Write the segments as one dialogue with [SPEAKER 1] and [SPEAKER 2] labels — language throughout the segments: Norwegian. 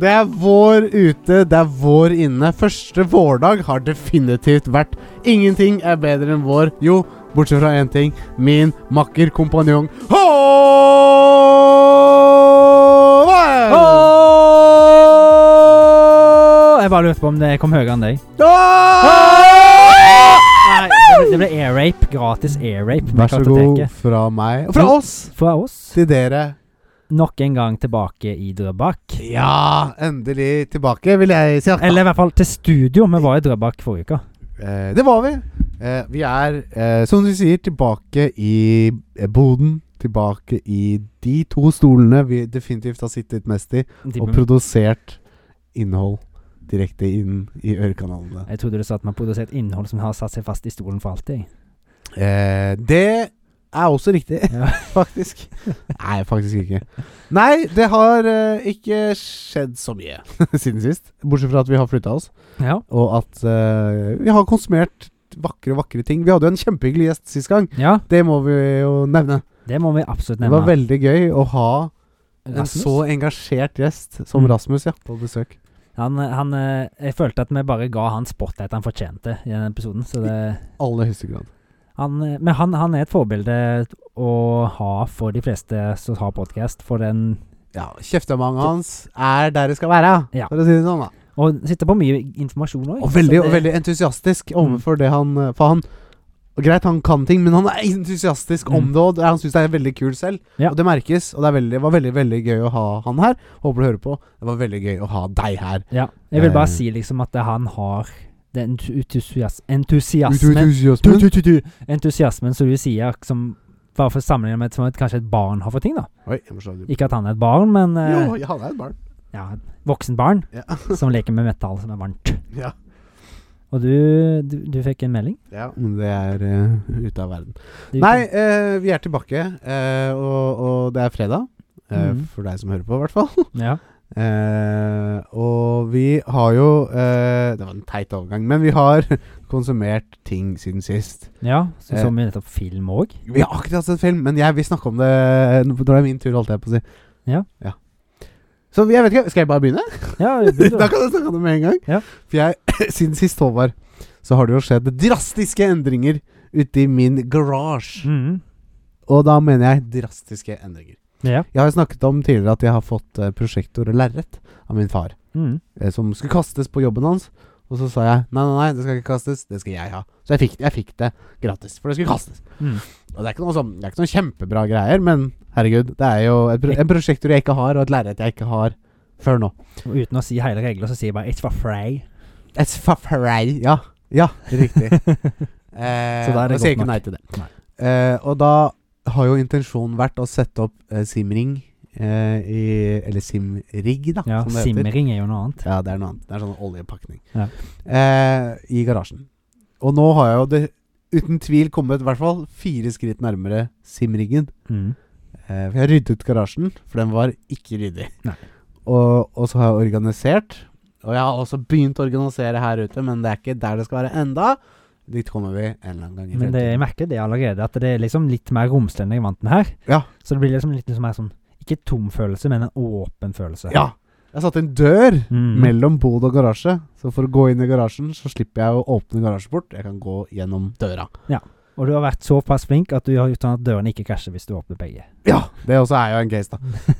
[SPEAKER 1] det er vår ute, det er vår inne. Første vårdag har definitivt vært Ingenting er bedre enn vår. Jo, bortsett fra én ting. Min makker kompanjong Håvard!
[SPEAKER 2] Åh! Jeg bare lurte på om det kom høyere enn deg. Nei, det ble- det ble air rape. Gratis air rape. med
[SPEAKER 1] Vær så god
[SPEAKER 2] kartoteket.
[SPEAKER 1] fra meg Fra oss
[SPEAKER 2] Fra oss,
[SPEAKER 1] til dere.
[SPEAKER 2] nok en gang tilbake i Drøbak.
[SPEAKER 1] Ja, endelig tilbake, vil jeg si.
[SPEAKER 2] Eller i hvert fall til studio. Vi var i Drøbak forrige uke.
[SPEAKER 1] Eh, det var vi. Eh, vi er, eh, som du sier, tilbake i eh, boden. Tilbake i de to stolene vi definitivt har sittet mest i, og produsert innhold direkte inn i ørekanalene.
[SPEAKER 2] Jeg trodde du sa at man produserte innhold som har satt seg fast i stolen for alltid.
[SPEAKER 1] Eh, det er også riktig,
[SPEAKER 2] Ja.
[SPEAKER 1] faktisk. Nei, faktisk ikke. Nei, det har eh, ikke skjedd så mye siden sist. Bortsett fra at vi har flytta oss,
[SPEAKER 2] Ja.
[SPEAKER 1] og at eh, vi har konsumert vakre, vakre ting. Vi hadde jo en kjempehyggelig gjest sist gang.
[SPEAKER 2] ja,
[SPEAKER 1] Det må vi jo nevne.
[SPEAKER 2] det må vi absolutt
[SPEAKER 1] Det var
[SPEAKER 2] nevne.
[SPEAKER 1] veldig gøy å ha en
[SPEAKER 2] Rasmus.
[SPEAKER 1] så engasjert gjest som
[SPEAKER 2] Mm.
[SPEAKER 1] Rasmus ja, på besøk.
[SPEAKER 2] Han, han, eh, jeg følte at vi bare ga han spotlight han fortjente i denne episoden. Så det
[SPEAKER 1] Aller høyeste grad.
[SPEAKER 2] Han, eh, men han, han er et forbilde å ha for de fleste som har podkast. For den
[SPEAKER 1] Ja, Kjeftemanget hans er der det skal være,
[SPEAKER 2] Ja.
[SPEAKER 1] for å si det sånn. da
[SPEAKER 2] Og sitter på mye informasjon òg.
[SPEAKER 1] Og veldig, og veldig entusiastisk
[SPEAKER 2] Mm.
[SPEAKER 1] overfor det han eh, For han og Greit, han kan ting, men han er entusiastisk om
[SPEAKER 2] Mm.
[SPEAKER 1] det, og det- han syns det er veldig kult selv.
[SPEAKER 2] Ja.
[SPEAKER 1] Og det merkes, og det er veldig, var veldig veldig gøy å ha han her. Håper du hører på. Det var veldig gøy å ha deg her.
[SPEAKER 2] Ja. Jeg vil
[SPEAKER 1] Eh.
[SPEAKER 2] bare si liksom at han har den entu- entusias entusiasmen
[SPEAKER 1] Entusiasmen.
[SPEAKER 2] Du, du, du, du. Entusiasmen som du sier, som bare for å sammenligne med som et, kanskje et barn har for ting, da.
[SPEAKER 1] Oi, jeg må slå det.
[SPEAKER 2] Ikke at han er et barn, men eh,
[SPEAKER 1] Jo, han er et barn.
[SPEAKER 2] ja, et voksen barn
[SPEAKER 1] Ja.
[SPEAKER 2] som leker med metall som er varmt.
[SPEAKER 1] Ja.
[SPEAKER 2] Og du, du, du fikk en melding?
[SPEAKER 1] Ja, men det er eh, ute av verden.
[SPEAKER 2] Du-
[SPEAKER 1] Nei, eh, vi er tilbake, eh, og, og det er fredag. eh,
[SPEAKER 2] Mhm.
[SPEAKER 1] For deg som hører på, i hvert fall.
[SPEAKER 2] Ja.
[SPEAKER 1] Eh, og vi har jo eh, Det var en teit overgang, men vi har konsumert ting siden sist.
[SPEAKER 2] ja. Så
[SPEAKER 1] Eh.
[SPEAKER 2] så vi nettopp film òg.
[SPEAKER 1] Vi har akkurat sett film, men jeg vil snakke om det når det er min tur, holdt jeg på å si.
[SPEAKER 2] Ja.
[SPEAKER 1] Så jeg vet ikke, skal jeg bare begynne?
[SPEAKER 2] Ja,
[SPEAKER 1] da kan jeg snakke om det med en gang.
[SPEAKER 2] Ja.
[SPEAKER 1] For jeg, siden sist, Håvard, så har det jo skjedd drastiske endringer ute i min garasje.
[SPEAKER 2] Mm.
[SPEAKER 1] Og da mener jeg drastiske endringer.
[SPEAKER 2] Ja.
[SPEAKER 1] Jeg har jo snakket om tidligere at jeg har fått eh, prosjektor og lerret av min far,
[SPEAKER 2] Mm.
[SPEAKER 1] eh, som skulle kastes på jobben hans. Og så sa jeg nei, nei, nei, det skal ikke kastes, det skal jeg ha. Så jeg fikk, jeg fikk det gratis, for det skulle kastes.
[SPEAKER 2] Mm.
[SPEAKER 1] Og det er ikke noe sånn, det er ikke noen kjempebra greier, men herregud, det er jo et, pro en prosjektor jeg ikke har, og et lerret jeg ikke har før nå.
[SPEAKER 2] Og uten å si hele regler, så sier jeg bare 'it's for free'.
[SPEAKER 1] It's for free. Ja, ja riktig. eh,
[SPEAKER 2] Så da er det
[SPEAKER 1] og sier
[SPEAKER 2] godt
[SPEAKER 1] ikke
[SPEAKER 2] nok.
[SPEAKER 1] nei til det.
[SPEAKER 2] Nei.
[SPEAKER 1] Eh, og da har jo intensjonen vært å sette opp eh, simring eh, i Eller simrig, da,
[SPEAKER 2] Ja,
[SPEAKER 1] som det heter.
[SPEAKER 2] simring er jo noe annet.
[SPEAKER 1] Ja, det er noe annet. Det er sånn oljepakning.
[SPEAKER 2] Ja.
[SPEAKER 1] Eh, I garasjen. Og nå har jeg jo det uten tvil kommet i hvert fall fire skritt nærmere simringen.
[SPEAKER 2] Mm.
[SPEAKER 1] Eh, for jeg har ryddet garasjen, for den var ikke ryddig.
[SPEAKER 2] Nei.
[SPEAKER 1] Og, og så har jeg organisert. Og jeg har også begynt å organisere her ute, men det er ikke der det skal være enda. Dit kommer vi en eller annen gang i
[SPEAKER 2] Men det, jeg
[SPEAKER 1] fremtiden.
[SPEAKER 2] merker det allerede, at det er liksom litt mer romslig enn jeg vant den her.
[SPEAKER 1] Ja.
[SPEAKER 2] Så det blir liksom litt mer sånn Ikke tom følelse, men en åpen følelse.
[SPEAKER 1] Ja! Jeg satte en dør
[SPEAKER 2] Mm.
[SPEAKER 1] mellom bod og garasje. Så for å gå inn i garasjen, så slipper jeg å åpne garasjeport. Jeg kan gå gjennom døra.
[SPEAKER 2] Og du har vært såpass flink at du har gjort sånn at dørene ikke krasjer hvis du åpner begge.
[SPEAKER 1] Ja, det også er jo en case, da.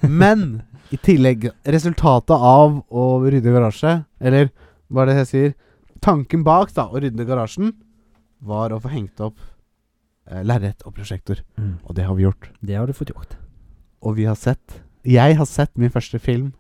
[SPEAKER 1] Men i tillegg, resultatet av å rydde garasje, eller hva er det jeg sier Tanken bak da, å rydde garasjen, var å få hengt opp eh, lerret og prosjektor.
[SPEAKER 2] Mm.
[SPEAKER 1] Og det har vi gjort.
[SPEAKER 2] Det har du fått gjort.
[SPEAKER 1] Og vi har sett Jeg har sett min første film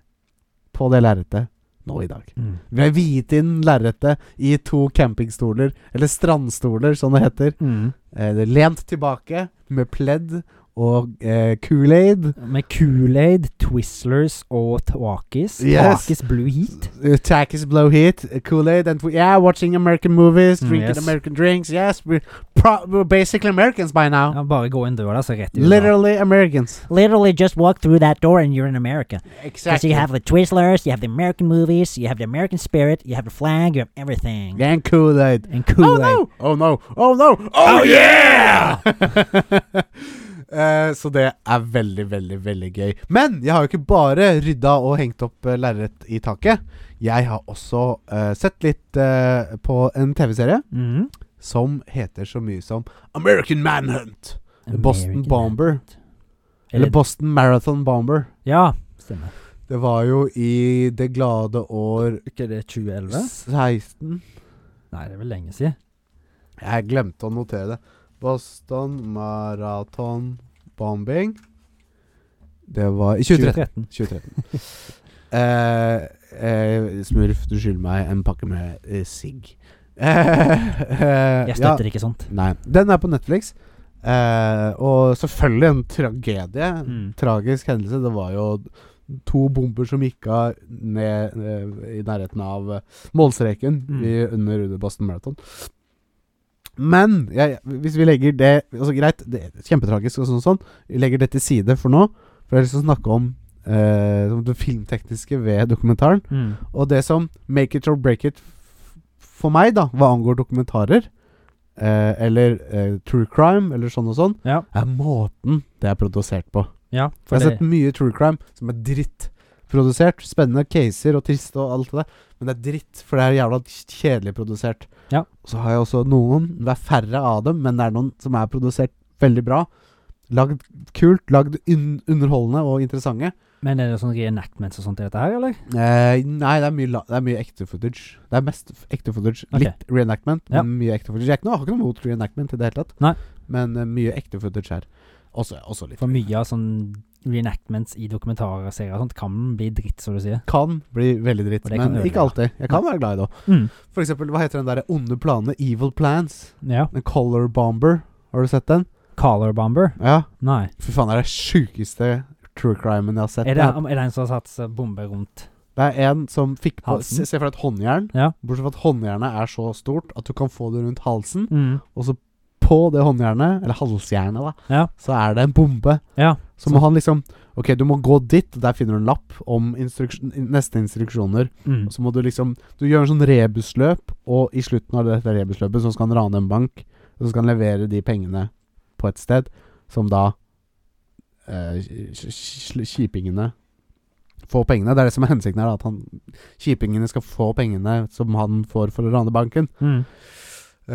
[SPEAKER 1] på det lerretet nå i dag.
[SPEAKER 2] Mm.
[SPEAKER 1] Vi har viet inn lerretet i to campingstoler, eller strandstoler, som det heter.
[SPEAKER 2] Mm.
[SPEAKER 1] Eh, det er lent tilbake med pledd og eh, Kool-Aid.
[SPEAKER 2] Med Kool-Aid, Twizzlers og Twakis.
[SPEAKER 1] Yes.
[SPEAKER 2] Twakis Blue Heat.
[SPEAKER 1] Uh, Takis blow heat, uh, Kool-Aid, and we, yeah, watching American movies,
[SPEAKER 2] Mm,
[SPEAKER 1] drinking
[SPEAKER 2] yes.
[SPEAKER 1] American drinks, yes, we pro basically Americans by now.
[SPEAKER 2] Ja, bare gå inn døra, så rett i USA.
[SPEAKER 1] Literally Americans.
[SPEAKER 2] Literally just walk through that door and you're in America. Because
[SPEAKER 1] Exactly.
[SPEAKER 2] you have the Twizzlers, you have the American movies, you have the American spirit, you have the flag, you have everything.
[SPEAKER 1] And Kool-Aid.
[SPEAKER 2] And Kool-Aid.
[SPEAKER 1] Oh no! Oh no!
[SPEAKER 2] Oh, yeah!
[SPEAKER 1] Eh, så det er veldig, veldig veldig gøy. Men jeg har jo ikke bare rydda og hengt opp eh, lerret i taket. Jeg har også eh, sett litt eh, på en TV-serie
[SPEAKER 2] Mhm.
[SPEAKER 1] som heter så mye som American Manhunt. Boston
[SPEAKER 2] American
[SPEAKER 1] Bomber.
[SPEAKER 2] Hunt.
[SPEAKER 1] Eller Boston Marathon Bomber.
[SPEAKER 2] Ja, stemmer.
[SPEAKER 1] Det var jo i det glade år
[SPEAKER 2] Ikke det 2011?
[SPEAKER 1] 16
[SPEAKER 2] Nei, det er vel lenge siden.
[SPEAKER 1] Jeg glemte å notere det. Boston Marathon Bombing. Det var i 2013. 2013. eh, eh, Smurf, du skylder meg en pakke med eh, sigg. Eh,
[SPEAKER 2] Jeg
[SPEAKER 1] ja,
[SPEAKER 2] støtter ikke sånt.
[SPEAKER 1] Nei. Den er på Netflix. Eh, og selvfølgelig en tragedie.
[SPEAKER 2] Mm.
[SPEAKER 1] Tragisk hendelse. Det var jo to bomber som gikk av ned, eh, i nærheten av eh, målstreken
[SPEAKER 2] Mm.
[SPEAKER 1] i, under, under Boston Marathon. Men jeg, hvis vi legger det altså Greit, det er kjempetragisk og sånn, sånn. Vi legger det til side for nå. For jeg har lyst til å snakke om eh, det filmtekniske ved dokumentaren.
[SPEAKER 2] Mm.
[SPEAKER 1] Og det som make it or break it f- for meg, da, hva angår dokumentarer, eh, eller eh, true crime, eller sånn og sånn,
[SPEAKER 2] Ja.
[SPEAKER 1] er måten det er produsert på.
[SPEAKER 2] Ja, for
[SPEAKER 1] Jeg har
[SPEAKER 2] det,
[SPEAKER 1] sett mye true crime som er drittprodusert. Spennende caser og triste og alt det der, men det er dritt, for det er jævla kjedelig produsert.
[SPEAKER 2] Ja.
[SPEAKER 1] Så har jeg også noen, det er færre av dem, men det er noen som er produsert veldig bra. Lagd kult, lagd un underholdende og interessante.
[SPEAKER 2] men er det sånn reenactments og sånt i dette her, eller?
[SPEAKER 1] Eh, nei, det er, mye la det er mye ekte footage. Det er mest f- ekte footage.
[SPEAKER 2] Ok.
[SPEAKER 1] Litt reenactment,
[SPEAKER 2] Ja.
[SPEAKER 1] men mye ekte footage. Jeg er ikke noe, har ikke noe mot reenactment i det hele tatt,
[SPEAKER 2] Nei.
[SPEAKER 1] men eh, mye ekte footage her. Også, også litt.
[SPEAKER 2] For mye av sånn reenactments i dokumentarserier og sånt kan bli dritt, som du sier.
[SPEAKER 1] Kan bli veldig dritt,
[SPEAKER 2] Og det kan
[SPEAKER 1] men
[SPEAKER 2] ødelegge.
[SPEAKER 1] ikke alltid. Jeg kan være glad i det òg.
[SPEAKER 2] Mm.
[SPEAKER 1] For eksempel, hva heter den derre onde planene? Evil Plans.
[SPEAKER 2] Ja.
[SPEAKER 1] En Color Bomber. Har du sett den?
[SPEAKER 2] Color Bomber?
[SPEAKER 1] Ja.
[SPEAKER 2] Nei.
[SPEAKER 1] Fy faen, det er det sjukeste true crimen jeg har sett.
[SPEAKER 2] Er det, er det en som har satt seg bombe rundt?
[SPEAKER 1] Det er en som fikk på
[SPEAKER 2] Halsen?
[SPEAKER 1] Se se for deg et håndjern.
[SPEAKER 2] Ja.
[SPEAKER 1] Bortsett fra at håndjernet er så stort at du kan få det rundt halsen.
[SPEAKER 2] Mm.
[SPEAKER 1] Og så på det håndjernet, eller halsjernet, da,
[SPEAKER 2] Ja.
[SPEAKER 1] så er det en bombe.
[SPEAKER 2] Ja.
[SPEAKER 1] Så må han liksom Ok, du må gå dit, og der finner du en lapp om instruksjon, neste instruksjoner.
[SPEAKER 2] Mm.
[SPEAKER 1] Og så må du liksom Du gjør en sånn rebusløp, og i slutten av dette rebusløpet så skal han rane en bank. Og så skal han levere de pengene på et sted, som da eh, kj- kj- Kjipingene får pengene. Det er det som er hensikten her, da, at han, kjipingene skal få pengene som han får for å rane banken.
[SPEAKER 2] Mm.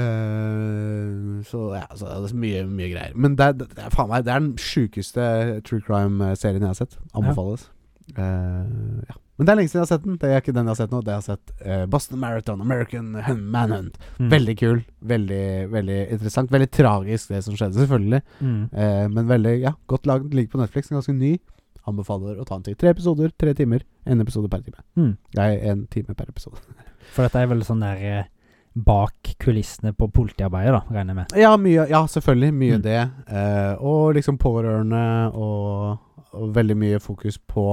[SPEAKER 1] Eh, så ja, så det er mye, mye greier. Men det, er- det, er, faen meg, det er den sjukeste true crime-serien jeg har sett. Anbefales. Eh, ja. Men det er lenge siden jeg har sett den. Det er ikke den jeg har sett nå. Det jeg har sett eh, Boston Marathon, American Hun- Manhunt.
[SPEAKER 2] Mm.
[SPEAKER 1] Veldig kul. Veldig veldig interessant. Veldig tragisk, det som skjedde, selvfølgelig.
[SPEAKER 2] Mm.
[SPEAKER 1] Eh, men veldig ja, godt lagd. Ligger på Netflix, ganske ny. Anbefaler å ta en til. Tre episoder, tre timer. Én episode per time.
[SPEAKER 2] Mm.
[SPEAKER 1] Nei, én time per episode.
[SPEAKER 2] For dette er vel sånn der eh, bak kulissene på politiarbeidet, da, regner jeg med.
[SPEAKER 1] Ja, mye, ja selvfølgelig. Mye
[SPEAKER 2] Mm.
[SPEAKER 1] det. Eh, og liksom pårørende, og, og veldig mye fokus på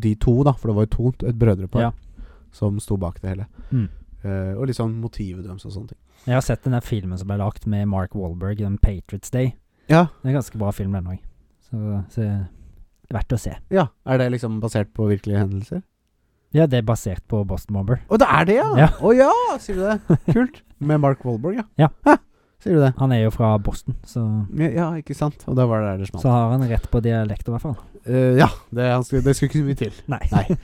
[SPEAKER 1] de to, da. For det var jo to, et brødrepar,
[SPEAKER 2] Ja.
[SPEAKER 1] som sto bak det hele.
[SPEAKER 2] Mm.
[SPEAKER 1] Eh, og liksom motivet deres og sånne ting.
[SPEAKER 2] Jeg har sett den der filmen som ble lagt med Mark Wahlberg, den Patriots Day.
[SPEAKER 1] Ja.
[SPEAKER 2] Det er en ganske bra film, den òg. Så, så verdt å se.
[SPEAKER 1] ja. Er det liksom basert på virkelige hendelser?
[SPEAKER 2] Ja, det er basert på Boston Bomber.
[SPEAKER 1] Å, det er det, ja! Å
[SPEAKER 2] Ja.
[SPEAKER 1] ja. sier du det? Kult. Med Mark Wahlberg, ja.
[SPEAKER 2] Ja.
[SPEAKER 1] Hæ, sier du det?
[SPEAKER 2] Han er jo fra Boston, så
[SPEAKER 1] Ja, ja, ikke sant. Og da var det der det smalt.
[SPEAKER 2] så har han rett på dialekt, i hvert fall.
[SPEAKER 1] Eh, ja, det, han skulle, det skulle ikke så mye til.
[SPEAKER 2] Nei.
[SPEAKER 1] Nei.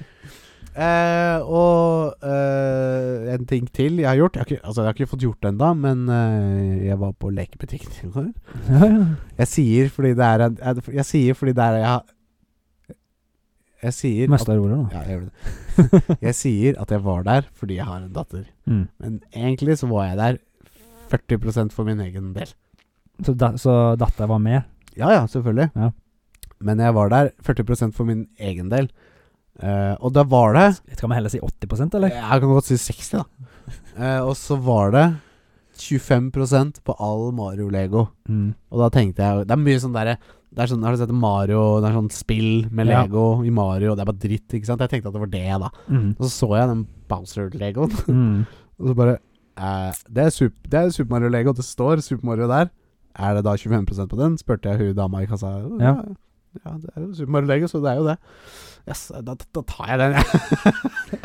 [SPEAKER 1] Eh, og eh, en ting til jeg har gjort. Jeg har ikke, altså, jeg har ikke fått gjort det ennå, men eh, jeg var på lekebutikken i går.
[SPEAKER 2] Ja, ja.
[SPEAKER 1] Jeg sier fordi det er en Jeg, jeg sier fordi det er jeg, jeg sier at,
[SPEAKER 2] Mest av ordet, da.
[SPEAKER 1] ja, jeg, gjør det. jeg sier at jeg var der fordi jeg har en datter.
[SPEAKER 2] Mm.
[SPEAKER 1] Men egentlig så var jeg der 40 for min egen del.
[SPEAKER 2] Så, da, så dattera var med?
[SPEAKER 1] Ja ja, selvfølgelig.
[SPEAKER 2] Ja.
[SPEAKER 1] Men jeg var der 40 for min egen del. Eh, og da var det
[SPEAKER 2] Skal vi heller si 80 eller?
[SPEAKER 1] Jeg kan godt si 60, da. Eh, og så var det 25 på all Mario-lego.
[SPEAKER 2] Mm.
[SPEAKER 1] Og da tenkte jeg Det er mye sånn derre det er sånn, Har du sett Mario Det er sånn spill med
[SPEAKER 2] Ja.
[SPEAKER 1] Lego i Mario, det er bare dritt, ikke sant? Jeg tenkte at det var det, da.
[SPEAKER 2] Mm.
[SPEAKER 1] Og så så jeg den Bowser-legoen,
[SPEAKER 2] Mm.
[SPEAKER 1] og så bare eh, det, er sup det er Super Mario Lego, det står Super Mario der. Er det da 25 på den? spurte jeg hun dama i kassa. Å,
[SPEAKER 2] Ja.
[SPEAKER 1] ja, ja, det er jo Super Mario Lego, så det er jo det. Yes, da, da tar jeg den, jeg.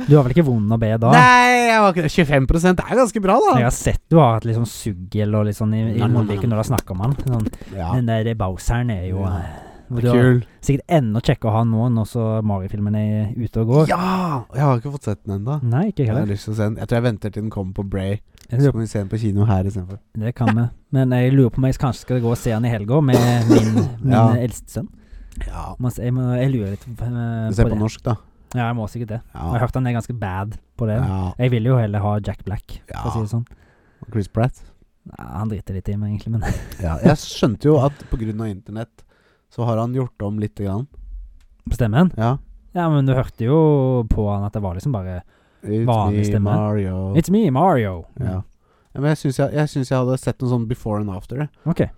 [SPEAKER 2] Du har vel ikke vond å be da?
[SPEAKER 1] Nei, jeg var ikke 25 er ganske bra, da.
[SPEAKER 2] Jeg har sett du har hatt litt sånn suggel og litt sånn i, i
[SPEAKER 1] Nei, nei, nei,
[SPEAKER 2] munnviken når du har snakka om han. Sånn,
[SPEAKER 1] Ja,
[SPEAKER 2] Den der Bowseren er jo
[SPEAKER 1] Ja.
[SPEAKER 2] eh, hvor
[SPEAKER 1] det
[SPEAKER 2] Du
[SPEAKER 1] er
[SPEAKER 2] har
[SPEAKER 1] kul.
[SPEAKER 2] sikkert enda kjekkere å ha nå når så Mario-filmen er ute og går.
[SPEAKER 1] Ja! Jeg har ikke fått sett den ennå.
[SPEAKER 2] Nei, ikke
[SPEAKER 1] Jeg, har
[SPEAKER 2] heller.
[SPEAKER 1] lyst til å se den. jeg tror jeg venter til den kommer på Bray.
[SPEAKER 2] Mm. Jeg
[SPEAKER 1] Så
[SPEAKER 2] lurer-
[SPEAKER 1] kan vi se den på kino her istedenfor.
[SPEAKER 2] Det kan vi. Men jeg lurer på om jeg kanskje skal gå og se han i helga med min, min
[SPEAKER 1] Ja.
[SPEAKER 2] eldste sønn.
[SPEAKER 1] Ja.
[SPEAKER 2] Men Jeg, må, jeg lurer litt
[SPEAKER 1] Du
[SPEAKER 2] eh, på
[SPEAKER 1] ser på
[SPEAKER 2] det.
[SPEAKER 1] norsk, da.
[SPEAKER 2] Ja, jeg må sikkert det.
[SPEAKER 1] Ja.
[SPEAKER 2] Jeg har hørt han er ganske bad på det.
[SPEAKER 1] ja.
[SPEAKER 2] Jeg vil jo heller ha Jack Black, for å
[SPEAKER 1] ja.
[SPEAKER 2] si det sånn.
[SPEAKER 1] Chris Pratt.
[SPEAKER 2] Ja, han driter litt i meg, egentlig, men
[SPEAKER 1] Ja. Jeg skjønte jo at pga. internett så har han gjort om lite grann.
[SPEAKER 2] Stemmer han?
[SPEAKER 1] Ja.
[SPEAKER 2] Ja, men du hørte jo på han at det var liksom bare
[SPEAKER 1] It's
[SPEAKER 2] Vanlig
[SPEAKER 1] me,
[SPEAKER 2] stemme.
[SPEAKER 1] Mario.
[SPEAKER 2] It's me, Mario!
[SPEAKER 1] ja. ja. Men jeg syns jeg, jeg, syns jeg hadde sett noe sånn before and after. jeg.
[SPEAKER 2] Ok. Jeg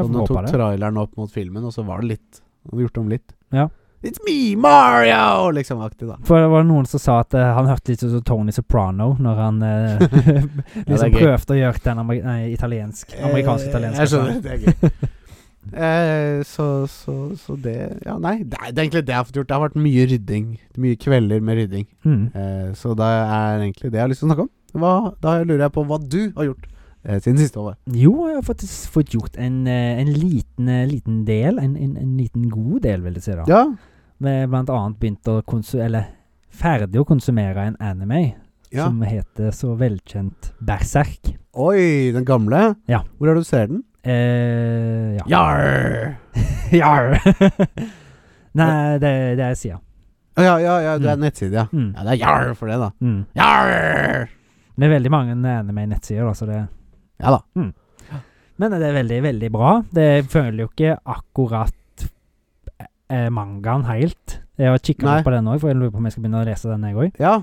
[SPEAKER 1] Sånn
[SPEAKER 2] får
[SPEAKER 1] du
[SPEAKER 2] håpe
[SPEAKER 1] tok
[SPEAKER 2] det.
[SPEAKER 1] traileren opp mot filmen, og så var det litt Han hadde gjort om litt.
[SPEAKER 2] Ja.
[SPEAKER 1] It's me, Mario! Liksom aktig, da.
[SPEAKER 2] For det var noen som sa at eh, han hørte litt ut som Tony Soprano når han eh, liksom
[SPEAKER 1] gøy.
[SPEAKER 2] prøvde å gjøre den amer nei, italiensk, amerikansk-italiensk.
[SPEAKER 1] Eh, Jeg skjønner, det er gøy. Eh, så, så, så det Ja, nei, det er, det er egentlig det jeg har fått gjort. Det har vært mye rydding. Mye kvelder med rydding.
[SPEAKER 2] Mm.
[SPEAKER 1] Eh, så det er egentlig det jeg har lyst til å snakke om. Hva, da lurer jeg på hva du har gjort eh, siden siste året.
[SPEAKER 2] Jo, jeg har faktisk fått gjort en, eh, en liten, eh, liten del, en, en, en liten god del, vil jeg si da.
[SPEAKER 1] Ja.
[SPEAKER 2] Vi blant annet begynt å konsumere, eller ferdig å konsumere en anime
[SPEAKER 1] ja.
[SPEAKER 2] som heter så velkjent Berserk.
[SPEAKER 1] Oi, den gamle?
[SPEAKER 2] Ja.
[SPEAKER 1] Hvor er det du ser den?
[SPEAKER 2] Eh, ja.
[SPEAKER 1] Jarr!
[SPEAKER 2] Jarr! Nei, det, det er sida.
[SPEAKER 1] Å, Ja, ja, ja, du er
[SPEAKER 2] Mm.
[SPEAKER 1] nettside, ja.
[SPEAKER 2] Mm.
[SPEAKER 1] Ja, det er jarr for det, da.
[SPEAKER 2] Mm.
[SPEAKER 1] Jarr!
[SPEAKER 2] Det er veldig mange anime-nettsider, da, så det
[SPEAKER 1] Ja da.
[SPEAKER 2] Men det er veldig, veldig bra. Det føler jo ikke akkurat eh, mangaen helt. Jeg har kikka
[SPEAKER 1] Nei.
[SPEAKER 2] litt på den òg, for jeg lurer på om jeg skal begynne å lese den, jeg òg.
[SPEAKER 1] Ja.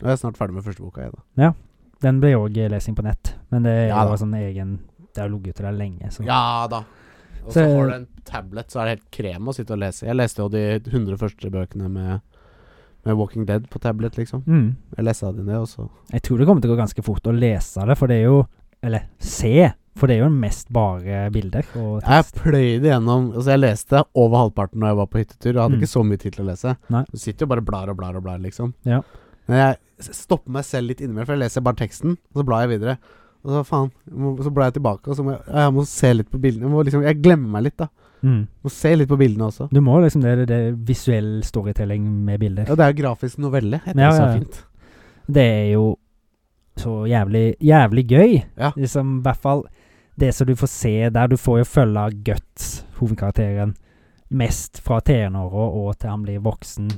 [SPEAKER 1] Nå er jeg snart ferdig med første boka, jeg, da.
[SPEAKER 2] Den ble òg lesing på nett, men det er
[SPEAKER 1] Ja da.
[SPEAKER 2] jo sånn egen Det har ligget ute der lenge, så
[SPEAKER 1] Ja da. Og så
[SPEAKER 2] Så-
[SPEAKER 1] får du en tablet, så er det helt krem å sitte og lese. Jeg leste jo de 100 første bøkene med, med Walking Dead på tablet, liksom.
[SPEAKER 2] mm.
[SPEAKER 1] Jeg leste de ned, og så
[SPEAKER 2] Jeg tror det kommer til å gå ganske fort å lese det, for det er jo Eller se, for det er jo mest bare bilder og
[SPEAKER 1] Jeg
[SPEAKER 2] tekst.
[SPEAKER 1] pløyde gjennom Altså, jeg leste over halvparten da jeg var på hyttetur, og hadde
[SPEAKER 2] Mm.
[SPEAKER 1] ikke så mye tid til å lese.
[SPEAKER 2] Nei.
[SPEAKER 1] Du sitter jo bare og blar og blar og blar, liksom.
[SPEAKER 2] Ja.
[SPEAKER 1] Men jeg s- stopper meg selv litt innimellom, for jeg leser bare teksten, og så blar jeg videre. Og så faen jeg må- Så blar jeg tilbake, og så må jeg, jeg må se litt på bildene. Jeg, må liksom, jeg glemmer meg litt, da.
[SPEAKER 2] Mm.
[SPEAKER 1] Må se litt på bildene også.
[SPEAKER 2] Du må liksom det, det, det er visuell storytelling med bilder.
[SPEAKER 1] Ja, det er jo grafisk novelle. Jeg
[SPEAKER 2] Ja,
[SPEAKER 1] tror det
[SPEAKER 2] ja,
[SPEAKER 1] er
[SPEAKER 2] ja.
[SPEAKER 1] fint.
[SPEAKER 2] Det er jo så jævlig jævlig gøy.
[SPEAKER 1] Ja.
[SPEAKER 2] Liksom i hvert fall det som du får se der. Du får jo følge Guts, hovedkarakteren, mest fra tenåra og til han blir voksen.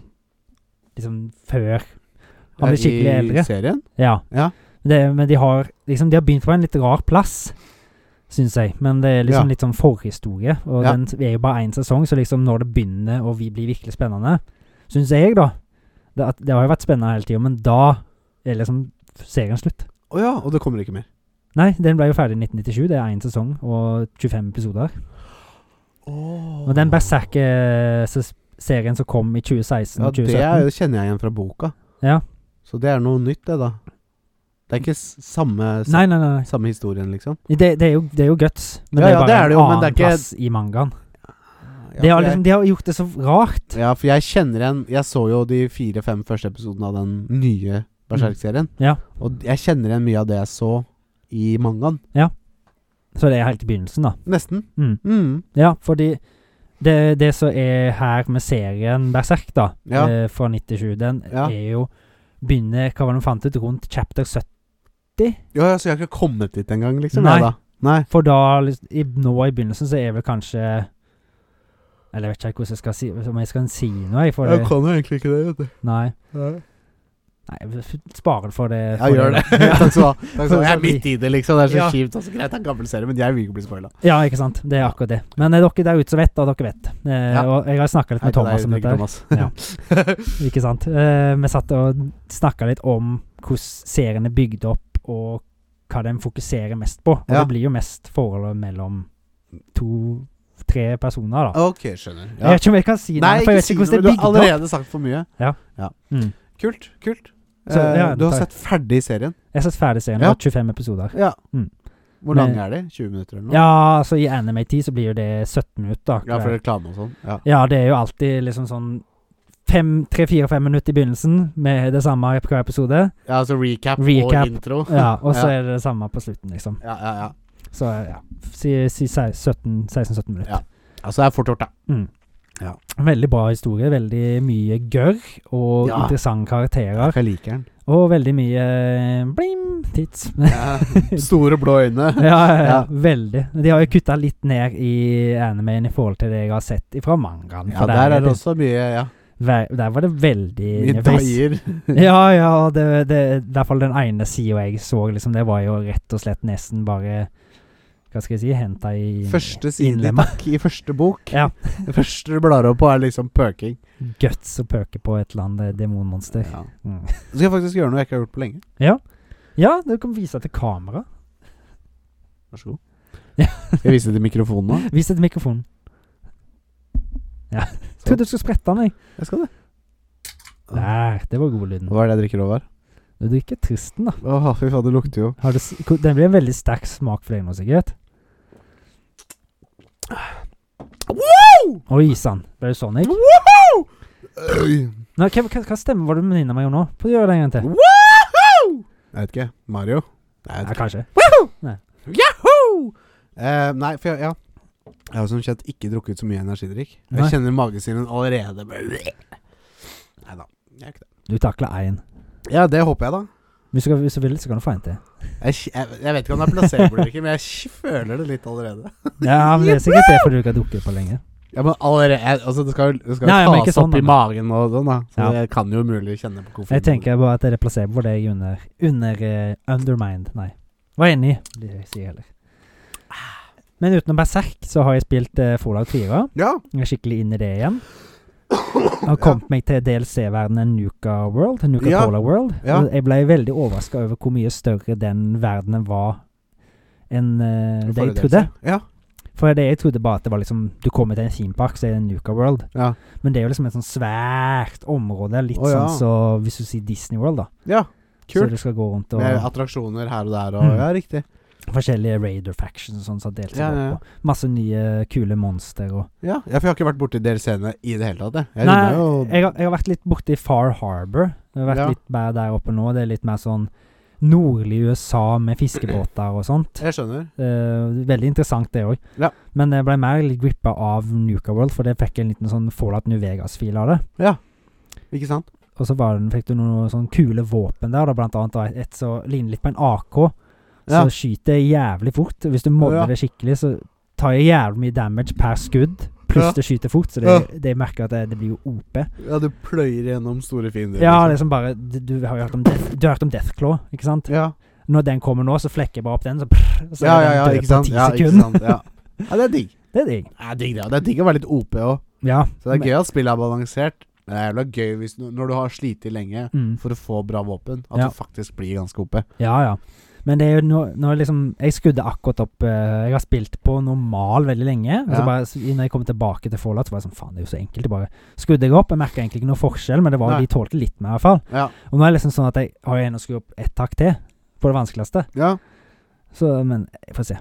[SPEAKER 2] Liksom før Han blir skikkelig eldre.
[SPEAKER 1] I serien?
[SPEAKER 2] Ja.
[SPEAKER 1] Ja.
[SPEAKER 2] Det, men de har liksom De har begynt på en litt rar plass, syns jeg. Men det er liksom
[SPEAKER 1] Ja.
[SPEAKER 2] litt sånn forhistorie, og
[SPEAKER 1] Ja.
[SPEAKER 2] den er jo bare én sesong, så liksom når det begynner og vi blir virkelig spennende, syns jeg, da det, at, det har jo vært spennende hele tida, men da er liksom serien slutt.
[SPEAKER 1] Å ja, og det kommer ikke mer.
[SPEAKER 2] Nei, den ble jo ferdig i 1997. Det er én sesong og 25 episoder. Og den Berserk-serien som kom i 2016
[SPEAKER 1] ja,
[SPEAKER 2] og
[SPEAKER 1] det er,
[SPEAKER 2] 2017
[SPEAKER 1] jo- kjenner jeg igjen fra boka.
[SPEAKER 2] Ja.
[SPEAKER 1] Så det er noe nytt, det, da. Det er ikke s- samme, sa,
[SPEAKER 2] Nei, nei, nei. nei.
[SPEAKER 1] samme historien, liksom.
[SPEAKER 2] Det, det, er jo, det er jo guts, men
[SPEAKER 1] Ja,
[SPEAKER 2] det
[SPEAKER 1] ja,
[SPEAKER 2] er bare
[SPEAKER 1] det er det jo,
[SPEAKER 2] en
[SPEAKER 1] men
[SPEAKER 2] annen
[SPEAKER 1] det er ikke-
[SPEAKER 2] plass i mangaen.
[SPEAKER 1] Ja,
[SPEAKER 2] Det har
[SPEAKER 1] for
[SPEAKER 2] liksom, de har gjort det så rart.
[SPEAKER 1] jeg, ja, for jeg kjenner igjen Jeg så jo de fire-fem første episodene av den nye Berserk-serien.
[SPEAKER 2] Mm. Ja.
[SPEAKER 1] Og jeg kjenner igjen mye av det jeg så i mangaen.
[SPEAKER 2] Så det er helt i begynnelsen, da.
[SPEAKER 1] Nesten.
[SPEAKER 2] Mm.
[SPEAKER 1] Mm.
[SPEAKER 2] Ja, fordi det, det som er her med serien Berserk, da,
[SPEAKER 1] Ja.
[SPEAKER 2] eh, fra 97, den
[SPEAKER 1] Ja.
[SPEAKER 2] er jo Begynner, hva var det de fant ut, rundt chapter 70?
[SPEAKER 1] Ja, ja, så jeg har ikke kommet dit engang, liksom?
[SPEAKER 2] Nei.
[SPEAKER 1] jeg, Da. Nei.
[SPEAKER 2] For da, liksom, i, nå i begynnelsen, så er vel kanskje Eller jeg vet ikke hvordan jeg skal si Om jeg skal si noe, jeg. For det,
[SPEAKER 1] kan jo egentlig ikke det, vet du.
[SPEAKER 2] nei.
[SPEAKER 1] Nei.
[SPEAKER 2] nei. jeg Sparer det for det.
[SPEAKER 1] Ja,
[SPEAKER 2] for
[SPEAKER 1] gjør det. Takk skal du ha. Takk skal du ha. Jeg er midt i det, liksom. Det er så
[SPEAKER 2] Ja.
[SPEAKER 1] kjipt. Altså, greit, det er en gammel serie, men jeg vil ikke bli spoila.
[SPEAKER 2] Ja, ikke sant. Det er akkurat det. Men eh, dere der ute som vet, da, dere vet. Eh,
[SPEAKER 1] Ja.
[SPEAKER 2] Og jeg har snakka litt med Thomas om dette. her. Ikke sant. Eh, vi satt og snakka litt om hvordan serien er bygd opp, og hva den fokuserer mest på. Og
[SPEAKER 1] Ja.
[SPEAKER 2] det blir jo mest forholdet mellom to-tre personer, da.
[SPEAKER 1] Ok, skjønner.
[SPEAKER 2] Jeg vet ikke om jeg kan si det,
[SPEAKER 1] Nei,
[SPEAKER 2] for jeg
[SPEAKER 1] ikke
[SPEAKER 2] vet
[SPEAKER 1] si
[SPEAKER 2] ikke
[SPEAKER 1] noe,
[SPEAKER 2] hvordan
[SPEAKER 1] men du
[SPEAKER 2] det er
[SPEAKER 1] har
[SPEAKER 2] bygd opp.
[SPEAKER 1] allerede sagt for mye.
[SPEAKER 2] Mm.
[SPEAKER 1] Kult, kult.
[SPEAKER 2] Så,
[SPEAKER 1] Eh,
[SPEAKER 2] ja,
[SPEAKER 1] du har
[SPEAKER 2] takk.
[SPEAKER 1] sett ferdig serien.
[SPEAKER 2] Jeg har sett ferdig serien.
[SPEAKER 1] Ja.
[SPEAKER 2] Det var 25 episoder.
[SPEAKER 1] Ja.
[SPEAKER 2] Mm.
[SPEAKER 1] Hvor
[SPEAKER 2] Men-
[SPEAKER 1] lang er de? 20 minutter eller noe?
[SPEAKER 2] Ja, altså i anime-tid så blir jo det 17 minutter.
[SPEAKER 1] Ja, for
[SPEAKER 2] akkurat.
[SPEAKER 1] reklame og sånn. Ja.
[SPEAKER 2] ja, det er jo alltid liksom sånn fem, tre, fire, fem minutter i begynnelsen med det samme i hver episode.
[SPEAKER 1] ja, altså recap,
[SPEAKER 2] Recap.
[SPEAKER 1] og intro.
[SPEAKER 2] Ja, og så
[SPEAKER 1] ja.
[SPEAKER 2] er det det samme på slutten, liksom.
[SPEAKER 1] Ja, ja, ja.
[SPEAKER 2] Så ja, si, si 16-17 minutter.
[SPEAKER 1] Ja. Altså, det er fort gjort, da.
[SPEAKER 2] Mm.
[SPEAKER 1] Ja.
[SPEAKER 2] Veldig bra historie. Veldig mye gørr og
[SPEAKER 1] Ja.
[SPEAKER 2] interessante karakterer.
[SPEAKER 1] Jeg liker den.
[SPEAKER 2] Og veldig mye eh, blim, tits. ja,
[SPEAKER 1] Ja. Store blå øyne.
[SPEAKER 2] ja, ja,
[SPEAKER 1] Ja.
[SPEAKER 2] Veldig. De har jo kutta litt ned i animeen i forhold til det jeg har sett fra mangaen.
[SPEAKER 1] Ja,
[SPEAKER 2] for
[SPEAKER 1] der er det
[SPEAKER 2] det-
[SPEAKER 1] også mye ja.
[SPEAKER 2] ver- Der var det veldig
[SPEAKER 1] Mye
[SPEAKER 2] nivås.
[SPEAKER 1] daier.
[SPEAKER 2] Ja, ja, og det, det, i hvert fall den ene sida jeg så, liksom, det var jo rett og slett nesten bare Hva skal jeg si Henta i
[SPEAKER 1] Første side
[SPEAKER 2] innlemma.
[SPEAKER 1] takk, i første bok.
[SPEAKER 2] Ja.
[SPEAKER 1] Det første du blar opp på, er liksom pøking.
[SPEAKER 2] guts å pøke på et eller annet eh, demonmonster.
[SPEAKER 1] Ja.
[SPEAKER 2] Mm.
[SPEAKER 1] Så skal jeg faktisk gjøre noe jeg ikke har gjort på lenge.
[SPEAKER 2] Ja, du kan vise til kamera.
[SPEAKER 1] Vær så god.
[SPEAKER 2] Ja.
[SPEAKER 1] Skal jeg vise til mikrofonen nå?
[SPEAKER 2] Vis det til mikrofonen. Ja.
[SPEAKER 1] Sånn.
[SPEAKER 2] Trodde du skulle sprette den, jeg.
[SPEAKER 1] Jeg skal det.
[SPEAKER 2] Der, det var god lyden.
[SPEAKER 1] Hva er det jeg drikker over?
[SPEAKER 2] Du drikker tristen, da.
[SPEAKER 1] Åh, fy faen, det lukter jo
[SPEAKER 2] Har du, s- ko- den blir en veldig sterk smak for deg nå, sikkert. Oi sann, ble det sånn jeg
[SPEAKER 1] Wow! Øy.
[SPEAKER 2] Nei, hva, hva, hva stemmer var det du minner meg om nå? Få gjøre det en gang til.
[SPEAKER 1] Woohoo! Jeg vet ikke. Mario? Nei, jeg
[SPEAKER 2] Ja,
[SPEAKER 1] vet ikke.
[SPEAKER 2] kanskje.
[SPEAKER 1] Yahoo! Eh, nei, for jeg, ja. jeg har som kjent ikke drukket så mye energidrikk. Jeg
[SPEAKER 2] Nei.
[SPEAKER 1] kjenner magesyren allerede. Nei da. Jeg er ikke det.
[SPEAKER 2] Du takler én.
[SPEAKER 1] Ja, det håper jeg, da.
[SPEAKER 2] Hvis du, kan- hvis du vil, så kan du få en til.
[SPEAKER 1] Jeg, kj- jeg, jeg vet ikke om det er placebo-drikke, men jeg kj- føler det litt allerede.
[SPEAKER 2] Ja, men det er sikkert det fordi du ikke har drukket på lenge.
[SPEAKER 1] Ja, men allerede jeg, Altså, det skal jo det skal jo
[SPEAKER 2] Nei, men
[SPEAKER 1] tas
[SPEAKER 2] ikke sånn,
[SPEAKER 1] opp i
[SPEAKER 2] da.
[SPEAKER 1] magen og sånn, da. Så
[SPEAKER 2] Ja.
[SPEAKER 1] jeg kan jo umulig kjenne på koffein.
[SPEAKER 2] Jeg tenker bare at det er placebo, for det er jeg under, under eh, Undermined. Nei. Var enig. Det sier jeg ikke heller. Men utenom Berserk så har jeg spilt eh, Fallout 4.
[SPEAKER 1] Ja.
[SPEAKER 2] Jeg er skikkelig inn i det igjen. Jeg har kommet meg til DLC-verdenen Nuka World. Nuka
[SPEAKER 1] Ja.
[SPEAKER 2] Cola World.
[SPEAKER 1] Ja.
[SPEAKER 2] Og jeg ble veldig overraska over hvor mye større den verdenen var enn eh, det jeg
[SPEAKER 1] Forelese.
[SPEAKER 2] trodde.
[SPEAKER 1] Ja.
[SPEAKER 2] For det jeg trodde bare at det var liksom Du kommer til en teampark, så er det Nuka World.
[SPEAKER 1] Ja.
[SPEAKER 2] Men det er jo liksom et sånn svært område. Litt
[SPEAKER 1] Å, ja.
[SPEAKER 2] sånn så hvis du sier Disney World, da.
[SPEAKER 1] ja.
[SPEAKER 2] Så
[SPEAKER 1] Kult.
[SPEAKER 2] du skal gå rundt og
[SPEAKER 1] Med attraksjoner her og der og
[SPEAKER 2] Mm.
[SPEAKER 1] Ja, riktig.
[SPEAKER 2] Forskjellige raider factions og sånn som har delt seg
[SPEAKER 1] Ja, ja, ja.
[SPEAKER 2] opp. og Masse nye kule monster og
[SPEAKER 1] Ja, ja, for jeg har ikke vært borti deres scene i det hele tatt, jeg. jeg.
[SPEAKER 2] Nei,
[SPEAKER 1] runder jo-
[SPEAKER 2] jeg har, jeg har vært litt borti Far Harbor. Jeg har vært
[SPEAKER 1] Ja.
[SPEAKER 2] litt mer der oppe nå. Det er litt mer sånn nordlig USA med fiskebåter og sånt.
[SPEAKER 1] jeg skjønner.
[SPEAKER 2] Eh, veldig interessant, det òg.
[SPEAKER 1] Ja.
[SPEAKER 2] Men jeg ble mer litt grippa av Nuka World, for det fikk en liten sånn Fallout New Vegas-fil av det.
[SPEAKER 1] Ikke sant?
[SPEAKER 2] Og så var den, fikk du noen sånn kule våpen der, da, blant annet da, et som ligner litt på en AK. Så
[SPEAKER 1] Ja.
[SPEAKER 2] skyter jeg jævlig fort. Hvis du modder
[SPEAKER 1] Ja.
[SPEAKER 2] det skikkelig, så tar jeg jævlig mye damage per skudd. Pluss
[SPEAKER 1] Ja.
[SPEAKER 2] det skyter fort, så det, det merker jeg at det, det blir jo OP.
[SPEAKER 1] Ja, du pløyer gjennom store fiender. liksom.
[SPEAKER 2] Ja, det er som bare Du, du har jo hørt om, death, du har hørt om Deathclaw, ikke sant?
[SPEAKER 1] ja.
[SPEAKER 2] Når den kommer nå, så flekker jeg bare opp den, så, prr, så
[SPEAKER 1] ja,
[SPEAKER 2] er
[SPEAKER 1] ja,
[SPEAKER 2] den
[SPEAKER 1] ja,
[SPEAKER 2] død
[SPEAKER 1] ikke
[SPEAKER 2] på
[SPEAKER 1] sant.
[SPEAKER 2] ti
[SPEAKER 1] Ja, ikke
[SPEAKER 2] sekunder.
[SPEAKER 1] sant. Ja. ja, det er digg.
[SPEAKER 2] Det er digg.
[SPEAKER 1] Ja, digg det, og det er digg å være litt OP òg.
[SPEAKER 2] Ja.
[SPEAKER 1] Så det er
[SPEAKER 2] men-
[SPEAKER 1] gøy at spillet er balansert. Men det er jævla gøy hvis, du- når du har slitt lenge
[SPEAKER 2] Mm.
[SPEAKER 1] for å få bra våpen, at
[SPEAKER 2] Ja.
[SPEAKER 1] du faktisk blir ganske OP.
[SPEAKER 2] Ja, ja. Men det er jo nå, nå er liksom Jeg skrudde akkurat opp eh, Jeg har spilt på normal veldig lenge. Og så
[SPEAKER 1] Ja.
[SPEAKER 2] bare, s- når jeg kom tilbake til Fallout, så var jeg sånn Faen, det er jo så enkelt. Jeg bare skrudde jeg opp. Jeg merka egentlig ikke noe forskjell, men det var
[SPEAKER 1] Nei.
[SPEAKER 2] de tålte litt mer, i hvert fall.
[SPEAKER 1] Ja.
[SPEAKER 2] Og nå er det liksom sånn at jeg har igjen å skru opp ett hakk til på det vanskeligste.
[SPEAKER 1] ja.
[SPEAKER 2] Så, men jeg får se.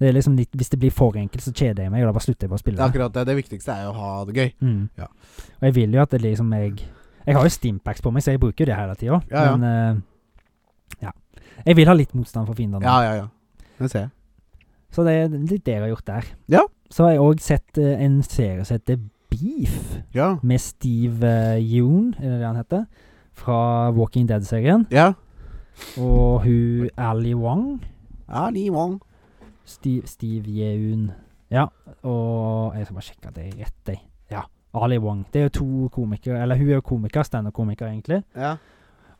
[SPEAKER 2] Det er liksom litt, Hvis det blir for enkelt, så kjeder jeg meg, og da bare slutter jeg bare
[SPEAKER 1] Det
[SPEAKER 2] å spille.
[SPEAKER 1] er
[SPEAKER 2] det.
[SPEAKER 1] akkurat det. Det viktigste er jo å ha det gøy.
[SPEAKER 2] Mm.
[SPEAKER 1] Ja.
[SPEAKER 2] Og jeg vil jo at det liksom jeg Jeg har jo Stimpacks på meg, så jeg bruker jo det hele tida.
[SPEAKER 1] Ja, ja.
[SPEAKER 2] Men eh, ja. Jeg vil ha litt motstand for fiendene.
[SPEAKER 1] Ja, ja, ja. Det ser jeg.
[SPEAKER 2] Så det er litt det jeg har gjort der.
[SPEAKER 1] Ja.
[SPEAKER 2] Så har jeg òg sett eh, en serie som heter Beef,
[SPEAKER 1] Ja.
[SPEAKER 2] med Steve eh, Yeun, er det det han heter? Fra Walking Dead-serien.
[SPEAKER 1] Ja.
[SPEAKER 2] Og hun Ali Wong.
[SPEAKER 1] ja ni wong.
[SPEAKER 2] Steve, Steve Yeun. Ja, og Jeg skal bare sjekke at det er rett, jeg. Ja, Ali Wong. Det er jo to komikere, eller hun er jo komiker, standup-komiker, egentlig.
[SPEAKER 1] Ja.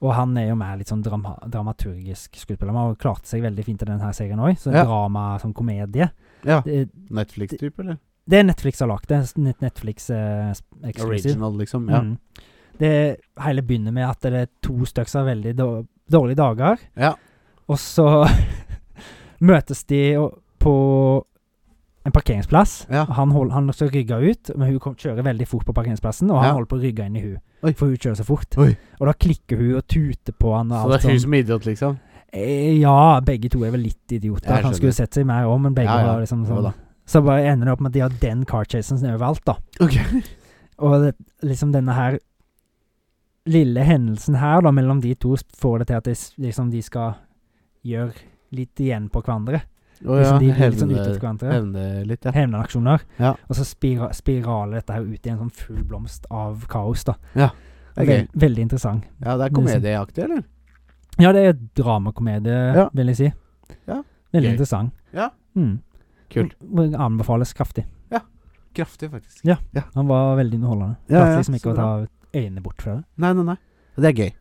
[SPEAKER 2] Og han er jo mer litt sånn drama dramaturgisk skuespiller. Han har jo klart seg veldig fint i denne her serien òg, så
[SPEAKER 1] Ja.
[SPEAKER 2] drama som komedie.
[SPEAKER 1] ja.
[SPEAKER 2] Det,
[SPEAKER 1] Netflix-type, eller?
[SPEAKER 2] Det er Netflix har lagd det. er net- Netflix eh, eksklusiv.
[SPEAKER 1] Original, liksom. Ja.
[SPEAKER 2] Mm. Det hele begynner med at det er to stykker som har veldig dår- dårlige dager,
[SPEAKER 1] Ja.
[SPEAKER 2] og så møtes de og- på en parkeringsplass.
[SPEAKER 1] Ja.
[SPEAKER 2] Og Han, hold, han skal rygge ut, men hun kom, kjører veldig fort på parkeringsplassen, og han
[SPEAKER 1] Ja.
[SPEAKER 2] holder på å rygge inn i hun.
[SPEAKER 1] Oi.
[SPEAKER 2] for hun kjører så fort.
[SPEAKER 1] Oi.
[SPEAKER 2] Og da klikker hun og tuter på han.
[SPEAKER 1] Så
[SPEAKER 2] Og
[SPEAKER 1] det
[SPEAKER 2] alt
[SPEAKER 1] er hun
[SPEAKER 2] sånn.
[SPEAKER 1] som er idiot, liksom?
[SPEAKER 2] Eh, Ja, begge to er vel litt idioter.
[SPEAKER 1] Jeg
[SPEAKER 2] Han
[SPEAKER 1] skjønner.
[SPEAKER 2] skulle sett seg mer om, men begge
[SPEAKER 1] Ja, ja.
[SPEAKER 2] var liksom
[SPEAKER 1] Jo
[SPEAKER 2] sånn.
[SPEAKER 1] da.
[SPEAKER 2] Så bare ender det opp med at de har den carchasen overalt, da.
[SPEAKER 1] Ok.
[SPEAKER 2] Og det, liksom denne her lille hendelsen her, da, mellom de to, får det til at de, s- liksom, de skal gjøre litt igjen på hverandre.
[SPEAKER 1] Å ja,
[SPEAKER 2] liksom, de blir litt sånn ute
[SPEAKER 1] hevne,
[SPEAKER 2] etter hverandre.
[SPEAKER 1] hevne litt, ja.
[SPEAKER 2] Hevnaksjoner.
[SPEAKER 1] Ja.
[SPEAKER 2] Og så spira, spiraler dette her ut i en sånn full blomst av kaos, da.
[SPEAKER 1] Det er
[SPEAKER 2] Vel-
[SPEAKER 1] gøy.
[SPEAKER 2] Veldig interessant.
[SPEAKER 1] Ja, det er
[SPEAKER 2] sånn-
[SPEAKER 1] komedieaktig, eller?
[SPEAKER 2] Ja, det er dramakomedie,
[SPEAKER 1] Ja.
[SPEAKER 2] vil jeg si.
[SPEAKER 1] Ja.
[SPEAKER 2] Veldig
[SPEAKER 1] Gøy.
[SPEAKER 2] interessant.
[SPEAKER 1] Ja.
[SPEAKER 2] Mm.
[SPEAKER 1] Kult.
[SPEAKER 2] Og Anbefales kraftig.
[SPEAKER 1] Kraftig, faktisk.
[SPEAKER 2] Ja. Han var veldig underholdende.
[SPEAKER 1] Ja,
[SPEAKER 2] Klarte
[SPEAKER 1] ja,
[SPEAKER 2] liksom
[SPEAKER 1] så
[SPEAKER 2] ikke å ta øynene bort fra det.
[SPEAKER 1] Nei, nei, nei. Det er gøy.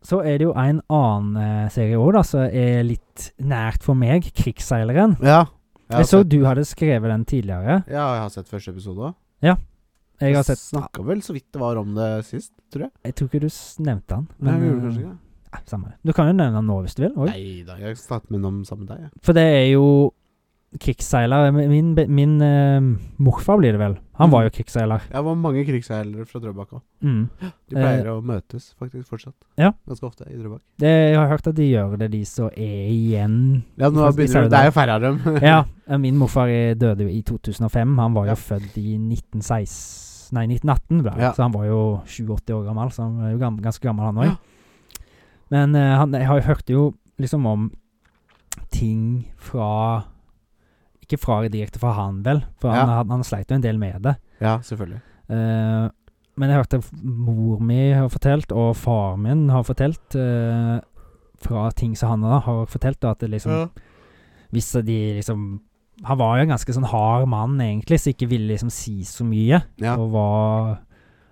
[SPEAKER 2] Så er det jo en annen eh, serie òg, da, som er litt nært for meg. 'Krigsseileren'.
[SPEAKER 1] Ja. Jeg har
[SPEAKER 2] Jeg så
[SPEAKER 1] sett,
[SPEAKER 2] du hadde skrevet den tidligere.
[SPEAKER 1] ja, jeg har sett første episode òg.
[SPEAKER 2] Jeg har sett
[SPEAKER 1] Snakka vel så vidt det var om det sist, tror jeg.
[SPEAKER 2] Jeg tror ikke du s- nevnte den.
[SPEAKER 1] Nei, jeg gjorde
[SPEAKER 2] eh,
[SPEAKER 1] kanskje ikke det.
[SPEAKER 2] ja, Samme det. Du kan jo nevne den nå hvis du vil. Oi.
[SPEAKER 1] Nei da, jeg snakket med noen sammen med deg. jeg.
[SPEAKER 2] For det er jo krigsseiler Min, be- min eh, morfar blir det vel.
[SPEAKER 1] Mm.
[SPEAKER 2] Han var jo krigsseiler.
[SPEAKER 1] Jeg var mange krigsseilere fra Drøbak òg.
[SPEAKER 2] Mm.
[SPEAKER 1] De pleier å møtes faktisk fortsatt.
[SPEAKER 2] ja.
[SPEAKER 1] Ganske ofte i Drøbak.
[SPEAKER 2] Det, jeg har hørt at de gjør det, de som er igjen.
[SPEAKER 1] Ja, nå
[SPEAKER 2] Faktisk, er
[SPEAKER 1] begynner
[SPEAKER 2] det
[SPEAKER 1] det Det er jo færre av dem.
[SPEAKER 2] Ja, eh, min morfar eh, døde jo i 2005. Han var jo
[SPEAKER 1] Ja.
[SPEAKER 2] født i 1916 Nei, 1918, ble han.
[SPEAKER 1] Ja.
[SPEAKER 2] så han var jo 87 år gammel. Så han var jo gam, ganske gammel, han òg.
[SPEAKER 1] Ja.
[SPEAKER 2] Men eh, han, jeg har jo hørt jo liksom om ting fra Ikke fra direkte fra han, vel, for han,
[SPEAKER 1] Ja.
[SPEAKER 2] han, han sleit jo en del med det.
[SPEAKER 1] ja, selvfølgelig.
[SPEAKER 2] Eh, men jeg hørte f- mor mi har fortalt, og far min har fortalt, eh, fra ting som han da har fortalt, da, at det liksom hvis de liksom Han var jo en ganske sånn hard mann, egentlig, som ikke ville liksom si så mye.
[SPEAKER 1] Ja.
[SPEAKER 2] Og var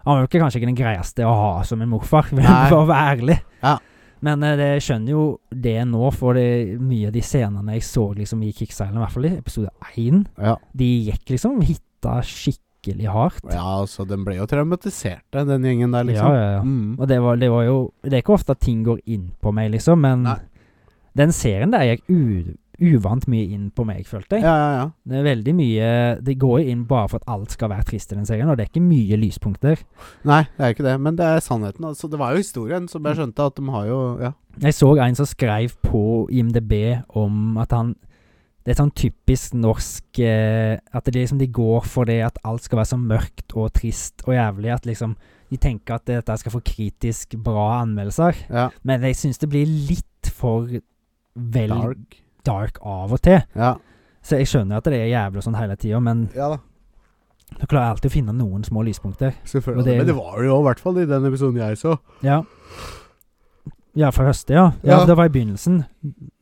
[SPEAKER 2] Han var jo ikke, kanskje ikke den greieste å ha som en morfar, for
[SPEAKER 1] Nei.
[SPEAKER 2] å være ærlig.
[SPEAKER 1] Ja.
[SPEAKER 2] Men eh, det jeg skjønner jo det nå, for det, mye av de scenene jeg så liksom i Krigsseilene, i hvert fall i episode én,
[SPEAKER 1] Ja.
[SPEAKER 2] de gikk liksom hitta skikkelig hardt.
[SPEAKER 1] ja, altså, den ble jo traumatiserte, den gjengen der,
[SPEAKER 2] Ja,
[SPEAKER 1] liksom.
[SPEAKER 2] ja, ja.
[SPEAKER 1] Mm.
[SPEAKER 2] Og det var, det var jo Det er ikke ofte at ting går inn på meg, liksom, men
[SPEAKER 1] Nei.
[SPEAKER 2] den serien der gikk u, uvant mye inn på meg, følte jeg.
[SPEAKER 1] ja, ja, ja.
[SPEAKER 2] Det er veldig mye Det går jo inn bare for at alt skal være trist i den serien, og det er ikke mye lyspunkter.
[SPEAKER 1] Nei, det er jo ikke det, men det er sannheten. Altså, det var jo historien, som
[SPEAKER 2] Mm.
[SPEAKER 1] jeg skjønte, at de har jo Ja.
[SPEAKER 2] Jeg så en som skrev på IMDb om at han Det er sånn typisk norsk eh, At det liksom de går for det at alt skal være så mørkt og trist og jævlig at liksom de tenker at dette skal få kritisk bra anmeldelser,
[SPEAKER 1] ja.
[SPEAKER 2] men jeg syns det blir litt for vel dark.
[SPEAKER 1] Dark.
[SPEAKER 2] av og til.
[SPEAKER 1] Ja.
[SPEAKER 2] Så jeg skjønner at det er jævlig og sånn hele tida, men
[SPEAKER 1] ja da,
[SPEAKER 2] du klarer alltid å finne noen små lyspunkter.
[SPEAKER 1] selvfølgelig.
[SPEAKER 2] Og det-
[SPEAKER 1] men det var det jo i hvert fall i den episoden jeg så.
[SPEAKER 2] Ja. Ja, fra høstet, ja. ja.
[SPEAKER 1] Ja.
[SPEAKER 2] Det var i begynnelsen.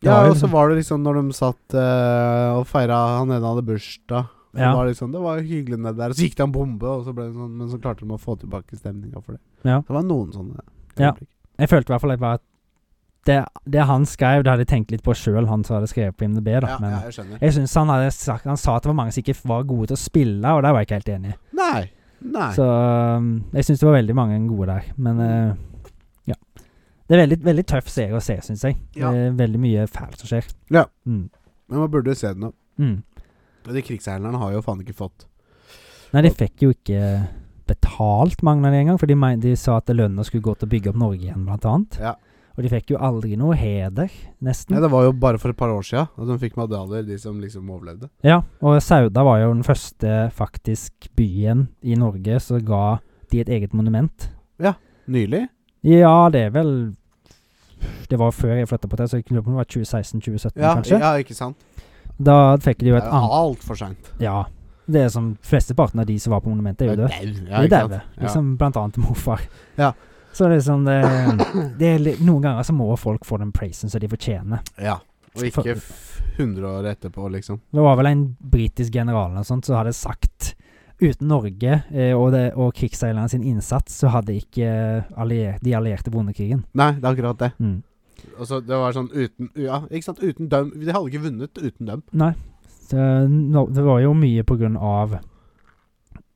[SPEAKER 2] Det
[SPEAKER 1] Ja,
[SPEAKER 2] var jo
[SPEAKER 1] og så
[SPEAKER 2] liksom-
[SPEAKER 1] var det liksom når de satt eh, og feira han ene hadde bursdag. Så
[SPEAKER 2] Ja.
[SPEAKER 1] var det, liksom, det var hyggelig nede der. Og så gikk det en bombe, og så ble det sånn, men så klarte de å få tilbake stemninga for det.
[SPEAKER 2] Ja.
[SPEAKER 1] Det var noen sånne.
[SPEAKER 2] Ja.
[SPEAKER 1] øyeblikk.
[SPEAKER 2] Jeg følte i hvert fall at det var- det, det han skrev, det hadde jeg tenkt litt på sjøl, han som hadde skrevet på IMDb. Da,
[SPEAKER 1] ja,
[SPEAKER 2] men
[SPEAKER 1] ja, jeg skjønner.
[SPEAKER 2] jeg syns han hadde sagt Han sa at det var mange som ikke var gode til å spille, og der var jeg ikke helt enig. i.
[SPEAKER 1] Nei. Nei. Mm.
[SPEAKER 2] Så um, jeg syns det var veldig mange gode der. Men eh, ja. Det er veldig, veldig tøff serie å se, syns jeg.
[SPEAKER 1] Ja.
[SPEAKER 2] Det er veldig mye fælt som skjer.
[SPEAKER 1] Ja.
[SPEAKER 2] Mm.
[SPEAKER 1] Men man burde jo se den opp.
[SPEAKER 2] Mm.
[SPEAKER 1] Og de krigsseilerne har jo faen ikke fått
[SPEAKER 2] Nei, de fikk jo ikke betalt, mange av de engang, for de, men- de sa at lønna skulle gå til å bygge opp Norge igjen, blant annet.
[SPEAKER 1] Ja.
[SPEAKER 2] Og de fikk jo aldri noe heder,
[SPEAKER 1] Nei,
[SPEAKER 2] nesten.
[SPEAKER 1] Det var jo bare for et par år sia at de fikk medaljer, de som liksom overlevde.
[SPEAKER 2] Ja, og Sauda var jo den første faktisk byen i Norge som ga de et eget monument.
[SPEAKER 1] Nylig?
[SPEAKER 2] Ja, det er vel Det var før jeg flytta på det, så jeg lurer på om det var 2016-2017,
[SPEAKER 1] Ja,
[SPEAKER 2] kanskje.
[SPEAKER 1] ja ikke sant?
[SPEAKER 2] Da fikk de jo
[SPEAKER 1] Det
[SPEAKER 2] et
[SPEAKER 1] er jo
[SPEAKER 2] annet
[SPEAKER 1] altfor seint.
[SPEAKER 2] Ja. Det er som flesteparten av de som var på monumentet, er jo døde.
[SPEAKER 1] Ja,
[SPEAKER 2] De
[SPEAKER 1] ikke
[SPEAKER 2] dauer.
[SPEAKER 1] sant? Ja.
[SPEAKER 2] Liksom blant annet morfar.
[SPEAKER 1] Ja.
[SPEAKER 2] Så liksom det, det er li- Noen ganger så må folk få den praisen som de fortjener.
[SPEAKER 1] ja. Og ikke f 100 år etterpå, liksom.
[SPEAKER 2] Det var vel en britisk general eller noe sånt som hadde sagt Uten Norge eh, og, det- og krigsseilerne sin innsats, så hadde ikke eh, allier, de allierte vunnet krigen.
[SPEAKER 1] Nei, det er akkurat det.
[SPEAKER 2] Mm.
[SPEAKER 1] Altså, det var sånn uten Ja, ikke sant. Uten dem. De hadde ikke vunnet uten dem.
[SPEAKER 2] Nei. Så, nå- det var jo mye på grunn av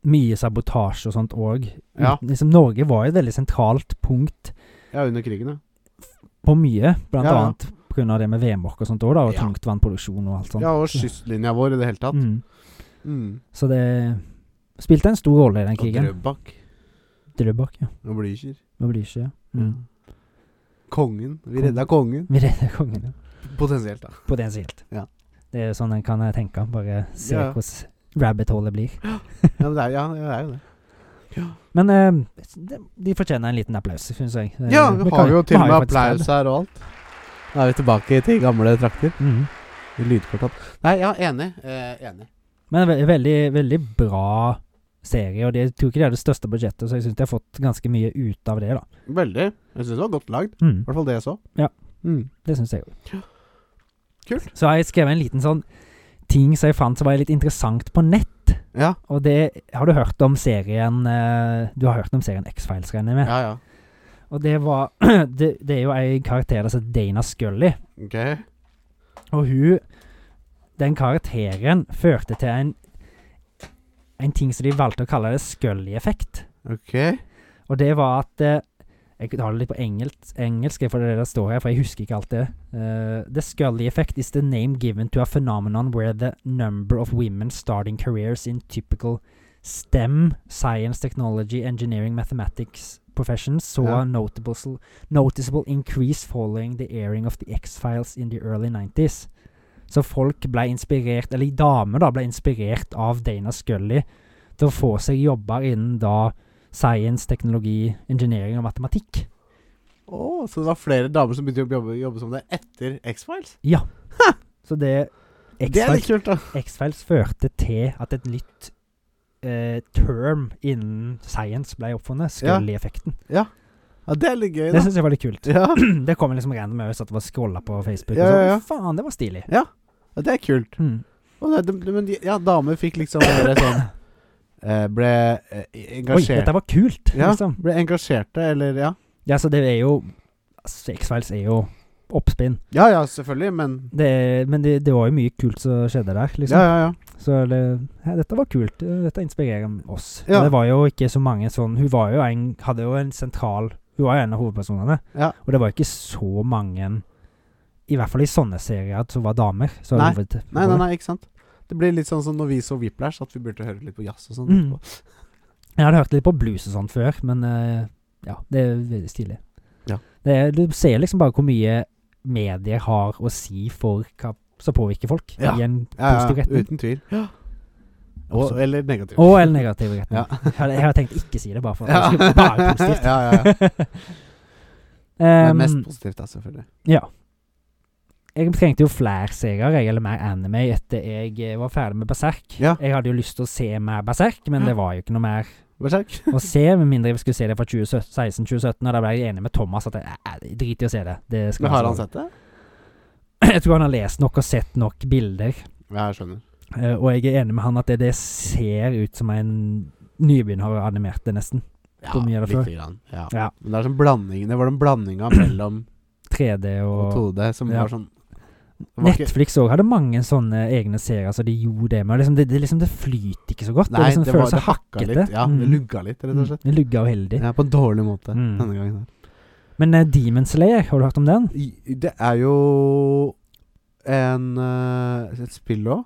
[SPEAKER 2] mye sabotasje og sånt òg.
[SPEAKER 1] Ja.
[SPEAKER 2] Liksom, Norge var jo et veldig sentralt punkt
[SPEAKER 1] Ja, under krigen, ja.
[SPEAKER 2] på mye, blant
[SPEAKER 1] Ja, ja.
[SPEAKER 2] annet på grunn av det med vedmork og sånt òg, og
[SPEAKER 1] Ja.
[SPEAKER 2] tungtvannproduksjon og alt sånt.
[SPEAKER 1] Ja, og kystlinja vår i det hele tatt.
[SPEAKER 2] Sånn. Mm.
[SPEAKER 1] Mm.
[SPEAKER 2] Så det spilte en stor rolle i den
[SPEAKER 1] Og
[SPEAKER 2] krigen.
[SPEAKER 1] Drøbak.
[SPEAKER 2] Drøbak, ja.
[SPEAKER 1] Og Blücher.
[SPEAKER 2] Med Blücher. Ja. Mm.
[SPEAKER 1] Kongen. Vi redda kongen.
[SPEAKER 2] Vi redder kongen, ja.
[SPEAKER 1] Potensielt, da.
[SPEAKER 2] Potensielt.
[SPEAKER 1] Ja.
[SPEAKER 2] Det er jo sånn en kan tenke. Bare se
[SPEAKER 1] Ja.
[SPEAKER 2] hvordan rabbit holet blir.
[SPEAKER 1] Ja, men det er, ja, det er jo det.
[SPEAKER 2] Men eh, de- de fortjener en liten applaus, syns jeg. Eh,
[SPEAKER 1] Ja, vi har
[SPEAKER 2] kan-
[SPEAKER 1] jo til og
[SPEAKER 2] har
[SPEAKER 1] med
[SPEAKER 2] faktisk
[SPEAKER 1] applaus
[SPEAKER 2] det.
[SPEAKER 1] her og alt. Da er vi tilbake til gamle trakter.
[SPEAKER 2] Mhm.
[SPEAKER 1] Lydkortet. Nei, ja, enig. Eh, enig.
[SPEAKER 2] Men ve veldig, veldig bra serie, og det, jeg tror ikke det er det største budsjettet, så jeg syns de har fått ganske mye ut av det, da.
[SPEAKER 1] Veldig. Jeg syns det var godt lagd.
[SPEAKER 2] Mm.
[SPEAKER 1] I hvert fall det jeg så.
[SPEAKER 2] Ja.
[SPEAKER 1] Mm.
[SPEAKER 2] Det syns jeg òg.
[SPEAKER 1] Kult.
[SPEAKER 2] Så har jeg skrevet en liten sånn ting som jeg fant som var litt interessant på nett.
[SPEAKER 1] Ja,
[SPEAKER 2] Og det har du hørt om serien eh, Du har hørt om serien X-Files, regner jeg med?
[SPEAKER 1] ja. ja.
[SPEAKER 2] Og det var det, det er jo ei karakter der som heter Dana Scully.
[SPEAKER 1] Ok.
[SPEAKER 2] Og hun Den karakteren førte til en En ting som de valgte å kalle det Scully-effekt.
[SPEAKER 1] Ok.
[SPEAKER 2] Og det var at eh, Jeg tar det litt på engelsk, engelsk for det er det det står her, for jeg husker ikke alt det. Eh, the Scully effect is the name given to a phenomenon where the number of women starting careers in typical STEM, science, technology, engineering, mathematics professions saw
[SPEAKER 1] Ja.
[SPEAKER 2] a notable, sl- noticeable increase following the airing of the X-Files in the early 90s. Så folk ble inspirert, eller damer da, ble inspirert av Dana Scully til å få seg jobber innen da science, teknologi, engineering og matematikk.
[SPEAKER 1] Å, så det var flere damer som begynte å jobbe, jobbe som det etter X-Files?
[SPEAKER 2] Så det
[SPEAKER 1] Det er litt
[SPEAKER 2] X-Files-
[SPEAKER 1] kult, da.
[SPEAKER 2] X-Files førte til at et nytt eh, term innen science ble oppfunnet.
[SPEAKER 1] Ja.
[SPEAKER 2] Scully-effekten.
[SPEAKER 1] Ja, Det er litt gøy,
[SPEAKER 2] Det
[SPEAKER 1] da.
[SPEAKER 2] syns jeg var litt kult.
[SPEAKER 1] Ja,
[SPEAKER 2] Det kom liksom random over, så at det var scrolla på Facebook.
[SPEAKER 1] Ja,
[SPEAKER 2] og så,
[SPEAKER 1] ja, ja.
[SPEAKER 2] Faen, det var stilig.
[SPEAKER 1] ja det er kult.
[SPEAKER 2] Mm.
[SPEAKER 1] Å, nei, de, de, men de, ja, damer fikk liksom mer sånn eh, Ble eh,
[SPEAKER 2] Oi,
[SPEAKER 1] engasjert
[SPEAKER 2] dette var kult,
[SPEAKER 1] Ja.
[SPEAKER 2] liksom.
[SPEAKER 1] Ble engasjerte, eller ja.
[SPEAKER 2] Ja, så det er jo altså, X-Files er jo oppspinn.
[SPEAKER 1] Ja ja, selvfølgelig, men
[SPEAKER 2] Det er, men det, det var jo mye kult som skjedde der,
[SPEAKER 1] Ja
[SPEAKER 2] liksom.
[SPEAKER 1] ja ja.
[SPEAKER 2] Så det, ja, dette var kult. Eh, Dette inspirerer oss.
[SPEAKER 1] Ja.
[SPEAKER 2] Og Det var jo ikke så mange sånn Hun var jo en, hadde jo en sentral Hun var jo en av hovedpersonene.
[SPEAKER 1] Ja.
[SPEAKER 2] Og det var ikke så mange I hvert fall i sånne serier som var damer. Så
[SPEAKER 1] Nei.
[SPEAKER 2] Hoved,
[SPEAKER 1] Nei, nei, nei, ikke sant. Det blir litt sånn som når vi så Whiplash, at vi burde høre litt på jazz og sånn.
[SPEAKER 2] Mm.
[SPEAKER 1] etterpå.
[SPEAKER 2] Jeg hadde hørt litt på blues og sånt før, men eh, ja, det er veldig stilig.
[SPEAKER 1] Ja.
[SPEAKER 2] Det, er- du ser liksom bare hvor mye medier har å si for hva som påvirker folk
[SPEAKER 1] Ja.
[SPEAKER 2] i en
[SPEAKER 1] Ja, ja,
[SPEAKER 2] positiv retning.
[SPEAKER 1] uten tvil. Og,
[SPEAKER 2] Absolutt.
[SPEAKER 1] eller negativ.
[SPEAKER 2] Og eller negativ retning.
[SPEAKER 1] Ja.
[SPEAKER 2] Jeg hadde- Jeg har tenkt ikke si det, bare for at
[SPEAKER 1] Ja.
[SPEAKER 2] det skulle være positivt.
[SPEAKER 1] ja, ja, ja. Det er
[SPEAKER 2] Ehm,
[SPEAKER 1] mest positivt, da, selvfølgelig.
[SPEAKER 2] ja. Jeg trengte jo flere serier, jeg, eller mer anime, etter jeg eh, var ferdig med Berserk.
[SPEAKER 1] Ja.
[SPEAKER 2] Jeg hadde jo lyst til å se mer Berserk, men det var jo ikke noe mer
[SPEAKER 1] Berserk.
[SPEAKER 2] å se. Med mindre vi skulle se det fra 2016-2017, og da ble jeg enig med Thomas at jeg eh, jeg driter i å se det. det skal
[SPEAKER 1] Men har
[SPEAKER 2] være
[SPEAKER 1] han
[SPEAKER 2] så-
[SPEAKER 1] sett det?
[SPEAKER 2] Jeg tror han har lest nok og sett nok bilder,
[SPEAKER 1] Ja, jeg skjønner.
[SPEAKER 2] eh, og jeg er enig med han at det, det ser ut som en nybegynner har animert det, nesten.
[SPEAKER 1] Ja,
[SPEAKER 2] Hvor mye er det for?
[SPEAKER 1] lite grann. Ja.
[SPEAKER 2] Ja.
[SPEAKER 1] Men det er sånn blanding Det var den blandinga mellom
[SPEAKER 2] 3D
[SPEAKER 1] og
[SPEAKER 2] og
[SPEAKER 1] 2D som
[SPEAKER 2] Ja.
[SPEAKER 1] var sånn det var ikke-
[SPEAKER 2] Netflix òg hadde mange sånne egne serier som de gjorde det med. og Liksom, det, det, liksom, det flyter ikke så godt.
[SPEAKER 1] Nei,
[SPEAKER 2] liksom
[SPEAKER 1] det, var,
[SPEAKER 2] føles
[SPEAKER 1] det hakka
[SPEAKER 2] hakkete.
[SPEAKER 1] litt. Ja, det
[SPEAKER 2] Mm.
[SPEAKER 1] lugga litt, rett og slett.
[SPEAKER 2] Mm, Lugga og heldig.
[SPEAKER 1] Ja, på en dårlig måte
[SPEAKER 2] Mm.
[SPEAKER 1] denne gangen. her
[SPEAKER 2] Men eh, Demon Slayer, har du hørt om den?
[SPEAKER 1] I- Det er jo en, eh, et spill òg.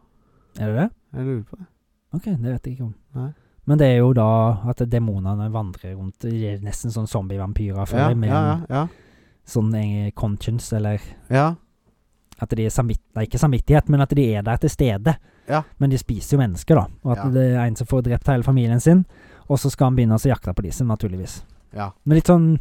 [SPEAKER 2] Er det det?
[SPEAKER 1] Jeg lurer på det.
[SPEAKER 2] Ok, det vet jeg ikke om.
[SPEAKER 1] Nei.
[SPEAKER 2] Men det er jo da at demonene vandrer rundt de er nesten sånn zombievampyrer
[SPEAKER 1] Ja,
[SPEAKER 2] føler jeg, med
[SPEAKER 1] ja, ja, ja,
[SPEAKER 2] en sånn eh, conscience, eller
[SPEAKER 1] ja.
[SPEAKER 2] at de er samvitt... Nei, ikke samvittighet, men at de er der til stede.
[SPEAKER 1] Ja.
[SPEAKER 2] Men de spiser jo mennesker, da. Og at
[SPEAKER 1] Ja.
[SPEAKER 2] det er en som får drept hele familien sin, og så skal han begynne å jakte på disse, naturligvis.
[SPEAKER 1] ja.
[SPEAKER 2] Men litt sånn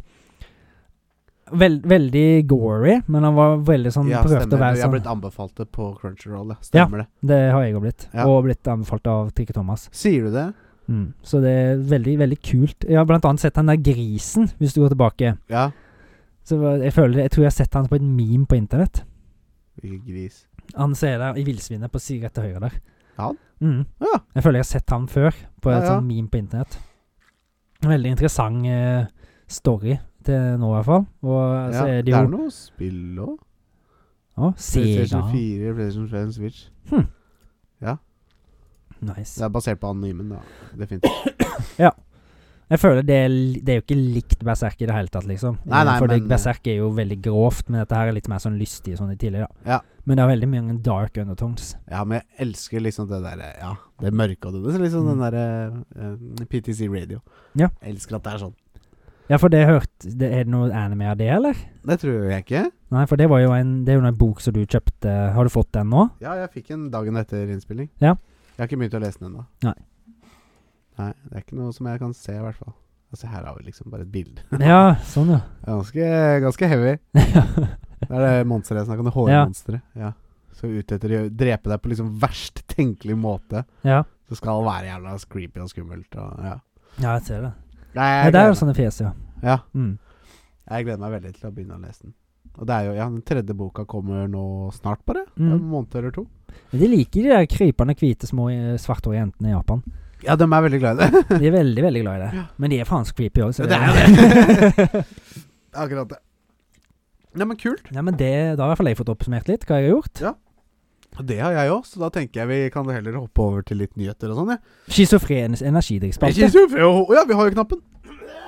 [SPEAKER 2] vel, Veldig gory, men han var veldig sånn
[SPEAKER 1] ja
[SPEAKER 2] prøvde å
[SPEAKER 1] stemmer.
[SPEAKER 2] være
[SPEAKER 1] Jeg har
[SPEAKER 2] sånn.
[SPEAKER 1] blitt anbefalt det på Crunchyroll. Ja. Stemmer det.
[SPEAKER 2] Det har jeg òg blitt.
[SPEAKER 1] Ja.
[SPEAKER 2] Og blitt anbefalt av Trikke Thomas.
[SPEAKER 1] Sier du det?
[SPEAKER 2] Mm. Så det er veldig, veldig kult. Jeg har blant annet sett den der grisen, hvis du går tilbake.
[SPEAKER 1] Ja.
[SPEAKER 2] Så var- jeg, føler, jeg tror jeg har sett han på et meme på internett.
[SPEAKER 1] Hvilken gris.
[SPEAKER 2] Han ser deg i villsvinet på sida til høyre der.
[SPEAKER 1] Han?
[SPEAKER 2] Mm.
[SPEAKER 1] Ja.
[SPEAKER 2] Jeg føler jeg har sett han før, på et
[SPEAKER 1] Ja, ja.
[SPEAKER 2] sånt meme på internett. Veldig interessant eh, story til nå, i hvert fall. Og så
[SPEAKER 1] ja.
[SPEAKER 2] er det
[SPEAKER 1] det er
[SPEAKER 2] jo
[SPEAKER 1] noe spill òg.
[SPEAKER 2] Å, Sega.
[SPEAKER 1] PlayStation 4, PlayStation 5, Switch.
[SPEAKER 2] Nice.
[SPEAKER 1] Det er basert på animen, da. Definitivt.
[SPEAKER 2] Jeg føler det er, li- det er jo ikke likt Berserk i det hele tatt, liksom.
[SPEAKER 1] Nei, nei,
[SPEAKER 2] For det-
[SPEAKER 1] men-
[SPEAKER 2] Berserk er jo veldig grovt, men dette her er litt mer sånn lystig sånn i tidligere.
[SPEAKER 1] Ja.
[SPEAKER 2] Men det er veldig mange dark undertones.
[SPEAKER 1] Ja, men jeg elsker liksom det derre Ja, det mørke og det det er Liksom
[SPEAKER 2] Mm.
[SPEAKER 1] den derre eh, PTC Radio.
[SPEAKER 2] Ja.
[SPEAKER 1] Jeg elsker at det er sånn.
[SPEAKER 2] Ja, for det hørte det, Er det noe anime av det, eller?
[SPEAKER 1] Det tror jeg ikke.
[SPEAKER 2] Nei, for det var jo en Det er jo en bok som du kjøpte. Har du fått den nå?
[SPEAKER 1] Ja, jeg fikk en dagen etter innspilling.
[SPEAKER 2] Ja.
[SPEAKER 1] Jeg har ikke begynt å lese den ennå.
[SPEAKER 2] Nei.
[SPEAKER 1] Nei, det er ikke noe som jeg kan se, i hvert fall. Altså, her har vi liksom bare et bilde.
[SPEAKER 2] Ja, sånn, ja.
[SPEAKER 1] Ganske, ganske heavy. Det er det monsteret jeg snakka om, det hårmonsteret. Ja. Så ute etter å drepe deg på liksom verst tenkelig måte.
[SPEAKER 2] ja.
[SPEAKER 1] Det skal være jævla creepy og skummelt og ja.
[SPEAKER 2] Ja, jeg ser det.
[SPEAKER 1] Nei,
[SPEAKER 2] Nei,
[SPEAKER 1] jeg
[SPEAKER 2] det er
[SPEAKER 1] gleder,
[SPEAKER 2] jo sånne fjes, ja.
[SPEAKER 1] meg. ja,
[SPEAKER 2] Mm.
[SPEAKER 1] jeg gleder meg veldig til å begynne å lese den. Og det er jo, ja, Den tredje boka kommer nå snart, bare.
[SPEAKER 2] Mm.
[SPEAKER 1] En måned eller to.
[SPEAKER 2] Men De liker de der krypende hvite små eh, svarthårige jentene i Japan.
[SPEAKER 1] Ja, de er veldig glad i det.
[SPEAKER 2] De er veldig veldig glad i det. Men de er faen creepy òg.
[SPEAKER 1] Ja, det er jo det. Akkurat det. Nei, men kult.
[SPEAKER 2] Ja, men det, da har i hvert fall jeg fått oppsummert litt hva jeg har gjort.
[SPEAKER 1] Det har jeg òg, så da tenker jeg vi kan heller hoppe over til litt nyheter og sånn. Ja.
[SPEAKER 2] Schizofren energidrikkspalte.
[SPEAKER 1] Ikke så fri- Å ja, vi har jo knappen.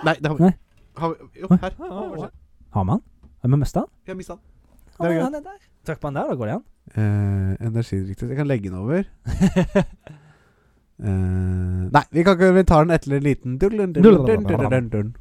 [SPEAKER 1] Nei, det har vi.
[SPEAKER 2] Nei.
[SPEAKER 1] Har vi jo,
[SPEAKER 2] Oi.
[SPEAKER 1] her. Å,
[SPEAKER 2] Har man? Har vi mista den?
[SPEAKER 1] Vi har mista den.
[SPEAKER 2] Å,
[SPEAKER 1] Det er jo
[SPEAKER 2] han er der. Trykk på den der, da går det an.
[SPEAKER 1] Eh, energidriktig Jeg kan legge den over. Eh, nei, vi, kan ikke, vi tar den etter en liten dun, dun, dun, dun, dun, dun, dun, dun.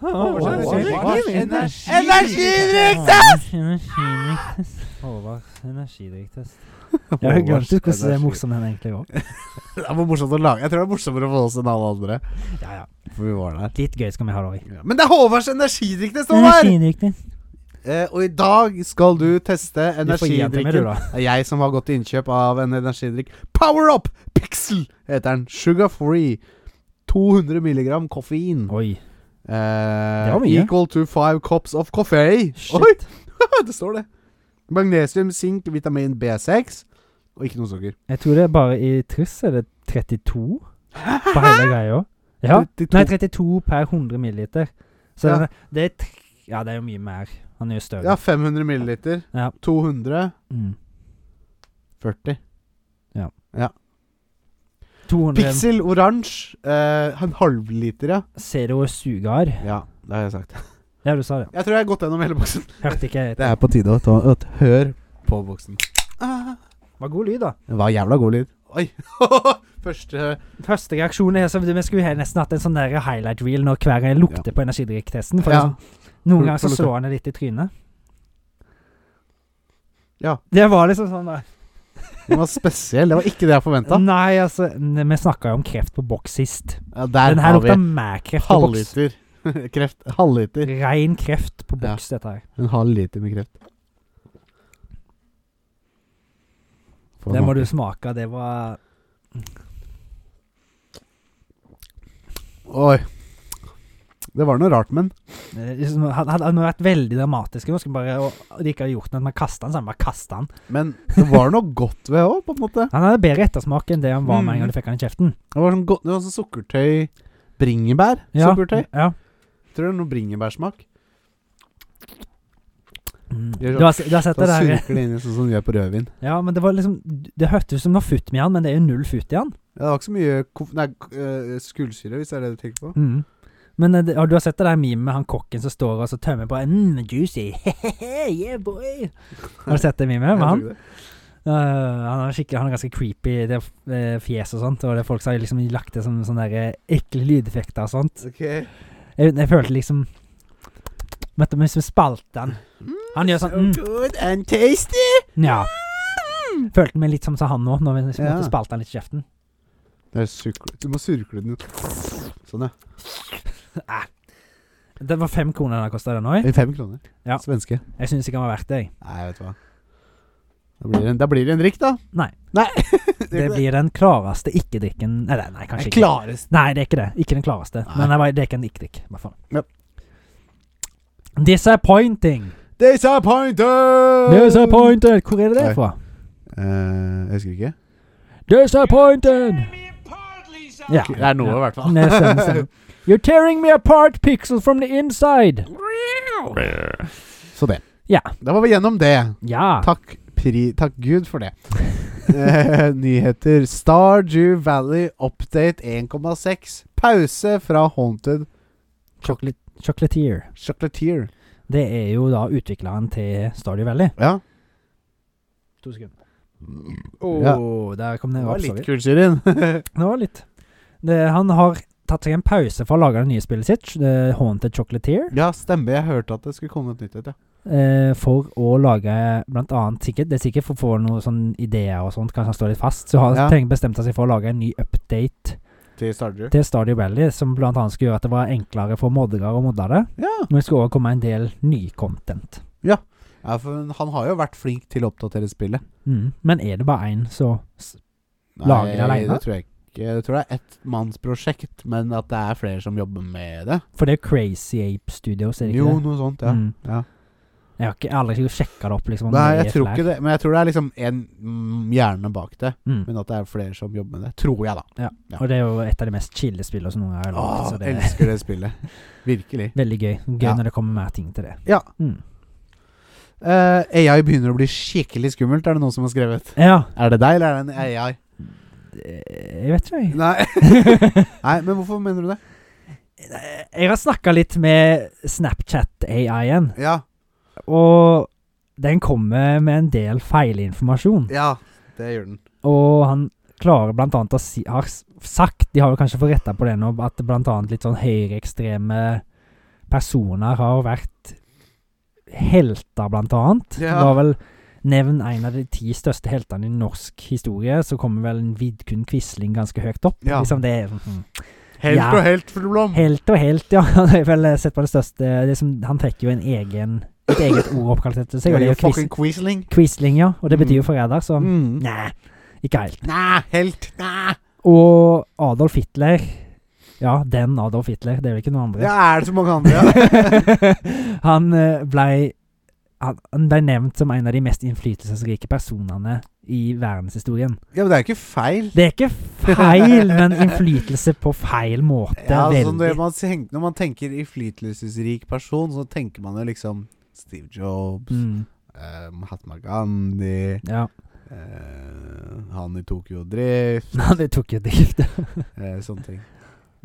[SPEAKER 2] Håvard,
[SPEAKER 1] hva
[SPEAKER 2] Håvard,
[SPEAKER 1] skjer?
[SPEAKER 2] Håvard,
[SPEAKER 1] Energi-
[SPEAKER 2] Energidrikktest! Energidrikktest. Håvard, energidrikktest. Jeg har glemt ut hvordan det er morsom den egentlig var.
[SPEAKER 1] Det var morsomt å lage. Jeg tror det er morsommere for oss enn alle andre.
[SPEAKER 2] Ja, ja.
[SPEAKER 1] For vi var der.
[SPEAKER 2] Litt gøy skal vi ha det òg.
[SPEAKER 1] Ja. Men det er Håvards energidrikk det står der! Eh, og i dag skal du teste
[SPEAKER 2] Du får gi den til meg, du,
[SPEAKER 1] energidrikken.
[SPEAKER 2] da.
[SPEAKER 1] Det er jeg som har gått til innkjøp av en energidrikk. Power Up Pixel heter den. Sugar Free. 200 milligram koffein.
[SPEAKER 2] Oi.
[SPEAKER 1] Eh,
[SPEAKER 2] Det var mye.
[SPEAKER 1] Equal to five cups of coffee. Oi,
[SPEAKER 2] Shit.
[SPEAKER 1] det står det. Magnesium, sink, vitamin B6 og ikke noe sukker.
[SPEAKER 2] Jeg tror det er bare i Truss er det 32 på hele greia. Ja.
[SPEAKER 1] 32.
[SPEAKER 2] Nei, 32 per 100 milliliter. Så
[SPEAKER 1] Ja.
[SPEAKER 2] den er- det er tre, Ja, det er jo mye mer. Han er jo større.
[SPEAKER 1] Ja, 500 milliliter.
[SPEAKER 2] Ja.
[SPEAKER 1] 200.
[SPEAKER 2] Mm.
[SPEAKER 1] 40.
[SPEAKER 2] 200
[SPEAKER 1] Pixel oransje. Eh, en halvliter, ja.
[SPEAKER 2] Zero Sugar.
[SPEAKER 1] Ja, det har jeg sagt.
[SPEAKER 2] Ja, du sa det.
[SPEAKER 1] Jeg tror jeg har gått gjennom hele boksen.
[SPEAKER 2] Hørte ikke jeg.
[SPEAKER 1] Det er på tide å ta et hør på boksen. Ah.
[SPEAKER 2] Det var god lyd, da.
[SPEAKER 1] Det var jævla god lyd. Oi. Første
[SPEAKER 2] Første reaksjon er som Vi skulle he- nesten hatt en sånn der highlight reel når hver gang jeg lukter på energidrikktesten. For
[SPEAKER 1] Ja.
[SPEAKER 2] liksom, noen
[SPEAKER 1] Får-
[SPEAKER 2] ganger så
[SPEAKER 1] får lukte.
[SPEAKER 2] slår han det litt i trynet.
[SPEAKER 1] Ja.
[SPEAKER 2] Det var liksom sånn da.
[SPEAKER 1] Den var spesiell. Det var ikke det jeg forventa.
[SPEAKER 2] Nei, altså ne- Vi snakka jo om kreft på boks sist.
[SPEAKER 1] Ja, der
[SPEAKER 2] Den her
[SPEAKER 1] har vi
[SPEAKER 2] lukta mer kreft på boks.
[SPEAKER 1] halvliter. Kreft. Halvliter.
[SPEAKER 2] Rein kreft på
[SPEAKER 1] Ja.
[SPEAKER 2] boks, dette her.
[SPEAKER 1] En halv liter med kreft. Får
[SPEAKER 2] Det må du
[SPEAKER 1] smake.
[SPEAKER 2] smake. Det var
[SPEAKER 1] Oi. Det var noe rart, men
[SPEAKER 2] eh, liksom, han- han- han har vært veldig dramatisk. Nå skal bare, og og de ikke har gjort noe, men kastet han, så han bare kastet han.
[SPEAKER 1] Men det var noe godt ved òg, på en måte.
[SPEAKER 2] Han hadde bedre ettersmak enn det han var med en gang
[SPEAKER 1] Mhm.
[SPEAKER 2] du fikk han i kjeften.
[SPEAKER 1] Det var sånn, godt, det var sånn sukkertøy Bringebær?
[SPEAKER 2] Ja,
[SPEAKER 1] Sukkertøy?
[SPEAKER 2] ja.
[SPEAKER 1] Tror det er noe bringebærsmak.
[SPEAKER 2] Mm.
[SPEAKER 1] Gjør sånn.
[SPEAKER 2] Du, har, se- du har sett
[SPEAKER 1] Da
[SPEAKER 2] det der eh,
[SPEAKER 1] surker det inn i sånn som det gjør på rødvin.
[SPEAKER 2] Ja, men det var liksom Det hørtes ut som noe futt med han, men det er jo null futt i han.
[SPEAKER 1] Ja, det var ikke så mye kof- Nei, k- eh, skullsyre, hvis det er det du tenker på.
[SPEAKER 2] Mm. Men eh, det- ja, du har sett det der memet med han kokken som står og så tømmer på mm, Juicy. yeah, boy. Har du sett det memet
[SPEAKER 1] Jeg
[SPEAKER 2] med
[SPEAKER 1] tror
[SPEAKER 2] han?
[SPEAKER 1] ikke det.
[SPEAKER 2] Eh, han, er skikkelig, han er ganske creepy, det eh, fjes og sånt. Og det er folk som har liksom lagt det som sånne der, eh, ekle lydeffekter og sånt.
[SPEAKER 1] Ok.
[SPEAKER 2] Jeg, jeg følte liksom Vet du, hvis vi spalte den Han gjør sånn mm,
[SPEAKER 1] So good and tasty!
[SPEAKER 2] Ja. Følte meg litt som sa han nå, når vi liksom
[SPEAKER 1] Ja.
[SPEAKER 2] måtte spalte han litt i kjeften.
[SPEAKER 1] Det er sukle. Du må surkle den ut. Sånn, ja.
[SPEAKER 2] Det var fem kroner den har kosta, den òg.
[SPEAKER 1] I Fem kroner.
[SPEAKER 2] Ja.
[SPEAKER 1] Svenske.
[SPEAKER 2] Jeg syns ikke han var verdt det. jeg.
[SPEAKER 1] Nei, vet du hva. Da blir det en, da blir det en drikk, da.
[SPEAKER 2] Nei.
[SPEAKER 1] Nei.
[SPEAKER 2] Det blir den klareste ikke-drikken Nei, nei, nei, kanskje
[SPEAKER 1] Den
[SPEAKER 2] ikke.
[SPEAKER 1] klareste.
[SPEAKER 2] Nei, det er ikke det. Ikke den klareste.
[SPEAKER 1] Nei.
[SPEAKER 2] Men det var- det er ikke en ikke-drikk, i hvert fall.
[SPEAKER 1] Ja.
[SPEAKER 2] Disappointing.
[SPEAKER 1] Disappointed!
[SPEAKER 2] Disappointed. Hvor er det det
[SPEAKER 1] Nei.
[SPEAKER 2] fra?
[SPEAKER 1] Eh, jeg husker ikke.
[SPEAKER 2] Disappointed. Ja.
[SPEAKER 1] Det er noe, i
[SPEAKER 2] ja.
[SPEAKER 1] hvert fall.
[SPEAKER 2] Nei, stemmer, stemmer. You're tearing me apart, pixel from the inside.
[SPEAKER 1] Så det.
[SPEAKER 2] Ja.
[SPEAKER 1] Da var vi gjennom det.
[SPEAKER 2] Ja.
[SPEAKER 1] Takk, pri, takk Gud for det. Eh, nyheter. Stardew Valley Update 1,6. Pause fra Haunted
[SPEAKER 2] Chocolate, chocolatier.
[SPEAKER 1] Chocolatier.
[SPEAKER 2] Det er jo da utvikleren til Stardew Valley.
[SPEAKER 1] Ja.
[SPEAKER 2] To sekunder.
[SPEAKER 1] Ja.
[SPEAKER 2] Der kom det
[SPEAKER 1] Det var
[SPEAKER 2] opp.
[SPEAKER 1] litt
[SPEAKER 2] sorry.
[SPEAKER 1] kult, Shirin.
[SPEAKER 2] Det var litt. Det, han har tatt seg en pause for å lage det nye spillet sitt, eh, Haunted Chocolatier,
[SPEAKER 1] Ja, stemmer. Jeg hørte at det skulle komme et nytt et, ja.
[SPEAKER 2] eh, for å lage blant annet sikkert, Det er sikkert for å få noen sånne ideer og sånt, kanskje han står litt fast. Så har
[SPEAKER 1] Ja.
[SPEAKER 2] tenkt bestemt seg for å lage en ny update
[SPEAKER 1] Til Stardew.
[SPEAKER 2] til Stadio Valley, som blant annet skulle gjøre at det var enklere for moddere å modde det.
[SPEAKER 1] Ja.
[SPEAKER 2] Men det skulle også komme en del ny content.
[SPEAKER 1] ja, for han har jo vært flink til å oppdatere spillet.
[SPEAKER 2] Mm. Men er det bare én, så s- Lager det alene?
[SPEAKER 1] Det tror jeg ikke. Jeg tror det er ett mannsprosjekt, men at det er flere som jobber med det.
[SPEAKER 2] For det er jo Crazy Ape Studios, er det ikke
[SPEAKER 1] Jo,
[SPEAKER 2] det?
[SPEAKER 1] noe sånt, ja.
[SPEAKER 2] Mm.
[SPEAKER 1] ja.
[SPEAKER 2] Jeg har ikke, aldri sjekka det opp, liksom. om
[SPEAKER 1] Nei,
[SPEAKER 2] det
[SPEAKER 1] jeg
[SPEAKER 2] er
[SPEAKER 1] tror
[SPEAKER 2] flere.
[SPEAKER 1] ikke det. Men jeg tror det er liksom en mm, hjerne bak det.
[SPEAKER 2] Mm.
[SPEAKER 1] Men at det er flere som jobber med det. Tror jeg, da. Ja.
[SPEAKER 2] Og det er jo et av de mest chille spillene som noen gang har lagd.
[SPEAKER 1] Åh,
[SPEAKER 2] så det er
[SPEAKER 1] elsker altså, det spillet. Virkelig.
[SPEAKER 2] veldig gøy. Gøy
[SPEAKER 1] Ja.
[SPEAKER 2] når det kommer mer ting til det.
[SPEAKER 1] Ja.
[SPEAKER 2] Mm.
[SPEAKER 1] Eh, AI begynner å bli skikkelig skummelt, er det noen som har skrevet.
[SPEAKER 2] ja. eh,
[SPEAKER 1] Er det deg, eller er det en AI?
[SPEAKER 2] Jeg vet ikke, jeg.
[SPEAKER 1] Nei. Nei, men hvorfor mener du det?
[SPEAKER 2] Jeg har snakka litt med Snapchat-AI-en,
[SPEAKER 1] Ja,
[SPEAKER 2] og den kommer med en del feilinformasjon.
[SPEAKER 1] ja, det gjør den.
[SPEAKER 2] Og han klarer blant annet å si Har s- sagt, de har jo kanskje fått retta på det nå, at blant annet litt sånn høyreekstreme personer har vært helter, blant annet.
[SPEAKER 1] Ja.
[SPEAKER 2] Det var vel Nevn en av de ti største heltene i norsk historie, så kommer vel en Vidkun Quisling ganske høyt opp.
[SPEAKER 1] Ja.
[SPEAKER 2] Liksom det er mm,
[SPEAKER 1] Helt
[SPEAKER 2] Ja.
[SPEAKER 1] og helt full blom.
[SPEAKER 2] Helt og helt, ja. Han har vel eh, sett på det største det som, Han fikk jo en egen et eget ord oppkalt etter seg, og det er jo Sånn. Quis-
[SPEAKER 1] fucking Quisling.
[SPEAKER 2] Quisling, ja. Og det
[SPEAKER 1] Mm.
[SPEAKER 2] betyr jo forræder, så
[SPEAKER 1] Mm.
[SPEAKER 2] Nei, ikke helt.
[SPEAKER 1] Nei, helt. Nei.
[SPEAKER 2] Og Adolf Hitler Ja, den Adolf Hitler, det er vel ikke noen andre.
[SPEAKER 1] Ja, er det så mange andre? Ja.
[SPEAKER 2] han eh, blei han, han blei nevnt som en av de mest innflytelsesrike personene i verdenshistorien.
[SPEAKER 1] ja, men det er jo ikke feil.
[SPEAKER 2] Det er ikke feil, men innflytelse på feil måte.
[SPEAKER 1] Ja, altså, når,
[SPEAKER 2] veldig.
[SPEAKER 1] man tenker, når man tenker innflytelsesrik person, så tenker man jo liksom Steve Jobs,
[SPEAKER 2] Mm,
[SPEAKER 1] eh, Mahatma Gandhi,
[SPEAKER 2] ja.
[SPEAKER 1] eh, han i Tokyo Drift
[SPEAKER 2] Men det tok jo drift.
[SPEAKER 1] Eh, sånne ting.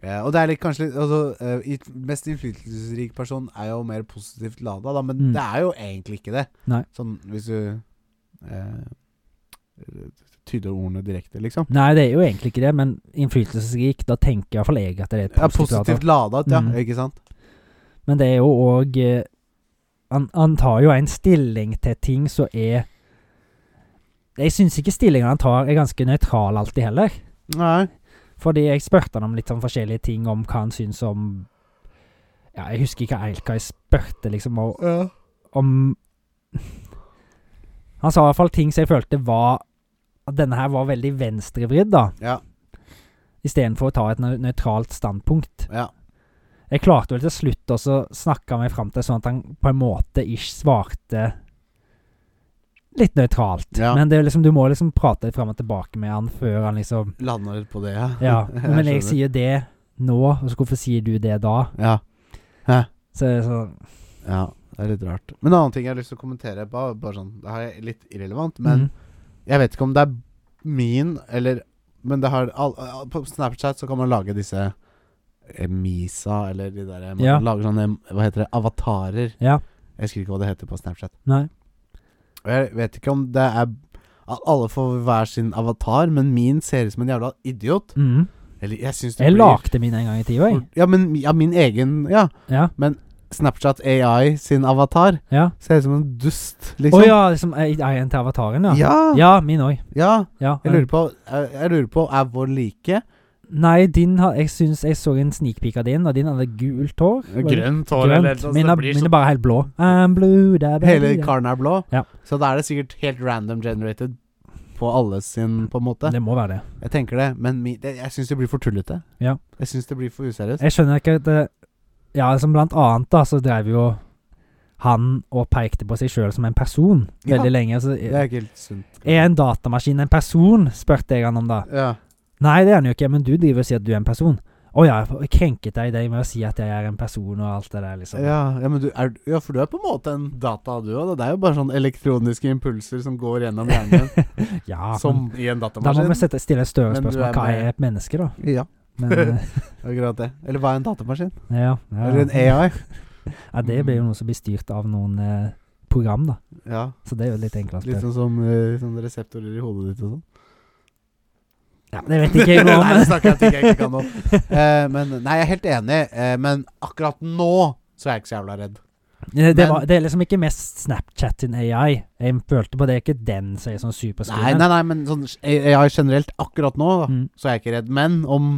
[SPEAKER 1] Eh, og det er litt kanskje litt altså, eh, i- Mest innflytelsesrik person er jo mer positivt lada, da, men
[SPEAKER 2] Mm.
[SPEAKER 1] det er jo egentlig ikke det.
[SPEAKER 2] Nei.
[SPEAKER 1] Sånn hvis du eh, tyder ordene direkte, liksom.
[SPEAKER 2] Nei, det er jo egentlig ikke det, men innflytelsesrik, da tenker iallfall jeg at det er et
[SPEAKER 1] Ja,
[SPEAKER 2] positivt.
[SPEAKER 1] positivt lada, ja.
[SPEAKER 2] Mm.
[SPEAKER 1] Ikke sant?
[SPEAKER 2] Men det er jo òg eh, han, han tar jo en stilling til ting som er Jeg syns ikke stillingene han tar, er ganske nøytral alltid heller.
[SPEAKER 1] Nei.
[SPEAKER 2] Fordi jeg spurte han om litt sånn forskjellige ting, om hva han syns om Ja, jeg husker ikke helt hva jeg spurte, liksom, og,
[SPEAKER 1] Ja.
[SPEAKER 2] om Han sa i hvert fall ting som jeg følte var At denne her var veldig venstrevridd, da.
[SPEAKER 1] Ja.
[SPEAKER 2] Istedenfor å ta et nø- nøytralt standpunkt.
[SPEAKER 1] ja.
[SPEAKER 2] Jeg klarte vel til slutt også å snakke meg fram til sånn at han på en måte ikke svarte litt nøytralt.
[SPEAKER 1] Ja.
[SPEAKER 2] Men det er liksom, du må liksom prate litt fram og tilbake med han før han liksom
[SPEAKER 1] Lander på det, ja.
[SPEAKER 2] Ja, men
[SPEAKER 1] skjønner.
[SPEAKER 2] jeg sier det nå, og så hvorfor sier du det da?
[SPEAKER 1] ja.
[SPEAKER 2] Så er det sånn
[SPEAKER 1] ja. Det er litt rart. Men en annen ting jeg har lyst til å kommentere, bare, bare sånn Det er litt irrelevant, men
[SPEAKER 2] mm,
[SPEAKER 1] Jeg vet ikke om det er min, eller Men det har all, all- På Snapchat så kan man lage disse eh, Misa, eller de der eh, Man
[SPEAKER 2] Ja.
[SPEAKER 1] lager sånne Hva heter det? Avatarer.
[SPEAKER 2] Ja.
[SPEAKER 1] Jeg husker ikke hva det heter på Snapchat.
[SPEAKER 2] Nei.
[SPEAKER 1] Og jeg vet ikke om det er at alle får hver sin avatar, men min ser ut som en jævla idiot.
[SPEAKER 2] Mm.
[SPEAKER 1] Eller jeg syns det
[SPEAKER 2] Jeg
[SPEAKER 1] blir
[SPEAKER 2] lagde min en gang i tida, jeg.
[SPEAKER 1] Ja, men ja, min egen Ja.
[SPEAKER 2] Ja.
[SPEAKER 1] Snapchat AI sin avatar
[SPEAKER 2] ja.
[SPEAKER 1] ser ut som en dust,
[SPEAKER 2] Å
[SPEAKER 1] liksom.
[SPEAKER 2] ja, liksom eieren til avataren, ja.
[SPEAKER 1] Ja, ja.
[SPEAKER 2] Ja, min òg. Ja.
[SPEAKER 1] Jeg lurer på Jeg, jeg lurer på Er vår like?
[SPEAKER 2] Nei, din har Jeg syns jeg så en sneakpeak av din, og din hadde gult hår. var det?
[SPEAKER 1] Grønt hår
[SPEAKER 2] Grønt.
[SPEAKER 1] eller et eller annet,
[SPEAKER 2] Mine,
[SPEAKER 1] det
[SPEAKER 2] er-
[SPEAKER 1] blir
[SPEAKER 2] mine
[SPEAKER 1] sånn-
[SPEAKER 2] er bare helt blå. I'm blue, da, baby,
[SPEAKER 1] Hele
[SPEAKER 2] da.
[SPEAKER 1] karen er blå.
[SPEAKER 2] Ja.
[SPEAKER 1] Så da er det sikkert helt random generated på alle sin, på en måte.
[SPEAKER 2] Det må være det.
[SPEAKER 1] Jeg tenker det, men mi, det, jeg syns det blir for tullete.
[SPEAKER 2] Ja.
[SPEAKER 1] Jeg syns det blir for useriøst.
[SPEAKER 2] Jeg skjønner ikke at det, Ja, som blant annet, da, så drev jo han og pekte på seg sjøl som en person
[SPEAKER 1] Ja.
[SPEAKER 2] veldig lenge. Så,
[SPEAKER 1] Det er ikke helt sunt.
[SPEAKER 2] er en datamaskin en person? spurte jeg han om da.
[SPEAKER 1] Ja.
[SPEAKER 2] Nei, det er han jo ikke, men du driver og sier at du er en person. Å ja, jeg krenket deg i deg med å si at jeg er en person og alt det der, liksom.
[SPEAKER 1] Ja, ja, men du er, ja, for du er på en måte en data, du òg. Det er jo bare sånn elektroniske impulser som går gjennom hjernen din,
[SPEAKER 2] Ja, men,
[SPEAKER 1] som i en
[SPEAKER 2] da må vi
[SPEAKER 1] datamaskin.
[SPEAKER 2] sette, stille et større
[SPEAKER 1] Men du
[SPEAKER 2] spørsmål.
[SPEAKER 1] er
[SPEAKER 2] Hva
[SPEAKER 1] med-
[SPEAKER 2] er et menneske, da?
[SPEAKER 1] Ja,
[SPEAKER 2] Men, eh,
[SPEAKER 1] akkurat det. Eller hva er en datamaskin?
[SPEAKER 2] ja, ja.
[SPEAKER 1] Eller en E Mm. AI?
[SPEAKER 2] Ja, det blir jo noe som blir styrt av noen eh, program, da.
[SPEAKER 1] Ja,
[SPEAKER 2] Så det er jo litt enklere. å
[SPEAKER 1] litt
[SPEAKER 2] spørre.
[SPEAKER 1] sånn som eh, sånn reseptorer i hodet ditt og sånn.
[SPEAKER 2] Ja, det vet ikke jeg noe
[SPEAKER 1] nei, det
[SPEAKER 2] om.
[SPEAKER 1] snakker jeg om ting jeg ikke kan om. Eh, men nei, jeg er helt enig, eh, men akkurat nå så er jeg ikke så jævla redd.
[SPEAKER 2] Det, det,
[SPEAKER 1] Men-
[SPEAKER 2] var, det er liksom ikke mest Snapchat sin AI. Jeg følte på det er ikke den som er sånn
[SPEAKER 1] Nei,
[SPEAKER 2] superskummel.
[SPEAKER 1] nei, nei, men sånn AI generelt akkurat nå, da,
[SPEAKER 2] Mm.
[SPEAKER 1] så er jeg ikke redd. Men om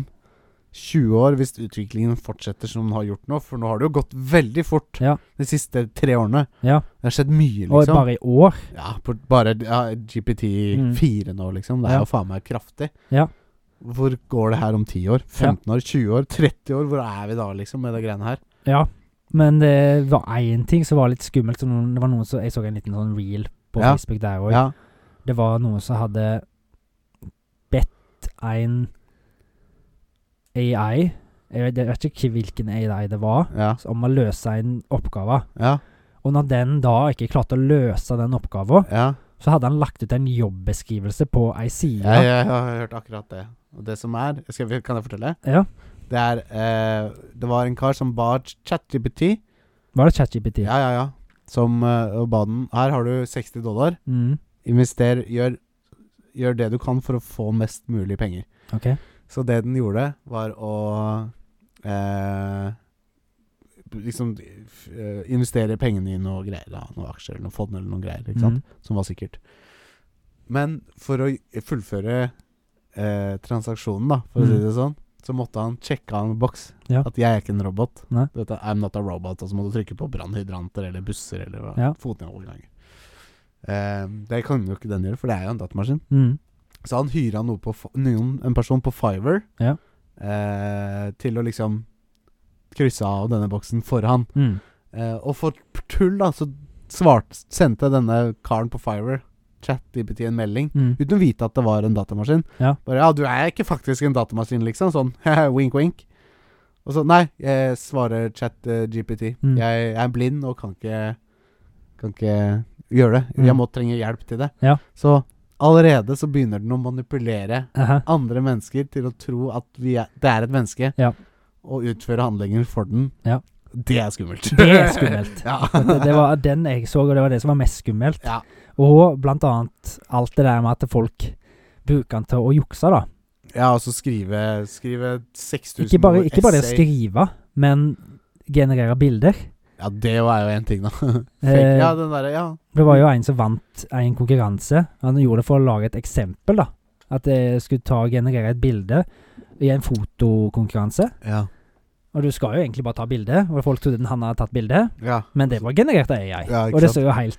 [SPEAKER 1] 20 år, hvis utviklingen fortsetter som den har gjort nå, for nå har det jo gått veldig fort
[SPEAKER 2] Ja.
[SPEAKER 1] de siste tre årene.
[SPEAKER 2] Ja.
[SPEAKER 1] Det har skjedd mye,
[SPEAKER 2] Og
[SPEAKER 1] liksom.
[SPEAKER 2] bare i år.
[SPEAKER 1] ja, på, bare ja, GPT4 nå, liksom. Det er
[SPEAKER 2] Ja.
[SPEAKER 1] jo faen meg kraftig.
[SPEAKER 2] Ja.
[SPEAKER 1] Hvor går det her om 10 år? 15 år? 20 år? 30 år? Hvor er vi da, liksom, med de greiene her?
[SPEAKER 2] Ja. Men det var én ting som var litt skummelt. Som noen, det var noen som, jeg så en liten sånn reel på
[SPEAKER 1] Ja.
[SPEAKER 2] Facebook der òg.
[SPEAKER 1] Ja.
[SPEAKER 2] Det var noen som hadde bedt en AI Jeg vet, jeg vet ikke hvilken AI det var,
[SPEAKER 1] Ja.
[SPEAKER 2] om å løse en oppgave.
[SPEAKER 1] Ja.
[SPEAKER 2] Og når den da ikke klarte å løse den oppgaven,
[SPEAKER 1] ja.
[SPEAKER 2] så hadde han lagt ut en jobbeskrivelse på ei side.
[SPEAKER 1] Jeg, jeg, har hørt akkurat det. Og det som er skal, jeg- Kan jeg fortelle?
[SPEAKER 2] Ja.
[SPEAKER 1] Det er eh, Det var en kar som ba ChatGPT
[SPEAKER 2] Var det ChatGPT?
[SPEAKER 1] Ja, ja, ja. Som eh, og ba den Her har du 60 dollar.
[SPEAKER 2] Mm,
[SPEAKER 1] Invester. Gjør, gjør det du kan for å få mest mulig penger.
[SPEAKER 2] ok.
[SPEAKER 1] Så det den gjorde, var å eh, Liksom f- eh, investere pengene i noe greier. Da, noe aksjer eller noe fond eller noe greier. Ikke sant?
[SPEAKER 2] Mm,
[SPEAKER 1] som var sikkert. Men for å fullføre eh, transaksjonen, da, for å si
[SPEAKER 2] Mm.
[SPEAKER 1] det sånn, så måtte han sjekke av en boks.
[SPEAKER 2] Ja.
[SPEAKER 1] At jeg er ikke en robot.
[SPEAKER 2] Nei.
[SPEAKER 1] Dette, I'm not a robot. Og så må du trykke på brannhydranter eller busser eller hva.
[SPEAKER 2] Ja.
[SPEAKER 1] fotgjengoverganger. Eh, det kan jo ikke den gjøre, for det er jo en datamaskin.
[SPEAKER 2] mm,
[SPEAKER 1] Så han hyra noe på, Fi- noen, en person på Fiver
[SPEAKER 2] Ja.
[SPEAKER 1] eh, til å liksom krysse av denne boksen for han.
[SPEAKER 2] mm.
[SPEAKER 1] Eh, og for tull, da, så svart, sendte denne karen på Fiverr ChatGPT en melding.
[SPEAKER 2] Mm.
[SPEAKER 1] Uten å vite at det var en datamaskin.
[SPEAKER 2] Ja.
[SPEAKER 1] Bare 'Ja, du er ikke faktisk en datamaskin', liksom. Sånn wink, wink. Og så 'Nei, jeg svarer ChatGPT.
[SPEAKER 2] Mm.
[SPEAKER 1] Jeg, jeg er blind og kan ikke Kan ikke gjøre det. Jeg
[SPEAKER 2] Mm.
[SPEAKER 1] må trenge hjelp til det.
[SPEAKER 2] Ja.
[SPEAKER 1] Så allerede så begynner den å manipulere
[SPEAKER 2] Aha.
[SPEAKER 1] andre mennesker til å tro at vi er, det er et menneske,
[SPEAKER 2] Ja.
[SPEAKER 1] og utføre handlinger for den.
[SPEAKER 2] Ja.
[SPEAKER 1] Det er skummelt.
[SPEAKER 2] Det er skummelt.
[SPEAKER 1] Ja.
[SPEAKER 2] Det, det var den jeg så, og det var det som var mest skummelt.
[SPEAKER 1] Ja.
[SPEAKER 2] Og blant annet alt det der med at folk bruker den til å jukse, da.
[SPEAKER 1] ja, og så skrive, skrive 6000
[SPEAKER 2] Ikke bare,
[SPEAKER 1] ord
[SPEAKER 2] ikke bare
[SPEAKER 1] essay.
[SPEAKER 2] skrive, men generere bilder.
[SPEAKER 1] Ja, det jo er jo én ting, da. Fake,
[SPEAKER 2] Eh,
[SPEAKER 1] ja, den derre, ja.
[SPEAKER 2] Det var jo en som vant en konkurranse. Han gjorde det for å lage et eksempel, da. At jeg skulle ta og generere et bilde i en fotokonkurranse.
[SPEAKER 1] ja.
[SPEAKER 2] Og du skal jo egentlig bare ta bilde, og folk trodde den han hadde tatt bilde,
[SPEAKER 1] Ja.
[SPEAKER 2] men det var generert av AI.
[SPEAKER 1] Ja, ikke
[SPEAKER 2] og det
[SPEAKER 1] sant.
[SPEAKER 2] ser jo helt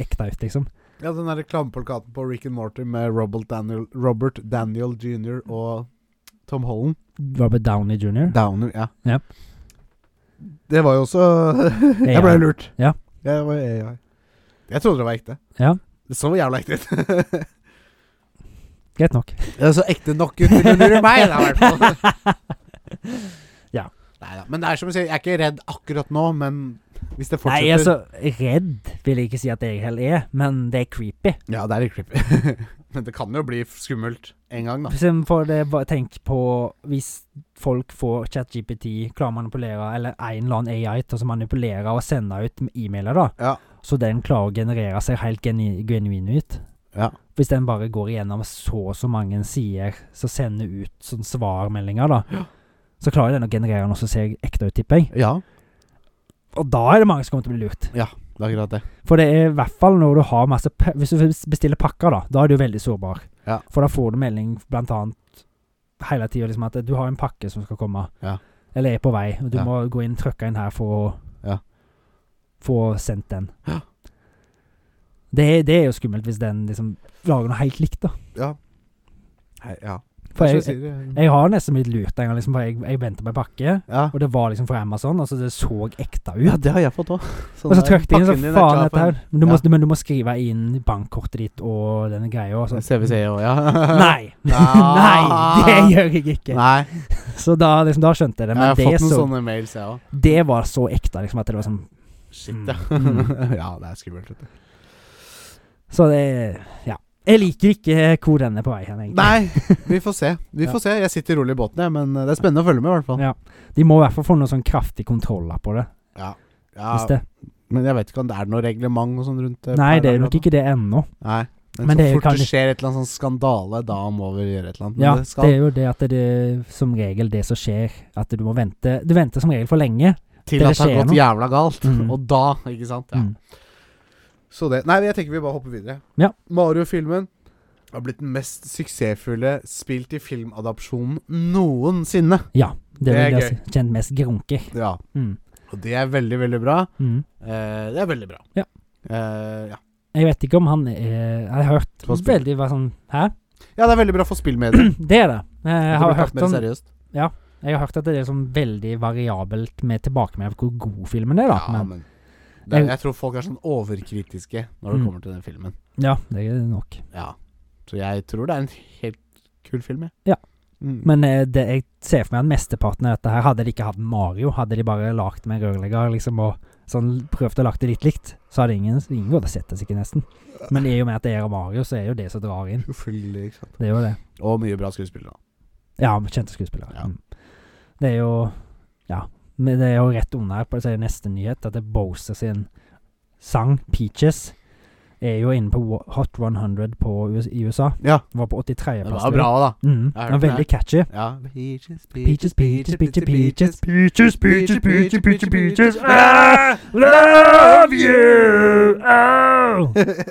[SPEAKER 2] ekte ut, liksom.
[SPEAKER 1] ja, den der reklameplakaten på Rick and Morty med Robert Daniel, Robert Daniel jr. og Tom Holland.
[SPEAKER 2] Robert Downey jr.
[SPEAKER 1] Downer, ja.
[SPEAKER 2] Ja.
[SPEAKER 1] Det var jo også Jeg ble lurt.
[SPEAKER 2] Ja.
[SPEAKER 1] Jeg, var, jeg, jeg. jeg trodde det var ekte.
[SPEAKER 2] Ja.
[SPEAKER 1] Det så jævla ekte ut.
[SPEAKER 2] Greit nok.
[SPEAKER 1] Det så ekte nok ut til å lure meg, da, i hvert fall.
[SPEAKER 2] Ja.
[SPEAKER 1] Neida, Men det er som du sier, jeg er ikke redd akkurat nå, men hvis det
[SPEAKER 2] Nei,
[SPEAKER 1] fortsetter
[SPEAKER 2] altså, redd vil jeg ikke si at jeg heller er, men det er creepy.
[SPEAKER 1] Ja, det er litt creepy. men det kan jo bli skummelt en gang, da.
[SPEAKER 2] For eksempel For det, bare tenk på hvis folk får ChatGPT, klarer å manipulere, eller en eller annen AI til å manipulere og sende ut e-mailer, da.
[SPEAKER 1] Ja.
[SPEAKER 2] Så den klarer å generere seg helt geni- genuin ut.
[SPEAKER 1] Ja.
[SPEAKER 2] Hvis den bare går igjennom så og så mange sider som sender ut sånn svarmeldinger, da. Så klarer den å generere noe som ser ekte ut, tipper jeg.
[SPEAKER 1] ja,
[SPEAKER 2] Og da er det mange som kommer til å bli lurt.
[SPEAKER 1] det er akkurat det.
[SPEAKER 2] For det er i hvert fall når du har masse pa- Hvis du bestiller pakker, da, da er du veldig sårbar.
[SPEAKER 1] Ja.
[SPEAKER 2] For da får du melding blant annet hele tida liksom at du har en pakke som skal komme,
[SPEAKER 1] Ja.
[SPEAKER 2] eller er på vei, og du
[SPEAKER 1] Ja.
[SPEAKER 2] må gå inn trykke inn her for å
[SPEAKER 1] Ja.
[SPEAKER 2] få sendt den.
[SPEAKER 1] Ja.
[SPEAKER 2] Det, er- det er jo skummelt hvis den liksom lager noe helt likt, da.
[SPEAKER 1] Ja. Nei, ja.
[SPEAKER 2] For
[SPEAKER 1] Kanskje
[SPEAKER 2] jeg,
[SPEAKER 1] du
[SPEAKER 2] jeg,
[SPEAKER 1] sier det.
[SPEAKER 2] jeg har nesten blitt lurt en gang, liksom, for jeg, jeg venta på en pakke,
[SPEAKER 1] ja.
[SPEAKER 2] og det var liksom fra Amazon, altså det så ekte ut.
[SPEAKER 1] ja, det har jeg fått Sånn òg.
[SPEAKER 2] Og så trykk det inn, så faen dette her. Men du, må,
[SPEAKER 1] Ja.
[SPEAKER 2] du- men du må skrive inn bankkortet ditt og denne greia. Og sånn.
[SPEAKER 1] CVC òg, ja.
[SPEAKER 2] Nei! Nei, det gjør jeg ikke.
[SPEAKER 1] Ah. Nei.
[SPEAKER 2] Så da, liksom, da skjønte jeg
[SPEAKER 1] Jeg
[SPEAKER 2] det.
[SPEAKER 1] har
[SPEAKER 2] Men det,
[SPEAKER 1] fått noen
[SPEAKER 2] så,
[SPEAKER 1] sånne mails, jeg òg.
[SPEAKER 2] det var så ekte, liksom, at det var sånn
[SPEAKER 1] Shit,
[SPEAKER 2] Mm.
[SPEAKER 1] ja.
[SPEAKER 2] Mm.
[SPEAKER 1] ja, det er skummelt. vet du.
[SPEAKER 2] Så det Ja. Jeg liker ikke hvor den er på vei hen, egentlig.
[SPEAKER 1] Nei, vi får se. Vi
[SPEAKER 2] Ja.
[SPEAKER 1] får se. Jeg sitter rolig i båten, jeg, men eh, det er spennende å følge med, i hvert fall.
[SPEAKER 2] Ja. De må i hvert fall få noen sånn kraftig kontroller på det.
[SPEAKER 1] Ja.
[SPEAKER 2] Hvis
[SPEAKER 1] ja.
[SPEAKER 2] det.
[SPEAKER 1] Men jeg vet ikke om det er noe reglement og sånn rundt eh,
[SPEAKER 2] Nei,
[SPEAKER 1] Pirate
[SPEAKER 2] det er nok
[SPEAKER 1] Radio.
[SPEAKER 2] ikke det ennå.
[SPEAKER 1] Nei. Men,
[SPEAKER 2] Men
[SPEAKER 1] så
[SPEAKER 2] det
[SPEAKER 1] fort
[SPEAKER 2] kan
[SPEAKER 1] det
[SPEAKER 2] litt-
[SPEAKER 1] skjer et eller annet sånn skandale, da må vi gjøre et eller annet. Men
[SPEAKER 2] Ja,
[SPEAKER 1] det
[SPEAKER 2] det
[SPEAKER 1] skal
[SPEAKER 2] er jo det at det er som regel det som skjer, at du må vente Du venter som regel for lenge.
[SPEAKER 1] til
[SPEAKER 2] det
[SPEAKER 1] at det har
[SPEAKER 2] skjer
[SPEAKER 1] gått
[SPEAKER 2] noe.
[SPEAKER 1] jævla galt.
[SPEAKER 2] Mhm.
[SPEAKER 1] Og da, ikke sant. Ja.
[SPEAKER 2] Mm.
[SPEAKER 1] Så det Nei, men jeg tenker vi bare hopper videre.
[SPEAKER 2] Ja.
[SPEAKER 1] Mario-filmen har blitt den mest suksessfulle spilt i filmadopsjonen noensinne.
[SPEAKER 2] Ja. Det,
[SPEAKER 1] Det er
[SPEAKER 2] er det som kjent mest grunker.
[SPEAKER 1] Ja.
[SPEAKER 2] Mm.
[SPEAKER 1] Og det er veldig, veldig bra.
[SPEAKER 2] Mm.
[SPEAKER 1] Eh, det er veldig bra.
[SPEAKER 2] Ja.
[SPEAKER 1] Eh, ja.
[SPEAKER 2] Jeg vet ikke om han er Jeg har hørt
[SPEAKER 1] Hva spiller-
[SPEAKER 2] veldig hva sånn Hæ?
[SPEAKER 1] ja, det er veldig bra for spillmedier.
[SPEAKER 2] Det er det. Jeg har, hørt
[SPEAKER 1] mer
[SPEAKER 2] sånn,
[SPEAKER 1] seriøst.
[SPEAKER 2] jeg har hørt at det er sånn veldig variabelt med tilbakemelding på hvor god filmen er, da.
[SPEAKER 1] Ja,
[SPEAKER 2] men,
[SPEAKER 1] men det, er-
[SPEAKER 2] Jeg-
[SPEAKER 1] Jeg tror folk er sånn overkritiske når det
[SPEAKER 2] Mm.
[SPEAKER 1] kommer til den filmen.
[SPEAKER 2] ja det er nok.
[SPEAKER 1] Ja. Så jeg tror det er en helt kul film, jeg.
[SPEAKER 2] Ja.
[SPEAKER 1] Mm.
[SPEAKER 2] Men eh, det, jeg ser for meg at mesteparten av dette her Hadde de ikke hatt Mario, hadde de bare lagt med rørlegger liksom, og sånn, prøvd å lage det litt likt, så hadde ingen, ingen gått og sett det sikkert nesten. Men i og med at det er Mario, så er jo det som drar inn.
[SPEAKER 1] Selvfølgelig, ikke sant.
[SPEAKER 2] Det er jo det.
[SPEAKER 1] Og mye bra skuespillere.
[SPEAKER 2] Ja, med kjente skuespillere.
[SPEAKER 1] Ja.
[SPEAKER 2] Mm. Det er jo Ja. Men det er jo rett under her, på så er det neste nyhet, at det er Boser sin sang 'Peaches' er jo inne på Wa- Hot 100 på US i USA.
[SPEAKER 1] Ja.
[SPEAKER 2] Var på 83.
[SPEAKER 1] Det
[SPEAKER 2] plass.
[SPEAKER 1] var
[SPEAKER 2] tror jeg.
[SPEAKER 1] bra, da.
[SPEAKER 2] Mm.
[SPEAKER 1] Jeg har
[SPEAKER 2] Den er
[SPEAKER 1] hørt den her.
[SPEAKER 2] veldig catchy.
[SPEAKER 1] Ja. Peaches,
[SPEAKER 2] Peaches, peaches, peaches, peaches.
[SPEAKER 1] Peaches,
[SPEAKER 3] peaches, peaches, peaches, peaches.
[SPEAKER 1] Ah!
[SPEAKER 2] Love you! Au! Det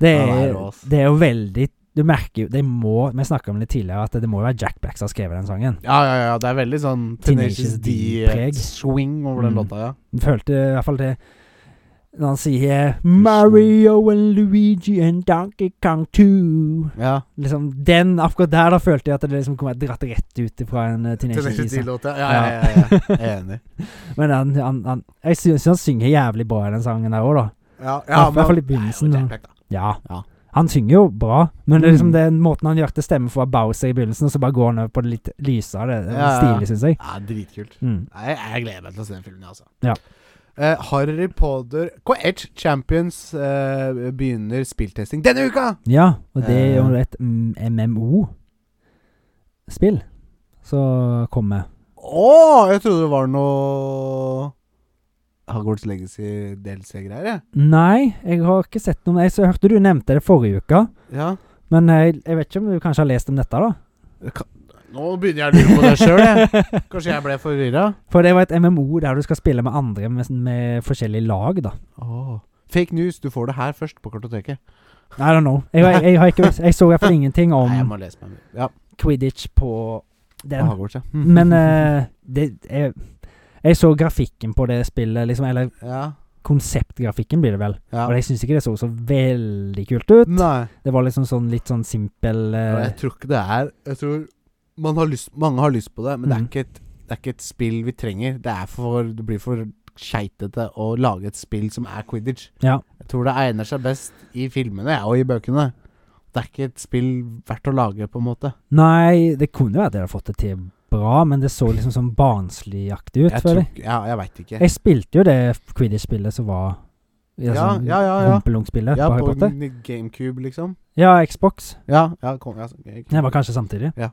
[SPEAKER 1] Ja, det er
[SPEAKER 2] er,
[SPEAKER 1] rå, ass.
[SPEAKER 2] det er jo veldig Du merker jo det må, Vi snakka om det tidligere, at det må jo være Jack Black som har skrevet den sangen.
[SPEAKER 1] Ja, ja, ja. Det er veldig sånn Tenacious
[SPEAKER 2] Tenacious D-preg.
[SPEAKER 1] D-swing over den
[SPEAKER 2] Mm.
[SPEAKER 1] låta, ja.
[SPEAKER 2] Jeg Følte i hvert fall det når han sier Mario and Luigi and Donkey Kong 2
[SPEAKER 1] ja.
[SPEAKER 2] Liksom den, akkurat der, da følte jeg at det liksom kom dratt rett ut fra en uh,
[SPEAKER 1] Tenacious
[SPEAKER 2] teenager.
[SPEAKER 1] D-låta. Ja, ja, ja. ja, ja. Jeg er enig.
[SPEAKER 2] Men han, han, han, jeg syns han synger jævlig bra i den sangen der òg, da.
[SPEAKER 1] Ja,
[SPEAKER 2] I hvert fall i
[SPEAKER 1] men-
[SPEAKER 2] begynnelsen,
[SPEAKER 1] Det er jo
[SPEAKER 2] da.
[SPEAKER 1] Jack Black, da.
[SPEAKER 2] Ja.
[SPEAKER 1] Ja.
[SPEAKER 2] Han synger jo bra, men det er liksom
[SPEAKER 1] Mm.
[SPEAKER 2] den måten han gjør det stemmer for Bowser i begynnelsen, og så bare går han over på det litt lysere. Det er
[SPEAKER 1] Ja, ja.
[SPEAKER 2] stilig, syns jeg.
[SPEAKER 1] Ja, dritkult.
[SPEAKER 2] Mm.
[SPEAKER 1] Nei, jeg gleder meg til å se den filmen, jeg, altså.
[SPEAKER 2] Ja.
[SPEAKER 1] Eh, Harry Potter Edge Champions eh, begynner spilltesting denne uka!
[SPEAKER 2] Ja, og det er jo
[SPEAKER 1] Eh.
[SPEAKER 2] et MMO-spill som kommer.
[SPEAKER 1] Å, jeg trodde det var noe Hogwarts Legacy DLC-greier, jeg.
[SPEAKER 2] Nei, jeg har ikke sett noe om det. Jeg så hørte du nevnte det forrige uke,
[SPEAKER 1] Ja.
[SPEAKER 2] men jeg, jeg vet ikke om du kanskje har lest om dette, da?
[SPEAKER 1] Nå begynner jeg å lure på det sjøl, jeg. Kanskje jeg ble forvirra?
[SPEAKER 2] For det var et MMO der du skal spille med andre med, med forskjellige lag, da.
[SPEAKER 1] Åh. Fake news, du får det her først på kartoteket.
[SPEAKER 2] I don't know. Jeg, jeg, jeg, har ikke, jeg så i hvert fall ingenting
[SPEAKER 1] Nei, jeg
[SPEAKER 2] om
[SPEAKER 1] må lese meg mer. Ja,
[SPEAKER 2] Quidditch på den.
[SPEAKER 1] på Hogwarts, ja. Mhm.
[SPEAKER 2] Men eh, det jeg, jeg så grafikken på det spillet, liksom. Eller
[SPEAKER 1] ja.
[SPEAKER 2] konseptgrafikken, blir det vel.
[SPEAKER 1] ja.
[SPEAKER 2] Og jeg syns ikke det så så veldig kult ut.
[SPEAKER 1] Nei,
[SPEAKER 2] Det var liksom sånn litt sånn simpel
[SPEAKER 1] og
[SPEAKER 2] eh,
[SPEAKER 1] jeg tror ikke det er Jeg tror man har lyst, mange har lyst på det, men det, er
[SPEAKER 2] Mhm.
[SPEAKER 1] ikke et, det er ikke et spill vi trenger. Det, er for, det blir for skeitete å lage et spill som er quidditch.
[SPEAKER 2] Ja.
[SPEAKER 1] Jeg tror det egner seg best i filmene ja, og i bøkene. Det er ikke et spill verdt å lage, på en måte.
[SPEAKER 2] Nei, det kunne jo vært at jeg hadde fått det til bra, men det så liksom sånn barnsligaktig ut,
[SPEAKER 1] Jeg, tror,
[SPEAKER 2] føler jeg.
[SPEAKER 1] ikke- ja, jeg veit ikke.
[SPEAKER 2] Jeg spilte jo det Quidditch-spillet som var
[SPEAKER 1] Ja, ja, ja, ja.
[SPEAKER 2] Rumpelunk-spillet
[SPEAKER 1] Ja,
[SPEAKER 2] på Harry
[SPEAKER 1] på
[SPEAKER 2] Potter.
[SPEAKER 1] n- GameCube, liksom.
[SPEAKER 2] Ja, Xbox.
[SPEAKER 1] Ja, ja, kom, ja, så- jeg-
[SPEAKER 2] Det var kanskje samtidig.
[SPEAKER 1] Ja.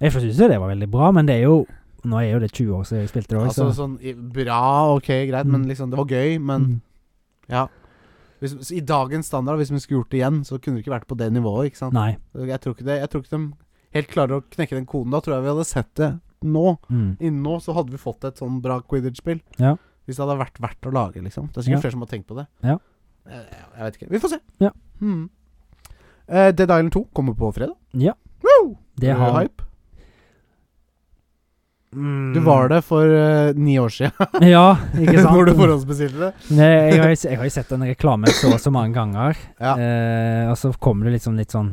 [SPEAKER 2] Jeg syns jo det var veldig bra, men det er jo Nå er jo det 20 år siden jeg spilte det òg,
[SPEAKER 1] Altså
[SPEAKER 2] så
[SPEAKER 1] sånn i- Bra, ok, greit, men liksom Det var gøy, men
[SPEAKER 2] Mm.
[SPEAKER 1] ja. Hvis, så I dagens standard, hvis vi skulle gjort det igjen, så kunne det ikke vært på det nivået, ikke sant?
[SPEAKER 2] Mm. Nei.
[SPEAKER 1] Jeg tror ikke, det, jeg tror ikke de helt klarer å knekke den koden. Da tror jeg vi hadde sett det nå.
[SPEAKER 2] Mm.
[SPEAKER 1] Innen nå så hadde vi fått et sånn bra Quidditch-spill.
[SPEAKER 2] Ja.
[SPEAKER 1] Hvis det hadde vært verdt å lage, liksom. Det er sikkert
[SPEAKER 2] Ja.
[SPEAKER 1] flere som har tenkt på det.
[SPEAKER 2] Ja.
[SPEAKER 1] Jeg, jeg- jeg vet ikke. Vi får se.
[SPEAKER 2] Ja.
[SPEAKER 1] Hmm. Eh, Dead Island 2 kommer på fredag.
[SPEAKER 2] Ja.
[SPEAKER 1] Woo!
[SPEAKER 2] Det
[SPEAKER 1] Er du
[SPEAKER 2] har
[SPEAKER 1] hype. Du var det for eh, ni år siden.
[SPEAKER 2] Mm. Ja, ikke sant?
[SPEAKER 1] Hvor du forhåndsbestilte det.
[SPEAKER 2] Nei, jeg, har, jo- jeg har jo sett den reklamen så og så mange ganger,
[SPEAKER 1] Ja.
[SPEAKER 2] eh, og så kommer det liksom litt sånn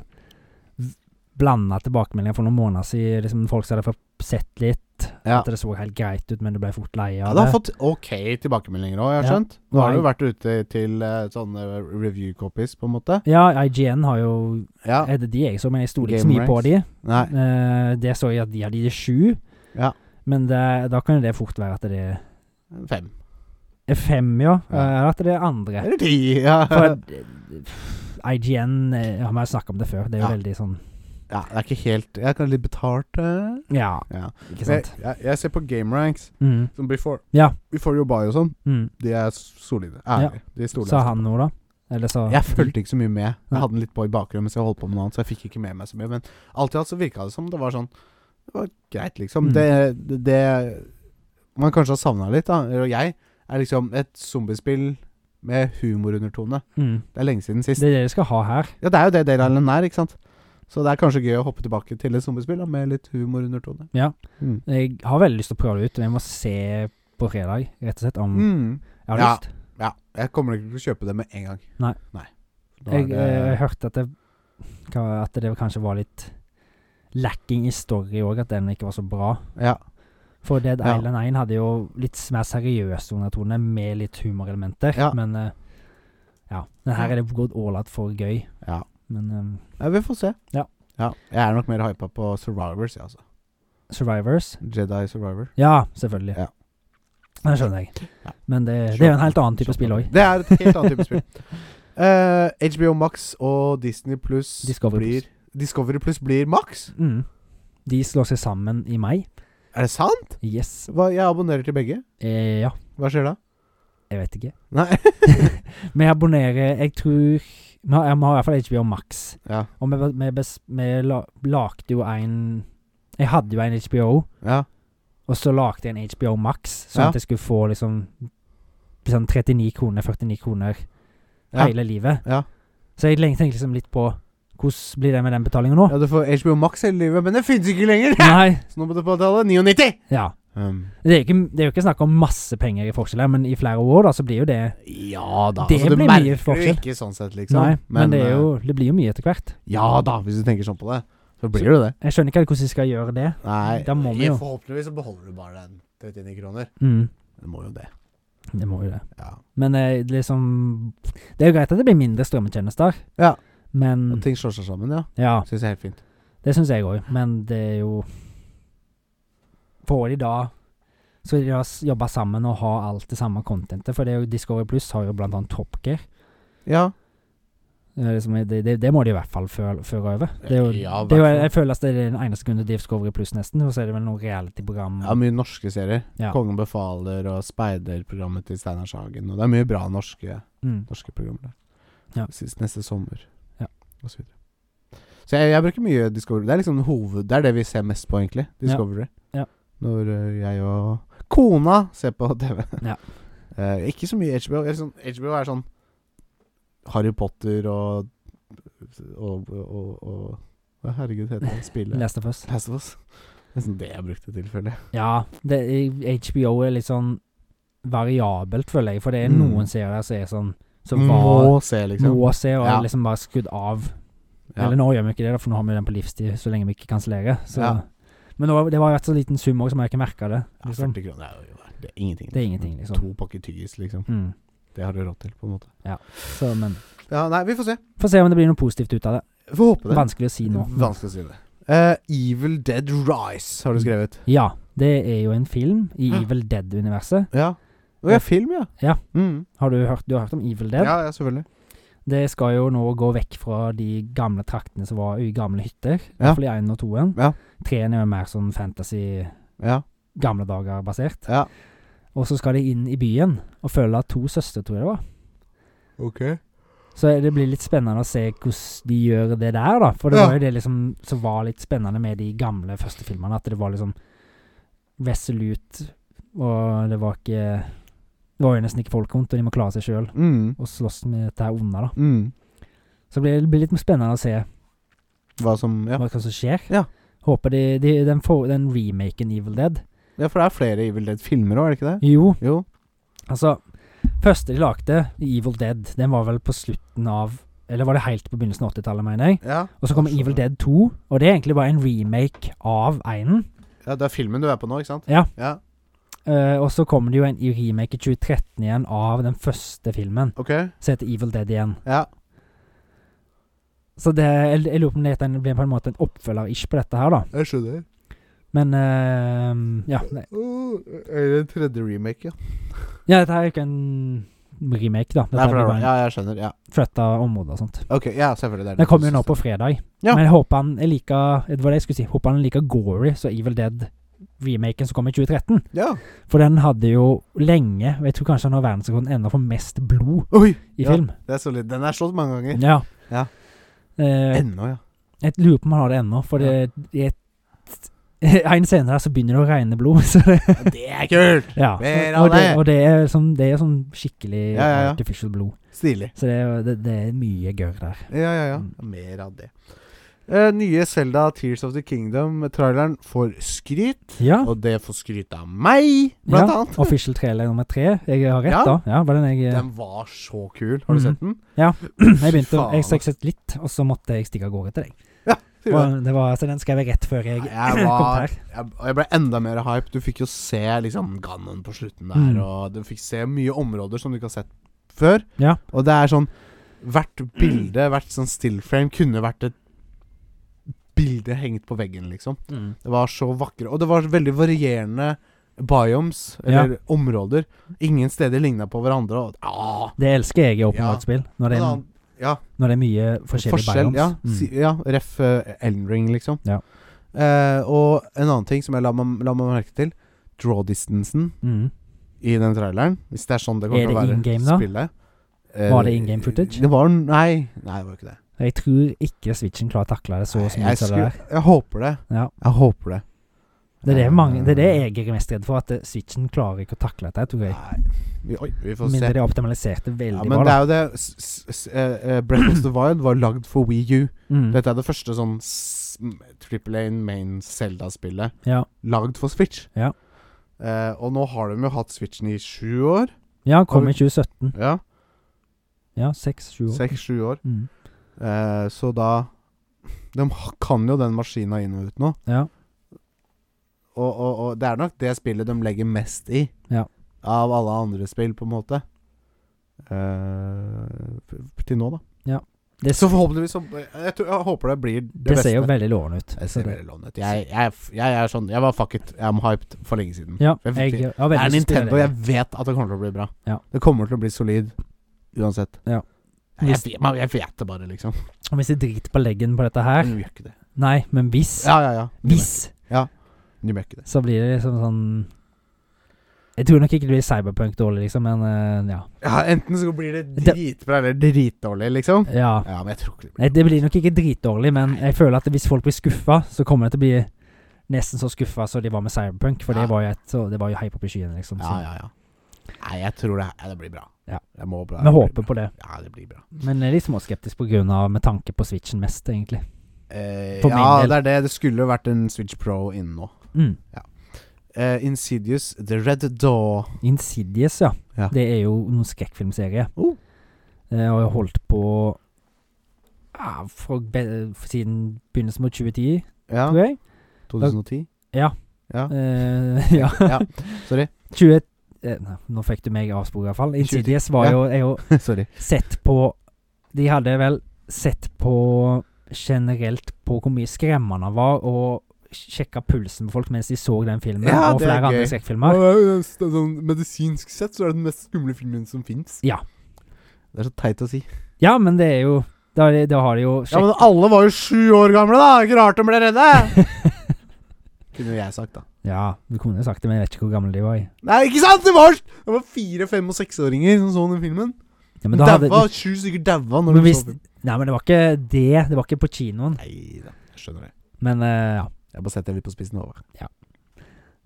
[SPEAKER 2] blanda tilbakemeldinger for noen måneder siden. Liksom folk som hadde fått sett litt,
[SPEAKER 1] Ja.
[SPEAKER 2] at det så helt greit ut, men du ble fort lei
[SPEAKER 1] Ja,
[SPEAKER 2] av
[SPEAKER 1] det har
[SPEAKER 2] det.
[SPEAKER 1] fått ok tilbakemeldinger òg, jeg har
[SPEAKER 2] Ja.
[SPEAKER 1] skjønt. Nå har
[SPEAKER 2] Nei.
[SPEAKER 1] det jo vært ute til eh, sånne review copies, på en måte.
[SPEAKER 2] Ja, IGN har jo
[SPEAKER 1] Ja.
[SPEAKER 2] Er det de jeg så, men jeg stoler ikke så
[SPEAKER 1] Game
[SPEAKER 2] mye på
[SPEAKER 1] Ranks.
[SPEAKER 2] de.
[SPEAKER 1] Nei.
[SPEAKER 2] Eh, det så jeg at de hadde gitt sju,
[SPEAKER 1] Ja.
[SPEAKER 2] men det, da kan jo det fort være at det
[SPEAKER 1] Fem.
[SPEAKER 2] er fem, ja. Eh,
[SPEAKER 1] Ja.
[SPEAKER 2] Eller at det er andre.
[SPEAKER 1] Eller ti. Ja.
[SPEAKER 2] For at, eh, IGN eh, har vi jo snakka om det før, det er jo
[SPEAKER 1] Ja.
[SPEAKER 2] veldig sånn
[SPEAKER 1] ja, det er ikke helt Jeg kan litt betalt eh.
[SPEAKER 2] Ja,
[SPEAKER 1] Ja.
[SPEAKER 2] ikke
[SPEAKER 1] Jeg,
[SPEAKER 2] sant?
[SPEAKER 1] jeg, jeg ser på gameranks
[SPEAKER 2] Mm,
[SPEAKER 1] som before.
[SPEAKER 2] Ja.
[SPEAKER 1] Before you buy og sånn.
[SPEAKER 2] mm.
[SPEAKER 1] De er solide. Ærlige. De stoler
[SPEAKER 2] Sa
[SPEAKER 1] jeg på.
[SPEAKER 2] han noe, da? Eller så
[SPEAKER 1] Jeg fulgte ikke så mye med. Jeg hadde den litt på i bakgrunnen mens jeg holdt på med noe annet, så jeg fikk ikke med meg så mye. Men alt i alt så virka det som det var sånn Det var greit, liksom.
[SPEAKER 2] Mm.
[SPEAKER 1] Det, det, det man kanskje har savna litt, da, eller jeg, er liksom et zombiespill med humorundertone.
[SPEAKER 2] Mm.
[SPEAKER 1] Det er lenge siden sist.
[SPEAKER 2] Det er det de skal ha her.
[SPEAKER 1] Ja, det er jo det Dale Island er, ikke sant? Så det er kanskje gøy å hoppe tilbake til et zombiespill da, med litt humorundertone.
[SPEAKER 2] Ja.
[SPEAKER 1] Mm.
[SPEAKER 2] Jeg har veldig lyst til å prøve det ut. Jeg må se på fredag, rett og slett, om
[SPEAKER 1] Mm.
[SPEAKER 2] jeg har
[SPEAKER 1] Ja.
[SPEAKER 2] lyst.
[SPEAKER 1] Ja. Jeg kommer nok ikke til å kjøpe det med en gang.
[SPEAKER 2] Nei.
[SPEAKER 1] Nei. Da er
[SPEAKER 2] Jeg,
[SPEAKER 1] det-
[SPEAKER 2] eh, jeg hørte at det, hva- at det kanskje var litt lacking i story òg, at den ikke var så bra.
[SPEAKER 1] ja.
[SPEAKER 2] For Dead
[SPEAKER 1] Ja.
[SPEAKER 2] Island 1 hadde jo litt mer seriøse undertoner, med litt humorelementer.
[SPEAKER 1] Ja.
[SPEAKER 2] Men eh, ja. Den her er det gått all out for gøy.
[SPEAKER 1] Ja.
[SPEAKER 2] Men eh,
[SPEAKER 1] ja, vi får se.
[SPEAKER 2] Ja.
[SPEAKER 1] Jeg er nok mer hypa på Survivors, jeg, altså.
[SPEAKER 2] Survivors
[SPEAKER 1] Jedi Survivor.
[SPEAKER 2] Ja, selvfølgelig.
[SPEAKER 1] Ja.
[SPEAKER 2] Det skjønner jeg.
[SPEAKER 1] Ja.
[SPEAKER 2] Men det, det er jo en helt annen type spill òg.
[SPEAKER 1] Det er et helt annet type spill. Eh, HBO Max og Disney pluss
[SPEAKER 2] Discovery
[SPEAKER 1] blir Discovery pluss blir Max?
[SPEAKER 2] Mm. De slår seg sammen i mai.
[SPEAKER 1] Er det sant?
[SPEAKER 2] Yes.
[SPEAKER 1] Hva, jeg abonnerer til begge.
[SPEAKER 2] Eh, ja.
[SPEAKER 1] Hva skjer da?
[SPEAKER 2] Jeg vet ikke.
[SPEAKER 1] Nei.
[SPEAKER 2] Vi abonnerer Jeg tror Vi har, vi har i hvert fall HBO Max.
[SPEAKER 1] Ja.
[SPEAKER 2] Og vi, vi, bes, vi la, lagde jo en Jeg hadde jo en HBO,
[SPEAKER 1] Ja.
[SPEAKER 2] og så lagde jeg en HBO Max, sånn
[SPEAKER 1] Ja.
[SPEAKER 2] at jeg skulle få liksom sånn 39 kroner, 49 kroner
[SPEAKER 1] Ja.
[SPEAKER 2] hele livet.
[SPEAKER 1] Ja.
[SPEAKER 2] Så jeg lenge tenkte liksom litt på hvordan blir det med den betalingen nå?
[SPEAKER 1] ja, du får HBO Max hele livet, men det finnes ikke lenger!
[SPEAKER 2] Nei.
[SPEAKER 1] Så nå må du betale 99!
[SPEAKER 2] Ja.
[SPEAKER 1] Um,
[SPEAKER 2] Det er, jo ikke, det er jo ikke snakk om masse penger i forskjell her, men i flere år da, så blir jo det
[SPEAKER 1] ja da. altså,
[SPEAKER 2] Det
[SPEAKER 1] du
[SPEAKER 2] blir
[SPEAKER 1] merker
[SPEAKER 2] mye
[SPEAKER 1] jo
[SPEAKER 2] forskjell.
[SPEAKER 1] Ikke sånn sett, liksom.
[SPEAKER 2] Nei, men, det, er jo, det blir jo mye etter hvert.
[SPEAKER 1] eh, Ja da, hvis du tenker sånn på det. Så blir det jo det.
[SPEAKER 2] Jeg skjønner ikke helt hvordan jeg skal gjøre det.
[SPEAKER 1] Nei,
[SPEAKER 2] Da må vi jo-
[SPEAKER 1] forhåpentligvis så beholder du bare den 39 kroner.
[SPEAKER 2] Mm,
[SPEAKER 1] Du må jo det.
[SPEAKER 2] det må jo det.
[SPEAKER 1] Ja.
[SPEAKER 2] Men eh, liksom Det er jo greit at det blir mindre strømmetjenester,
[SPEAKER 1] Ja.
[SPEAKER 2] men
[SPEAKER 1] At ting slår seg sammen, ja.
[SPEAKER 2] Ja,
[SPEAKER 1] Syns jeg er helt fint.
[SPEAKER 2] det syns jeg òg, men det er jo Får de da Skal de da s- jobbe sammen og ha alt det samme contentet? For det er jo Discovery Pluss har jo blant annet Top Gear.
[SPEAKER 1] Ja.
[SPEAKER 2] Det, er liksom, det, det, det må de i hvert fall føre, føre over. Det er jo,
[SPEAKER 1] Ja, i
[SPEAKER 2] det er jo,
[SPEAKER 1] hvert fall.
[SPEAKER 2] jeg føler at det er den eneste grunnen til Discovery Pluss, nesten. Og så er det vel noe reality-program.
[SPEAKER 1] Ja, mye norske serier.
[SPEAKER 2] Mm. Ja.
[SPEAKER 1] Kongen befaler og Speiderprogrammet til Steinar Sagen. Og det er mye bra norske,
[SPEAKER 2] Mm.
[SPEAKER 1] norske programmer der.
[SPEAKER 2] Ja.
[SPEAKER 1] Sist neste sommer,
[SPEAKER 2] Ja.
[SPEAKER 1] og så videre. Så jeg, jeg bruker mye Discovery. Det er liksom hoved Det er det vi ser mest på, egentlig. Discovery.
[SPEAKER 2] Ja.
[SPEAKER 1] Når ø, jeg og kona ser på TV.
[SPEAKER 2] Ja.
[SPEAKER 1] Eh, ikke så mye HBO. Eller sånn, HBO er sånn Harry Potter og Og, og, og, og Herregud, heter det spillet?
[SPEAKER 2] Last of Us.
[SPEAKER 1] Last of Us. Nesten det jeg brukte til, føler jeg.
[SPEAKER 2] Ja, det, i- HBO er litt sånn variabelt, føler jeg. For det er
[SPEAKER 1] Mm.
[SPEAKER 2] noen serier som er sånn Som var
[SPEAKER 1] Må se, liksom.
[SPEAKER 2] må se, og
[SPEAKER 1] Ja.
[SPEAKER 2] liksom bare skudd av.
[SPEAKER 1] Ja.
[SPEAKER 2] Eller nå gjør vi ikke det, da, for nå har vi den på livstid så lenge vi ikke kansellerer. Så.
[SPEAKER 1] Ja.
[SPEAKER 2] Men nå, det var jo et så liten sum òg, så jeg har ikke merka det.
[SPEAKER 1] Ja,
[SPEAKER 2] Liksom.
[SPEAKER 1] 40 kroner er jo det er ingenting.
[SPEAKER 2] Det er ingenting, liksom.
[SPEAKER 1] To pakker tyggis, liksom.
[SPEAKER 2] Mm.
[SPEAKER 1] Det har du råd til, på en måte.
[SPEAKER 2] Så, men
[SPEAKER 1] Ja, nei, vi får se.
[SPEAKER 2] Får se om det blir noe positivt ut av det.
[SPEAKER 1] Får håpe det.
[SPEAKER 2] Vanskelig å si nå.
[SPEAKER 1] Vanskelig å si det. Eh, Evil Dead Rise har du skrevet.
[SPEAKER 2] Ja, det er jo en film i
[SPEAKER 1] Hæ?
[SPEAKER 2] Evil Dead-universet.
[SPEAKER 1] Ja. Å ja, film, ja.
[SPEAKER 2] Ja.
[SPEAKER 1] Mm.
[SPEAKER 2] Har du hørt, du har hørt om Evil Dead?
[SPEAKER 1] Ja, ja, selvfølgelig.
[SPEAKER 2] Det skal jo nå gå vekk fra de gamle traktene som var i gamle hytter. I
[SPEAKER 1] Ja.
[SPEAKER 2] hvert fall i én og toen.
[SPEAKER 1] Ja.
[SPEAKER 2] Treen er jo mer sånn fantasy
[SPEAKER 1] Ja.
[SPEAKER 2] gamle dager-basert.
[SPEAKER 1] ja.
[SPEAKER 2] Og så skal de inn i byen og følge to søstre, tror jeg det var.
[SPEAKER 1] Ok.
[SPEAKER 2] Så det blir litt spennende å se hvordan de gjør det der, da. For det
[SPEAKER 1] Ja.
[SPEAKER 2] var jo det liksom som var litt spennende med de gamle første filmene, at det var liksom resolute, og det var ikke Det var jo nesten ikke folk rundt, og de må klare seg sjøl
[SPEAKER 1] Mm.
[SPEAKER 2] og slåss med dette her onde, da.
[SPEAKER 1] Mm.
[SPEAKER 2] Så det blir, det blir litt spennende å se
[SPEAKER 1] Hva som ja.
[SPEAKER 2] hva, hva som skjer.
[SPEAKER 1] Ja.
[SPEAKER 2] Håper de, de den, for, den remaken Evil Dead
[SPEAKER 1] ja, for det er flere Evil Dead-filmer òg, er det ikke det?
[SPEAKER 2] Jo,
[SPEAKER 1] Jo.
[SPEAKER 2] altså Første de lagde, Evil Dead, den var vel på slutten av Eller var det helt på begynnelsen av 80-tallet, mener jeg.
[SPEAKER 1] Ja.
[SPEAKER 2] Og så kommer
[SPEAKER 1] Skjønner.
[SPEAKER 2] Evil Dead 2, og det er egentlig bare en remake av einen.
[SPEAKER 1] ja, det er filmen du er på nå, ikke sant?
[SPEAKER 2] Ja.
[SPEAKER 1] ja.
[SPEAKER 2] Eh, og så kommer det jo en remake i 2013 igjen av den første filmen,
[SPEAKER 1] Ok.
[SPEAKER 2] som heter Evil Dead igjen.
[SPEAKER 1] Ja.
[SPEAKER 2] Så det, jeg, jeg lurer på om det heter en- blir på en måte en oppfølger-ish på dette her, da.
[SPEAKER 1] Jeg skjønner.
[SPEAKER 2] Men eh, ja, det-
[SPEAKER 1] Oh, er det tredje remake, ja?
[SPEAKER 2] ja, dette her er jo ikke en remake, da. Dette
[SPEAKER 1] Nei,
[SPEAKER 2] her
[SPEAKER 1] for
[SPEAKER 2] blir
[SPEAKER 1] det er,
[SPEAKER 2] bare en
[SPEAKER 1] ja, jeg skjønner. Ja.
[SPEAKER 2] flytta område og sånt.
[SPEAKER 1] Ok, ja, selvfølgelig. Det er
[SPEAKER 2] Den kommer jo
[SPEAKER 1] siste.
[SPEAKER 2] nå på fredag.
[SPEAKER 1] Ja.
[SPEAKER 2] Men jeg håper han er like Det var det jeg skulle si. Håper han er like gory som Evil Dead remaken som kom i 2013.
[SPEAKER 1] Ja.
[SPEAKER 2] For den hadde jo lenge Og jeg tror kanskje han har verdensrekorden ennå for mest blod
[SPEAKER 1] Oi!
[SPEAKER 2] i
[SPEAKER 1] Ja.
[SPEAKER 2] film.
[SPEAKER 1] Det er solid. Den er slått mange ganger.
[SPEAKER 2] Ja.
[SPEAKER 1] Ja.
[SPEAKER 2] Eh,
[SPEAKER 1] Ennå, ja.
[SPEAKER 2] jeg lurer på om han har det ennå, for det i et- en senere så begynner det å regne blod. Så det,
[SPEAKER 1] Det er kult!
[SPEAKER 2] ja.
[SPEAKER 1] Mer
[SPEAKER 2] Og
[SPEAKER 1] av
[SPEAKER 2] det,
[SPEAKER 1] det.
[SPEAKER 2] og det er sånn, det er sånn skikkelig
[SPEAKER 1] Ja, ja, ja.
[SPEAKER 2] artificial blod.
[SPEAKER 1] Stilig.
[SPEAKER 2] Så det, er- det, det er mye gørr der.
[SPEAKER 1] Ja, ja, ja.
[SPEAKER 2] Mm.
[SPEAKER 1] Mer av det. Eh, nye Selda Tears of the Kingdom-traileren får skryt.
[SPEAKER 2] Ja.
[SPEAKER 1] Og det får skryt av meg, blant
[SPEAKER 2] ja.
[SPEAKER 1] annet.
[SPEAKER 2] Official trailer nummer tre. Jeg har rett,
[SPEAKER 1] Ja.
[SPEAKER 2] da. Ja, var den jeg, eh,
[SPEAKER 1] Den var så kul. Har du
[SPEAKER 2] Mhm.
[SPEAKER 1] sett den?
[SPEAKER 2] jeg begynte
[SPEAKER 1] faen,
[SPEAKER 2] å- Jeg
[SPEAKER 1] ass.
[SPEAKER 2] sett litt, og så måtte jeg stikke av gårde til deg.
[SPEAKER 1] Sier du det?
[SPEAKER 2] Og det var, så den skrev jeg rett før jeg,
[SPEAKER 1] Jeg
[SPEAKER 2] kom
[SPEAKER 1] var
[SPEAKER 2] her.
[SPEAKER 1] jeg, og jeg ble enda mer hype. Du fikk jo se liksom Ganon på slutten der,
[SPEAKER 2] Mm.
[SPEAKER 1] og du fikk se mye områder som du ikke har sett før.
[SPEAKER 2] Ja.
[SPEAKER 1] Og det er sånn Hvert bilde, hvert sånn stillframe, kunne vært et bilde hengt på veggen, liksom.
[SPEAKER 2] Mm.
[SPEAKER 1] Det var så vakre. Og det var veldig varierende biomes, eller områder. Ingen steder ligna på hverandre. Og, ah,
[SPEAKER 2] Det elsker jeg i åpen
[SPEAKER 1] Ja.
[SPEAKER 2] world-spill. Når, det er-
[SPEAKER 1] sånn, ja,
[SPEAKER 2] når det er mye forskjellige
[SPEAKER 1] forskjell,
[SPEAKER 2] biomes.
[SPEAKER 1] ja,
[SPEAKER 2] Mm.
[SPEAKER 1] si, ja. Ref eh, Elden Ring, liksom.
[SPEAKER 2] Ja.
[SPEAKER 1] Eh, og en annen ting som jeg la meg, la meg merke til. Draw distancen
[SPEAKER 2] Mm.
[SPEAKER 1] i den traileren. Hvis det er sånn det
[SPEAKER 2] Er
[SPEAKER 1] kommer til å
[SPEAKER 2] det
[SPEAKER 1] være.
[SPEAKER 2] in-game da?
[SPEAKER 1] Spillet. Eh,
[SPEAKER 2] Var det in-game footage?
[SPEAKER 1] Det var Nei, nei, det var ikke det.
[SPEAKER 2] Jeg tror ikke Switchen klarer å takle det så
[SPEAKER 1] jeg,
[SPEAKER 2] smidig som det
[SPEAKER 1] skulle-
[SPEAKER 2] der.
[SPEAKER 1] jeg håper det.
[SPEAKER 2] Ja.
[SPEAKER 1] Jeg håper det.
[SPEAKER 2] Det er det,
[SPEAKER 1] Eh,
[SPEAKER 2] mange, det er det jeg er mest redd for, at eh, Switchen klarer ikke å takle dette, tror jeg.
[SPEAKER 1] Nei. Vi, oi, vi får
[SPEAKER 2] Mindre
[SPEAKER 1] se.
[SPEAKER 2] de optimaliserte veldig
[SPEAKER 1] Ja, men det
[SPEAKER 2] bra, da.
[SPEAKER 1] er jo det s- s- s- eh, eh, Breath of the Wild var lagd for Wii U.
[SPEAKER 2] Mm.
[SPEAKER 1] Dette er det første sånn s- m- Triple A main Zelda-spillet
[SPEAKER 2] Ja.
[SPEAKER 1] lagd for Switch.
[SPEAKER 2] Ja.
[SPEAKER 1] Eh, og nå har de jo hatt Switchen i sju år.
[SPEAKER 2] ja, kom
[SPEAKER 1] Har
[SPEAKER 2] i 2017.
[SPEAKER 1] Ja,
[SPEAKER 2] Ja, seks-sju år.
[SPEAKER 1] Seks-sju år.
[SPEAKER 2] Mm.
[SPEAKER 1] Eh, så da De ha- kan jo den maskina inn og ut nå.
[SPEAKER 2] Ja.
[SPEAKER 1] Og, og, og det er nok det spillet de legger mest i.
[SPEAKER 2] Ja.
[SPEAKER 1] Av alle andre spill, på en måte. Eh, f- til nå, da.
[SPEAKER 2] Det,
[SPEAKER 1] Så forhåpentligvis så, jeg, tror, jeg håper det blir det,
[SPEAKER 2] det
[SPEAKER 1] beste.
[SPEAKER 2] ser jo veldig lovende ut.
[SPEAKER 1] det
[SPEAKER 2] så
[SPEAKER 1] ser
[SPEAKER 2] det-
[SPEAKER 1] veldig lovende ut. Jeg, jeg, er f- jeg er sånn Jeg var fuck it. I'm hyped for lenge siden.
[SPEAKER 2] Ja,
[SPEAKER 1] Jeg-
[SPEAKER 2] jeg, jeg har
[SPEAKER 1] det
[SPEAKER 2] veldig
[SPEAKER 1] er
[SPEAKER 2] lyst til å
[SPEAKER 1] Nintendo.
[SPEAKER 2] gjøre
[SPEAKER 1] Jeg vet at det kommer til å bli bra.
[SPEAKER 2] Ja.
[SPEAKER 1] Det kommer til å bli solid uansett.
[SPEAKER 2] Ja.
[SPEAKER 1] Jeg,
[SPEAKER 2] Hvis-
[SPEAKER 1] vet- man- jeg vet det bare, liksom.
[SPEAKER 2] det. Og hvis jeg driter på leggen på dette her
[SPEAKER 1] Men du gjør ikke det.
[SPEAKER 2] Nei, men hvis
[SPEAKER 1] Mm. Ja, ja, ja. Du gjør-
[SPEAKER 2] Hvis,
[SPEAKER 1] Du gjør ikke det.
[SPEAKER 2] så blir det liksom sånn Jeg tror nok ikke det blir cyberpunk dårlig, liksom, men eh, ja.
[SPEAKER 1] Ja, enten så blir det
[SPEAKER 2] Det-
[SPEAKER 1] dritbra eller dritdårlig, liksom.
[SPEAKER 2] ja.
[SPEAKER 1] Ja, men jeg tror ikke det blir
[SPEAKER 2] Nei, det blir nok ikke dritdårlig, men jeg føler at hvis folk blir skuffa, så kommer det til å bli nesten så skuffa som de var med Cyberpunk, for
[SPEAKER 1] Ja.
[SPEAKER 2] det var jo et så Det var jo hype opp i skyene, liksom.
[SPEAKER 1] Ja,
[SPEAKER 2] Så
[SPEAKER 1] ja, ja. Nei, jeg tror det, ja, det blir bra.
[SPEAKER 2] Ja.
[SPEAKER 1] Jeg må bra.
[SPEAKER 2] vi
[SPEAKER 1] det blir
[SPEAKER 2] håper
[SPEAKER 1] bra.
[SPEAKER 2] på det.
[SPEAKER 1] Ja, det blir bra.
[SPEAKER 2] Men jeg er litt småskeptisk på grunn av med tanke på Switchen mest, egentlig.
[SPEAKER 1] Eh,
[SPEAKER 2] For min
[SPEAKER 1] ja,
[SPEAKER 2] del.
[SPEAKER 1] det er det. Det skulle jo vært en Switch Pro inne nå.
[SPEAKER 2] Mm.
[SPEAKER 1] Eh, Insidious The Red Daw.
[SPEAKER 2] Insidious, ja.
[SPEAKER 1] Ja.
[SPEAKER 2] Det er jo noen skrekkfilmserie.
[SPEAKER 1] Oh.
[SPEAKER 2] Eh, og jeg har holdt på ja, fra be siden begynnelsen mot 2010,
[SPEAKER 1] Ja,
[SPEAKER 2] tror jeg.
[SPEAKER 1] 2010.
[SPEAKER 2] Eh, ja.
[SPEAKER 1] Ja, sorry.
[SPEAKER 2] 20, eh, nei, nå fikk du meg avsporet, iallfall. Insidious var
[SPEAKER 1] ja.
[SPEAKER 2] jo, er jo
[SPEAKER 1] sorry.
[SPEAKER 2] sett på De hadde vel sett på generelt på hvor mye skremmende han var, og sjekka pulsen på folk mens de så den filmen,
[SPEAKER 1] Ja,
[SPEAKER 2] og
[SPEAKER 1] det er
[SPEAKER 2] flere andre
[SPEAKER 1] gøy.
[SPEAKER 2] skrekkfilmer.
[SPEAKER 1] sånn, medisinsk sett så er det den mest skumle filmen som fins.
[SPEAKER 2] Ja.
[SPEAKER 1] Det er så teit å si.
[SPEAKER 2] Ja, men det er jo Da, er det- da har de jo
[SPEAKER 1] Ja,
[SPEAKER 2] sjekk...
[SPEAKER 1] men alle var jo sju år gamle, da! Ikke rart de ble redde! Kunne jo jeg sagt, da.
[SPEAKER 2] Ja, du kunne jo sagt det, men jeg vet ikke hvor gammel de var. i.
[SPEAKER 1] Nei, ikke sant! Det var, det var fire, fem og seksåringer som så den filmen.
[SPEAKER 2] Ja, men
[SPEAKER 1] Men
[SPEAKER 2] da hadde,
[SPEAKER 1] daua, sju stykker daua når
[SPEAKER 2] Men
[SPEAKER 1] de
[SPEAKER 2] hvis-
[SPEAKER 1] så filmen.
[SPEAKER 2] nei, men det var ikke det. Det var ikke på kinoen.
[SPEAKER 1] Nei da, jeg skjønner det.
[SPEAKER 2] Men eh, ja.
[SPEAKER 1] Jeg bare setter det litt på spissen over.
[SPEAKER 2] Jeg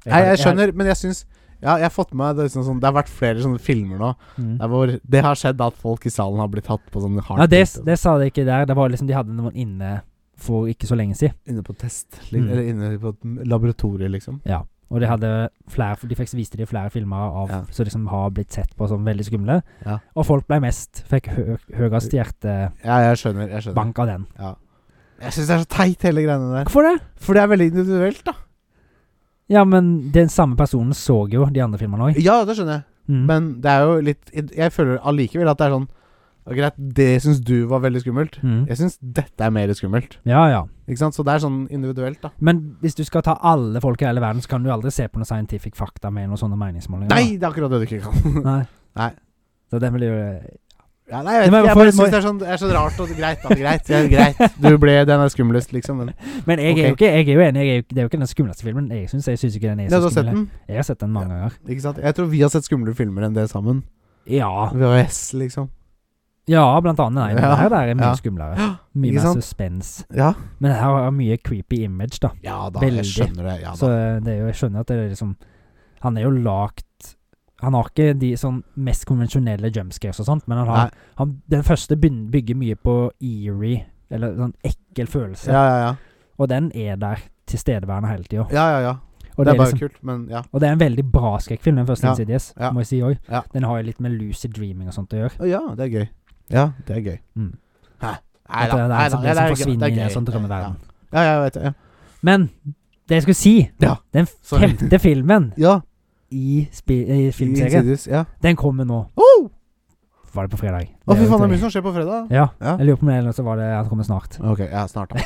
[SPEAKER 1] Nei,
[SPEAKER 2] hadde-
[SPEAKER 1] jeg skjønner, men jeg syns ja, jeg har fått med meg det, er liksom sånn, det har vært flere sånne filmer nå
[SPEAKER 2] hadde- Mm.
[SPEAKER 1] der hvor det har skjedd at folk i salen har blitt tatt på sånn hardt
[SPEAKER 2] Ja, det, det sa de ikke der. Det var liksom De hadde noen inne for ikke så lenge siden.
[SPEAKER 1] Inne på test, li-
[SPEAKER 2] Mm.
[SPEAKER 1] eller inne på et laboratorium, liksom.
[SPEAKER 2] Ja, og de hadde flere De fikk viste de flere filmer av
[SPEAKER 1] Ja.
[SPEAKER 2] som liksom har blitt sett på som veldig skumle.
[SPEAKER 1] Ja.
[SPEAKER 2] Og folk ble mest Fikk hø høyest hjertebank
[SPEAKER 1] Ja, jeg skjønner. Jeg skjønner.
[SPEAKER 2] av den.
[SPEAKER 1] Ja. Jeg syns det er så teit, hele greiene der.
[SPEAKER 2] Hvorfor det?
[SPEAKER 1] For det er veldig individuelt, da.
[SPEAKER 2] Ja, men den samme personen så jo de andre filmene òg.
[SPEAKER 1] Ja, det skjønner jeg.
[SPEAKER 2] Mm.
[SPEAKER 1] Men det er jo litt Jeg føler allikevel at det er sånn «Å, Greit, det syns du var veldig skummelt.
[SPEAKER 2] mm.
[SPEAKER 1] Jeg syns dette er mer skummelt.
[SPEAKER 2] Ja, ja.
[SPEAKER 1] Ikke sant? Så det er sånn individuelt, da.
[SPEAKER 2] Men hvis du skal ta alle folk i hele verden, så kan du aldri se på noe scientific fakta med noen sånne meningsmålinger.
[SPEAKER 1] Nei, det er akkurat det du ikke kan.
[SPEAKER 2] da. Nei.
[SPEAKER 1] Nei.
[SPEAKER 2] Så den vil jo eh,
[SPEAKER 1] Ja, nei, jeg vet
[SPEAKER 2] Men
[SPEAKER 1] ikke. Jeg bare
[SPEAKER 2] hvorfor må-
[SPEAKER 1] syns det er sånn, er så rart og greit. Da, greit, ja, greit. Du ble den er skumlest, liksom. Men
[SPEAKER 2] Men jeg,
[SPEAKER 1] Ok.
[SPEAKER 2] er jo ikke, jeg er jo enig, jeg er jo, ikke- det er jo ikke den skumleste filmen. Jeg syns jeg synes ikke den er
[SPEAKER 1] ja, du
[SPEAKER 2] så
[SPEAKER 1] har sett
[SPEAKER 2] skummel.
[SPEAKER 1] den?
[SPEAKER 2] Jeg har sett den mange ganger.
[SPEAKER 1] Ikke sant? Jeg tror vi har sett skumlere filmer enn det sammen.
[SPEAKER 2] Ja,
[SPEAKER 1] VHS, liksom.
[SPEAKER 2] ja blant annet. Nei, den
[SPEAKER 1] Ja.
[SPEAKER 2] her der er mye
[SPEAKER 1] Ja.
[SPEAKER 2] skumlere. Mye
[SPEAKER 1] Ikke
[SPEAKER 2] mer
[SPEAKER 1] sant?
[SPEAKER 2] suspens.
[SPEAKER 1] Ja,
[SPEAKER 2] Men her har mye creepy image, da.
[SPEAKER 1] ja da,
[SPEAKER 2] Veldig.
[SPEAKER 1] jeg skjønner det. Ja,
[SPEAKER 2] Så
[SPEAKER 1] da.
[SPEAKER 2] det er jo, jeg skjønner at det er liksom Han er jo lagt Han har ikke de sånn mest konvensjonelle jumpscares og sånt, men han har han, Den første begyn- bygger mye på eerie, eller sånn ekkel følelse,
[SPEAKER 1] Ja, ja, ja.
[SPEAKER 2] og den er der tilstedeværende hele tida.
[SPEAKER 1] ja, ja, ja.
[SPEAKER 2] Og,
[SPEAKER 1] Det er bare
[SPEAKER 2] liksom,
[SPEAKER 1] kult, men ja.
[SPEAKER 2] og det er en veldig bra skrekkfilm, den første
[SPEAKER 1] Ja,
[SPEAKER 2] Insidious,
[SPEAKER 1] ja.
[SPEAKER 2] må jeg si òg.
[SPEAKER 1] Ja.
[SPEAKER 2] Den har jo litt med lucid dreaming og sånt å gjøre.
[SPEAKER 1] Å ja, det er gøy. Ja, det er gøy.
[SPEAKER 2] Mm.
[SPEAKER 1] Hæ? Nei
[SPEAKER 2] At det er en som,
[SPEAKER 1] ja,
[SPEAKER 2] blir som
[SPEAKER 1] gøy,
[SPEAKER 2] forsvinner inn i en
[SPEAKER 1] gøy.
[SPEAKER 2] sånn drømmeverden.
[SPEAKER 1] Ja, ja, jeg vet det. Ja.
[SPEAKER 2] Men det jeg skulle si
[SPEAKER 1] Ja,
[SPEAKER 2] Den
[SPEAKER 1] sorry.
[SPEAKER 2] femte filmen
[SPEAKER 1] ja.
[SPEAKER 2] i, spi- i filmserien,
[SPEAKER 1] Insidious, Ja.
[SPEAKER 2] den kommer nå.
[SPEAKER 1] Oh!
[SPEAKER 2] Var det på fredag?
[SPEAKER 1] Å, fy
[SPEAKER 2] jo
[SPEAKER 1] faen, det er
[SPEAKER 2] tre.
[SPEAKER 1] mye som skjer på fredag.
[SPEAKER 2] Ja.
[SPEAKER 1] Ja.
[SPEAKER 2] Jeg lurer på om det eller så var det at det kommer snart.
[SPEAKER 1] Ok, ja, snart, da.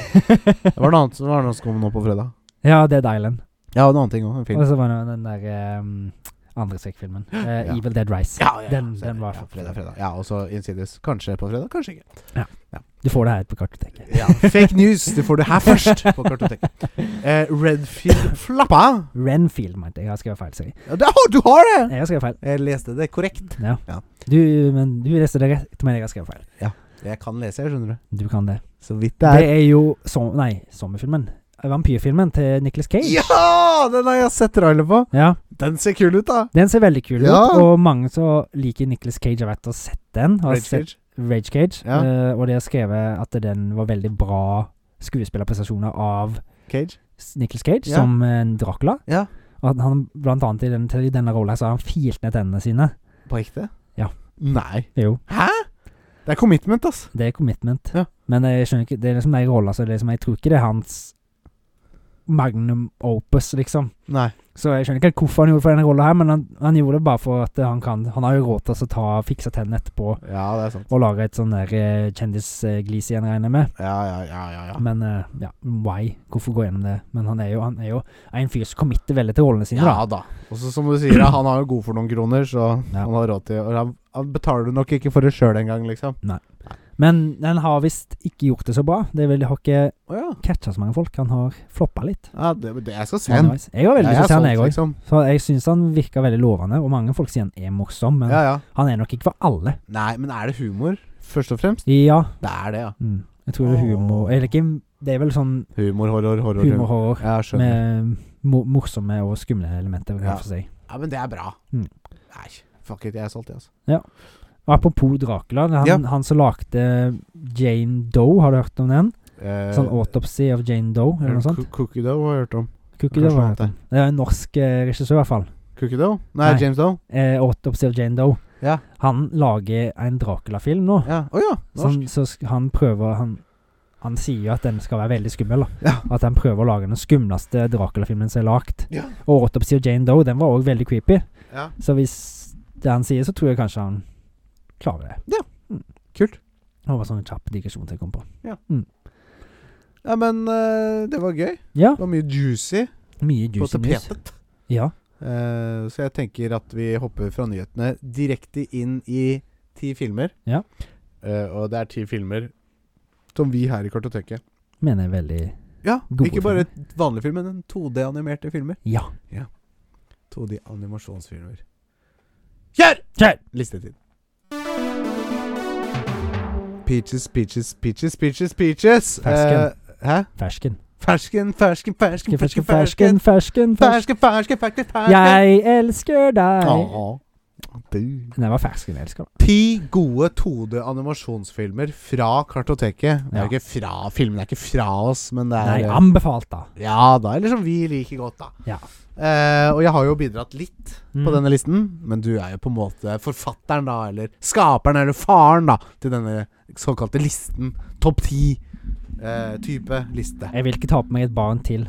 [SPEAKER 1] Det var noe annet, det var noe som kom nå på fredag.
[SPEAKER 2] ja, Dead Island.
[SPEAKER 1] Ja, og en annen ting òg. En film.
[SPEAKER 2] Og så var det den der um, andre skrekkfilmen. Eh,
[SPEAKER 1] Ja.
[SPEAKER 2] Evil Dead Rise.
[SPEAKER 1] Ja, ja, ja.
[SPEAKER 2] Den-
[SPEAKER 1] Så-
[SPEAKER 2] den var
[SPEAKER 1] ja,
[SPEAKER 2] for-
[SPEAKER 1] fredag, fredag. Ja, og så Insidious. Kanskje på fredag, kanskje ikke.
[SPEAKER 2] Du får det her på kartoteket.
[SPEAKER 1] Ja, Fake news! Det får du her først på kartoteket. Eh, Redfield Flappa!
[SPEAKER 2] Renfield, mente jeg. Jeg har skrevet feil. Sorry.
[SPEAKER 1] Ja, det- å, du har det!
[SPEAKER 2] Jeg har skrevet feil.
[SPEAKER 1] Jeg leste det korrekt.
[SPEAKER 2] Ja.
[SPEAKER 1] Ja.
[SPEAKER 2] Du, men du leste det rett, men jeg har skrevet feil.
[SPEAKER 1] Mm. Jeg kan lese, jeg, skjønner du.
[SPEAKER 2] Du kan det.
[SPEAKER 1] Så vidt
[SPEAKER 2] Det er jo som, Nei, sommerfilmen. Vampyrfilmen til Nicholas Cage.
[SPEAKER 1] Ja! Den har jeg sett trailer på.
[SPEAKER 2] Ja,
[SPEAKER 1] Den ser kul ut, da.
[SPEAKER 2] Den ser veldig kul
[SPEAKER 1] Ja.
[SPEAKER 2] ut, og mange som liker Nicholas Cage, har vært og sett den. Har
[SPEAKER 1] Rage
[SPEAKER 2] sett-
[SPEAKER 1] Cage.
[SPEAKER 2] Rage Cage,
[SPEAKER 1] Ja.
[SPEAKER 2] eh, og de har skrevet at den var veldig bra skuespillerprestasjoner av
[SPEAKER 1] Cage.
[SPEAKER 2] S- Nicolas Cage
[SPEAKER 1] Ja.
[SPEAKER 2] som en Dracula.
[SPEAKER 1] Ja.
[SPEAKER 2] Og at han blant annet i, den, til- i denne rollen her så har han filt ned tennene sine.
[SPEAKER 1] På ekte?
[SPEAKER 2] Ja.
[SPEAKER 1] Nei.
[SPEAKER 2] Jo,
[SPEAKER 1] Hæ? Det er commitment, ass.
[SPEAKER 2] det er commitment.
[SPEAKER 1] Ja.
[SPEAKER 2] Men jeg skjønner ikke, det er liksom de rollene så det er liksom, jeg tror ikke det er hans magnum opus, liksom.
[SPEAKER 1] Nei.
[SPEAKER 2] Så jeg skjønner ikke helt hvorfor han gjorde det for denne rollen her, men han, han gjorde det bare for at eh, han kan Han har jo råd til å ta, fikse tennene etterpå
[SPEAKER 1] Ja, det er sant.
[SPEAKER 2] og lage et sånn der eh, kjendisglis igjen, regner jeg med.
[SPEAKER 1] Ja, ja, ja, ja. ja.
[SPEAKER 2] Men eh, ja, why? Hvorfor gå gjennom det? Men han er jo, han er jo en fyr som committer veldig til rollene sine.
[SPEAKER 1] Ja da. Og så som du sier, ja, han har jo god for noen kroner, så
[SPEAKER 2] Ja.
[SPEAKER 1] han har råd til Og han, han betaler du nok ikke for det sjøl engang, liksom.
[SPEAKER 2] Da. Men den har visst ikke gjort det så bra. Det vil, har ikke
[SPEAKER 1] Å ja.
[SPEAKER 2] catcha så mange folk. Han har floppa litt.
[SPEAKER 1] ja det, det, jeg skal se den.
[SPEAKER 2] underveis. Jeg var veldig
[SPEAKER 1] Ja,
[SPEAKER 2] lyst til å se han,
[SPEAKER 1] solgt,
[SPEAKER 2] jeg òg.
[SPEAKER 1] liksom.
[SPEAKER 2] Så jeg syns han virka veldig lovende, og mange folk sier han er morsom, men
[SPEAKER 1] Ja, ja.
[SPEAKER 2] han er nok ikke for alle.
[SPEAKER 1] Nei, men er det humor, først og fremst?
[SPEAKER 2] Ja.
[SPEAKER 1] Det er det, ja.
[SPEAKER 2] Mm. Jeg tror det er humor Eller ikke Det er vel sånn
[SPEAKER 1] Humor, horror, horror. humor.
[SPEAKER 2] humorhorror
[SPEAKER 1] Ja, jeg skjønner.
[SPEAKER 2] med mo- morsomme og skumle elementer. hver
[SPEAKER 1] Ja.
[SPEAKER 2] for seg.
[SPEAKER 1] Ja, men det er bra.
[SPEAKER 2] Mm.
[SPEAKER 1] Nei, fuck it, jeg er solgt, jeg, altså.
[SPEAKER 2] Og apropos Dracula. Han,
[SPEAKER 1] Ja.
[SPEAKER 2] han som lagde Jane Doe, har du hørt om den?
[SPEAKER 1] Eh,
[SPEAKER 2] Sånn Autopsy of Jane Doe, eller noe sånt?
[SPEAKER 1] Coo- Cookie Dough har jeg hørt om.
[SPEAKER 2] Cookie
[SPEAKER 1] Kanskje
[SPEAKER 2] Doe var
[SPEAKER 1] noe
[SPEAKER 2] det.
[SPEAKER 1] annet
[SPEAKER 2] Det er en norsk eh, regissør, i hvert fall.
[SPEAKER 1] Cookie Dough? Nei,
[SPEAKER 2] Nei.
[SPEAKER 1] James Dough.
[SPEAKER 2] Eh, Autopsy of Jane Doe.
[SPEAKER 1] Ja.
[SPEAKER 2] Han lager en Dracula-film nå.
[SPEAKER 1] Ja. Å ja,
[SPEAKER 2] Så
[SPEAKER 1] norsk.
[SPEAKER 2] han, så sk- han prøver han, han sier jo at den skal være veldig skummel. da.
[SPEAKER 1] Ja.
[SPEAKER 2] At han prøver å lage den skumleste Dracula-filmen som er lagd.
[SPEAKER 1] Ja.
[SPEAKER 2] Og Autopsy of Jane Doe, den var òg veldig creepy.
[SPEAKER 1] Ja.
[SPEAKER 2] Så hvis det han sier, så tror jeg kanskje han klarer det.
[SPEAKER 1] Ja.
[SPEAKER 2] Mm.
[SPEAKER 1] Kult.
[SPEAKER 2] Det var sånn en kjapp digresjon som jeg kom på.
[SPEAKER 1] ja, men eh, det var gøy.
[SPEAKER 2] Ja,
[SPEAKER 1] Det var mye juicy
[SPEAKER 2] mye
[SPEAKER 1] på
[SPEAKER 2] juicy news.
[SPEAKER 1] tapetet.
[SPEAKER 2] Ja.
[SPEAKER 1] Eh, så jeg tenker at vi hopper fra nyhetene direkte inn i ti filmer.
[SPEAKER 2] Ja.
[SPEAKER 1] Eh, og det er ti filmer som vi her i Kartoteket
[SPEAKER 2] Mener jeg veldig
[SPEAKER 1] Ja,
[SPEAKER 2] Gode
[SPEAKER 1] ikke bare vanlige filmer, men 2D-animerte filmer.
[SPEAKER 2] Ja.
[SPEAKER 1] 2D-animasjonsfilmer. Kjør!
[SPEAKER 2] Kjør!
[SPEAKER 1] Listetid. Peaches, peaches, peaches, peaches, peaches.
[SPEAKER 2] Fersken.
[SPEAKER 1] Eh, hæ?
[SPEAKER 2] Fersken.
[SPEAKER 1] Fersken, fersken, fersken, fersken, fersken.
[SPEAKER 2] Fersken, fersken, fersken, fersken, fersken.
[SPEAKER 1] Fersken, fersken, fersken, fersken.
[SPEAKER 2] Jeg elsker deg.
[SPEAKER 1] Åh, du.
[SPEAKER 2] Den var fersken jeg elsker.
[SPEAKER 1] Ti gode 2D-animasjonsfilmer fra Kartoteket. Det er
[SPEAKER 2] Ja.
[SPEAKER 1] ikke fra filmen, det er ikke fra oss, men det
[SPEAKER 2] Nei,
[SPEAKER 1] er eh,
[SPEAKER 2] anbefalt, da.
[SPEAKER 1] Ja da, eller som vi liker godt, da.
[SPEAKER 2] Ja.
[SPEAKER 1] Eh, og jeg har jo bidratt litt
[SPEAKER 2] Mm.
[SPEAKER 1] på denne listen, men du er jo på en måte forfatteren, da, eller skaperen, eller faren, da, til denne såkalte listen. Topp ti-type liste.
[SPEAKER 2] Jeg vil ikke ta på meg et barn til.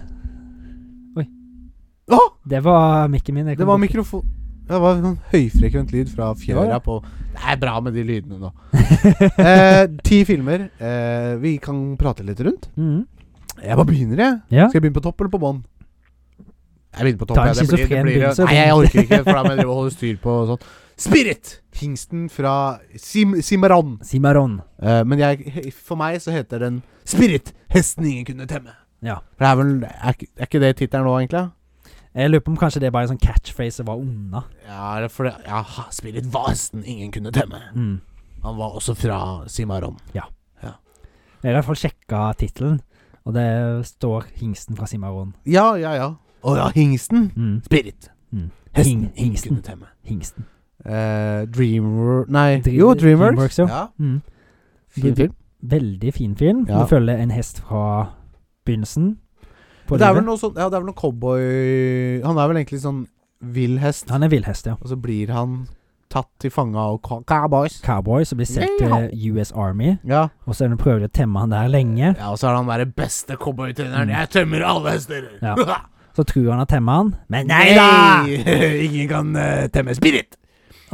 [SPEAKER 1] Å!
[SPEAKER 2] Det var mikken min. jeg
[SPEAKER 1] Det
[SPEAKER 2] kom
[SPEAKER 1] var
[SPEAKER 2] på.
[SPEAKER 1] mikrofon... Det var sånn høyfrekvent lyd fra
[SPEAKER 2] Ja,
[SPEAKER 1] fjøra
[SPEAKER 2] ja.
[SPEAKER 1] på Det er bra med de lydene nå. eh, ti filmer. Eh, vi kan prate litt rundt.
[SPEAKER 2] Mhm.
[SPEAKER 1] Jeg bare begynner, jeg.
[SPEAKER 2] Ja.
[SPEAKER 1] Skal jeg begynne på topp eller på bånn? Jeg begynner på topp.
[SPEAKER 2] Ta en
[SPEAKER 1] ja, det blir- det
[SPEAKER 2] schizofren
[SPEAKER 1] blir-
[SPEAKER 2] begynnelse,
[SPEAKER 1] Nei, jeg
[SPEAKER 2] du.
[SPEAKER 1] orker ikke, for da må jeg drive og holde styr på og sånt. Spirit! Hingsten fra Sim Simaron.
[SPEAKER 2] Simaron.
[SPEAKER 1] Eh, men jeg, for meg så heter den Spirit, hesten ingen kunne temme.
[SPEAKER 2] Ja.
[SPEAKER 1] For det er vel Er, ikke- er ikke det tittelen nå, egentlig?
[SPEAKER 2] Jeg lurer på om kanskje det er bare en sånn catchphrase som var unna.
[SPEAKER 1] Ja, det er for det, ja, ha, Spirit var hesten ingen kunne temme.
[SPEAKER 2] Mm.
[SPEAKER 1] Han var også fra Simaron.
[SPEAKER 2] Jeg har i hvert fall sjekka tittelen, og det står Hingsten fra Simaron.
[SPEAKER 1] Ja, ja, ja. Å ja, hingsten.
[SPEAKER 2] Mm.
[SPEAKER 1] Spirit.
[SPEAKER 2] Mm.
[SPEAKER 1] Hesten
[SPEAKER 2] Hing-
[SPEAKER 1] ingen
[SPEAKER 2] hingsten.
[SPEAKER 1] kunne temme.
[SPEAKER 2] Hingsten.
[SPEAKER 1] Eh, Dreamwork Nei,
[SPEAKER 2] Dream-
[SPEAKER 1] jo, Dreamworks.
[SPEAKER 2] Dreamworks, jo.
[SPEAKER 1] Ja.
[SPEAKER 2] Mm.
[SPEAKER 1] Fin film.
[SPEAKER 2] Veldig fin film.
[SPEAKER 1] Ja.
[SPEAKER 2] Du følger en hest fra begynnelsen. på
[SPEAKER 1] Det er vel
[SPEAKER 2] livet.
[SPEAKER 1] noe sånn Ja, det er vel noe cowboy Han er vel egentlig sånn vill hest,
[SPEAKER 2] Han er villhest, ja.
[SPEAKER 1] og så blir han tatt til fange av cow- cowboys.
[SPEAKER 2] Cowboy som blir sendt til US Army,
[SPEAKER 1] Ja.
[SPEAKER 2] og så er det prøver de å temme han der lenge.
[SPEAKER 1] ja, og så er han den beste cowboytreneren.
[SPEAKER 2] Mm.
[SPEAKER 1] Jeg tømmer alle hester!
[SPEAKER 2] Ja. Så tror han har temmet han, men
[SPEAKER 1] Nei
[SPEAKER 2] nei da!
[SPEAKER 1] Ingen kan eh, temme spirit!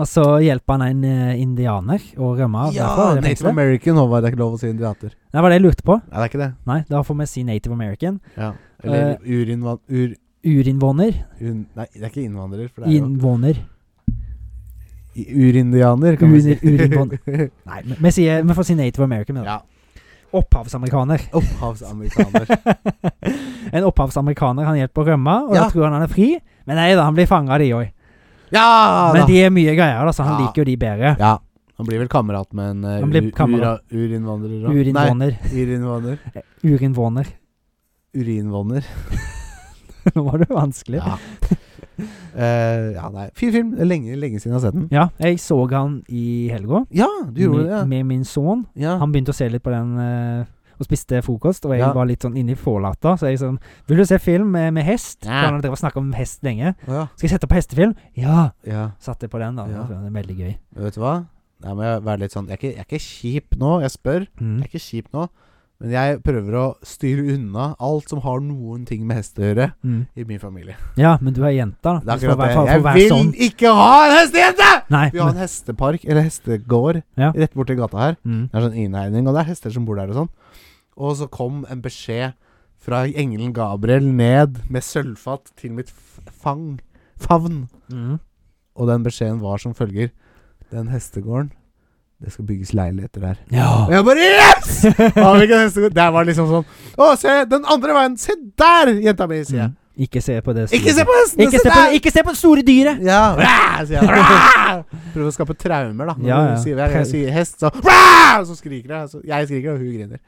[SPEAKER 2] Og så hjelper han en eh, indianer å rømme av.
[SPEAKER 1] Ja,
[SPEAKER 2] derfra, det
[SPEAKER 1] Native
[SPEAKER 2] fengselet.
[SPEAKER 1] American, Håvard. Det er ikke lov å si indiater.
[SPEAKER 2] Det var det jeg lurte på.
[SPEAKER 1] Nei, det er ikke det.
[SPEAKER 2] Nei, da får vi si Native American.
[SPEAKER 1] Ja.
[SPEAKER 2] Eh,
[SPEAKER 1] Eller urinvan... Ur,
[SPEAKER 2] Urinnvåner.
[SPEAKER 1] un, nei, det er ikke innvandrer, for det er jo
[SPEAKER 2] Innvåner.
[SPEAKER 1] i- Urindianer, kan vi si.
[SPEAKER 2] Urin- urinvan- Nei, men vi, sier, vi får si Native American. Med det.
[SPEAKER 1] ja.
[SPEAKER 2] Opphavsamerikaner.
[SPEAKER 1] Opphavsamerikaner.
[SPEAKER 2] en opphavsamerikaner han hjelper å rømme, og
[SPEAKER 1] Ja.
[SPEAKER 2] da tror han han er fri. Men nei da, han blir fanga, de òg.
[SPEAKER 1] ja
[SPEAKER 2] Men
[SPEAKER 1] da!
[SPEAKER 2] de er mye greiere, da, så han
[SPEAKER 1] Ja.
[SPEAKER 2] liker jo de bedre.
[SPEAKER 1] Ja. Han blir vel kamerat med en eh,
[SPEAKER 2] Han blir
[SPEAKER 1] u-
[SPEAKER 2] kamerat.
[SPEAKER 1] ura- urinnvandrer da.
[SPEAKER 2] Urinnvåner.
[SPEAKER 1] Nei, urinnvandrer.
[SPEAKER 2] Urinnvåner.
[SPEAKER 1] Urinvåner.
[SPEAKER 2] Nå var det vanskelig.
[SPEAKER 1] Ja. Eh, ja, nei. Fin film. Det er Lenge, lenge siden jeg har sett den.
[SPEAKER 2] Ja, jeg så han i helga.
[SPEAKER 1] Ja, du gjorde
[SPEAKER 2] med,
[SPEAKER 1] det, ja.
[SPEAKER 2] med min sønn.
[SPEAKER 1] ja.
[SPEAKER 2] Han begynte å se litt på den eh, og spiste frokost, og jeg
[SPEAKER 1] Ja.
[SPEAKER 2] var litt sånn inne i forlata. Så jeg sånn 'Vil du se film med, med hest?'
[SPEAKER 1] Ja.
[SPEAKER 2] For han hadde snakka om hest lenge.
[SPEAKER 1] Å, ja.
[SPEAKER 2] 'Skal jeg sette på hestefilm?' Ja!
[SPEAKER 1] ja.
[SPEAKER 2] Satte jeg på den, da.
[SPEAKER 1] Ja.
[SPEAKER 2] Det var veldig gøy.
[SPEAKER 1] Men Vet du hva? Nei, må jeg være litt sånn jeg er, ikke, jeg er ikke kjip nå. Jeg spør.
[SPEAKER 2] Mm.
[SPEAKER 1] Jeg er ikke kjip nå. Men jeg prøver å styre unna alt som har noen ting med hest å gjøre
[SPEAKER 2] Mm.
[SPEAKER 1] i min familie.
[SPEAKER 2] Ja, men du er jenta,
[SPEAKER 1] Det
[SPEAKER 2] da.
[SPEAKER 1] er akkurat det.
[SPEAKER 2] for,
[SPEAKER 1] Jeg vil
[SPEAKER 2] sånn.
[SPEAKER 1] ikke ha en hestejente!
[SPEAKER 2] Nei,
[SPEAKER 1] Vi har
[SPEAKER 2] men,
[SPEAKER 1] en hestepark, eller hestegård,
[SPEAKER 2] Ja.
[SPEAKER 1] rett borti gata her.
[SPEAKER 2] mm.
[SPEAKER 1] Det er sånn innhegning, og det er hester som bor der og sånn. Og så kom en beskjed fra engelen Gabriel ned med sølvfat til mitt f- fang favn.
[SPEAKER 2] Mm.
[SPEAKER 1] Og den beskjeden var som følger Den hestegården Det skal bygges leiligheter der
[SPEAKER 2] Ja.
[SPEAKER 1] Og jeg bare yes! Ja, hvilken hestegård Det var liksom sånn Å se den andre veien Se der jenta mi sier jeg
[SPEAKER 2] Mm. Ikke se på det. store-
[SPEAKER 1] Ikke se på hestene
[SPEAKER 2] Ikke se på,
[SPEAKER 1] der
[SPEAKER 2] ikke se på det store dyret!
[SPEAKER 1] Ja rah, sier jeg Rah! Prøver å skape traumer da Når
[SPEAKER 2] Ja, ja.
[SPEAKER 1] du sier, hver gang jeg sier hest Så rah! Så skriker jeg så Jeg skriker og hun griner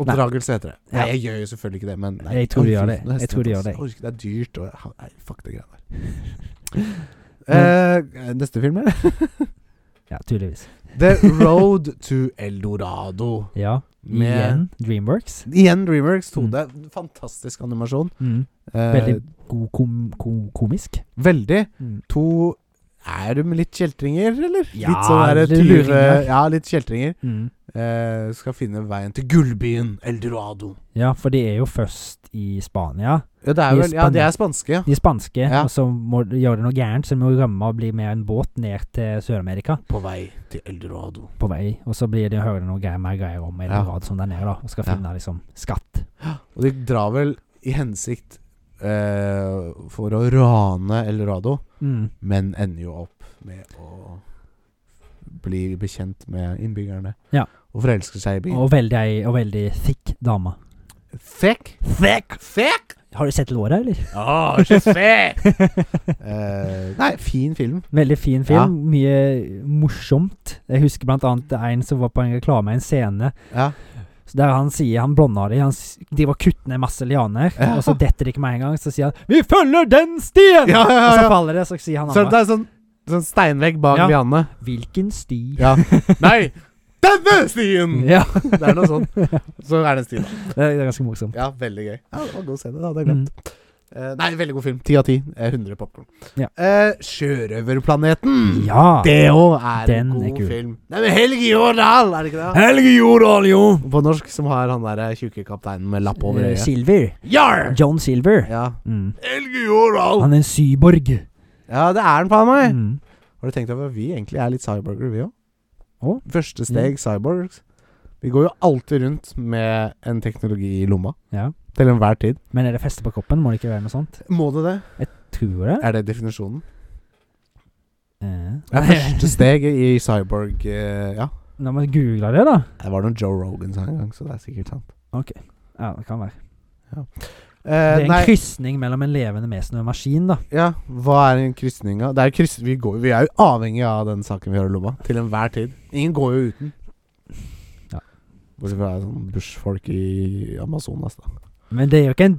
[SPEAKER 1] Oppdragelse heter det
[SPEAKER 2] Ja.
[SPEAKER 1] Nei, jeg gjør jo selvfølgelig ikke det Men nei,
[SPEAKER 2] Jeg tror de gjør
[SPEAKER 1] orker
[SPEAKER 2] det.
[SPEAKER 1] ikke noe
[SPEAKER 2] Jeg tror de
[SPEAKER 1] hestejente,
[SPEAKER 2] gjør det.
[SPEAKER 1] ass. Orker ikke, Det er dyrt og ha- Nei, fuck det greiene der Eh, Neste film eller?
[SPEAKER 2] Ja, tydeligvis.
[SPEAKER 1] The Road to Eldorado.
[SPEAKER 2] Ja.
[SPEAKER 1] Med-
[SPEAKER 2] Igjen Dreamworks.
[SPEAKER 1] Igjen Dreamworks 2D. Fantastisk animasjon.
[SPEAKER 2] Mm.
[SPEAKER 1] Eh,
[SPEAKER 2] Veldig god kom, kom, komisk.
[SPEAKER 1] veldig.
[SPEAKER 2] Mm.
[SPEAKER 1] To Er du med litt kjeltringer, eller?
[SPEAKER 2] Ja,
[SPEAKER 1] litt sånn der
[SPEAKER 2] litt
[SPEAKER 1] tyve-
[SPEAKER 2] luringer.
[SPEAKER 1] Ja, litt kjeltringer.
[SPEAKER 2] Mm.
[SPEAKER 1] Eh, skal finne veien til gullbyen Eldorado.
[SPEAKER 2] Ja, for de er jo først i Spania.
[SPEAKER 1] Ja, det er
[SPEAKER 2] I
[SPEAKER 1] vel Ja, de
[SPEAKER 2] Spania.
[SPEAKER 1] er spanske, ja.
[SPEAKER 2] De er spanske,
[SPEAKER 1] Ja.
[SPEAKER 2] og så må de gjøre noe gærent, så de må rømme og bli med en båt ned til Sør-Amerika
[SPEAKER 1] På vei til Eldorado.
[SPEAKER 2] på vei. Og så blir de hører de noe greier, mer greier om en
[SPEAKER 1] Ja.
[SPEAKER 2] rad som der nede, da, og skal
[SPEAKER 1] Ja.
[SPEAKER 2] finne liksom skatt.
[SPEAKER 1] Og de drar vel i hensikt eh, for å rane Eldorado,
[SPEAKER 2] Mm.
[SPEAKER 1] men ender jo opp med å bli bekjent med innbyggerne.
[SPEAKER 2] Ja.
[SPEAKER 1] Og forelsker seg i byen.
[SPEAKER 2] Og veldig, ei- og veldig thick dame.
[SPEAKER 1] Thick?
[SPEAKER 2] Thick!
[SPEAKER 1] Thick?
[SPEAKER 2] Har du sett låret, eller?
[SPEAKER 1] Oh, she's thick! Eh, nei, fin film.
[SPEAKER 2] Veldig fin
[SPEAKER 1] Ja.
[SPEAKER 2] film. Mye morsomt. Jeg husker blant annet en som var på en reklame, en scene,
[SPEAKER 1] Ja.
[SPEAKER 2] Så der han sier han blanda de. Han s- de var kutt ned masse lianer,
[SPEAKER 1] Ja.
[SPEAKER 2] og så detter de ikke med en gang. Så sier han 'Vi følger den stien!'
[SPEAKER 1] Ja, ja,
[SPEAKER 2] Og så
[SPEAKER 1] ja.
[SPEAKER 2] faller det, så sier han
[SPEAKER 1] Så
[SPEAKER 2] andre
[SPEAKER 1] det er sånn, sånn steinvegg bak
[SPEAKER 2] Ja.
[SPEAKER 1] Lianne.
[SPEAKER 2] 'Hvilken sti?'
[SPEAKER 1] Ja. nei! Denne stien!
[SPEAKER 2] Ja,
[SPEAKER 1] Det er noe sånn. Så er det en sti, da.
[SPEAKER 2] det er det er ganske morsomt.
[SPEAKER 1] Ja, veldig gøy. Ja, det var god scene, da. Det hadde jeg
[SPEAKER 2] Mm.
[SPEAKER 1] glemt. Eh, nei, veldig god film. Ti av ti. Eh, 100 popkorn.
[SPEAKER 2] Ja.
[SPEAKER 1] Eh, Sjørøverplaneten.
[SPEAKER 2] Ja.
[SPEAKER 1] Det òg er
[SPEAKER 2] Den
[SPEAKER 1] en
[SPEAKER 2] er
[SPEAKER 1] god
[SPEAKER 2] kul.
[SPEAKER 1] film. Det er med Helge Jordal, er det ikke det?
[SPEAKER 2] Helge Jordal, jo!
[SPEAKER 1] På norsk som har han derre tjukke kapteinen med lapp over
[SPEAKER 2] Eh,
[SPEAKER 1] øyet.
[SPEAKER 2] Silver.
[SPEAKER 1] Jarr!
[SPEAKER 2] John Silver.
[SPEAKER 1] Ja.
[SPEAKER 2] Mm.
[SPEAKER 1] Helge Jordal!
[SPEAKER 2] Han er en syborg.
[SPEAKER 1] Ja, det er den faen meg.
[SPEAKER 2] Mm.
[SPEAKER 1] Har du tenkt over at vi egentlig er litt cyborger, vi òg?
[SPEAKER 2] Å? Mm.
[SPEAKER 1] Første steg cyborgs. Vi går jo alltid rundt med en teknologi i lomma.
[SPEAKER 2] Ja.
[SPEAKER 1] Til enhver tid.
[SPEAKER 2] Men er det feste på kroppen? Må det ikke være noe sånt?
[SPEAKER 1] Må det det?
[SPEAKER 2] Tror jeg.
[SPEAKER 1] Er det definisjonen?
[SPEAKER 2] Eh.
[SPEAKER 1] Det er første steget i Cyborg eh, Ja.
[SPEAKER 2] La meg google det, da.
[SPEAKER 1] Det var noen Joe Rogan sa en gang, så det er sikkert sant.
[SPEAKER 2] Ja, det kan være. Det
[SPEAKER 1] Eh,
[SPEAKER 2] er en
[SPEAKER 1] nei,
[SPEAKER 2] krysning mellom en levende mesen og en maskin, da.
[SPEAKER 1] ja, hva er en krysning av? Det er kryss, vi, går, vi er jo avhengig av den saken vi har i lomma, til enhver tid. Ingen går jo uten.
[SPEAKER 2] Ja.
[SPEAKER 1] Bortsett fra sånn bushfolk i Amazonas, da.
[SPEAKER 2] Men det er jo ikke en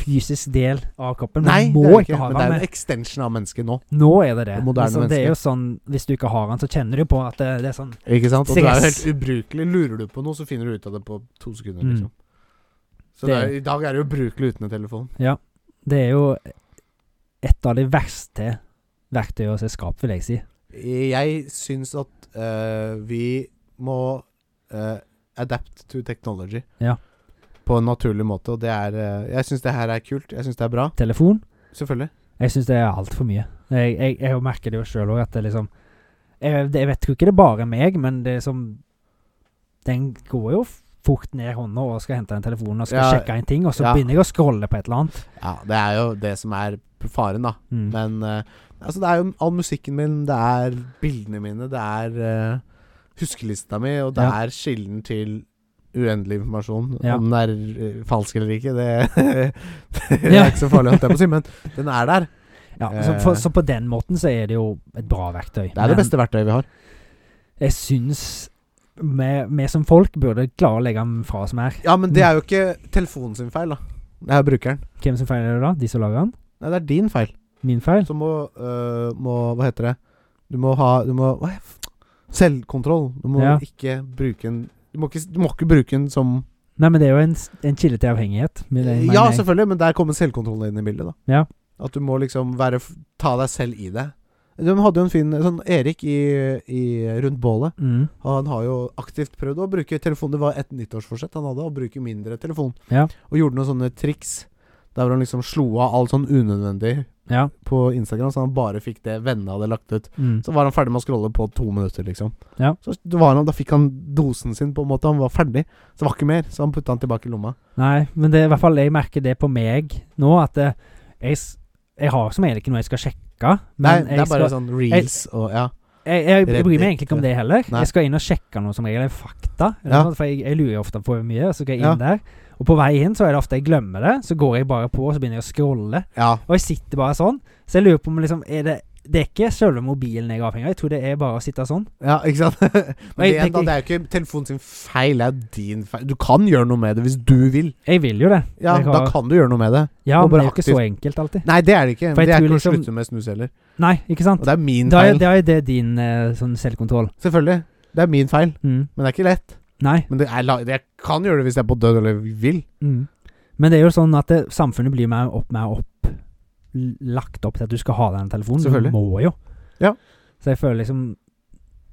[SPEAKER 2] fysisk del av kroppen.
[SPEAKER 1] Nei,
[SPEAKER 2] Man må
[SPEAKER 1] det er det
[SPEAKER 2] ikke,
[SPEAKER 1] ikke,
[SPEAKER 2] ha
[SPEAKER 1] men det
[SPEAKER 2] den.
[SPEAKER 1] er
[SPEAKER 2] men
[SPEAKER 1] en extension av mennesket nå.
[SPEAKER 2] Nå er det det.
[SPEAKER 1] Det moderne
[SPEAKER 2] Altså, det er jo sånn, Hvis du ikke har den, så kjenner du på at det, det er sånn
[SPEAKER 1] Ikke sant? Og du er jo
[SPEAKER 2] Stress.
[SPEAKER 1] helt ubrukelig. Lurer du på noe, så finner du ut av det på to sekunder.
[SPEAKER 2] Mm.
[SPEAKER 1] Liksom. Så det
[SPEAKER 2] Det er-
[SPEAKER 1] er, i dag er det ubrukelig uten en telefon.
[SPEAKER 2] Ja. Det er jo et av de verste verktøyene som er skapt, vil jeg si.
[SPEAKER 1] Jeg syns at eh, vi må eh, adapt to technology
[SPEAKER 2] Ja.
[SPEAKER 1] på en naturlig måte, og det er eh, Jeg syns det her er kult. Jeg syns det er bra.
[SPEAKER 2] Telefon.
[SPEAKER 1] Selvfølgelig.
[SPEAKER 2] Jeg syns det er altfor mye. Jeg, jeg, jeg merker det jo sjøl òg, at det liksom jeg, det- jeg vet jo ikke det er bare meg, men det er som Den går jo fort ned hånda og skal hente den telefonen og skal
[SPEAKER 1] Ja,
[SPEAKER 2] sjekke en ting, og så
[SPEAKER 1] ja.
[SPEAKER 2] begynner jeg å scrolle på et eller annet.
[SPEAKER 1] Ja, det er jo det som er faren, da.
[SPEAKER 2] Mm.
[SPEAKER 1] Men eh, altså, det er jo all musikken min, det er bildene mine, det er eh, huskelista mi, og det
[SPEAKER 2] Ja.
[SPEAKER 1] er kilden til uendelig informasjon.
[SPEAKER 2] Ja.
[SPEAKER 1] Om den er eh, falsk eller ikke, det, det
[SPEAKER 2] Ja.
[SPEAKER 1] er ikke så farlig, holdt jeg på å si, men den er der.
[SPEAKER 2] ja, så, for,
[SPEAKER 1] eh.
[SPEAKER 2] så på den måten så er det jo et bra verktøy.
[SPEAKER 1] Det er
[SPEAKER 2] men
[SPEAKER 1] det beste verktøyet vi har.
[SPEAKER 2] jeg syns vi vi som folk burde klare å legge den fra oss mer.
[SPEAKER 1] Ja, men det er jo ikke telefonen sin feil, da. Det er jo brukeren.
[SPEAKER 2] Hvem som feiler det da? De som lager den?
[SPEAKER 1] Nei, det er din feil.
[SPEAKER 2] Min feil?
[SPEAKER 1] Så må, øh, må Hva heter det? Du må ha Du må hva er f- Selvkontroll. Du må
[SPEAKER 2] Ja.
[SPEAKER 1] ikke bruke en du må, ikke, du må ikke bruke den som
[SPEAKER 2] Nei, men det er jo en, s- en kilde til avhengighet. men det- men
[SPEAKER 1] Ja,
[SPEAKER 2] jeg-
[SPEAKER 1] selvfølgelig, men der kommer selvkontrollen inn i bildet. da
[SPEAKER 2] Ja.
[SPEAKER 1] At du må liksom være f- ta deg selv i det. De hadde jo en fin sånn Erik i, i Rundt bålet.
[SPEAKER 2] Mm.
[SPEAKER 1] Han har jo aktivt prøvd å bruke telefon. Det var et nyttårsforsett han hadde, å bruke mindre telefon.
[SPEAKER 2] Ja.
[SPEAKER 1] Og gjorde noen sånne triks der hvor han liksom slo av alt sånn unødvendig
[SPEAKER 2] Ja.
[SPEAKER 1] på Instagram, så han bare fikk det vennene hadde lagt ut.
[SPEAKER 2] Mm.
[SPEAKER 1] Så var han ferdig med å scrolle på to minutter, liksom.
[SPEAKER 2] Ja.
[SPEAKER 1] Så det var han, da fikk han dosen sin, på en måte. Han var ferdig. Så det var ikke mer. Så han putta han tilbake i lomma.
[SPEAKER 2] Nei, men det er i hvert fall jeg merker det på meg nå, at eh, jeg, s- jeg har som regel ikke noe jeg skal sjekke.
[SPEAKER 1] Nei,
[SPEAKER 2] Men
[SPEAKER 1] det er
[SPEAKER 2] jeg,
[SPEAKER 1] bare
[SPEAKER 2] skal,
[SPEAKER 1] sånn reels og ja.
[SPEAKER 2] jeg, jeg, jeg bryr
[SPEAKER 1] Reddit,
[SPEAKER 2] meg egentlig ikke om
[SPEAKER 1] ja.
[SPEAKER 2] det heller.
[SPEAKER 1] Nei.
[SPEAKER 2] Jeg skal inn og sjekke noe som regel er fakta. Eller
[SPEAKER 1] Ja.
[SPEAKER 2] noe, for jeg, jeg lurer ofte på mye, så skal jeg
[SPEAKER 1] Ja.
[SPEAKER 2] inn der. Og på vei inn så er det ofte jeg glemmer det. Så går jeg bare på, og så begynner jeg å scrolle.
[SPEAKER 1] Ja.
[SPEAKER 2] Og jeg sitter bare sånn. Så jeg lurer på om liksom er det det er ikke selve mobilen jeg er avhengig av, jeg tror det er bare å sitte sånn.
[SPEAKER 1] Ja, ikke sant? Men
[SPEAKER 2] jeg
[SPEAKER 1] igjen, da,
[SPEAKER 2] tenker-
[SPEAKER 1] det er jo ikke telefonen sin feil, det er jo din feil. Du kan gjøre noe med det hvis du vil.
[SPEAKER 2] Jeg vil jo det.
[SPEAKER 1] Ja,
[SPEAKER 2] Jeg
[SPEAKER 1] Da
[SPEAKER 2] har-
[SPEAKER 1] kan du gjøre noe med det.
[SPEAKER 2] Ja,
[SPEAKER 1] Og
[SPEAKER 2] men det
[SPEAKER 1] bare
[SPEAKER 2] er jo ikke så enkelt alltid.
[SPEAKER 1] Nei, det er det ikke.
[SPEAKER 2] For jeg
[SPEAKER 1] Det er
[SPEAKER 2] tror
[SPEAKER 1] ikke å
[SPEAKER 2] liksom-
[SPEAKER 1] slutte med snus heller.
[SPEAKER 2] Nei, ikke sant?
[SPEAKER 1] Og det er min
[SPEAKER 2] Da er,
[SPEAKER 1] feil.
[SPEAKER 2] da er det din eh, sånn selvkontroll.
[SPEAKER 1] Selvfølgelig. Det er min feil,
[SPEAKER 2] Mm.
[SPEAKER 1] men det er ikke lett.
[SPEAKER 2] Nei.
[SPEAKER 1] Men det er, la- jeg kan gjøre det hvis jeg er på død eller vil.
[SPEAKER 2] Mm. Men det er jo sånn at det, samfunnet blir mer opp, mer opp l- lagt opp til at du skal ha den telefonen.
[SPEAKER 1] Selvfølgelig.
[SPEAKER 2] Du må jo.
[SPEAKER 1] Ja.
[SPEAKER 2] Så jeg føler liksom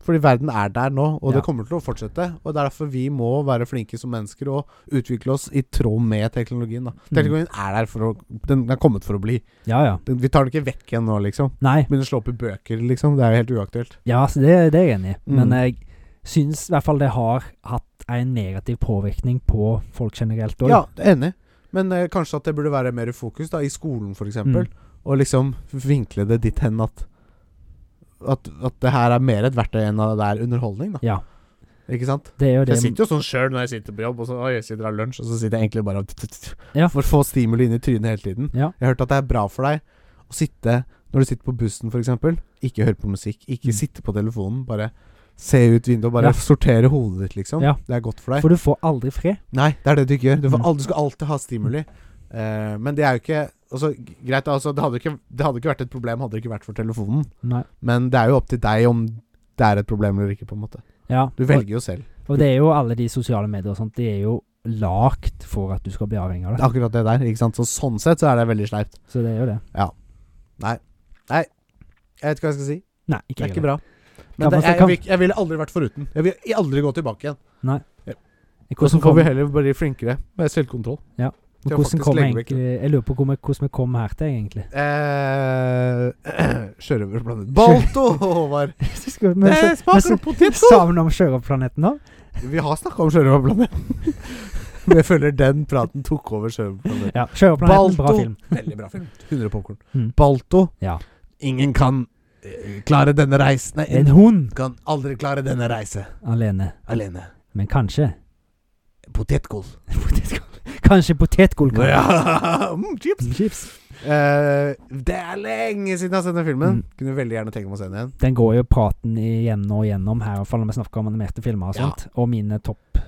[SPEAKER 1] Fordi verden er der nå, og
[SPEAKER 2] Ja.
[SPEAKER 1] det kommer til å fortsette. Og det er derfor vi må være flinke som mennesker og utvikle oss i tråd med teknologien. Da. Teknologien er der for å Den er kommet for å bli.
[SPEAKER 2] Ja, ja.
[SPEAKER 1] Den, vi tar den ikke vekk igjen nå, liksom.
[SPEAKER 2] Nei.
[SPEAKER 1] Begynner å slå opp i bøker, liksom. Det er jo helt uaktuelt.
[SPEAKER 2] Ja, så det, det er jeg enig i.
[SPEAKER 1] Mm.
[SPEAKER 2] Men jeg syns i hvert fall det har hatt en negativ påvirkning på folk generelt òg.
[SPEAKER 1] Ja, enig. Men eh, kanskje at det burde være mer fokus da i skolen, f.eks. eksempel Og liksom vinkle det dit hen at, at At det her er mer et verktøy enn at det er underholdning, da.
[SPEAKER 2] Ja.
[SPEAKER 1] Ikke sant?
[SPEAKER 2] Det er jo
[SPEAKER 1] For
[SPEAKER 2] det
[SPEAKER 1] Jeg sitter jo sånn sjøl når jeg sitter på jobb, og så oi, jeg sitter og har lunsj, og så sitter jeg egentlig bare og
[SPEAKER 2] Ja.
[SPEAKER 1] For å få stimuli inn i trynet hele tiden.
[SPEAKER 2] Ja.
[SPEAKER 1] Jeg har hørt at det er bra for deg å sitte når du sitter på bussen, f.eks. Ikke høre på musikk, ikke
[SPEAKER 2] Mm.
[SPEAKER 1] sitte på telefonen. Bare se ut vinduet, bare
[SPEAKER 2] Ja.
[SPEAKER 1] sortere hodet ditt, liksom.
[SPEAKER 2] Ja.
[SPEAKER 1] Det er godt for deg.
[SPEAKER 2] For du får aldri fred.
[SPEAKER 1] Nei, det er det du ikke gjør. Du, får
[SPEAKER 2] Mm.
[SPEAKER 1] al- du skal alltid ha stimuli. Eh, men det er jo ikke altså, g- Greit, altså, det hadde ikke, det hadde ikke vært et problem hadde det ikke vært for telefonen.
[SPEAKER 2] Nei.
[SPEAKER 1] Men det er jo opp til deg om det er et problem eller ikke, på en måte.
[SPEAKER 2] Ja.
[SPEAKER 1] Du velger jo selv.
[SPEAKER 2] Og, og det er jo alle de sosiale medier og sånt, de er jo lagd for at du skal bli avhengig av
[SPEAKER 1] Det
[SPEAKER 2] det.
[SPEAKER 1] er Akkurat det der. ikke sant? Så Sånn sett så er det veldig sleipt.
[SPEAKER 2] Så det er jo det.
[SPEAKER 1] Jeg vet ikke hva jeg skal si.
[SPEAKER 2] Nei, ikke,
[SPEAKER 1] Det er
[SPEAKER 2] jeg
[SPEAKER 1] ikke bra. Men det,
[SPEAKER 2] Kan man-
[SPEAKER 1] jeg,
[SPEAKER 2] kan-
[SPEAKER 1] jeg, vil- jeg ville aldri vært foruten. Jeg vil aldri gå tilbake igjen. Og
[SPEAKER 2] Hvordan
[SPEAKER 1] så får
[SPEAKER 2] kom-
[SPEAKER 1] vi heller bli flinkere med selvkontroll. Det
[SPEAKER 2] Men
[SPEAKER 1] er
[SPEAKER 2] hvordan
[SPEAKER 1] faktisk
[SPEAKER 2] kom jeg
[SPEAKER 1] legevekk,
[SPEAKER 2] egentlig Jeg lurer på hvor vi- hvordan vi kom her til, egentlig.
[SPEAKER 1] Eh, Sjørøverplanet Balto, Håvard. Eh,
[SPEAKER 2] Så skal vi- men
[SPEAKER 1] Det
[SPEAKER 2] så-
[SPEAKER 1] smaker
[SPEAKER 2] men så-
[SPEAKER 1] potet.
[SPEAKER 2] Sa vi noe om sjørøverplaneten nå?
[SPEAKER 1] Vi har snakka om sjørøverplaneten. Men jeg føler den praten tok over sjørøverplaneten.
[SPEAKER 2] Ja. Sjørøverplaneten, bra
[SPEAKER 1] Balto.
[SPEAKER 2] film.
[SPEAKER 1] Veldig bra film. 100 popkorn.
[SPEAKER 2] Mm.
[SPEAKER 1] Balto.
[SPEAKER 2] Ja.
[SPEAKER 1] Ingen kan eh, klare denne reisen. Nei,
[SPEAKER 2] En hund
[SPEAKER 1] kan aldri klare denne reisen
[SPEAKER 2] alene.
[SPEAKER 1] alene.
[SPEAKER 2] Men kanskje
[SPEAKER 1] Potetgull.
[SPEAKER 2] potetgull Kanskje potetgull kan
[SPEAKER 1] Ja. Mm, chips.
[SPEAKER 2] Chips.
[SPEAKER 1] Eh, det er lenge siden jeg har sett den filmen.
[SPEAKER 2] Mm.
[SPEAKER 1] Kunne veldig gjerne tenke meg å se den igjen.
[SPEAKER 2] Den går jo praten igjennom og igjennom her, i hvert fall når vi snakker om animerte filmer og
[SPEAKER 1] Ja.
[SPEAKER 2] sånt. Og mine topp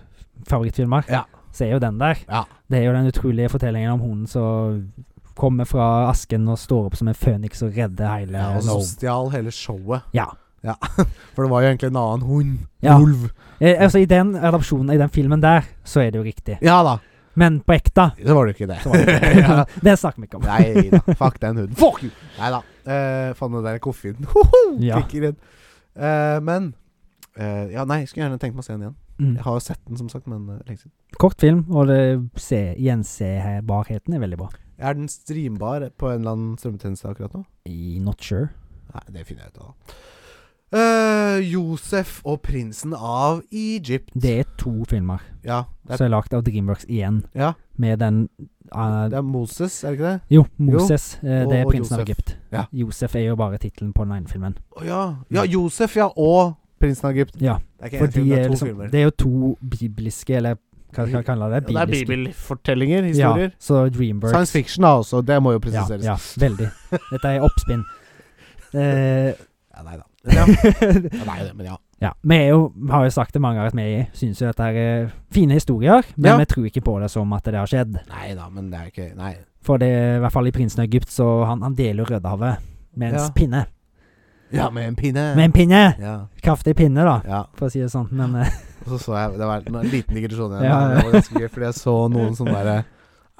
[SPEAKER 2] favorittfilmer,
[SPEAKER 1] Ja.
[SPEAKER 2] så er jo den der.
[SPEAKER 1] Ja.
[SPEAKER 2] Det er jo den utrolige fortellingen om hunden som kommer fra asken og står opp som en føniks og redder hele
[SPEAKER 1] Ja, og som
[SPEAKER 2] Norge.
[SPEAKER 1] stjal hele showet.
[SPEAKER 2] Ja.
[SPEAKER 1] Ja. For det var jo egentlig en annen hund.
[SPEAKER 2] Ja.
[SPEAKER 1] Ulv.
[SPEAKER 2] Eh, altså, i den adopsjonen, i den filmen der, så er det jo riktig.
[SPEAKER 1] Ja da.
[SPEAKER 2] Men på ekte
[SPEAKER 1] Så var det jo ikke det.
[SPEAKER 2] så var det ikke
[SPEAKER 1] ja.
[SPEAKER 2] Det snakker vi ikke om.
[SPEAKER 1] Nei da. Fuck den hunden. Fuck you! Nei da. Eh, Faen, den der koffeinen Hoho,
[SPEAKER 2] Ja.
[SPEAKER 1] kicker inn. Eh, men eh, Ja, nei, skulle gjerne tenkt meg å se den igjen.
[SPEAKER 2] Mm.
[SPEAKER 1] Jeg har jo sett den, som sagt, men eh, lenge siden.
[SPEAKER 2] Kort film, og det se, gjensebarheten er veldig bra.
[SPEAKER 1] Er den streambar på en eller annen strømmetjeneste akkurat nå?
[SPEAKER 2] I Not Sure.
[SPEAKER 1] Nei, det finner jeg ut av. Eh, Josef og prinsen av Egypt.
[SPEAKER 2] Det er to filmer
[SPEAKER 1] Ja, det er,
[SPEAKER 2] som er lagd av Dreamworks igjen,
[SPEAKER 1] ja,
[SPEAKER 2] med den eh,
[SPEAKER 1] det er Moses, er det ikke det?
[SPEAKER 2] Jo, Moses. eh,
[SPEAKER 1] og-
[SPEAKER 2] det er
[SPEAKER 1] og
[SPEAKER 2] prinsen av
[SPEAKER 1] Josef.
[SPEAKER 2] Egypt.
[SPEAKER 1] Ja.
[SPEAKER 2] Josef er jo bare tittelen på den ene filmen.
[SPEAKER 1] Å ja. ja. Josef, ja. Og prinsen av Egypt.
[SPEAKER 2] Ja,
[SPEAKER 1] Det er ikke
[SPEAKER 2] for
[SPEAKER 1] én film,
[SPEAKER 2] de
[SPEAKER 1] det
[SPEAKER 2] er
[SPEAKER 1] er to
[SPEAKER 2] liksom,
[SPEAKER 1] filmer.
[SPEAKER 2] det er jo to bibliske, eller hva skal jeg kalle det?
[SPEAKER 1] Ja, det er
[SPEAKER 2] Bibliske.
[SPEAKER 1] bibelfortellinger,
[SPEAKER 2] Ja,
[SPEAKER 1] historier.
[SPEAKER 2] så Dreamworks
[SPEAKER 1] Science fiction da også, det må jo
[SPEAKER 2] Ja,
[SPEAKER 1] presiseres.
[SPEAKER 2] ja, veldig. Dette er oppspinn. Eh,
[SPEAKER 1] Ja, nei da. Ja. Ja, nei, det- men ja.
[SPEAKER 2] ja, vi er jo, vi har jo sagt det mange ganger at vi syns jo dette er eh, fine historier, men
[SPEAKER 1] Ja.
[SPEAKER 2] vi tror ikke på det som at det har skjedd.
[SPEAKER 1] Nei da, men det er ikke Nei.
[SPEAKER 2] For det er i hvert fall i 'Prinsen av Egypt', så han, han deler jo Rødehavet med en
[SPEAKER 1] Ja.
[SPEAKER 2] pinne.
[SPEAKER 1] Ja, med en pinne.
[SPEAKER 2] Med en pinne!
[SPEAKER 1] ja.
[SPEAKER 2] Kraftig pinne, da,
[SPEAKER 1] ja.
[SPEAKER 2] for å si det sånn. Men eh,
[SPEAKER 1] Og så så jeg Det var en liten digresjon igjen.
[SPEAKER 2] Ja, ja.
[SPEAKER 1] men Det var ganske gøy, fordi jeg så noen sånne derre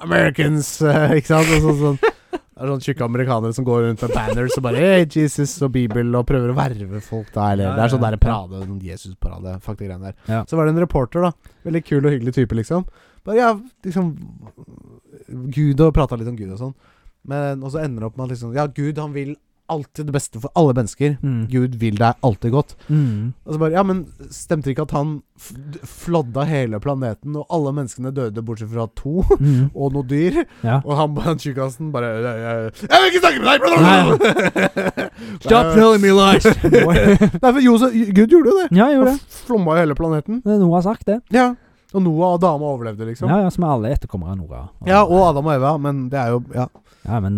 [SPEAKER 1] Americans, eh, ikke sant? Og så, sånn det er sånne tjukke amerikanere som går rundt med banners og bare hey, Jesus og Bibel og prøver å verve folk da. Eller
[SPEAKER 2] Ja,
[SPEAKER 1] det er sånn
[SPEAKER 2] ja, ja.
[SPEAKER 1] derre parade, sånn Jesus-parade, fuck de greiene der.
[SPEAKER 2] Ja.
[SPEAKER 1] Så var det en reporter, da. Veldig kul og hyggelig type, liksom. Bare ja, liksom Gud og prata litt om Gud og sånn. Men og så ender det opp med at liksom Ja, Gud, han vil alltid det beste for alle mennesker.
[SPEAKER 2] mm,
[SPEAKER 1] Gud vil deg alltid godt.
[SPEAKER 2] mm,
[SPEAKER 1] Og så bare, ja, men Stemte det ikke at han f d- flodda hele planeten, og alle menneskene døde bortsett fra to?
[SPEAKER 2] mm,
[SPEAKER 1] Og noe dyr.
[SPEAKER 2] ja.
[SPEAKER 1] Og han bare- han tjukkasen bare «Jeg- Jeg jeg vil ikke snakke med deg!
[SPEAKER 2] Stop telling me lies!
[SPEAKER 1] Nei, for Josef, Gud gjorde jo det.
[SPEAKER 2] ja, jeg gjorde
[SPEAKER 1] Han
[SPEAKER 2] det.
[SPEAKER 1] f- flomma jo hele planeten.
[SPEAKER 2] Det er Noah har sagt det.
[SPEAKER 1] Ja. Og Noah og dama overlevde, liksom. Ja.
[SPEAKER 2] Ja, ja, som er alle etterkommere av Noah.
[SPEAKER 1] og Adam og Eva, men det er jo Ja.
[SPEAKER 2] Ja, men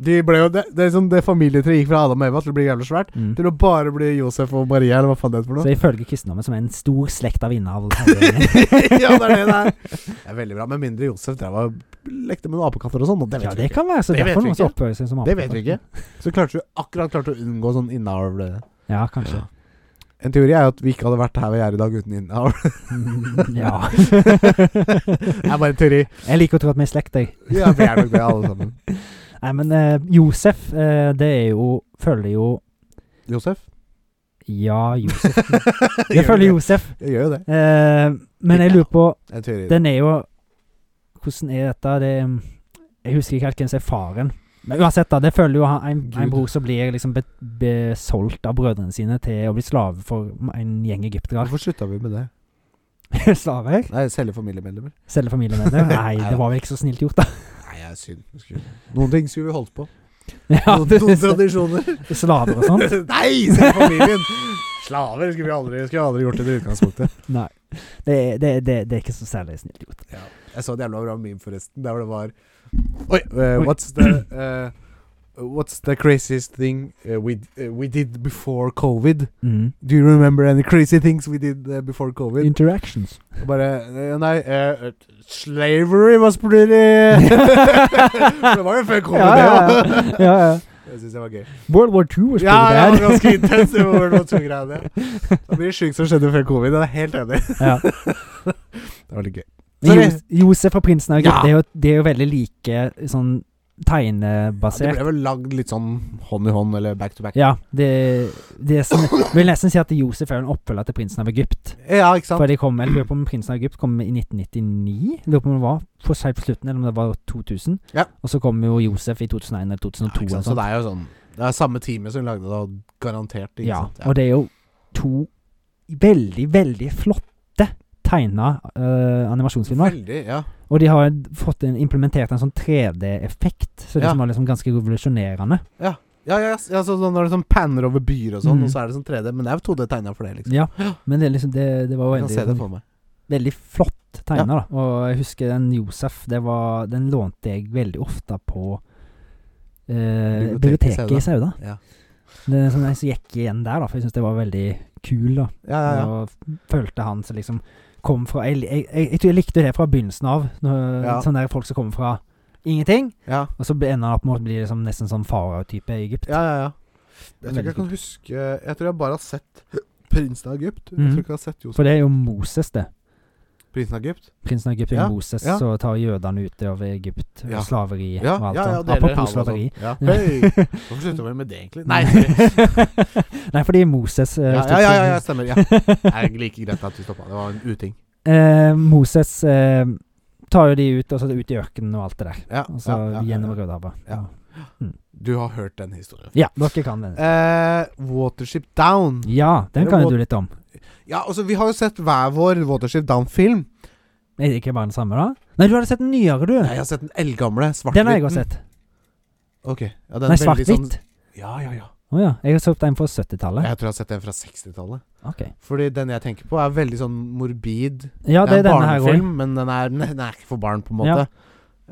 [SPEAKER 1] De ble jo, det, det, er liksom det familietreet gikk fra Adam og Eva til å bli jævlig svært,
[SPEAKER 2] mm.
[SPEAKER 1] til å bare bli Josef og Maria, eller hva faen det heter for noe.
[SPEAKER 2] Så ifølge kristendommen, som er en stor slekt av innavl hele gjengen.
[SPEAKER 1] ja, det er det det er. Det er veldig bra. Med mindre Josef drev og lekte med noen apekatter og sånn. og Det vet
[SPEAKER 2] Ja,
[SPEAKER 1] vi
[SPEAKER 2] det
[SPEAKER 1] ikke.
[SPEAKER 2] kan være. Så
[SPEAKER 1] Det vet
[SPEAKER 2] derfor
[SPEAKER 1] vi
[SPEAKER 2] noen som
[SPEAKER 1] ikke.
[SPEAKER 2] oppfører seg som
[SPEAKER 1] Det vet vi
[SPEAKER 2] apekatter.
[SPEAKER 1] ikke. Så klarte du akkurat klarte å unngå sånn innavl.
[SPEAKER 2] Ja, kanskje.
[SPEAKER 1] En teori er jo at vi ikke hadde vært her vi er i dag uten innavl.
[SPEAKER 2] Mm, ja.
[SPEAKER 1] Det er bare en teori.
[SPEAKER 2] Jeg liker å tro at vi er slekt, jeg.
[SPEAKER 1] Ja, vi er nok det, alle sammen.
[SPEAKER 2] Nei, men eh, Josef, eh, det er jo Følger jo
[SPEAKER 1] Josef?
[SPEAKER 2] Ja, Josef.
[SPEAKER 1] Jeg
[SPEAKER 2] Jeg følger Josef.
[SPEAKER 1] Jeg gjør jo det.
[SPEAKER 2] Eh, men jeg lurer på
[SPEAKER 1] En teori.
[SPEAKER 2] Den er jo Hvordan er dette? Det er, jeg husker ikke helt hvem som er faren. Men uansett, da, det følger jo han, en,
[SPEAKER 1] Gud.
[SPEAKER 2] en bror som blir liksom be- besolgt av brødrene sine til å bli slave for en gjeng egyptere.
[SPEAKER 1] Hvorfor slutta vi med det?
[SPEAKER 2] Slaver?
[SPEAKER 1] Nei, Selge familiemedlemmer.
[SPEAKER 2] Selge familiemedlemmer? Nei, det var vel ikke så snilt gjort, da.
[SPEAKER 1] Nei, det er synd. Vi skulle- Noen ting skulle vi holdt på.
[SPEAKER 2] Ja,
[SPEAKER 1] Noen,
[SPEAKER 2] det-
[SPEAKER 1] noen tradisjoner.
[SPEAKER 2] slaver og sånn. sånt.
[SPEAKER 1] Nei, se familien! Slaver skulle vi aldri, skulle vi aldri gjort det i utgangspunktet.
[SPEAKER 2] Nei. Det, det, det, det er ikke så særlig snilt gjort.
[SPEAKER 1] Jeg så en jævla bra meme, forresten, der hvor det var Oi! eh,
[SPEAKER 2] Oi.
[SPEAKER 1] what's the eh, What's the craziest thing eh, we, eh, we did before covid?
[SPEAKER 2] Mm.
[SPEAKER 1] Do you remember any crazy things we did eh, before covid?
[SPEAKER 2] Interactions.
[SPEAKER 1] Og Bare eh, Nei, eh, eh, slavery was pretty For det var jo før covid,
[SPEAKER 2] Ja,
[SPEAKER 1] det
[SPEAKER 2] ja,
[SPEAKER 1] òg.
[SPEAKER 2] ja. ja, ja.
[SPEAKER 1] Jeg syns det var gøy.
[SPEAKER 2] World War II was
[SPEAKER 1] Ja,
[SPEAKER 2] pretty
[SPEAKER 1] det
[SPEAKER 2] bad.
[SPEAKER 1] var ganske intenst. Det var noe greiene. Det blir sjukt som skjedde før covid. Jeg er helt enig.
[SPEAKER 2] Ja.
[SPEAKER 1] Det var litt gøy.
[SPEAKER 2] Men
[SPEAKER 1] Sorry.
[SPEAKER 2] Jos- Josef og prinsen av Egypt,
[SPEAKER 1] Ja.
[SPEAKER 2] det, er jo, det er jo veldig like sånn
[SPEAKER 1] det
[SPEAKER 2] tegnebasert.
[SPEAKER 1] ble vel lagd litt sånn hånd i hånd, eller back to back.
[SPEAKER 2] Ja, det, det er sånn, vil nesten si at Josef er en oppfølger til prinsen av Egypt.
[SPEAKER 1] Ja, ikke sant?
[SPEAKER 2] For de kom, jeg lurer på om prinsen av Egypt kom i 1999, jeg lurer på om det var for sent på slutten, eller om det var 2000.
[SPEAKER 1] Ja.
[SPEAKER 2] Og så kom jo Josef i 2001 eller 2002.
[SPEAKER 1] Ja, ikke sant? Så
[SPEAKER 2] eller sånt.
[SPEAKER 1] det er jo sånn Det er samme time som lagde det, sånn, og garantert. Ikke
[SPEAKER 2] ja,
[SPEAKER 1] sant?
[SPEAKER 2] og det er jo to veldig, veldig flotte tegna eh, animasjonsfilmer.
[SPEAKER 1] Veldig, ja.
[SPEAKER 2] Og de har fått en, implementert en sånn 3D-effekt, så det
[SPEAKER 1] Ja.
[SPEAKER 2] som var liksom ganske revolusjonerende.
[SPEAKER 1] Ja. Ja, ja, ja, s- ja så, så når det sånn panner over byer og sånn,
[SPEAKER 2] Mm.
[SPEAKER 1] og så er det sånn 3D. Men det er jo 2D tegna for det, liksom.
[SPEAKER 2] Ja, men det, er liksom, det, det var
[SPEAKER 1] Jeg kan
[SPEAKER 2] veldig
[SPEAKER 1] se det for meg.
[SPEAKER 2] veldig flott tegna, da. Og jeg husker den Josef, det var, den lånte jeg veldig ofte på eh,
[SPEAKER 1] Biblioteket i
[SPEAKER 2] biblioteket i Sauda.
[SPEAKER 1] Ja.
[SPEAKER 2] Det er sånn jeg gikk igjen der, da, for jeg syns det var veldig kul, da.
[SPEAKER 1] Ja, ja, ja.
[SPEAKER 2] Og følte han som liksom kom fra jeg, jeg, jeg, jeg tror jeg likte det fra begynnelsen av. når-
[SPEAKER 1] Ja.
[SPEAKER 2] Sånne der folk som kommer fra ingenting,
[SPEAKER 1] ja.
[SPEAKER 2] og så ble- ender han opp med å bli liksom nesten sånn farao-type i Egypt.
[SPEAKER 1] Ja, ja, ja. Jeg tror ikke jeg kan huske Jeg tror jeg bare har sett prinsen av Egypt. Jeg
[SPEAKER 2] Mhm.
[SPEAKER 1] tror ikke jeg har sett Josef.
[SPEAKER 2] For det er jo Moses, det.
[SPEAKER 1] Prinsen av Egypt?
[SPEAKER 2] Prinsen av Egypt er
[SPEAKER 1] Ja,
[SPEAKER 2] Moses,
[SPEAKER 1] ja.
[SPEAKER 2] så tar jødene ut over Egypt
[SPEAKER 1] Ja.
[SPEAKER 2] og slaveri
[SPEAKER 1] Ja,
[SPEAKER 2] og alt
[SPEAKER 1] ja, ja,
[SPEAKER 2] sånt.
[SPEAKER 1] deler havet og
[SPEAKER 2] Apropos
[SPEAKER 1] sånt.
[SPEAKER 2] slaveri.
[SPEAKER 1] Ja. altså. Hei! Hvorfor slutta vi med det, egentlig? Nei, sorry.
[SPEAKER 2] Nei, fordi Moses eh,
[SPEAKER 1] ja,
[SPEAKER 2] stod
[SPEAKER 1] ja, ja, ja,
[SPEAKER 2] for-
[SPEAKER 1] ja, stemmer. Ja. Det er egentlig like greit at du stoppa. Det var en uting.
[SPEAKER 2] Eh, Moses eh, tar jo de ut, og så ut i ørkenen og alt det der.
[SPEAKER 1] Ja,
[SPEAKER 2] Og så
[SPEAKER 1] ja, ja, ja,
[SPEAKER 2] gjennom
[SPEAKER 1] ja.
[SPEAKER 2] Rødehavet.
[SPEAKER 1] Ja. Du har hørt den historien.
[SPEAKER 2] ja, dere kan den.
[SPEAKER 1] Eh, Watership Down.
[SPEAKER 2] Ja, den
[SPEAKER 1] det
[SPEAKER 2] kan
[SPEAKER 1] må-
[SPEAKER 2] jo du litt om.
[SPEAKER 1] Ja, altså, vi har jo sett hver vår Watership Down-film.
[SPEAKER 2] Er det ikke bare den samme, da? Nei, du hadde sett den nyere, du.
[SPEAKER 1] Nei, Jeg har sett den eldgamle. Svart-hvitt.
[SPEAKER 2] den har jeg også sett.
[SPEAKER 1] Ok. Ja, den
[SPEAKER 2] Nei,
[SPEAKER 1] er veldig
[SPEAKER 2] svart-hvitt.
[SPEAKER 1] Sånn, ja, ja, ja.
[SPEAKER 2] Å ja. Jeg har sett den fra 70-tallet.
[SPEAKER 1] Jeg tror jeg har sett den fra 60-tallet.
[SPEAKER 2] Ok.
[SPEAKER 1] Fordi den jeg tenker på, er veldig sånn morbid.
[SPEAKER 2] Ja, det er
[SPEAKER 1] en
[SPEAKER 2] denne her òg.
[SPEAKER 1] barnefilm, men den er, den er ikke for barn, på en måte.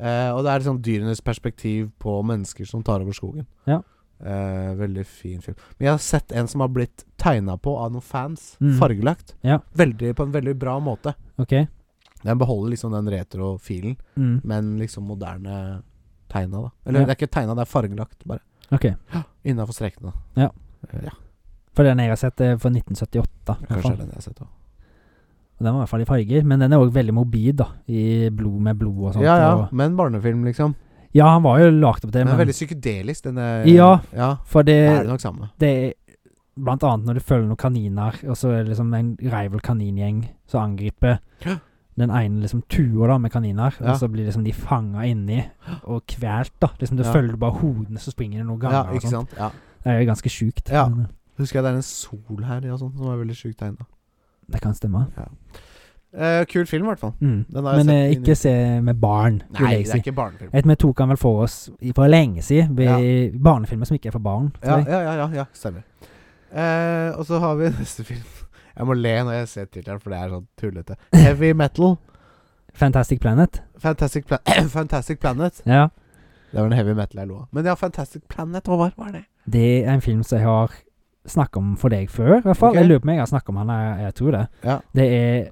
[SPEAKER 1] Eh, og det er sånn dyrenes perspektiv på mennesker som tar over skogen.
[SPEAKER 2] Ja.
[SPEAKER 1] Eh, veldig fin film. Men jeg har sett en som har blitt tegna på av noen fans.
[SPEAKER 2] Mm.
[SPEAKER 1] Fargelagt.
[SPEAKER 2] Ja.
[SPEAKER 1] Veldig, på en veldig bra måte.
[SPEAKER 2] Ok.
[SPEAKER 1] Den beholder liksom den retrofilen,
[SPEAKER 2] Mm.
[SPEAKER 1] men liksom moderne tegna, da. Eller
[SPEAKER 2] Ja.
[SPEAKER 1] det er ikke tegna, det er fargelagt, bare.
[SPEAKER 2] Ok.
[SPEAKER 1] Innafor strekene.
[SPEAKER 2] For den jeg har sett, er fra 1978. i hvert
[SPEAKER 1] Kanskje det
[SPEAKER 2] fall.
[SPEAKER 1] er den jeg har sett òg.
[SPEAKER 2] Og den var i hvert fall i farger, men den er òg veldig mobil, da. I blod med blod og sånt.
[SPEAKER 1] Ja ja,
[SPEAKER 2] Og,
[SPEAKER 1] men barnefilm, liksom.
[SPEAKER 2] ja han var jo lagt opp til,
[SPEAKER 1] Den er
[SPEAKER 2] men
[SPEAKER 1] veldig psykedelisk, den er
[SPEAKER 2] Ja. Eh,
[SPEAKER 1] ja.
[SPEAKER 2] For
[SPEAKER 1] Det er
[SPEAKER 2] det,
[SPEAKER 1] det nok samme.
[SPEAKER 2] det er Blant annet når du følger noen kaniner, og så er det liksom en rival kaningjeng som angriper.
[SPEAKER 1] Ja.
[SPEAKER 2] Den ene liksom tuer da med kaniner,
[SPEAKER 1] Ja.
[SPEAKER 2] og så blir liksom de fanga inni og kvalt. da Liksom Du
[SPEAKER 1] Ja.
[SPEAKER 2] følger bare hodene, så springer det noen
[SPEAKER 1] Ja,
[SPEAKER 2] ganger. og
[SPEAKER 1] ikke
[SPEAKER 2] sånt.
[SPEAKER 1] sant? Ja.
[SPEAKER 2] Det er jo ganske sjukt.
[SPEAKER 1] Ja.
[SPEAKER 2] men eh,
[SPEAKER 1] Husker jeg det er en sol her ja, sånn, som er veldig sjukt tegna.
[SPEAKER 2] Det kan stemme.
[SPEAKER 1] Eh, kul film, i hvert fall.
[SPEAKER 2] Mm.
[SPEAKER 1] Den har jeg
[SPEAKER 2] Men
[SPEAKER 1] sett
[SPEAKER 2] eh,
[SPEAKER 1] inn i-
[SPEAKER 2] ikke se med barn, vil
[SPEAKER 1] Nei,
[SPEAKER 2] jeg
[SPEAKER 1] det er
[SPEAKER 2] si.
[SPEAKER 1] ikke barnefilm.
[SPEAKER 2] Et vi tok han vel for oss i- for lenge siden, ved barnefilmer som ikke er for barn.
[SPEAKER 1] Ja,
[SPEAKER 2] tror jeg.
[SPEAKER 1] ja, ja, ja, ja stemmer. Eh, og så har vi neste film. Jeg må le når jeg ser tittelen, for det er sånn tullete. Heavy Metal.
[SPEAKER 2] Fantastic Planet.
[SPEAKER 1] Fantastic, Pla Fantastic Planet.
[SPEAKER 2] Ja.
[SPEAKER 1] Det var en heavy metal jeg lo av. Men ja, Fantastic Planet, Håvard. Hva er det?
[SPEAKER 2] Det er en film som jeg har snakket om for deg før, i hvert fall.
[SPEAKER 1] Ok.
[SPEAKER 2] Jeg lurer på om jeg har snakket om han, jeg, jeg tror det.
[SPEAKER 1] Ja.
[SPEAKER 2] Det er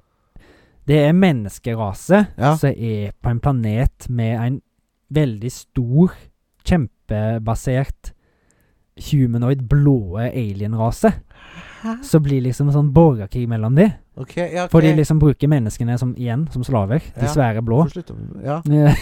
[SPEAKER 2] det er en menneskerase
[SPEAKER 1] Ja.
[SPEAKER 2] som er på en planet med en veldig stor, kjempebasert humanoid blåe alienrase. Så blir liksom sånn borgerkrig mellom de.
[SPEAKER 1] Ok, ja, ok.
[SPEAKER 2] For de liksom bruker menneskene som, igjen som slaver. De
[SPEAKER 1] Ja.
[SPEAKER 2] svære blå.
[SPEAKER 1] Hvorfor slutter vi med- Ja.
[SPEAKER 2] Ja.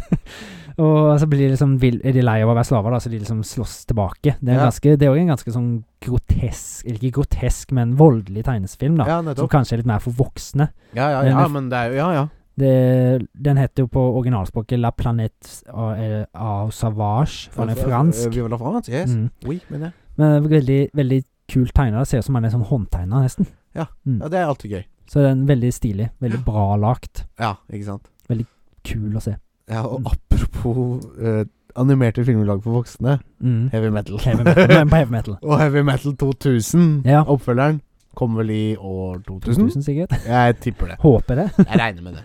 [SPEAKER 2] og så blir de liksom vil, Er de lei av å være slaver, da, så de liksom slåss tilbake. Det er
[SPEAKER 1] Ja.
[SPEAKER 2] ganske Det er òg en ganske sånn grotesk Eller ikke grotesk, men voldelig tegnesfilm, da.
[SPEAKER 1] ja,
[SPEAKER 2] som
[SPEAKER 1] nettopp.
[SPEAKER 2] kanskje er litt mer for voksne.
[SPEAKER 1] Ja, ja, ja, men det er jo Ja, ja.
[SPEAKER 2] Det, den heter jo på originalspråket La Planète au au Savage, for den er fransk.
[SPEAKER 1] Viva la France, yes.
[SPEAKER 2] Mm.
[SPEAKER 1] Oui, mener jeg.
[SPEAKER 2] Men det er veldig, veldig kult tegna. Ser ut som han er sånn håndtegna, nesten.
[SPEAKER 1] Ja, det er alltid gøy.
[SPEAKER 2] Så den er veldig stilig. Veldig bra lagt.
[SPEAKER 1] Ja, ikke sant.
[SPEAKER 2] Kul å se.
[SPEAKER 1] Ja, og apropos eh, animerte filmer lagd for voksne.
[SPEAKER 2] Mm.
[SPEAKER 1] Heavy metal.
[SPEAKER 2] Heavy metal. Men På heavy metal.
[SPEAKER 1] og Heavy Metal 2000,
[SPEAKER 2] Ja.
[SPEAKER 1] oppfølgeren, kom vel i år 2000?
[SPEAKER 2] 2000, sikkert.
[SPEAKER 1] Jeg tipper det.
[SPEAKER 2] Håper det.
[SPEAKER 1] Jeg regner med det.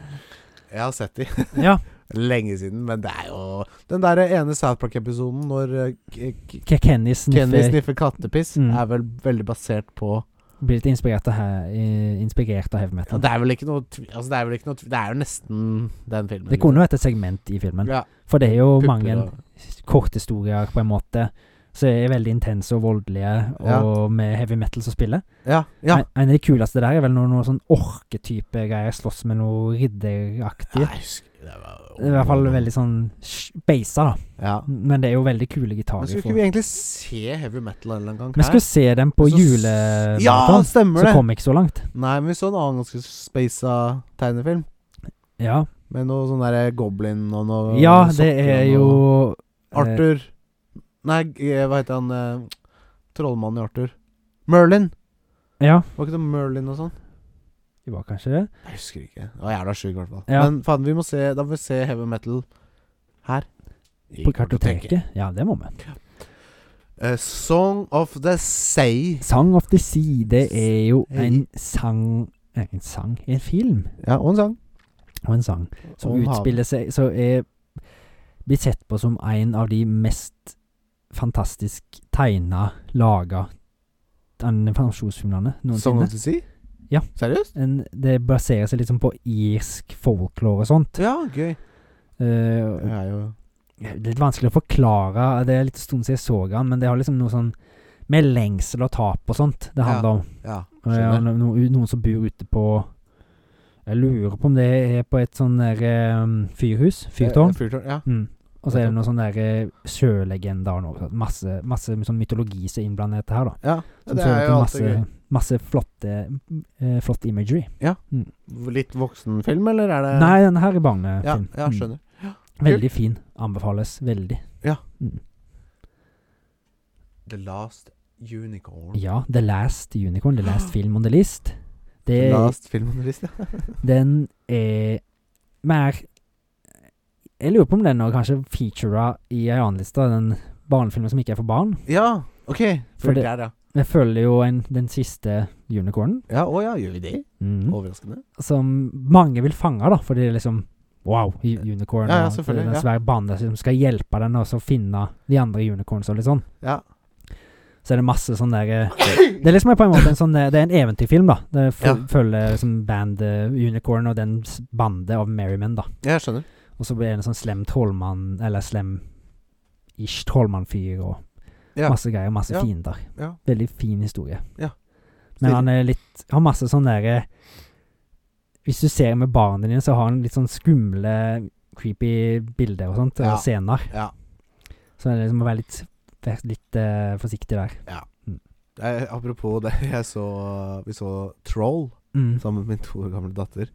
[SPEAKER 1] Jeg har sett de
[SPEAKER 2] ja.
[SPEAKER 1] lenge siden, men det er jo Den der ene South Park-episoden når eh, K- K-
[SPEAKER 2] Ke-
[SPEAKER 1] Kenny
[SPEAKER 2] Kenny sniffer
[SPEAKER 1] sniffer kattepiss,
[SPEAKER 2] Mm.
[SPEAKER 1] er vel veldig basert på
[SPEAKER 2] blir litt inspirert av, he- i- inspirert av heavy
[SPEAKER 1] ja,
[SPEAKER 2] metal.
[SPEAKER 1] Det er vel ikke noe tv- Altså, det er vel ikke noe tv- Det er jo nesten den filmen.
[SPEAKER 2] det kunne vært et segment i filmen,
[SPEAKER 1] ja,
[SPEAKER 2] for det er jo
[SPEAKER 1] pupper
[SPEAKER 2] mange
[SPEAKER 1] og-
[SPEAKER 2] korthistorier på en måte som er veldig intense og voldelige,
[SPEAKER 1] Ja.
[SPEAKER 2] og med heavy metal som spiller.
[SPEAKER 1] Ja. ja.
[SPEAKER 2] En, en av de kuleste der er vel noe, noe sånn orketype greier, slåss med noe ridderaktig.
[SPEAKER 1] jeg husker det var,
[SPEAKER 2] Det er I hvert fall veldig sånn beisa, da.
[SPEAKER 1] ja.
[SPEAKER 2] Men det er jo veldig kule
[SPEAKER 1] Men
[SPEAKER 2] gitarer.
[SPEAKER 1] skulle
[SPEAKER 2] fra-
[SPEAKER 1] ikke vi egentlig se heavy metal en eller annen gang?
[SPEAKER 2] Vi skulle se dem på
[SPEAKER 1] Ja,
[SPEAKER 2] julemaraton,
[SPEAKER 1] stemmer
[SPEAKER 2] så
[SPEAKER 1] det!
[SPEAKER 2] kom jeg ikke så langt.
[SPEAKER 1] Nei, men vi så en annen ganske speisa tegnefilm.
[SPEAKER 2] Ja,
[SPEAKER 1] Med noe sånn derre goblin og noe
[SPEAKER 2] ja
[SPEAKER 1] sokker
[SPEAKER 2] det er
[SPEAKER 1] og
[SPEAKER 2] jo
[SPEAKER 1] noe-
[SPEAKER 2] eh,
[SPEAKER 1] Arthur Nei, eh, hva heter han eh, Trollmannen i Arthur? Merlin!
[SPEAKER 2] Ja,
[SPEAKER 1] Var ikke det Merlin og sånn?
[SPEAKER 2] det var kanskje det.
[SPEAKER 1] Jeg husker ikke. Det var jævla sjuk, i hvert fall.
[SPEAKER 2] Ja.
[SPEAKER 1] Men faen, vi må se Da må vi se heavy metal her. I
[SPEAKER 2] På kartoteket? Ja, det må vi.
[SPEAKER 1] eh, Song of the Say.
[SPEAKER 2] Song of the Sea, det er jo en sang nei, En sang? En film
[SPEAKER 1] Ja, og en sang.
[SPEAKER 2] og en sang som
[SPEAKER 1] Og en hav.
[SPEAKER 2] utspiller seg Så er blitt sett på som en av de mest fantastisk tegna, laga animasjonsfilmene
[SPEAKER 1] Song
[SPEAKER 2] noensinne.
[SPEAKER 1] of the Sea?
[SPEAKER 2] Ja.
[SPEAKER 1] Seriøst?
[SPEAKER 2] En, det baserer seg liksom på irsk folklore og sånt.
[SPEAKER 1] Ja, gøy.
[SPEAKER 2] Eh,
[SPEAKER 1] Det er jo
[SPEAKER 2] Det er litt vanskelig å forklare. Det er litt stund siden jeg så han, men det har liksom noe sånn med lengsel og tap og sånt det handler om.
[SPEAKER 1] Ja,
[SPEAKER 2] Og jeg har
[SPEAKER 1] skjønner.
[SPEAKER 2] no, noen som bor ute på Jeg lurer på om det er på et sånn der eh, fyrhus. Fyrtårn.
[SPEAKER 1] Eh, Fyrtårn, ja.
[SPEAKER 2] Mm. Og så er det noen sånne der, eh, sjølegender og noe sånt. Masse, masse sånn mytologi som er innblandet i dette her, da.
[SPEAKER 1] ja.
[SPEAKER 2] Som
[SPEAKER 1] Det
[SPEAKER 2] fører
[SPEAKER 1] er
[SPEAKER 2] til
[SPEAKER 1] jo alltid
[SPEAKER 2] masse, masse flotte, eh, flott imagery.
[SPEAKER 1] gøy. Litt voksenfilm, eller er det
[SPEAKER 2] Nei, denne her er
[SPEAKER 1] Ja,
[SPEAKER 2] barnefilm.
[SPEAKER 1] ja, skjønner.
[SPEAKER 2] Mm. Veldig fin. Anbefales veldig.
[SPEAKER 1] Mm. The Last Unicorn.
[SPEAKER 2] Ja, The Last Unicorn, The Last Film on the List. Det,
[SPEAKER 1] The Last Film on the List, ja.
[SPEAKER 2] den er mer Jeg lurer på om den òg kanskje featurer i ei annen liste, den barnefilmen som ikke er for barn.
[SPEAKER 1] Ja, OK.
[SPEAKER 2] For
[SPEAKER 1] Fullt
[SPEAKER 2] det-
[SPEAKER 1] der, ja.
[SPEAKER 2] Jeg følger jo en, den siste unicornen,
[SPEAKER 1] Ja, Å ja, gjør vi det?
[SPEAKER 2] mm,
[SPEAKER 1] Overraskende.
[SPEAKER 2] som mange vil fange, da, fordi det er liksom Wow, u- unicorn.
[SPEAKER 1] Ja, ja,
[SPEAKER 2] og
[SPEAKER 1] selvfølgelig,
[SPEAKER 2] det er
[SPEAKER 1] ja.
[SPEAKER 2] en svær bane som skal hjelpe den også å finne de andre unicorns og litt sånn.
[SPEAKER 1] Ja.
[SPEAKER 2] Så er det masse sånn der eh, Det er liksom på en måte en sånn eh, Det er en eventyrfilm, da. Det f
[SPEAKER 1] Ja.
[SPEAKER 2] følger liksom band eh, Unicorn og den s- bande av Merrymen, da.
[SPEAKER 1] Jeg skjønner.
[SPEAKER 2] Og så blir det en sånn slem trollmann, eller slem-ish trollmannfyr og
[SPEAKER 1] Ja.
[SPEAKER 2] masse greier, masse
[SPEAKER 1] Ja.
[SPEAKER 2] fiender.
[SPEAKER 1] Ja.
[SPEAKER 2] Veldig fin historie.
[SPEAKER 1] Ja.
[SPEAKER 2] Men han er litt Har masse sånn derre Hvis du ser med barna dine, så har han litt sånn skumle, creepy bilder og sånt,
[SPEAKER 1] Ja.
[SPEAKER 2] og scener.
[SPEAKER 1] Ja.
[SPEAKER 2] Så det er liksom å være litt, være litt eh, forsiktig der.
[SPEAKER 1] Eh, apropos det, jeg så Vi så Troll
[SPEAKER 2] Mm.
[SPEAKER 1] sammen med min to år gamle datter.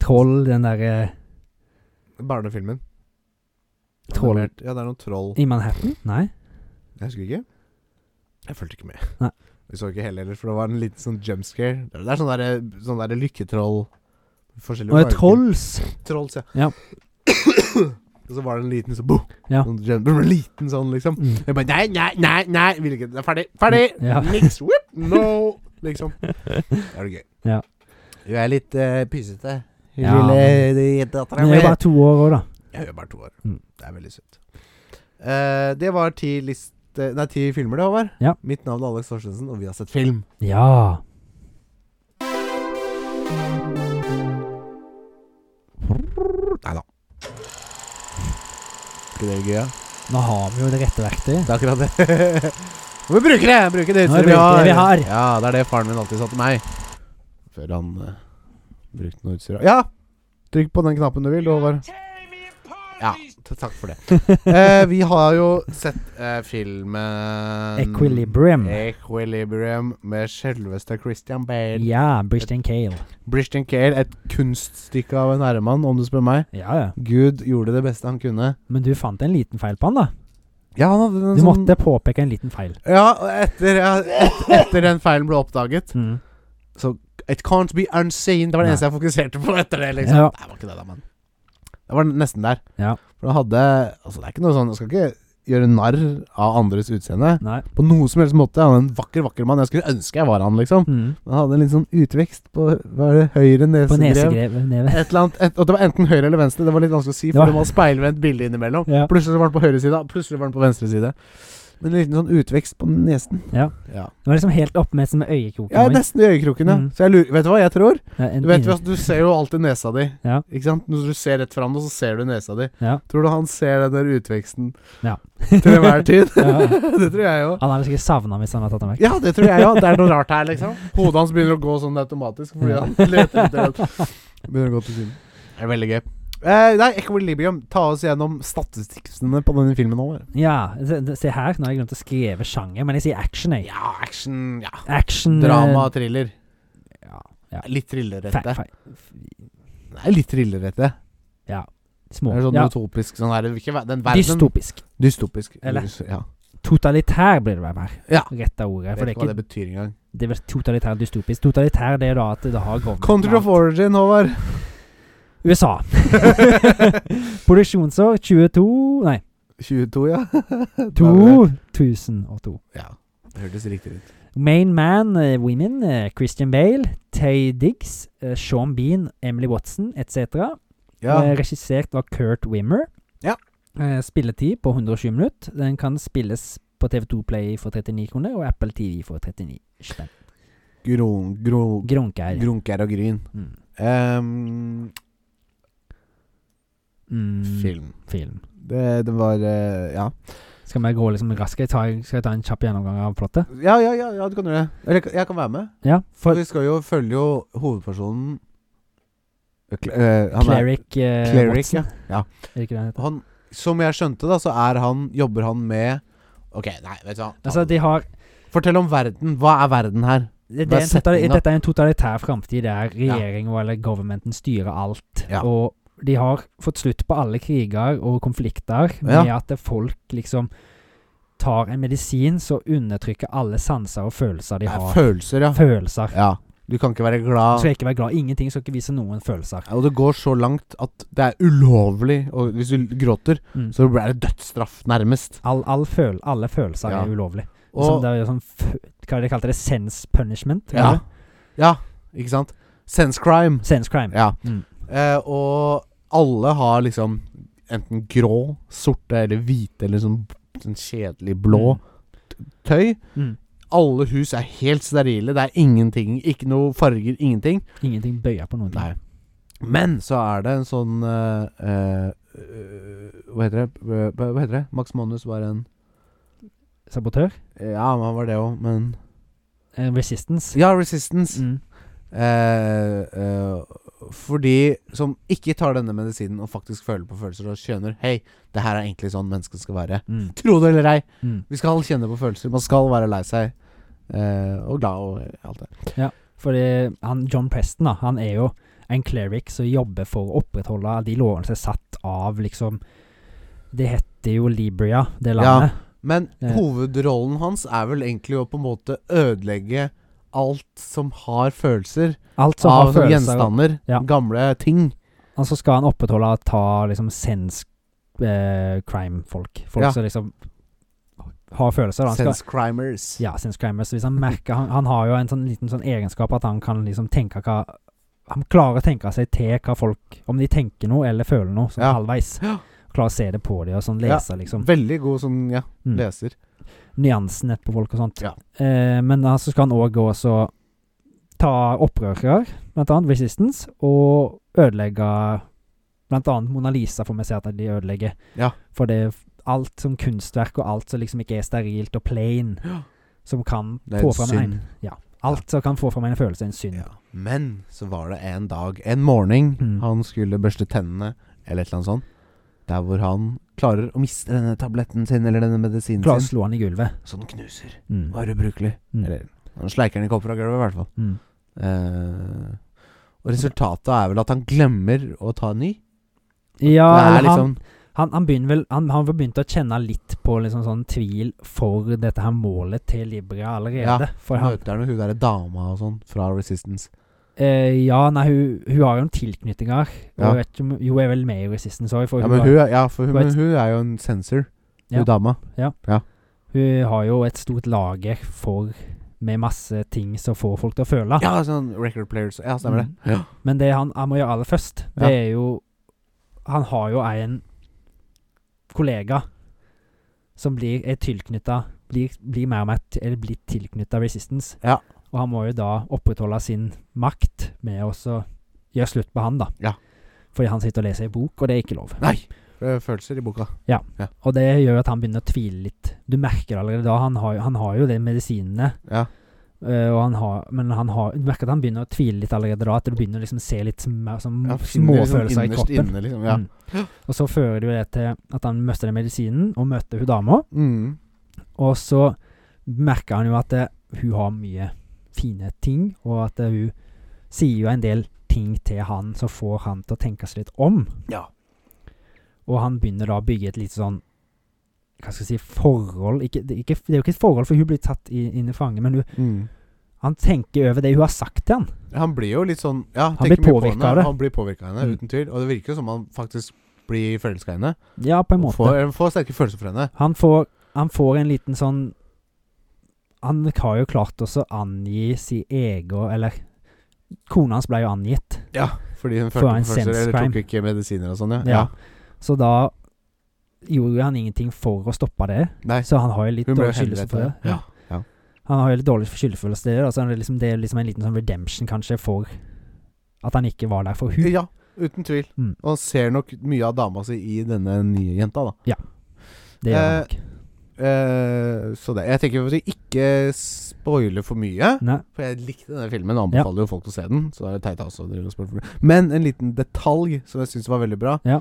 [SPEAKER 2] Troll, den eh, derre
[SPEAKER 1] Barnefilmen.
[SPEAKER 2] Troll.
[SPEAKER 1] Animert. Ja, det er noen troll
[SPEAKER 2] I Manhattan? Nei?
[SPEAKER 1] Jeg husker ikke. Jeg fulgte ikke med.
[SPEAKER 2] Nei.
[SPEAKER 1] Vi så ikke heller, for det var en liten sånn jump scare. Det er- Det er sånn derre sånn der lykketroll Forskjellige
[SPEAKER 2] Nå er
[SPEAKER 1] farger.
[SPEAKER 2] det Trolls!
[SPEAKER 1] Trolls, ja.
[SPEAKER 2] Ja.
[SPEAKER 1] Og så var det en liten sånn boom.
[SPEAKER 2] Ja.
[SPEAKER 1] Sånn, jump- liten sånn, liksom.
[SPEAKER 2] Mm.
[SPEAKER 1] Jeg bare Nei, nei, nei! nei Vil ikke. Det er ferdig! Ferdig!
[SPEAKER 2] Ja.
[SPEAKER 1] Niks! Whoop! No! Liksom. Det er det gøy.
[SPEAKER 2] Ja.
[SPEAKER 1] Du er litt eh, pysete,
[SPEAKER 2] Ja.
[SPEAKER 1] lille
[SPEAKER 2] Men jeg er jo
[SPEAKER 1] dattera
[SPEAKER 2] bare to år òg, da.
[SPEAKER 1] jeg gjør bare to år.
[SPEAKER 2] Mm.
[SPEAKER 1] Det er veldig sunt. Eh, det var ti, liste, nei, ti filmer, det, Håvard.
[SPEAKER 2] Ja.
[SPEAKER 1] Mitt navn er Alex Torstensen, og vi har sett film.
[SPEAKER 2] Ja.
[SPEAKER 1] Nei da. Ikke det gøy? Ja?
[SPEAKER 2] Nå har vi jo det rette verktøyet.
[SPEAKER 1] Det er akkurat det. vi bruker det! Bruker det
[SPEAKER 2] Nå
[SPEAKER 1] utstyret
[SPEAKER 2] bruker vi det vi har.
[SPEAKER 1] Ja, det er det faren min alltid sa til meg. Før han eh, brukte noe utstyr. Ja! Trykk på den knappen du vil, Håvard. Ja, t- takk for det. Eh, vi har jo sett eh, filmen
[SPEAKER 2] Equilibrium.
[SPEAKER 1] Equilibrium med selveste Christian Bale.
[SPEAKER 2] Ja, Brishton Cale.
[SPEAKER 1] Brishton Cale, et kunststykke av en herremann, om du spør meg.
[SPEAKER 2] Ja, ja.
[SPEAKER 1] Gud gjorde det beste han kunne.
[SPEAKER 2] Men du fant en liten feil på han, da.
[SPEAKER 1] Ja, han hadde en
[SPEAKER 2] Du
[SPEAKER 1] sånn
[SPEAKER 2] måtte påpeke en liten feil.
[SPEAKER 1] Ja, og etter, ja, et, etter den feilen ble oppdaget
[SPEAKER 2] Mm.
[SPEAKER 1] It can't be unseen. Det var det
[SPEAKER 2] Nei.
[SPEAKER 1] eneste jeg fokuserte på etter det, liksom.
[SPEAKER 2] Ja.
[SPEAKER 1] Nei, det var ikke det, da, men Det var nesten der.
[SPEAKER 2] Ja.
[SPEAKER 1] For han hadde Altså, det er ikke noe sånn Jeg skal ikke gjøre narr av andres utseende
[SPEAKER 2] Nei.
[SPEAKER 1] på noe som helst måte. Han er en vakker, vakker mann. Jeg skulle ønske jeg var han, liksom.
[SPEAKER 2] Mm.
[SPEAKER 1] Men han hadde en litt sånn utvekst på hva er det, høyre
[SPEAKER 2] På
[SPEAKER 1] nesegrev.
[SPEAKER 2] nesegrevet. Neve.
[SPEAKER 1] Et eller annet, et, og det var enten høyre eller venstre. Det var litt vanskelig å si,
[SPEAKER 2] Ja.
[SPEAKER 1] for det var speilvendt bilde innimellom.
[SPEAKER 2] Ja.
[SPEAKER 1] Plutselig så var den på høyre side, plutselig var den på venstre side. Men en liten sånn utvekst på nesen.
[SPEAKER 2] Ja.
[SPEAKER 1] Ja,
[SPEAKER 2] Det var liksom helt oppe med som øyekroken.
[SPEAKER 1] ja
[SPEAKER 2] oi.
[SPEAKER 1] nesten i øyekroken, ja.
[SPEAKER 2] Mm.
[SPEAKER 1] Så jeg lurer Vet du hva jeg tror?
[SPEAKER 2] Ja, en
[SPEAKER 1] Du, vet, jo
[SPEAKER 2] inni-
[SPEAKER 1] at du ser jo alltid nesa di.
[SPEAKER 2] Ja.
[SPEAKER 1] Ikke sant? Når du ser rett fram, så ser du nesa di.
[SPEAKER 2] Ja.
[SPEAKER 1] Tror du han ser den der utveksten
[SPEAKER 2] Ja.
[SPEAKER 1] til enhver tid?
[SPEAKER 2] Ja, ja.
[SPEAKER 1] det tror jeg jo.
[SPEAKER 2] Han hadde sikkert savna hvis han hadde tatt den vekk.
[SPEAKER 1] Ja, det tror jeg òg. Det er noe rart her, liksom. Hodet hans begynner å gå sånn automatisk fordi han leter etter den. Begynner å gå til siden. Det er veldig gøy. Eh, nei, Equilibrium, ta oss gjennom statistikkene på denne filmen nå.
[SPEAKER 2] Ja, se, se her. Nå har jeg glemt å skrive sjanger, men jeg sier action, jeg.
[SPEAKER 1] Ja, action, ja.
[SPEAKER 2] Action. eh,
[SPEAKER 1] Drama, thriller.
[SPEAKER 2] Ja.
[SPEAKER 1] Mm. Litt
[SPEAKER 2] Fe,
[SPEAKER 1] thrillerete.
[SPEAKER 2] fe,
[SPEAKER 1] Det er litt thrillerete. Det
[SPEAKER 2] små.
[SPEAKER 1] er sånn
[SPEAKER 2] ja.
[SPEAKER 1] utopisk sånn her ikke, ver- Den verden
[SPEAKER 2] Dystopisk.
[SPEAKER 1] Dystopisk.
[SPEAKER 2] Eller?
[SPEAKER 1] Ja.
[SPEAKER 2] Totalitær blir det vel mer
[SPEAKER 1] Ja.
[SPEAKER 2] rett av ordet.
[SPEAKER 1] Jeg vet
[SPEAKER 2] For det er
[SPEAKER 1] ikke hva
[SPEAKER 2] ikke
[SPEAKER 1] det betyr engang.
[SPEAKER 2] det er vel totalitær dystopisk. Totalitær det er da at det har government
[SPEAKER 1] Country of
[SPEAKER 2] makt.
[SPEAKER 1] origin, Håvard.
[SPEAKER 2] USA. Produksjonsår 22 Nei,
[SPEAKER 1] 22, ja. Da var det-
[SPEAKER 2] 2002.
[SPEAKER 1] Ja. Det hørtes riktig ut.
[SPEAKER 2] Main Man eh, Women, eh, Christian Bale, Tay Diggs, eh, Sean Bean, Emily Watson etc. Eh,
[SPEAKER 1] Ja.
[SPEAKER 2] regissert av Kurt Wimmer.
[SPEAKER 1] Ja.
[SPEAKER 2] Eh, spilletid på 120 minutter. Den kan spilles på TV2 Play for 39 kroner og Apple TV for 39 spenn.
[SPEAKER 1] Grun, gro,
[SPEAKER 2] Grunkeir.
[SPEAKER 1] grunker og gryn.
[SPEAKER 2] Mm.
[SPEAKER 1] Ehm,
[SPEAKER 2] Mm,
[SPEAKER 1] film.
[SPEAKER 2] film.
[SPEAKER 1] Det, det var eh, ja.
[SPEAKER 2] Skal vi gå liksom raskere? Ta- Skal jeg ta en kjapp gjennomgang av plottet?
[SPEAKER 1] ja. Ja, ja, ja, du kan gjøre det. Eller jeg kan- jeg kan være med.
[SPEAKER 2] Ja.
[SPEAKER 1] For
[SPEAKER 2] For
[SPEAKER 1] vi skal jo følge jo hovedpersonen Eh, Cl- eh, han er-
[SPEAKER 2] Cleric, eh,
[SPEAKER 1] Cleric,
[SPEAKER 2] Watson.
[SPEAKER 1] ja.
[SPEAKER 2] Er det ikke det han heter?
[SPEAKER 1] han, Som jeg skjønte, da, så er han Jobber han med Ok, nei, vet du hva. Ta
[SPEAKER 2] Altså,
[SPEAKER 1] den.
[SPEAKER 2] de har
[SPEAKER 1] Fortell om verden. Hva er verden her?
[SPEAKER 2] det, det
[SPEAKER 1] Hva er
[SPEAKER 2] er en totali-
[SPEAKER 1] settinga?
[SPEAKER 2] dette er en totalitær framtid der regjeringen eller governmenten styrer alt.
[SPEAKER 1] Ja.
[SPEAKER 2] Og de har fått slutt på alle kriger og konflikter med
[SPEAKER 1] Ja.
[SPEAKER 2] at folk liksom tar en medisin som undertrykker alle sanser og følelser de
[SPEAKER 1] Det er
[SPEAKER 2] har.
[SPEAKER 1] Eh, Følelser, ja.
[SPEAKER 2] Følelser.
[SPEAKER 1] ja. Du kan ikke være
[SPEAKER 2] Du
[SPEAKER 1] glad.
[SPEAKER 2] skal ikke være glad. Ingenting skal ikke vise noen følelser.
[SPEAKER 1] Ja, Og det går så langt at det er ulovlig. Og hvis du gråter,
[SPEAKER 2] Mm.
[SPEAKER 1] så blir det dødsstraff, nærmest.
[SPEAKER 2] All, all føl, alle følelser
[SPEAKER 1] Ja.
[SPEAKER 2] er ulovlig. Sånn,
[SPEAKER 1] Og
[SPEAKER 2] det er jo sånn f- Hva er det de kalte det? Sense punishment? tror
[SPEAKER 1] Ja.
[SPEAKER 2] jeg.
[SPEAKER 1] Ja, ikke sant? Sense crime.
[SPEAKER 2] Sense crime.
[SPEAKER 1] Ja.
[SPEAKER 2] Mm.
[SPEAKER 1] Eh, og alle har liksom enten grå, sorte eller hvite eller sånn, sånn kjedelig blå tøy.
[SPEAKER 2] Mm.
[SPEAKER 1] Alle hus er helt sterile. Det er ingenting. Ikke noe farger, ingenting.
[SPEAKER 2] Ingenting bøyer på noen ting.
[SPEAKER 1] Nei. Men så er det en sånn eh, eh, Hva heter det? Hva- Hva heter det? Max Manus var en
[SPEAKER 2] Sabotør.
[SPEAKER 1] Ja, han var det òg, men
[SPEAKER 2] Eh, resistance.
[SPEAKER 1] Ja, Resistance.
[SPEAKER 2] Mm.
[SPEAKER 1] Eh, eh, for de som ikke tar denne medisinen og faktisk føler på følelser og skjønner Hei, det her er egentlig sånn mennesket skal være.
[SPEAKER 2] Mm.
[SPEAKER 1] Tro det eller ei,
[SPEAKER 2] Mm.
[SPEAKER 1] vi skal kjenne på følelser. Man skal være lei seg eh, og glad og alt det.
[SPEAKER 2] Fordi han, John Preston da, han er jo en cleric som jobber for å opprettholde de lovene som er satt av liksom Det heter jo Libria, det landet.
[SPEAKER 1] Men
[SPEAKER 2] Ja.
[SPEAKER 1] hovedrollen hans er vel egentlig å på en måte ødelegge alt som har følelser.
[SPEAKER 2] Alt som
[SPEAKER 1] av
[SPEAKER 2] har
[SPEAKER 1] sånne
[SPEAKER 2] følelser. og-
[SPEAKER 1] gjenstander.
[SPEAKER 2] Ja.
[SPEAKER 1] Gamle ting.
[SPEAKER 2] Og så skal han opprettholde og ta liksom sense eh, crime-folk. Folk
[SPEAKER 1] Ja.
[SPEAKER 2] som liksom har følelser. Da. Han skal,
[SPEAKER 1] Sense crimers.
[SPEAKER 2] ja, sense crime. Så hvis han merker han, han har jo en sånn liten sånn egenskap at han kan liksom tenke hva Han klarer å tenke seg til hva folk Om de tenker noe eller føler noe, sånn
[SPEAKER 1] Ja.
[SPEAKER 2] halvveis.
[SPEAKER 1] Ja.
[SPEAKER 2] Klarer å se det på dem og sånn
[SPEAKER 1] Ja.
[SPEAKER 2] lese, liksom.
[SPEAKER 1] Veldig god sånn, ja,
[SPEAKER 2] Mm.
[SPEAKER 1] leser.
[SPEAKER 2] nyansene på folk og sånt.
[SPEAKER 1] Ja.
[SPEAKER 2] Eh, men da så skal han òg gå og så ta opprørere, blant annet Resistance, og ødelegge blant annet Mona Lisa, får vi se at de ødelegger.
[SPEAKER 1] Ja.
[SPEAKER 2] For det er alt som kunstverk, og alt som liksom ikke er sterilt og plain, som kan
[SPEAKER 1] Det
[SPEAKER 2] få
[SPEAKER 1] er
[SPEAKER 2] fram en
[SPEAKER 1] synd.
[SPEAKER 2] Alt som kan få fram en følelse, en synd.
[SPEAKER 1] Ja. Men så var det en dag, en morgen,
[SPEAKER 2] Mm.
[SPEAKER 1] han skulle børste tennene, eller et eller annet sånt, der hvor han klarer å miste denne tabletten sin, eller denne medisinen
[SPEAKER 2] Klarer å
[SPEAKER 1] sin,
[SPEAKER 2] slå han i gulvet.
[SPEAKER 1] så den knuser.
[SPEAKER 2] Mm.
[SPEAKER 1] Var ubrukelig.
[SPEAKER 2] Mm.
[SPEAKER 1] Eller han sleiker den ikke opp fra gulvet, i hvert fall.
[SPEAKER 2] Mm.
[SPEAKER 1] Eh, og resultatet er vel at han glemmer å ta en ny.
[SPEAKER 2] Ja,
[SPEAKER 1] det
[SPEAKER 2] eller
[SPEAKER 1] er liksom
[SPEAKER 2] han, han, han begynner vel Han har begynt å kjenne litt på liksom sånn tvil for dette her målet til Libria allerede. for han,
[SPEAKER 1] Møter han hun derre dama og sånn, fra Resistance.
[SPEAKER 2] Eh, ja, nei, hun, hun har jo noen tilknytninger. Og
[SPEAKER 1] Ja.
[SPEAKER 2] jeg vet ikke om- hun er vel med i Resistance òg. Hun,
[SPEAKER 1] Ja, men
[SPEAKER 2] har-
[SPEAKER 1] hun, er- ja, for hun,
[SPEAKER 2] Hun er-
[SPEAKER 1] men hun er jo en sensor,
[SPEAKER 2] Ja.
[SPEAKER 1] hun dama.
[SPEAKER 2] hun har jo et stort lager for med masse ting som får folk til å føle.
[SPEAKER 1] Ja, sånn record players. Ja, stemmer
[SPEAKER 2] Mm.
[SPEAKER 1] det. Ja.
[SPEAKER 2] Men det han, han må gjøre aller først, det
[SPEAKER 1] Ja.
[SPEAKER 2] er jo Han har jo en kollega som blir er tilknytta blir, blir mer og mer til- eller blir tilknytta Resistance.
[SPEAKER 1] Ja.
[SPEAKER 2] Og han må jo da opprettholde sin makt med å så gjøre slutt på han, da.
[SPEAKER 1] Ja.
[SPEAKER 2] Fordi han sitter og leser en bok, og det er ikke lov.
[SPEAKER 1] Nei! Det er Følelser i boka.
[SPEAKER 2] Og det gjør at han begynner å tvile litt. Du merker det allerede da. Han har, jo- han har jo de medisinene,
[SPEAKER 1] Ja.
[SPEAKER 2] øh, og han har, men han har, du merker at han begynner å tvile litt allerede da. At du begynner å liksom se litt mer sånn
[SPEAKER 1] Ja, finner liksom
[SPEAKER 2] småfølelser i
[SPEAKER 1] innerst
[SPEAKER 2] kroppen.
[SPEAKER 1] Inne, liksom, ja.
[SPEAKER 2] Mm. Og så fører det jo det til at han møter den medisinen, og møter hun dama.
[SPEAKER 1] Mm.
[SPEAKER 2] Og så merker han jo at eh, hun har mye fine ting, og at eh, hun sier jo en del ting til han som får han til å tenke seg litt om.
[SPEAKER 1] Ja.
[SPEAKER 2] Og han begynner da å bygge et litt sånn Hva skal jeg si Forhold ikke, det, ikke, det er jo ikke et forhold, for hun blir tatt i, inn i fange, men hun, han tenker over det hun har sagt til han.
[SPEAKER 1] Mm, Han blir jo litt sånn ja,
[SPEAKER 2] Han
[SPEAKER 1] tenker
[SPEAKER 2] blir
[SPEAKER 1] mye på
[SPEAKER 2] påvirket
[SPEAKER 1] henne.
[SPEAKER 2] av det.
[SPEAKER 1] Han blir påvirka av henne,
[SPEAKER 2] Mm.
[SPEAKER 1] uten tvil. Og det virker jo som han faktisk bli forelska i henne.
[SPEAKER 2] Ja, på en
[SPEAKER 1] Og
[SPEAKER 2] måte.
[SPEAKER 1] får, eh, får sterke følelser for henne.
[SPEAKER 2] Han får, han får en liten sånn Han har jo klart også å angi sin egen Eller kona hans ble jo angitt.
[SPEAKER 1] Ja, fordi hun
[SPEAKER 2] For
[SPEAKER 1] følte
[SPEAKER 2] en
[SPEAKER 1] på følelser, eller
[SPEAKER 2] sense-crime.
[SPEAKER 1] tok ikke medisiner og sånn, ja.
[SPEAKER 2] Ja. Så da gjorde han ingenting for å stoppe det.
[SPEAKER 1] Nei,
[SPEAKER 2] Så han har jo litt
[SPEAKER 1] hun ble
[SPEAKER 2] dårlig
[SPEAKER 1] jo
[SPEAKER 2] skyldfølelse
[SPEAKER 1] helvete.
[SPEAKER 2] for det.
[SPEAKER 1] Ja.
[SPEAKER 2] Han har jo litt dårlig skyldfølelse der, da, så han er liksom, det er liksom en liten sånn redemption kanskje for at han ikke var der for hun.
[SPEAKER 1] ja, uten tvil.
[SPEAKER 2] Mm.
[SPEAKER 1] Og han ser nok mye av dama si i denne nye jenta, da.
[SPEAKER 2] Det gjør han
[SPEAKER 1] eh,
[SPEAKER 2] nok.
[SPEAKER 1] Eh, så det Jeg tenker at vi ikke spoiler for mye.
[SPEAKER 2] Nei.
[SPEAKER 1] For jeg likte denne filmen, og anbefaler jo folk å se den. Så da er det teit av oss å drive og spørre for det. Men en liten detalj som jeg syns var veldig bra.
[SPEAKER 2] Ja.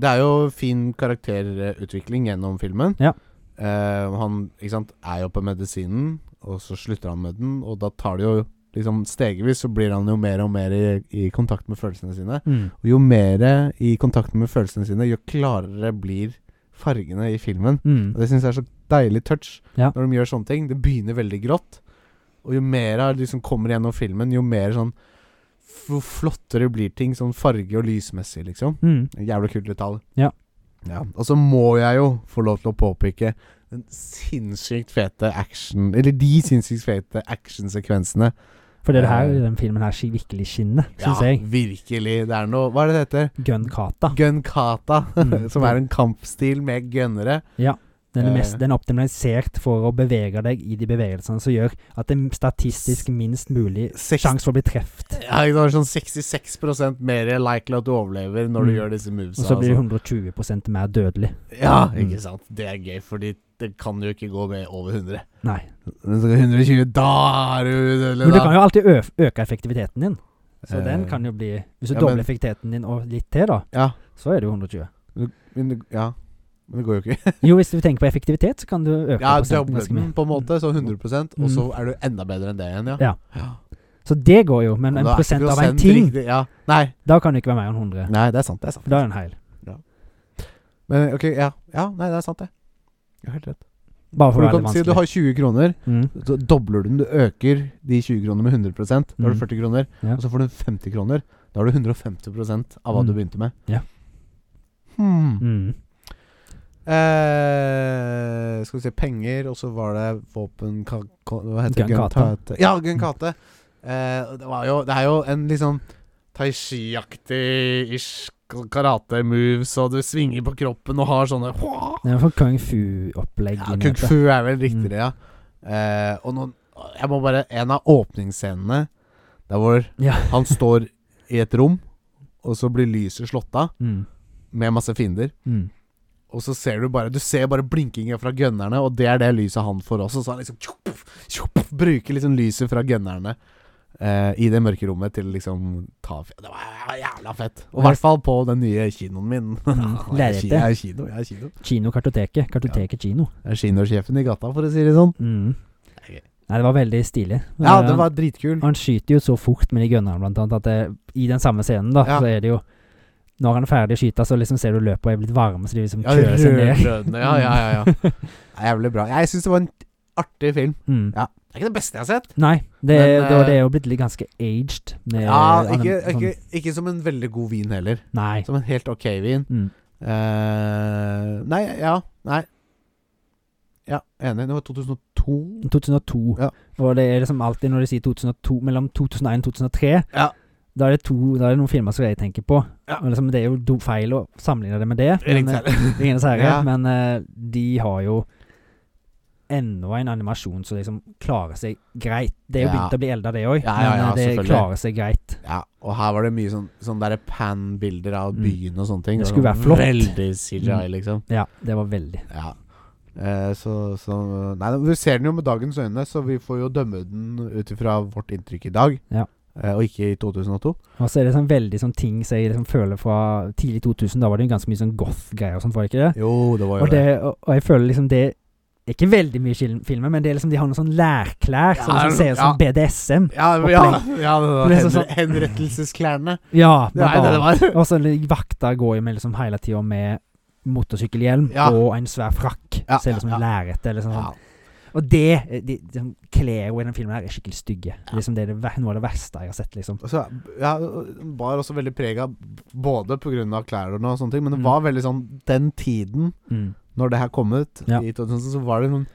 [SPEAKER 1] Det er jo fin karakterutvikling gjennom filmen.
[SPEAKER 2] Ja.
[SPEAKER 1] Eh, han ikke sant, er jo på medisinen, og så slutter han med den. Og da tar det jo liksom stegvis, så blir han jo mer og mer i, i kontakt med følelsene sine.
[SPEAKER 2] Mm.
[SPEAKER 1] Og jo mer i kontakt med følelsene sine, jo klarere blir fargene i filmen.
[SPEAKER 2] Mm.
[SPEAKER 1] Og det syns jeg er så deilig touch
[SPEAKER 2] Ja.
[SPEAKER 1] når de gjør sånne ting. Det begynner veldig grått, og jo mer av det som kommer gjennom filmen, jo mer sånn f- jo flottere blir ting, sånn farge- og lysmessig, liksom.
[SPEAKER 2] Mm.
[SPEAKER 1] En Jævla kult detalj.
[SPEAKER 2] Ja.
[SPEAKER 1] ja. Og så må jeg jo få lov til å påpeke den sinnssykt fete action Eller de sinnssykt fete actionsekvensene.
[SPEAKER 2] For det er det her,
[SPEAKER 1] Eh.
[SPEAKER 2] den filmen her sk- virkelig skinner, syns jeg.
[SPEAKER 1] virkelig. Det er noe Hva er det det heter?
[SPEAKER 2] Gun Kata.
[SPEAKER 1] Gun kata,
[SPEAKER 2] Mm.
[SPEAKER 1] som er en kampstil med gunnere.
[SPEAKER 2] Den er,
[SPEAKER 1] eh.
[SPEAKER 2] mest, den er optimalisert for å bevege deg i de bevegelsene som gjør at det er statistisk minst mulig
[SPEAKER 1] Seks-
[SPEAKER 2] sjanse for å bli truffet.
[SPEAKER 1] Ja, det var sånn 66 mer likely at du overlever når du
[SPEAKER 2] Mm.
[SPEAKER 1] gjør disse
[SPEAKER 2] Og
[SPEAKER 1] movesa.
[SPEAKER 2] så blir
[SPEAKER 1] og sånn.
[SPEAKER 2] du 120 mer dødelig.
[SPEAKER 1] Ja,
[SPEAKER 2] Mm.
[SPEAKER 1] ikke sant. Det er gøy, fordi det kan jo ikke gå med over 100.
[SPEAKER 2] Nei.
[SPEAKER 1] Men så 120, da er du udødelig,
[SPEAKER 2] Men du
[SPEAKER 1] da.
[SPEAKER 2] kan jo alltid ø øke effektiviteten din. Så
[SPEAKER 1] Eh.
[SPEAKER 2] den kan jo bli Hvis du
[SPEAKER 1] Ja,
[SPEAKER 2] dobler
[SPEAKER 1] men-
[SPEAKER 2] effektiviteten din og litt til, da,
[SPEAKER 1] Ja,
[SPEAKER 2] så er det jo 120.
[SPEAKER 1] men det, ja. Men det går jo ikke.
[SPEAKER 2] Jo, hvis du tenker på effektivitet, så kan du øke
[SPEAKER 1] Ja,
[SPEAKER 2] prosenten
[SPEAKER 1] doble
[SPEAKER 2] ganske
[SPEAKER 1] den
[SPEAKER 2] mye. Mm.
[SPEAKER 1] på en måte, så 100 og så er du enda bedre enn det igjen, ja.
[SPEAKER 2] Ja. Så det går jo, men
[SPEAKER 1] Men
[SPEAKER 2] en
[SPEAKER 1] da er ikke
[SPEAKER 2] prosent av en
[SPEAKER 1] prosent
[SPEAKER 2] ting,
[SPEAKER 1] riktig, Ja. Nei.
[SPEAKER 2] da kan det ikke være mer enn 100.
[SPEAKER 1] nei, det er sant, det er sant.
[SPEAKER 2] Da er det en heil.
[SPEAKER 1] Men ok, ja. ja. Nei, det er sant, det. Du har helt rett.
[SPEAKER 2] Bare
[SPEAKER 1] For
[SPEAKER 2] for å
[SPEAKER 1] du
[SPEAKER 2] være
[SPEAKER 1] kan
[SPEAKER 2] litt
[SPEAKER 1] si du
[SPEAKER 2] vanskelig.
[SPEAKER 1] har 20 kroner,
[SPEAKER 2] Mm.
[SPEAKER 1] så dobler du den. Du øker de 20 kronene med 100 Da har
[SPEAKER 2] Mm.
[SPEAKER 1] du 40 kroner.
[SPEAKER 2] Ja.
[SPEAKER 1] Og så får du 50 kroner. Da har du 150 av hva
[SPEAKER 2] Mm.
[SPEAKER 1] du begynte med.
[SPEAKER 2] Ja.
[SPEAKER 1] Hmm.
[SPEAKER 2] Mm.
[SPEAKER 1] Eh, skal vi se Penger, og så var det våpen ka, ka, Hva heter det?
[SPEAKER 2] Gun Kata.
[SPEAKER 1] Tate. Ja, Gun Kate. Eh, og det, var jo, det er jo en liksom tai chi-aktig ish karate-moves, og du svinger på kroppen og har sånne
[SPEAKER 2] Det er i hvert fall kung fu-opplegg.
[SPEAKER 1] ja,
[SPEAKER 2] inni
[SPEAKER 1] Kung
[SPEAKER 2] dette.
[SPEAKER 1] Fu er vel riktigere, ja. Eh, og noen Jeg må bare En av åpningsscenene der hvor
[SPEAKER 2] Ja.
[SPEAKER 1] han står i et rom, og så blir lyset slått av
[SPEAKER 2] Mm.
[SPEAKER 1] med masse fiender.
[SPEAKER 2] Mm.
[SPEAKER 1] Og så ser du bare Du ser bare blinkingen fra gunnerne, og det er det lyset han får også. Så han liksom tjopp, tjopp, Bruker liksom lyset fra gunnerne eh, i det mørke rommet til liksom ta f- Det var jævla fett. Og i hvert fall på den nye kinoen min.
[SPEAKER 2] Mm,
[SPEAKER 1] jeg, er ki-
[SPEAKER 2] lerretet.
[SPEAKER 1] jeg er kino, jeg er kino.
[SPEAKER 2] Kino Kartoteket. Kartoteket kino.
[SPEAKER 1] Jeg er kinosjefen i gata, for å si det sånn.
[SPEAKER 2] Mm.
[SPEAKER 1] Det er gøy.
[SPEAKER 2] Nei, det var veldig stilig.
[SPEAKER 1] Ja,
[SPEAKER 2] Eh,
[SPEAKER 1] den var dritkul.
[SPEAKER 2] Og han skyter jo så fort med de gunnerne, blant annet, at det, i den samme scenen, da,
[SPEAKER 1] Ja.
[SPEAKER 2] så er det jo Når han er ferdig å skyte, så liksom ser du løpet er blitt varme, så de liksom
[SPEAKER 1] Ja,
[SPEAKER 2] kjører seg ned.
[SPEAKER 1] rødrødende. Ja, ja, ja, ja. Det er Jævlig bra. Jeg syns det var en artig film.
[SPEAKER 2] Mm.
[SPEAKER 1] Det er ikke det beste jeg har sett.
[SPEAKER 2] Nei, det,
[SPEAKER 1] Men,
[SPEAKER 2] det, og
[SPEAKER 1] eh,
[SPEAKER 2] det er jo blitt litt ganske aged. Med,
[SPEAKER 1] Ja,
[SPEAKER 2] anim-
[SPEAKER 1] ikke,
[SPEAKER 2] sånn-
[SPEAKER 1] ikke, ikke som en veldig god vin heller.
[SPEAKER 2] Nei.
[SPEAKER 1] Som en helt ok vin.
[SPEAKER 2] Mm.
[SPEAKER 1] Eh, nei, ja. Nei. Ja, enig. Det var 2002.
[SPEAKER 2] 2002.
[SPEAKER 1] Ja.
[SPEAKER 2] Og det er liksom alltid når de sier 2002 Mellom 2001 og 2003
[SPEAKER 1] Ja.
[SPEAKER 2] da, er det to, da er det noen filmer som jeg tenker på.
[SPEAKER 1] Ja.
[SPEAKER 2] Og liksom, det er jo do- feil å sammenligne det med det. Men, eh, Ringenes herre.
[SPEAKER 1] Ja.
[SPEAKER 2] Men eh, de har jo enda en animasjon som liksom klarer seg greit. Det er jo
[SPEAKER 1] Ja.
[SPEAKER 2] begynt å bli elda, det òg.
[SPEAKER 1] Ja, ja, ja,
[SPEAKER 2] men eh, det
[SPEAKER 1] selvfølgelig.
[SPEAKER 2] klarer seg greit.
[SPEAKER 1] Ja, og her var det mye sånn, sånn derre pan-bilder av
[SPEAKER 2] Mm.
[SPEAKER 1] byen og sånne ting.
[SPEAKER 2] Det
[SPEAKER 1] var
[SPEAKER 2] skulle
[SPEAKER 1] sånn
[SPEAKER 2] være flott.
[SPEAKER 1] Veldig CGI, liksom.
[SPEAKER 2] Ja, det var veldig.
[SPEAKER 1] Ja. Eh, så, så Nei, vi ser den jo med dagens øyne, så vi får jo dømme den ut ifra vårt inntrykk i dag.
[SPEAKER 2] Ja.
[SPEAKER 1] Eh, og ikke i 2002.
[SPEAKER 2] Og så er det sånn veldig sånn ting som jeg liksom føler fra tidlig 2000. Da var det jo ganske mye sånn goth-greier og sånn, var det ikke det?
[SPEAKER 1] Jo, det var jo
[SPEAKER 2] Og, det, og, og jeg føler liksom det er ikke veldig mye film- filmer, men det er liksom de har noen sånn lærklær som
[SPEAKER 1] Ja,
[SPEAKER 2] liksom ser ut
[SPEAKER 1] ja.
[SPEAKER 2] som BDSM.
[SPEAKER 1] Ja, men- ja, ja det var
[SPEAKER 2] Det er
[SPEAKER 1] henre,
[SPEAKER 2] sånn-
[SPEAKER 1] henrettelsesklærne.
[SPEAKER 2] Ja,
[SPEAKER 1] Det er det det
[SPEAKER 2] blant annet.
[SPEAKER 1] var.
[SPEAKER 2] Og så vakta Altså, går jo med liksom hele tida med motorsykkelhjelm
[SPEAKER 1] Ja.
[SPEAKER 2] og en svær frakk.
[SPEAKER 1] Ja,
[SPEAKER 2] ser ut som
[SPEAKER 1] ja,
[SPEAKER 2] en lærete eller sånn.
[SPEAKER 1] Ja.
[SPEAKER 2] Og det eh, de, de, Klær i den filmen her er skikkelig stygge. Det er Liksom det er det, ver- noe av det verste jeg har sett, liksom.
[SPEAKER 1] Og så, ja, den bar også veldig preg av både pga. klærne og sånne ting, men det
[SPEAKER 2] Mm.
[SPEAKER 1] var veldig sånn Den tiden, når det her kom ut,
[SPEAKER 2] Ja.
[SPEAKER 1] i 2000, så var det noen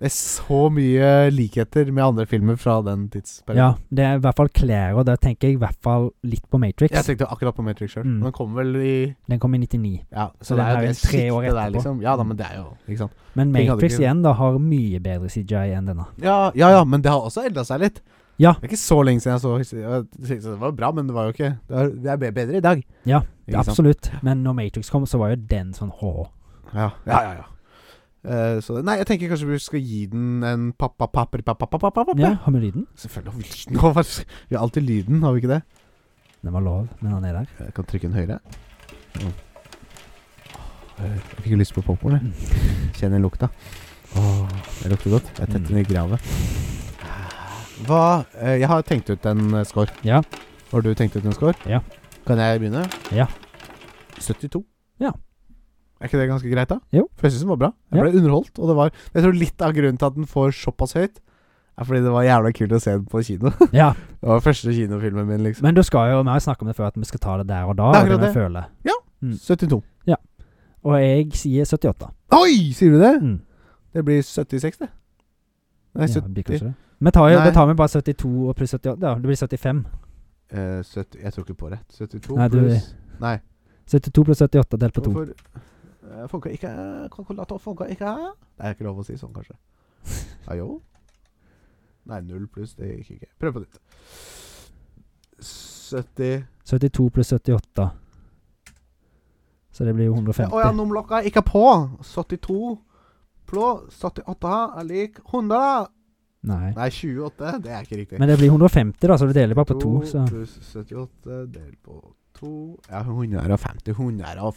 [SPEAKER 1] det er så mye likheter med andre filmer fra den
[SPEAKER 2] Ja,
[SPEAKER 1] tidsperioden.
[SPEAKER 2] det er i hvert fall klær, og da tenker jeg i hvert fall litt på Matrix.
[SPEAKER 1] Jeg tenkte akkurat på Matrix sjøl.
[SPEAKER 2] Mm.
[SPEAKER 1] Den kom vel i
[SPEAKER 2] Den kom i 99.
[SPEAKER 1] Ja,
[SPEAKER 2] Så
[SPEAKER 1] så det
[SPEAKER 2] den
[SPEAKER 1] er
[SPEAKER 2] er
[SPEAKER 1] jo
[SPEAKER 2] jo
[SPEAKER 1] det
[SPEAKER 2] tre år
[SPEAKER 1] siktet der,
[SPEAKER 2] etterpå.
[SPEAKER 1] liksom. Ja da, men det er jo Ikke sant.
[SPEAKER 2] Men
[SPEAKER 1] Ting hadde
[SPEAKER 2] Matrix
[SPEAKER 1] ikke-
[SPEAKER 2] igjen da har mye bedre CGI enn denne.
[SPEAKER 1] Ja, ja, ja, men det har også elda seg litt.
[SPEAKER 2] Ja.
[SPEAKER 1] Det er ikke så lenge siden jeg så jeg tenkte Det var bra, men det var jo ikke Det er, det er be- bedre i dag.
[SPEAKER 2] Ja,
[SPEAKER 1] Ikke sant?
[SPEAKER 2] Absolutt. Men når Matrix kom, så var jo den sånn hå.
[SPEAKER 1] Ja, ja, ja. ja. Eh, så, nei, jeg tenker kanskje vi skal gi den en pappa papper pappa pappa pappa
[SPEAKER 2] Ja, har vi lyden?
[SPEAKER 1] Selvfølgelig har vi lyden. Hva var- Vi har alltid lyden, har vi ikke det?
[SPEAKER 2] Den var lov, men han er der.
[SPEAKER 1] Jeg kan trykke den høyre. Mm. Eh, Jeg fikk jo lyst på popkorn, jeg. Kjenner lukta. Åh, det lukter godt. Jeg tetter den i
[SPEAKER 2] Mm.
[SPEAKER 1] gravet. Hva eh, Jeg har tenkt ut en eh, score.
[SPEAKER 2] Ja.
[SPEAKER 1] Har du tenkt ut en score?
[SPEAKER 2] Ja.
[SPEAKER 1] Kan jeg begynne?
[SPEAKER 2] Ja.
[SPEAKER 1] 72.
[SPEAKER 2] Ja.
[SPEAKER 1] Er ikke det ganske greit, da?
[SPEAKER 2] Jo.
[SPEAKER 1] For jeg syns den var bra. Jeg
[SPEAKER 2] Ja.
[SPEAKER 1] ble underholdt. Og det var Jeg tror litt av grunnen til at den får såpass høyt, er fordi det var jævla kult å se den på kino.
[SPEAKER 2] Ja,
[SPEAKER 1] det var første kinofilmen min, liksom.
[SPEAKER 2] men du skal jo Vi har jo snakket om det før, at vi skal ta det der og da.
[SPEAKER 1] Det er
[SPEAKER 2] og Det
[SPEAKER 1] akkurat
[SPEAKER 2] vi
[SPEAKER 1] det.
[SPEAKER 2] føler. Mm.
[SPEAKER 1] 72.
[SPEAKER 2] Og jeg sier 78.
[SPEAKER 1] Oi! Sier du det?
[SPEAKER 2] Mm.
[SPEAKER 1] Det blir 76, det. Nei,
[SPEAKER 2] ja,
[SPEAKER 1] 70,
[SPEAKER 2] det blir kanskje det. Vi tar jo,
[SPEAKER 1] Nei.
[SPEAKER 2] da tar vi bare 72 og pluss 78. Ja, det blir 75.
[SPEAKER 1] eh, 70 Jeg tror ikke på det. 72
[SPEAKER 2] Nei, du-
[SPEAKER 1] pluss Nei.
[SPEAKER 2] 72 pluss 78 delt på 2.
[SPEAKER 1] Hvorfor eh, funka ikke eh, Kalkulator funka ikke Det er ikke lov å si sånn, kanskje. Ja, jo. Nei, null pluss det gikk ikke. Prøv på nytt. 70
[SPEAKER 2] 72 pluss 78. Så det blir jo
[SPEAKER 1] Å ja,
[SPEAKER 2] 150.
[SPEAKER 1] nummerlokka er ikke på! 72 pluss 78 er lik 100.
[SPEAKER 2] Nei.
[SPEAKER 1] Nei, 28. Det er ikke riktig.
[SPEAKER 2] Men det blir 150, da, så du deler bare på 2. Så
[SPEAKER 1] pluss 78 delt på 2 Ja, 150, 150 og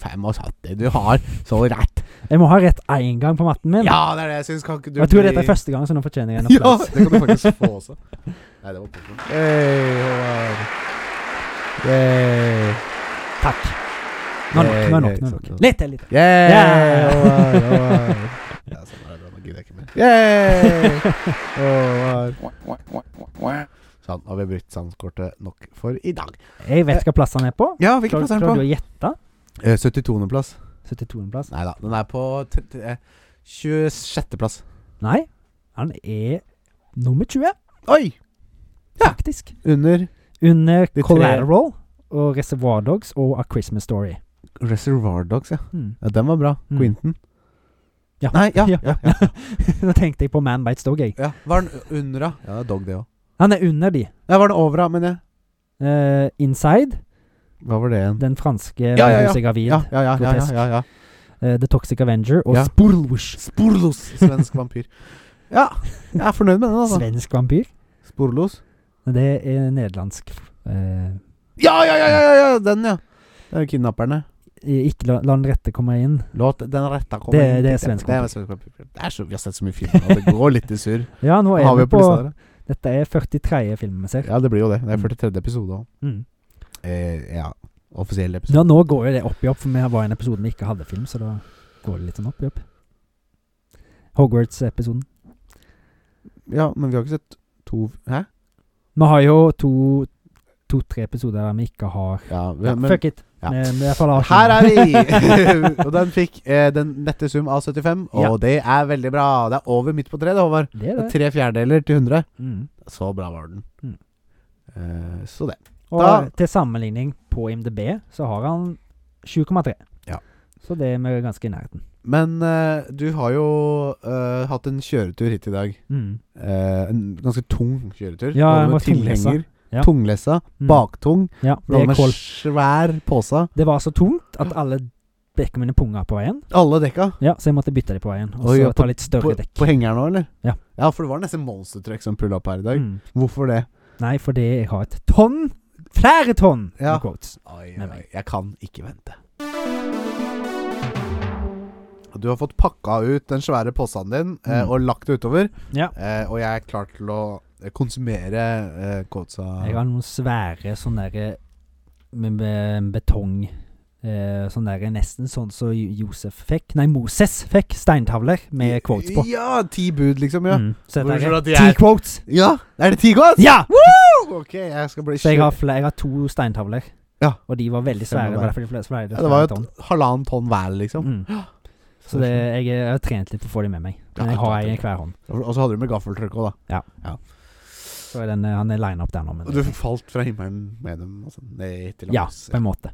[SPEAKER 1] 75. Du har så rett.
[SPEAKER 2] jeg må ha rett én gang på matten min.
[SPEAKER 1] Ja, det er det jeg syns. Kan ikke du
[SPEAKER 2] Og jeg tror
[SPEAKER 1] bli-
[SPEAKER 2] dette er første gang, så nå fortjener jeg en
[SPEAKER 1] Ja,
[SPEAKER 2] applaus.
[SPEAKER 1] det kan du faktisk få også. Nei, det var popkorn. Hey, Håvard. Yay.
[SPEAKER 2] Takk. Nå er det nok, nå er det nok, nå er det nok. Litt til, litt til.
[SPEAKER 1] Yay,
[SPEAKER 2] Ja.
[SPEAKER 1] Håvard, Håvard. Ja, sånn er det bra. Nå gidder jeg ikke mer. Yay, Håvard. Sånn, har vi brukt sandkortet nok for i dag.
[SPEAKER 2] Jeg vet hva plass han er på.
[SPEAKER 1] Ja, hvilken
[SPEAKER 2] Klarer
[SPEAKER 1] plass er
[SPEAKER 2] klarer du
[SPEAKER 1] den på? Eh,
[SPEAKER 2] å gjette?
[SPEAKER 1] 72. plass.
[SPEAKER 2] 72. plass?
[SPEAKER 1] Nei da, den er på eh, 26. plass.
[SPEAKER 2] Nei, han er nummer 20,
[SPEAKER 1] Oi! Ja.
[SPEAKER 2] faktisk.
[SPEAKER 1] Under
[SPEAKER 2] Under
[SPEAKER 1] tre-
[SPEAKER 2] Collateral og Reservoir Dogs og A Christmas Story.
[SPEAKER 1] Reservoir Dogs, ja.
[SPEAKER 2] Mm.
[SPEAKER 1] ja den var bra.
[SPEAKER 2] Mm.
[SPEAKER 1] Quentin.
[SPEAKER 2] Ja.
[SPEAKER 1] Nei, ja.
[SPEAKER 2] Ja.
[SPEAKER 1] ja, ja, ja.
[SPEAKER 2] Nå tenkte jeg på Man Bites Dog, jeg.
[SPEAKER 1] Var den under, da? Ja, det er dog, det òg.
[SPEAKER 2] Han er under de.
[SPEAKER 1] Nei, var den over, da, mener jeg.
[SPEAKER 2] Eh, Inside,
[SPEAKER 1] Hva var det igjen?
[SPEAKER 2] Den franske
[SPEAKER 1] Ja, ja, ja.
[SPEAKER 2] Rosie Gravid,
[SPEAKER 1] Ja, ja, ja. ja, ja, ja, ja.
[SPEAKER 2] eh, The Toxic Avenger og
[SPEAKER 1] Ja.
[SPEAKER 2] Sporlwush.
[SPEAKER 1] Sporlos! Svensk vampyr. Ja, jeg er fornøyd med den, altså.
[SPEAKER 2] Svensk vampyr.
[SPEAKER 1] Sporlos.
[SPEAKER 2] Det er nederlandsk eh,
[SPEAKER 1] Ja, ja, ja, ja, ja, ja, den, ja. Det er jo kidnapperne.
[SPEAKER 2] Ikke la, la den rette komme inn.
[SPEAKER 1] Låt den retta komme
[SPEAKER 2] Det-
[SPEAKER 1] inn.
[SPEAKER 2] det er svensk
[SPEAKER 1] Det er svensk vampyr. Det er så, vi har sett så mye film, og det går litt i surr.
[SPEAKER 2] Ja, nå er
[SPEAKER 1] Har
[SPEAKER 2] vi
[SPEAKER 1] vi på
[SPEAKER 2] på
[SPEAKER 1] disse der?
[SPEAKER 2] Dette er 43. filmen vi ser.
[SPEAKER 1] Ja, det blir jo det. Det er
[SPEAKER 2] Mm.
[SPEAKER 1] 43. episode òg.
[SPEAKER 2] Mm.
[SPEAKER 1] Eh, ja. Offisiell episode.
[SPEAKER 2] Ja, nå går jo det opp i opp, for vi var i en episode vi ikke hadde film, så da går det litt sånn opp i opp. Hogwarts-episoden.
[SPEAKER 1] Ja, men vi har ikke sett to Hæ?
[SPEAKER 2] Vi har jo to to-tre episoder der vi ikke har
[SPEAKER 1] Ja,
[SPEAKER 2] ja,
[SPEAKER 1] men,
[SPEAKER 2] Fuck Eh, it!
[SPEAKER 1] ja.
[SPEAKER 2] Vi, vi får la oss-
[SPEAKER 1] Her er vi! og den fikk eh, den nette sum av 75, og
[SPEAKER 2] Ja.
[SPEAKER 1] det er veldig bra. Det er over midt på treet, Håvard.
[SPEAKER 2] Det er
[SPEAKER 1] Det er
[SPEAKER 2] det.
[SPEAKER 1] tre fjerdedeler til 100.
[SPEAKER 2] Mm.
[SPEAKER 1] Så bra var den.
[SPEAKER 2] Mm.
[SPEAKER 1] Eh, så det.
[SPEAKER 2] Og
[SPEAKER 1] Da-
[SPEAKER 2] til sammenligning på IMDb så har han 7,3.
[SPEAKER 1] Ja.
[SPEAKER 2] Så det er vi ganske i nærheten.
[SPEAKER 1] Men eh, du har jo eh, hatt en kjøretur hit i dag.
[SPEAKER 2] Mm.
[SPEAKER 1] Eh, en ganske tung kjøretur.
[SPEAKER 2] Ja,
[SPEAKER 1] Både
[SPEAKER 2] jeg
[SPEAKER 1] med
[SPEAKER 2] var tunglessa.
[SPEAKER 1] tilhenger,
[SPEAKER 2] Ja.
[SPEAKER 1] Tunglessa.
[SPEAKER 2] Mm.
[SPEAKER 1] Baktung.
[SPEAKER 2] Ja, det,
[SPEAKER 1] Det
[SPEAKER 2] er
[SPEAKER 1] med
[SPEAKER 2] kål.
[SPEAKER 1] svær pose.
[SPEAKER 2] det var så tungt at alle dekkene mine punga på veien.
[SPEAKER 1] Alle dekka.
[SPEAKER 2] Ja, Så jeg måtte bytte dem på veien. Og
[SPEAKER 1] Oi,
[SPEAKER 2] så
[SPEAKER 1] ja, på-
[SPEAKER 2] ta litt
[SPEAKER 1] På,
[SPEAKER 2] større dekk.
[SPEAKER 1] på hengeren nå, eller?
[SPEAKER 2] Ja.
[SPEAKER 1] ja, for det var nesten monstertrekk som pulla opp her i dag.
[SPEAKER 2] Mm.
[SPEAKER 1] Hvorfor det?
[SPEAKER 2] Nei, fordi jeg har et tonn. Flere tonn!
[SPEAKER 1] Ja.
[SPEAKER 2] med Quotes.
[SPEAKER 1] Oi,
[SPEAKER 2] Nei,
[SPEAKER 1] oi,
[SPEAKER 2] nei.
[SPEAKER 1] jeg kan ikke vente. Du har fått pakka ut den svære posen din eh,
[SPEAKER 2] Mm.
[SPEAKER 1] og lagt det utover.
[SPEAKER 2] Ja.
[SPEAKER 1] Eh, og jeg er klar til å eh, konsumere eh,
[SPEAKER 2] Jeg
[SPEAKER 1] Kotsa.
[SPEAKER 2] har noen svære sånne derre med, med betong eh, sånn der, nesten sånn som Josef fikk Nei, Moses fikk steintavler med quotes på.
[SPEAKER 1] Ja! Ti bud, liksom. Ja.
[SPEAKER 2] Mm. Så
[SPEAKER 4] Hvorfor tror du at
[SPEAKER 2] dette
[SPEAKER 4] de
[SPEAKER 2] er
[SPEAKER 4] er-
[SPEAKER 2] ti quotes!
[SPEAKER 1] ja. Er det ti godt?
[SPEAKER 2] Ja!
[SPEAKER 1] Ok, jeg skal bli
[SPEAKER 2] Så jeg har, fle- jeg har to steintavler.
[SPEAKER 1] Ja.
[SPEAKER 2] Og de var veldig
[SPEAKER 1] Stemmer
[SPEAKER 2] svære. Det
[SPEAKER 1] det.
[SPEAKER 2] var derfor de fleste flere
[SPEAKER 1] ja, Det var jo et halvannen tonn hver, liksom.
[SPEAKER 2] Mm. Så det, jeg, jeg har trent litt på å få dem med meg.
[SPEAKER 1] Ja,
[SPEAKER 2] Men jeg har
[SPEAKER 1] klart
[SPEAKER 2] ei i
[SPEAKER 1] det.
[SPEAKER 2] hver hånd.
[SPEAKER 1] Og så hadde du med gaffeltrykk òg, da.
[SPEAKER 2] Så er den, eh, han er line up der nå, men
[SPEAKER 1] Og du falt fra himmelen med dem altså, ned til
[SPEAKER 2] Ja,
[SPEAKER 1] langs.
[SPEAKER 2] på en måte.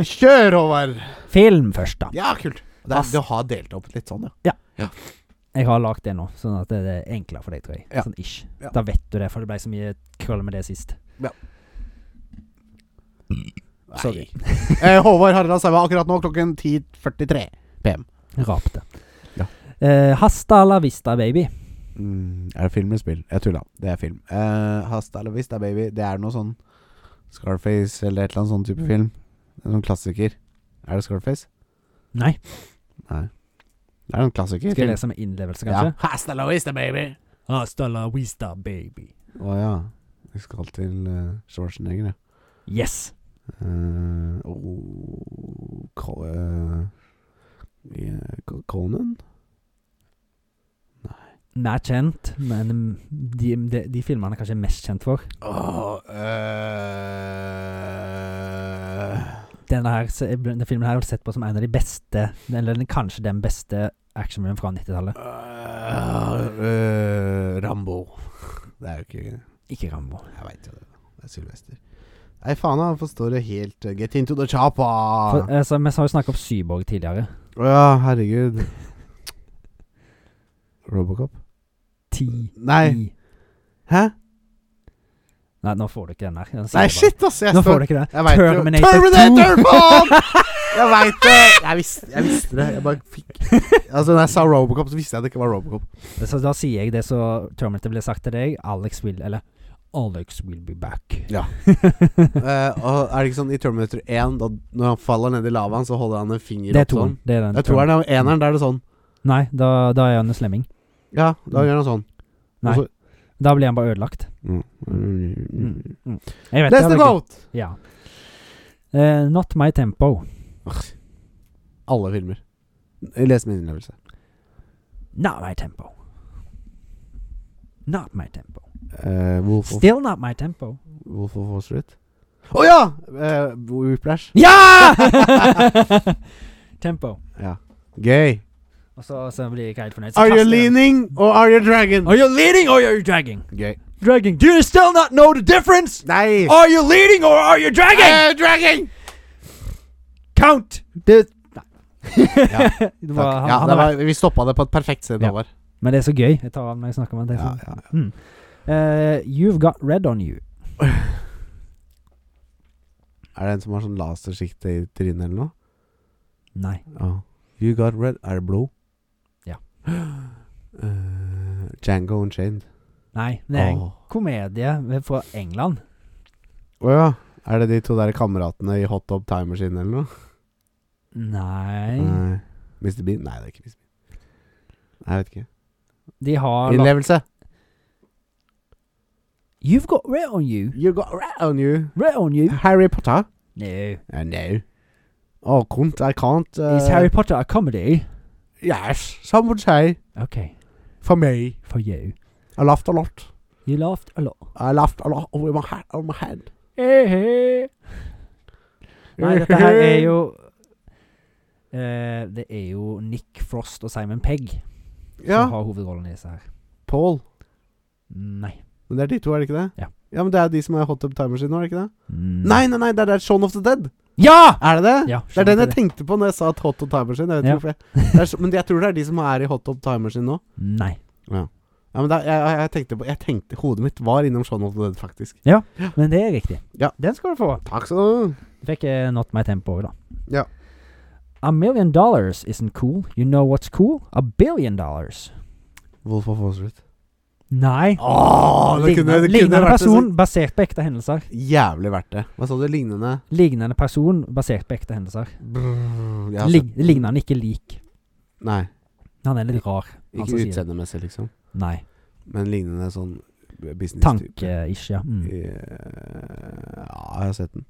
[SPEAKER 1] Kjør over!
[SPEAKER 2] Film først, da.
[SPEAKER 1] Ja, kult. Det, er,
[SPEAKER 2] Pass.
[SPEAKER 1] det har delt opp litt sånn, ja.
[SPEAKER 2] Jeg har lagd det nå, sånn at det er enklere for deg, tror jeg.
[SPEAKER 1] Ja.
[SPEAKER 2] Sånn ish.
[SPEAKER 1] Ja.
[SPEAKER 2] Da vet du det, for det ble så mye krøll med det sist. Sorry.
[SPEAKER 1] eh, Håvard Harald Saua akkurat nå klokken 10.43 PM.
[SPEAKER 2] Rapte.
[SPEAKER 1] Ja.
[SPEAKER 2] Eh, hasta la vista, baby.
[SPEAKER 1] Mm, er det film eller spill? Jeg tulla. Det er film. Eh, Hasta la vista, baby. Det er noe sånn Scarface eller et eller annet sånn
[SPEAKER 2] Mm.
[SPEAKER 1] type film. En sånn klassiker. Er det Scarface?
[SPEAKER 2] Nei.
[SPEAKER 1] Det er en klassiker.
[SPEAKER 2] Skal jeg lese med innlevelse,
[SPEAKER 1] Ja.
[SPEAKER 2] kanskje?
[SPEAKER 1] Hasta la vista, baby.
[SPEAKER 2] Hasta la vista, baby.
[SPEAKER 1] Å ja. Vi skal til uh, Schwarzenegger, ja.
[SPEAKER 2] Yes.
[SPEAKER 1] Eh, oh, Col- eh, eh, Co- Conan?
[SPEAKER 2] Mer kjent, men mm, de, de, de filmene han er kanskje mest kjent for.
[SPEAKER 1] Åh, eh,
[SPEAKER 2] Denne, her, se- denne filmen her har jeg sett på som en av de beste, eller den- kanskje den beste actionfilmen fra 90-tallet.
[SPEAKER 1] eh, eh, Rambo. Det er jo ikke Jeg
[SPEAKER 2] Ikke Rambo.
[SPEAKER 1] veit jo det. Det er Sylvester. Nei, faen, han forstår det helt eh, Get into the choppa!
[SPEAKER 2] For,
[SPEAKER 1] Å
[SPEAKER 2] altså, vi har jo snakket om Syborg tidligere.
[SPEAKER 1] ja, herregud. Robocop?
[SPEAKER 2] Ti.
[SPEAKER 1] Nei.
[SPEAKER 2] i-
[SPEAKER 1] Hæ?
[SPEAKER 2] Nei, nå får du ikke den her. Den sier
[SPEAKER 1] Nei,
[SPEAKER 2] jeg bare.
[SPEAKER 1] shit, ass! Jeg
[SPEAKER 2] Nå
[SPEAKER 1] står
[SPEAKER 2] får du ikke det.
[SPEAKER 1] Jeg vet jo-
[SPEAKER 2] Terminator 2.
[SPEAKER 1] Terminator, faen! Jeg veit det! Jeg visste, jeg visste det. Jeg bare fikk Altså, når jeg sa Robocop, så visste jeg det ikke var Robocop.
[SPEAKER 2] Så da sier jeg det så Terminator ble sagt til deg. Alex will Eller Alex will be back.
[SPEAKER 1] Ja. Eh, og er det ikke sånn i Terminator 1, da, når han faller ned i lavaen, så holder han en finger
[SPEAKER 2] det er
[SPEAKER 1] opp sånn?
[SPEAKER 2] toeren. Det er den.
[SPEAKER 1] Jeg tror det er eneren, da er det sånn.
[SPEAKER 2] Nei, da, da er han en slemming.
[SPEAKER 1] Ja, da gjør han sånn.
[SPEAKER 2] Mm. Nei.
[SPEAKER 1] Og så-
[SPEAKER 2] Da blir han bare ødelagt.
[SPEAKER 1] Mm.
[SPEAKER 2] Jeg vet
[SPEAKER 1] Neste
[SPEAKER 2] det, jeg vet
[SPEAKER 1] quote!
[SPEAKER 2] ikke. Ja. Eh, not my tempo.
[SPEAKER 1] Alle filmer. Les min innlevelse.
[SPEAKER 2] Not my tempo. Not my tempo.
[SPEAKER 1] Eh, Wolf, of,
[SPEAKER 2] Still not my tempo.
[SPEAKER 1] Wolf of Wall Street. Å ja! Eh, Whiplash.
[SPEAKER 2] Ja! tempo.
[SPEAKER 1] Ja. Gøy.
[SPEAKER 2] Og så, så blir jeg ikke helt fornøyd. Så
[SPEAKER 1] Are you
[SPEAKER 2] kaster jeg den.
[SPEAKER 1] leaning or are you dragon?
[SPEAKER 2] Are you leading or are you dragging?
[SPEAKER 1] Gøy.
[SPEAKER 2] Dragging. Do you still not know the difference?
[SPEAKER 1] Nei!
[SPEAKER 2] Are you leading or are you dragging?
[SPEAKER 1] Eh, dragon!
[SPEAKER 2] Count. Det
[SPEAKER 1] Ja,
[SPEAKER 2] det
[SPEAKER 1] Takk.
[SPEAKER 2] var, han,
[SPEAKER 1] ja,
[SPEAKER 2] han
[SPEAKER 1] det
[SPEAKER 2] har vært-
[SPEAKER 1] var, vi stoppa det på et perfekt sted,
[SPEAKER 2] Ja.
[SPEAKER 1] Håvard.
[SPEAKER 2] Men det er så gøy. Jeg tar av når jeg snakker med det.
[SPEAKER 1] Ja,
[SPEAKER 2] sånn.
[SPEAKER 1] ja, ja.
[SPEAKER 2] Mm. Eh, you've got red on you.
[SPEAKER 1] Er det en som har sånn lasersikte i trynet eller noe?
[SPEAKER 2] Nei.
[SPEAKER 1] Ja. You got red Er det blod?
[SPEAKER 2] Ja.
[SPEAKER 1] Eh, Django Unchained.
[SPEAKER 2] Nei. Det er en
[SPEAKER 1] Åh.
[SPEAKER 2] komedie fra England.
[SPEAKER 1] Å ja. Er det de to der kameratene i Hot Top Time Machine eller noe?
[SPEAKER 2] Nei.
[SPEAKER 1] Nei. Mr. Bean? Nei, det er ikke Mr. Bean. Nei, jeg vet ikke.
[SPEAKER 2] De har lagt-
[SPEAKER 1] Innlevelse.
[SPEAKER 2] You've got red on you.
[SPEAKER 1] You got red on you.
[SPEAKER 2] Red on you.
[SPEAKER 1] Harry Potter?
[SPEAKER 2] No.
[SPEAKER 1] Uh, no. Oh, cunt, I can't uh,
[SPEAKER 2] Is Harry Potter a comedy?
[SPEAKER 1] Yes, some would say.
[SPEAKER 2] Okay.
[SPEAKER 1] For me.
[SPEAKER 2] For you.
[SPEAKER 1] I laughed a lot.
[SPEAKER 2] You laughed a lot.
[SPEAKER 1] I laughed a lot over my, ha- over my head.
[SPEAKER 2] Nei, dette her er jo eh, Det er jo Nick Frost og Simon Pegg
[SPEAKER 1] Ja,
[SPEAKER 2] som har hovedrollen i disse her.
[SPEAKER 1] Paul.
[SPEAKER 2] Nei.
[SPEAKER 1] Men det er de to, er det ikke det?
[SPEAKER 2] Ja.
[SPEAKER 1] men det er de som er Hot Tub Timers nå, er det ikke det? Nei, nei, nei, det er der Shaun of the Dead.
[SPEAKER 2] Ja!
[SPEAKER 1] Er det det?
[SPEAKER 2] ja
[SPEAKER 1] Det er den jeg
[SPEAKER 2] skjønner
[SPEAKER 1] tenkte på når jeg sa at Hot Tub Timers Jeg vet
[SPEAKER 2] Ja.
[SPEAKER 1] ikke hvorfor jeg det er, så- Men jeg tror det er de som er i Hot Tub Timers nå.
[SPEAKER 2] Nei.
[SPEAKER 1] Ja, men det er, jeg, jeg- jeg tenkte på Jeg tenkte Hodet mitt var innom Shaun of the Dead, faktisk.
[SPEAKER 2] Men det er riktig.
[SPEAKER 1] Ja.
[SPEAKER 2] Den skal du få.
[SPEAKER 1] Takk skal du ha.
[SPEAKER 2] Du fikk eh, Not My Tempo òg, da.
[SPEAKER 1] Ja.
[SPEAKER 2] A million dollars isn't cool. You know what's cool? A billion dollars.
[SPEAKER 1] Wolf of Wall Street.
[SPEAKER 2] Nei.
[SPEAKER 1] Åh, det kunne,
[SPEAKER 2] Lignende,
[SPEAKER 1] det kunne
[SPEAKER 2] lignende
[SPEAKER 1] vært det
[SPEAKER 2] person
[SPEAKER 1] så
[SPEAKER 2] basert på ekte hendelser.
[SPEAKER 1] jævlig verdt det. Hva sa du? Lignende
[SPEAKER 2] Lignende person basert på ekte hendelser.
[SPEAKER 1] Brrr, jeg har
[SPEAKER 2] Lig,
[SPEAKER 1] sett-
[SPEAKER 2] ligner han ikke lik.
[SPEAKER 1] Nei.
[SPEAKER 2] Han er litt rar. han som
[SPEAKER 1] Ikke
[SPEAKER 2] sier det.
[SPEAKER 1] utseendemessig, liksom.
[SPEAKER 2] Nei.
[SPEAKER 1] Men lignende sånn business-type.
[SPEAKER 2] Mm. Tanke-ish, ja. Mm.
[SPEAKER 1] Eh, Ja, jeg har sett den.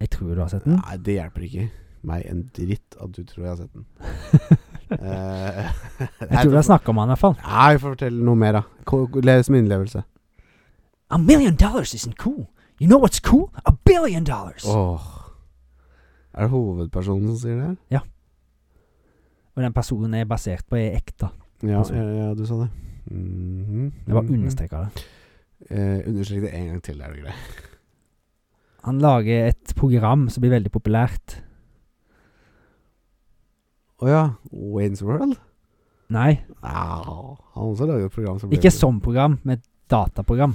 [SPEAKER 2] Jeg tror du har sett den.
[SPEAKER 1] Nei, det hjelper ikke meg en dritt at du tror jeg har sett den. Eh,
[SPEAKER 2] Jeg tror vi har snakka om han i hvert fall.
[SPEAKER 1] Nei, fortell noe mer, da. Ko- Les min innlevelse.
[SPEAKER 2] A million dollars isn't cool. You know what's cool? A billion dollars.
[SPEAKER 1] Åh. Er det hovedpersonen som sier det?
[SPEAKER 2] Og den personen er basert på er ekte.
[SPEAKER 1] Ja,
[SPEAKER 2] Altså.
[SPEAKER 1] ja, ja du sa det. Mhm.
[SPEAKER 2] Jeg bare
[SPEAKER 1] Mhm.
[SPEAKER 2] understreker det.
[SPEAKER 1] Eh, understrek det en gang til, er det greit?
[SPEAKER 2] Han lager et program som blir veldig populært.
[SPEAKER 1] Å ja. Wayne's World?
[SPEAKER 2] Nei,
[SPEAKER 1] Au. Han også lager et program som blir
[SPEAKER 2] ikke som program, men et dataprogram.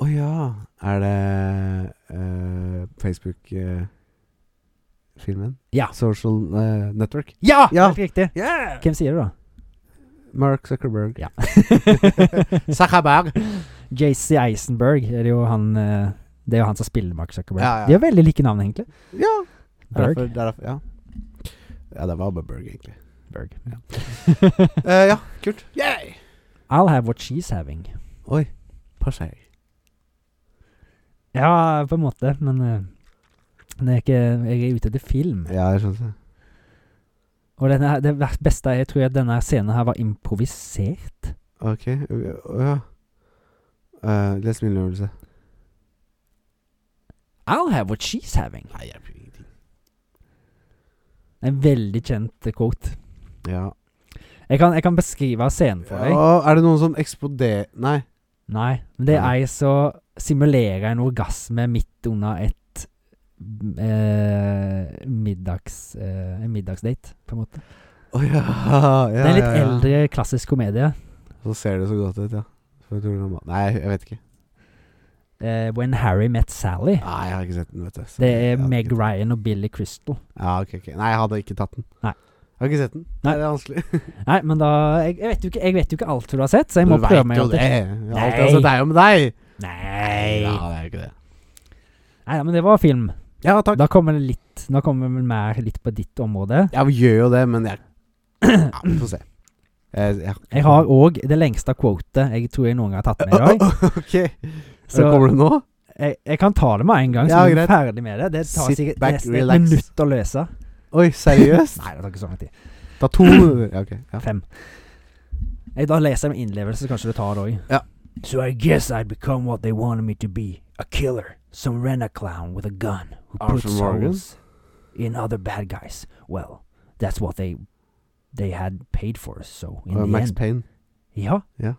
[SPEAKER 1] Å ja. Er det eh, Facebook-filmen?
[SPEAKER 2] Ja.
[SPEAKER 1] Social eh, Network?
[SPEAKER 2] Ja!
[SPEAKER 1] Ja.
[SPEAKER 2] Helt riktig.
[SPEAKER 1] Yeah!
[SPEAKER 2] Hvem sier det, da?
[SPEAKER 1] Mark Zuckerberg.
[SPEAKER 2] Ja.
[SPEAKER 1] Zuckerberg.
[SPEAKER 2] JC Eisenberg er det jo han eh, Det er jo han som spiller Mark Zuckerberg.
[SPEAKER 1] Ja, ja.
[SPEAKER 2] De har veldig like navn, egentlig.
[SPEAKER 1] Ja. Det er
[SPEAKER 2] Berg.
[SPEAKER 1] derfor, det er derfor, ja. ja, det var bare Berg, egentlig.
[SPEAKER 2] Berg.
[SPEAKER 1] Eh, ja, kult. Yay!
[SPEAKER 2] I'll have what she's having.
[SPEAKER 1] Oi. Passei.
[SPEAKER 2] Ja, på en måte, men eh, det er ikke, jeg er ute etter film.
[SPEAKER 1] Ja, jeg skjønte det.
[SPEAKER 2] Og denne, her- det ver- beste er, jeg tror at denne scenen her var improvisert.
[SPEAKER 1] Ok. Å ja. Eh, les min øvelse.
[SPEAKER 2] I'll have what she's having.
[SPEAKER 1] Nei, jeg bryr ingenting.
[SPEAKER 2] En veldig kjent eh, quote.
[SPEAKER 1] Ja.
[SPEAKER 2] Jeg kan, jeg kan beskrive scenen for deg.
[SPEAKER 1] Å, er det noen som eksploderer Nei.
[SPEAKER 2] Nei, men det er
[SPEAKER 1] Ja.
[SPEAKER 2] ei som simulerer en orgasme midt under et mm, eh, middags, eh, en middagsdate, på en måte.
[SPEAKER 1] Å ja. ja.
[SPEAKER 2] det er en litt
[SPEAKER 1] ja, ja.
[SPEAKER 2] eldre, klassisk komedie.
[SPEAKER 1] Så ser det så godt ut, ja. Så jeg tror det var- Nei, jeg vet ikke.
[SPEAKER 2] eh, When Harry Met Sally.
[SPEAKER 1] Nei, jeg har ikke sett den, vet du. Så
[SPEAKER 2] Det
[SPEAKER 1] jeg
[SPEAKER 2] er
[SPEAKER 1] hadde
[SPEAKER 2] Meg
[SPEAKER 1] ikke-
[SPEAKER 2] Ryan og Billy Crystal.
[SPEAKER 1] Ja, ok, ok. Nei, jeg hadde ikke tatt den.
[SPEAKER 2] Nei.
[SPEAKER 1] Jeg har ikke sett den.
[SPEAKER 2] Nei.
[SPEAKER 1] Nei, det er vanskelig.
[SPEAKER 2] Nei, men da Jeg, jeg, vet, jo ikke, jeg vet jo ikke alt du har sett, så jeg må
[SPEAKER 1] du
[SPEAKER 2] prøve
[SPEAKER 1] vet
[SPEAKER 2] meg.
[SPEAKER 1] jo
[SPEAKER 2] at
[SPEAKER 1] det.
[SPEAKER 2] jeg-
[SPEAKER 1] Jeg har alltid
[SPEAKER 2] Nei.
[SPEAKER 1] sett deg om deg. Ja,
[SPEAKER 2] Nei.
[SPEAKER 1] det er jo ikke det.
[SPEAKER 2] Nei, men det var film.
[SPEAKER 1] Ja, takk.
[SPEAKER 2] Da kommer det litt Da kommer vi mer litt på ditt område.
[SPEAKER 1] Jeg gjør jo det, men jeg ja, Vi får se. Eh, Jeg, jeg,
[SPEAKER 2] Jeg har òg det lengste quotet jeg tror jeg noen gang har tatt med i dag.
[SPEAKER 1] Ok, så
[SPEAKER 2] Så
[SPEAKER 1] kommer det nå?
[SPEAKER 2] jeg, jeg kan ta det med en gang, så
[SPEAKER 1] Ja,
[SPEAKER 2] er vi
[SPEAKER 1] greit.
[SPEAKER 2] ferdig med det. Det tar
[SPEAKER 1] Sit
[SPEAKER 2] sikkert
[SPEAKER 1] back,
[SPEAKER 2] nesten
[SPEAKER 1] relax.
[SPEAKER 2] et minutt å løse.
[SPEAKER 1] Oi, seriøst?
[SPEAKER 2] Nei, det tar ikke så lang tid.
[SPEAKER 1] Da to ja, ok, ja.
[SPEAKER 2] Fem. Jeg da leser jeg med innlevelse, så kanskje du tar det òg.
[SPEAKER 1] Ja.
[SPEAKER 2] So I guess I'd become what they wanted me to be. A killer. Some Renna clown with a gun. Who
[SPEAKER 1] Arthur
[SPEAKER 2] puts
[SPEAKER 1] Morgan?
[SPEAKER 2] holes in other bad guys. Well, that's what they They had paid for, so in
[SPEAKER 1] Og
[SPEAKER 2] the
[SPEAKER 1] Max
[SPEAKER 2] end
[SPEAKER 1] Payne.
[SPEAKER 2] Ja.
[SPEAKER 1] Ja.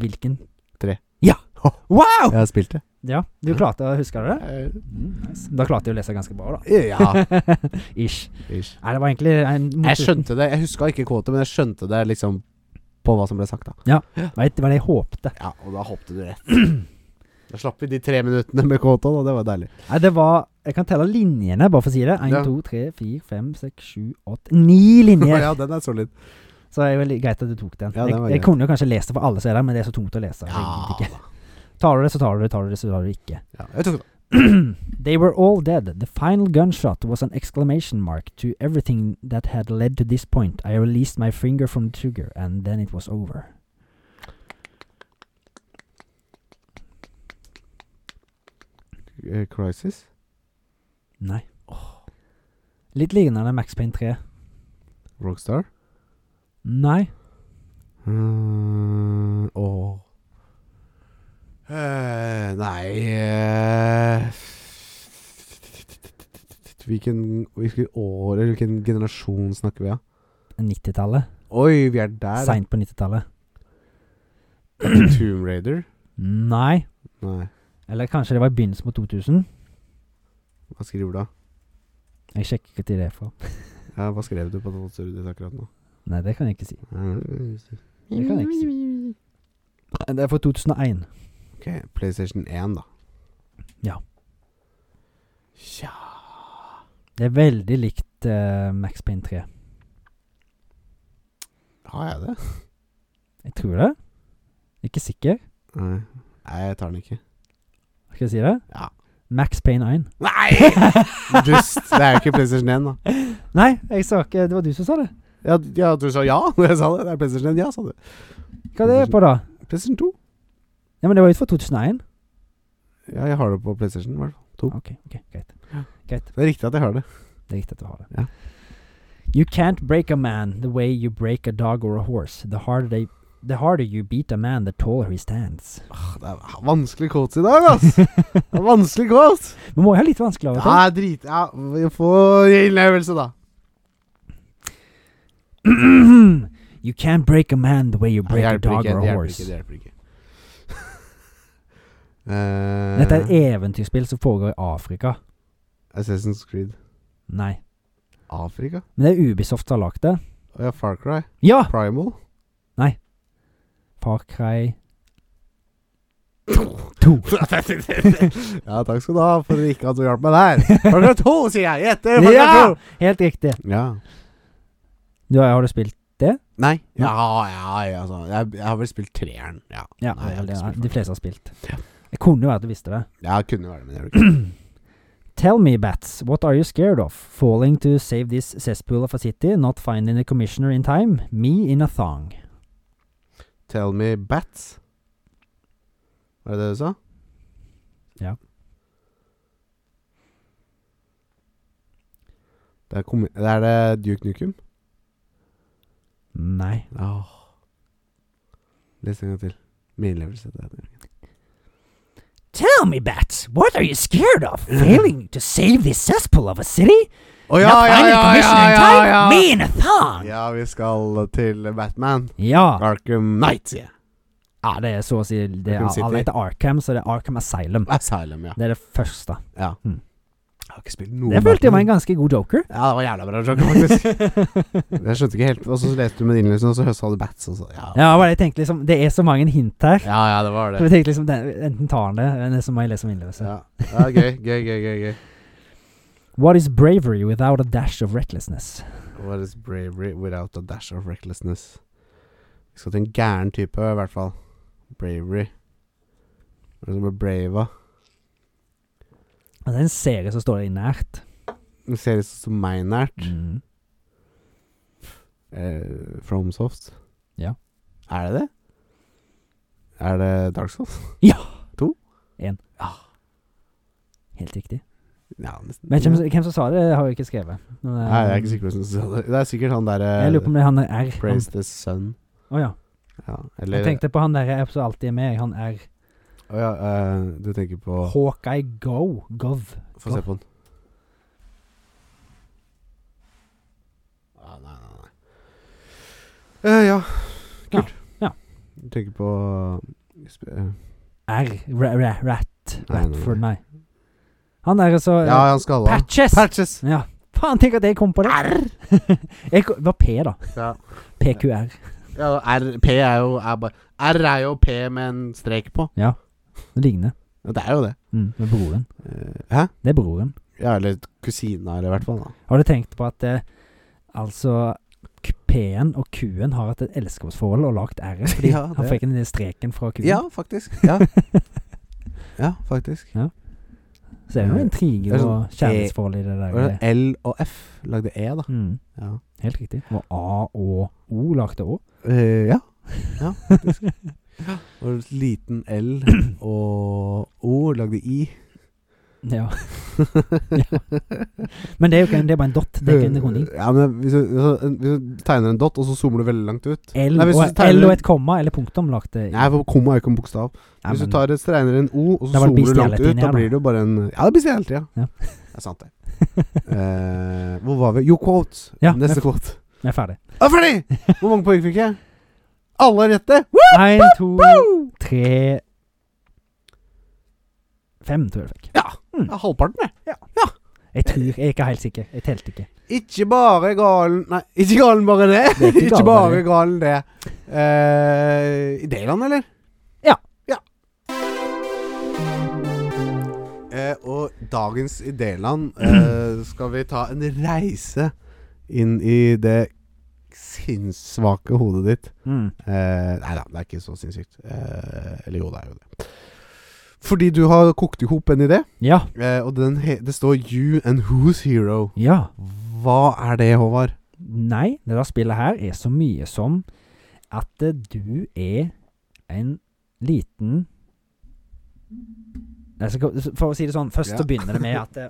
[SPEAKER 2] Hvilken?
[SPEAKER 1] Tre.
[SPEAKER 2] Ja!
[SPEAKER 1] Ho.
[SPEAKER 2] Wow!
[SPEAKER 1] Jeg har spilt det.
[SPEAKER 2] Ja, du klarte å huske det?
[SPEAKER 1] Eh,
[SPEAKER 2] Da klarte jeg å lese ganske bra, da.
[SPEAKER 1] Ja.
[SPEAKER 2] Ish.
[SPEAKER 1] ish.
[SPEAKER 2] Nei, det var egentlig en mot
[SPEAKER 1] Jeg
[SPEAKER 2] slutten.
[SPEAKER 1] skjønte det. Jeg huska ikke kvote, men jeg skjønte det liksom på hva som ble sagt, da.
[SPEAKER 2] Det var- Det var det jeg håpte.
[SPEAKER 1] Ja, Og da hoppet du rett. Da slapp vi de tre minuttene med kvote, og det var deilig.
[SPEAKER 2] Nei, det var Jeg kan telle linjene, bare for å si det. Én,
[SPEAKER 1] Ja.
[SPEAKER 2] to, tre, fire, fem, seks, sju, åtte Ni linjer!
[SPEAKER 1] Ja, den er solid.
[SPEAKER 2] Så det er jo veldig greit at du tok den.
[SPEAKER 1] Ja,
[SPEAKER 2] jeg,
[SPEAKER 1] den var
[SPEAKER 2] jeg
[SPEAKER 1] greit.
[SPEAKER 2] kunne jo kanskje lest det for alle som er der, men det er så tungt å lese. Jeg
[SPEAKER 1] Ja,
[SPEAKER 2] gidder ikke. Tar du det, så tar du det. Tar du det, så tar du det ikke.
[SPEAKER 1] ja. Jeg tok det.
[SPEAKER 2] They were all dead. The final gunshot was an exclamation mark to everything that had led to this point. I released my finger from the trigger, and then it was over.
[SPEAKER 1] Eh, Crisis?
[SPEAKER 2] Nei. Litt lignende Max Payne 3.
[SPEAKER 1] Rockstar?
[SPEAKER 2] Nei.
[SPEAKER 1] Mm, åh. Eh, nei eh, hvilken, hvilken år eller hvilken generasjon snakker vi av?
[SPEAKER 2] 90-tallet.
[SPEAKER 1] Oi, vi er der.
[SPEAKER 2] Seint på 90-tallet.
[SPEAKER 1] Tomb Raider?
[SPEAKER 2] Nei.
[SPEAKER 1] Nei,
[SPEAKER 2] Eller kanskje det var i begynnelsen på 2000.
[SPEAKER 1] hva skriver du da?
[SPEAKER 2] Jeg sjekker ikke til det for.
[SPEAKER 1] Ja, hva skrev du på notestudiet ditt akkurat nå?
[SPEAKER 2] Nei, det kan jeg ikke si.
[SPEAKER 1] Det
[SPEAKER 2] Det kan jeg ikke si. Det er fra 2001.
[SPEAKER 1] Ok, PlayStation 1, da.
[SPEAKER 2] Ja.
[SPEAKER 1] Ja
[SPEAKER 2] Det er veldig likt eh, Max Payne 3.
[SPEAKER 1] Har jeg det?
[SPEAKER 2] Jeg tror det. Ikke sikker.
[SPEAKER 1] Nei, Nei jeg tar den ikke.
[SPEAKER 2] Skal jeg si det?
[SPEAKER 1] Ja.
[SPEAKER 2] Max Payne 1.
[SPEAKER 1] Nei! Dust. Det er jo ikke PlayStation 1, da.
[SPEAKER 2] Nei, jeg sa ikke Det var du som sa det.
[SPEAKER 1] Ja, d- ja, du sa ja når jeg sa det. Det er PlayStation 1, ja, sa du.
[SPEAKER 2] Hva er det på, da?
[SPEAKER 1] PlayStation 2.
[SPEAKER 2] Ja, men det var jo fra 2001.
[SPEAKER 1] Ja, jeg har det på PlayStation, i hvert fall. To.
[SPEAKER 2] Ok, ok, greit.
[SPEAKER 1] Det er riktig at jeg har det.
[SPEAKER 2] Det er riktig at du har det.
[SPEAKER 1] Ja.
[SPEAKER 2] You can't break a man the way you break a dog or a horse. The harder, they, the harder you beat a man, the taller he stands.
[SPEAKER 1] Åh, Det er vanskelig quotes i dag, ass! Det er vanskelig quotes!
[SPEAKER 2] Vi må jo ha litt vanskelig av og til.
[SPEAKER 1] Ja, drit... Ja, vi får innlevelse, da.
[SPEAKER 2] you can't break a man the way you break a dog or a horse.
[SPEAKER 1] det hjelper ikke. Eh,
[SPEAKER 2] Dette er et eventyrspill som foregår i Afrika.
[SPEAKER 1] Assassin's Creed
[SPEAKER 2] Nei.
[SPEAKER 1] Afrika?
[SPEAKER 2] Men det er Ubisoft som har lagd det.
[SPEAKER 1] Å ja, Far Cry.
[SPEAKER 2] Ja!
[SPEAKER 1] Primal.
[SPEAKER 2] Far Cry 2.
[SPEAKER 1] ja, takk skal du ha for ikke at du hjalp meg der. Far Cry 2, sier jeg! Gjette! Far Cry
[SPEAKER 2] Ja! Helt riktig.
[SPEAKER 1] 2! Ja.
[SPEAKER 2] Du, har du spilt
[SPEAKER 1] Nei. Ja, ja, ja altså. jeg, jeg har vel spilt treeren. Ja.
[SPEAKER 2] Ja,
[SPEAKER 1] Nei, jeg har ikke spilt
[SPEAKER 2] det, er-
[SPEAKER 1] Far
[SPEAKER 2] de
[SPEAKER 1] Cry.
[SPEAKER 2] fleste har spilt.
[SPEAKER 1] Ja.
[SPEAKER 2] Jeg kunne jo vært at du visste det.
[SPEAKER 1] ja, kunne være det, men jeg gjorde ikke det.
[SPEAKER 2] Tell me, bats, what are you scared of? Falling to save this cesspool of a city, not finding a commissioner in time, me in a thong.
[SPEAKER 1] Tell me bats. Var det det du sa?
[SPEAKER 2] Ja.
[SPEAKER 1] Det er, kommi- det er det Duke Nukem?
[SPEAKER 2] Nei.
[SPEAKER 1] Åh. Les en gang til. Min innlevelse. Det er det.
[SPEAKER 2] Tell me, bats, what are you scared of? Failing to save this cesspool of a city,
[SPEAKER 1] Å
[SPEAKER 2] not finding a commissioner in time, me in a thong.
[SPEAKER 1] Ja, vi skal til Batman.
[SPEAKER 2] Ja.
[SPEAKER 1] Arkham Knight, sier jeg.
[SPEAKER 2] Ja, det er så å si det er,
[SPEAKER 1] Arkham City.
[SPEAKER 2] Alle heter Arkham, så det er Arkham Asylum.
[SPEAKER 1] Asylum, ja.
[SPEAKER 2] Det er det første.
[SPEAKER 1] ja.
[SPEAKER 2] Mm.
[SPEAKER 1] Jeg har ikke spilt noe
[SPEAKER 2] Det følte jeg var en
[SPEAKER 1] Batman.
[SPEAKER 2] ganske god joker.
[SPEAKER 1] Ja, det var jævla bra sjokk, faktisk. jeg skjønte ikke helt Og så leste du med innlevelsen, og så høsta du Bats, og så ja. ja.
[SPEAKER 2] ja, bare jeg tenkte liksom Det er så mange hint her.
[SPEAKER 1] Ja, det var
[SPEAKER 2] Så
[SPEAKER 1] det.
[SPEAKER 2] jeg tenkte liksom den, Enten tar han det, eller så må jeg lese om innlevelse.
[SPEAKER 1] Ja, ja gøy, gøy, gøy, gøy. gøy.
[SPEAKER 2] What is bravery without a dash of recklessness?
[SPEAKER 1] What is bravery without a dash of recklessness? Vi skal til en gæren type, i hvert fall. Bravery. Hva er det som er brava?
[SPEAKER 2] Altså, det er en serie som står Mm, deg nært.
[SPEAKER 1] En serie som meg nært. Eh, Fromsoft.
[SPEAKER 2] Mm. Ja.
[SPEAKER 1] Er det det? Er det Dark Souls?
[SPEAKER 2] Helt riktig.
[SPEAKER 1] Ja, nesten.
[SPEAKER 2] Men hvem, hvem som sa det, har jeg ikke skrevet. Men,
[SPEAKER 1] Nei, jeg er ikke sikker på hvem som sa det. Det er sikkert han
[SPEAKER 2] Jeg lurer
[SPEAKER 1] derre
[SPEAKER 2] på om det er han der R. Han-
[SPEAKER 1] Praise the Sun.
[SPEAKER 2] Å ja.
[SPEAKER 1] Ja,
[SPEAKER 2] Jeg
[SPEAKER 1] eller
[SPEAKER 2] tenkte på han der jeg som alltid er med, han R.
[SPEAKER 1] Å ja, eh, du tenker på
[SPEAKER 2] Hawkeye Go. Gov.
[SPEAKER 1] Få se på den. Ah, nei, nei, nei. Eh, ja. Kult.
[SPEAKER 2] Ja, ja.
[SPEAKER 1] Jeg tenker på sp- eh,
[SPEAKER 2] R. Ra ra rat.
[SPEAKER 1] Nei, nei,
[SPEAKER 2] Ratford, nei. Han der så
[SPEAKER 1] Ja, han skal ha
[SPEAKER 2] Patches!
[SPEAKER 1] Patches!
[SPEAKER 2] Ja. Faen, tenk at jeg kom på det! R! jeg ko- det var P, da.
[SPEAKER 1] Ja.
[SPEAKER 2] PQR.
[SPEAKER 1] ja R, P er jo er bare, R er jo P med en strek på.
[SPEAKER 2] Det ligner.
[SPEAKER 1] Ja, Det er jo det.
[SPEAKER 2] Mm, med broren.
[SPEAKER 1] Eh, hæ?
[SPEAKER 2] Det er broren.
[SPEAKER 1] Ja, eller kusina, eller i hvert fall. da
[SPEAKER 2] Har du tenkt på at eh, altså k- P-en og Q-en har hatt et elskovsforhold og lagt R-en? Fordi
[SPEAKER 1] Ja,
[SPEAKER 2] han
[SPEAKER 1] det-
[SPEAKER 2] fikk den lille streken fra Q-en.
[SPEAKER 1] Ja, faktisk. Ja, ja faktisk.
[SPEAKER 2] Så er det noe
[SPEAKER 1] Det er
[SPEAKER 2] intriger
[SPEAKER 1] sånn
[SPEAKER 2] og kjærlighetsforhold i det
[SPEAKER 1] Var
[SPEAKER 2] der.
[SPEAKER 1] det L og F lagde E, da.
[SPEAKER 2] Mm,
[SPEAKER 1] Ja.
[SPEAKER 2] helt riktig. Og A og O lagde òg.
[SPEAKER 1] Eh, ja. ja, faktisk. Og liten L og O lagde I.
[SPEAKER 2] Ja. ja. Men det er jo ikke en, det er bare en dot. Det er ikke en runding.
[SPEAKER 1] Ja, men hvis du, hvis du- hvis du tegner en dot, og så zoomer du veldig langt ut
[SPEAKER 2] L,
[SPEAKER 1] Nei, hvis
[SPEAKER 2] og,
[SPEAKER 1] du tegner-
[SPEAKER 2] L og et komma eller punktum lagde
[SPEAKER 1] Nei, for komma er jo ikke en bokstav. Hvis du tar et stregner en O, og så
[SPEAKER 2] Da var det
[SPEAKER 1] zoomer du langt
[SPEAKER 2] bestialiteten
[SPEAKER 1] ut, da
[SPEAKER 2] her, da.
[SPEAKER 1] blir det jo bare en Ja, det blir stjålet, ja.
[SPEAKER 2] Ja.
[SPEAKER 1] Det er sant, det. Eh, hvor var vi? Jo, quote.
[SPEAKER 2] Ja,
[SPEAKER 1] Neste
[SPEAKER 2] men-
[SPEAKER 1] quote.
[SPEAKER 2] Jeg er ferdig.
[SPEAKER 1] Jeg er ferdig! Hvor mange poeng fikk jeg? Alle rette!
[SPEAKER 2] Én, to, tre Fem, tror jeg du fikk.
[SPEAKER 1] Ja, halvparten, jeg.
[SPEAKER 2] Jeg tror, jeg er ikke helt sikker. Jeg telte ikke.
[SPEAKER 1] Ikke bare galen Nei, ikke galen bare det.
[SPEAKER 2] Det er
[SPEAKER 1] Ikke,
[SPEAKER 2] ikke galen
[SPEAKER 1] bare
[SPEAKER 2] bare det.
[SPEAKER 1] galen det. Eh, I Dayland, eller?
[SPEAKER 2] Ja.
[SPEAKER 1] ja. Eh, og dagens i Dayland eh, skal vi ta en reise inn i det sinnssvake hodet ditt. Eh, nei da, det er ikke så sinnssykt. Eh, eller jo, det er jo det. Fordi du har kokt i hop en idé,
[SPEAKER 2] Ja.
[SPEAKER 1] eh, og den he det står 'You and Who's Hero'.
[SPEAKER 2] Ja.
[SPEAKER 1] Hva er det, Håvard?
[SPEAKER 2] Nei, det der spillet her er så mye som at eh, du er en liten Nei, så ko- For å si det sånn, først
[SPEAKER 1] Ja.
[SPEAKER 2] så begynner det med at eh,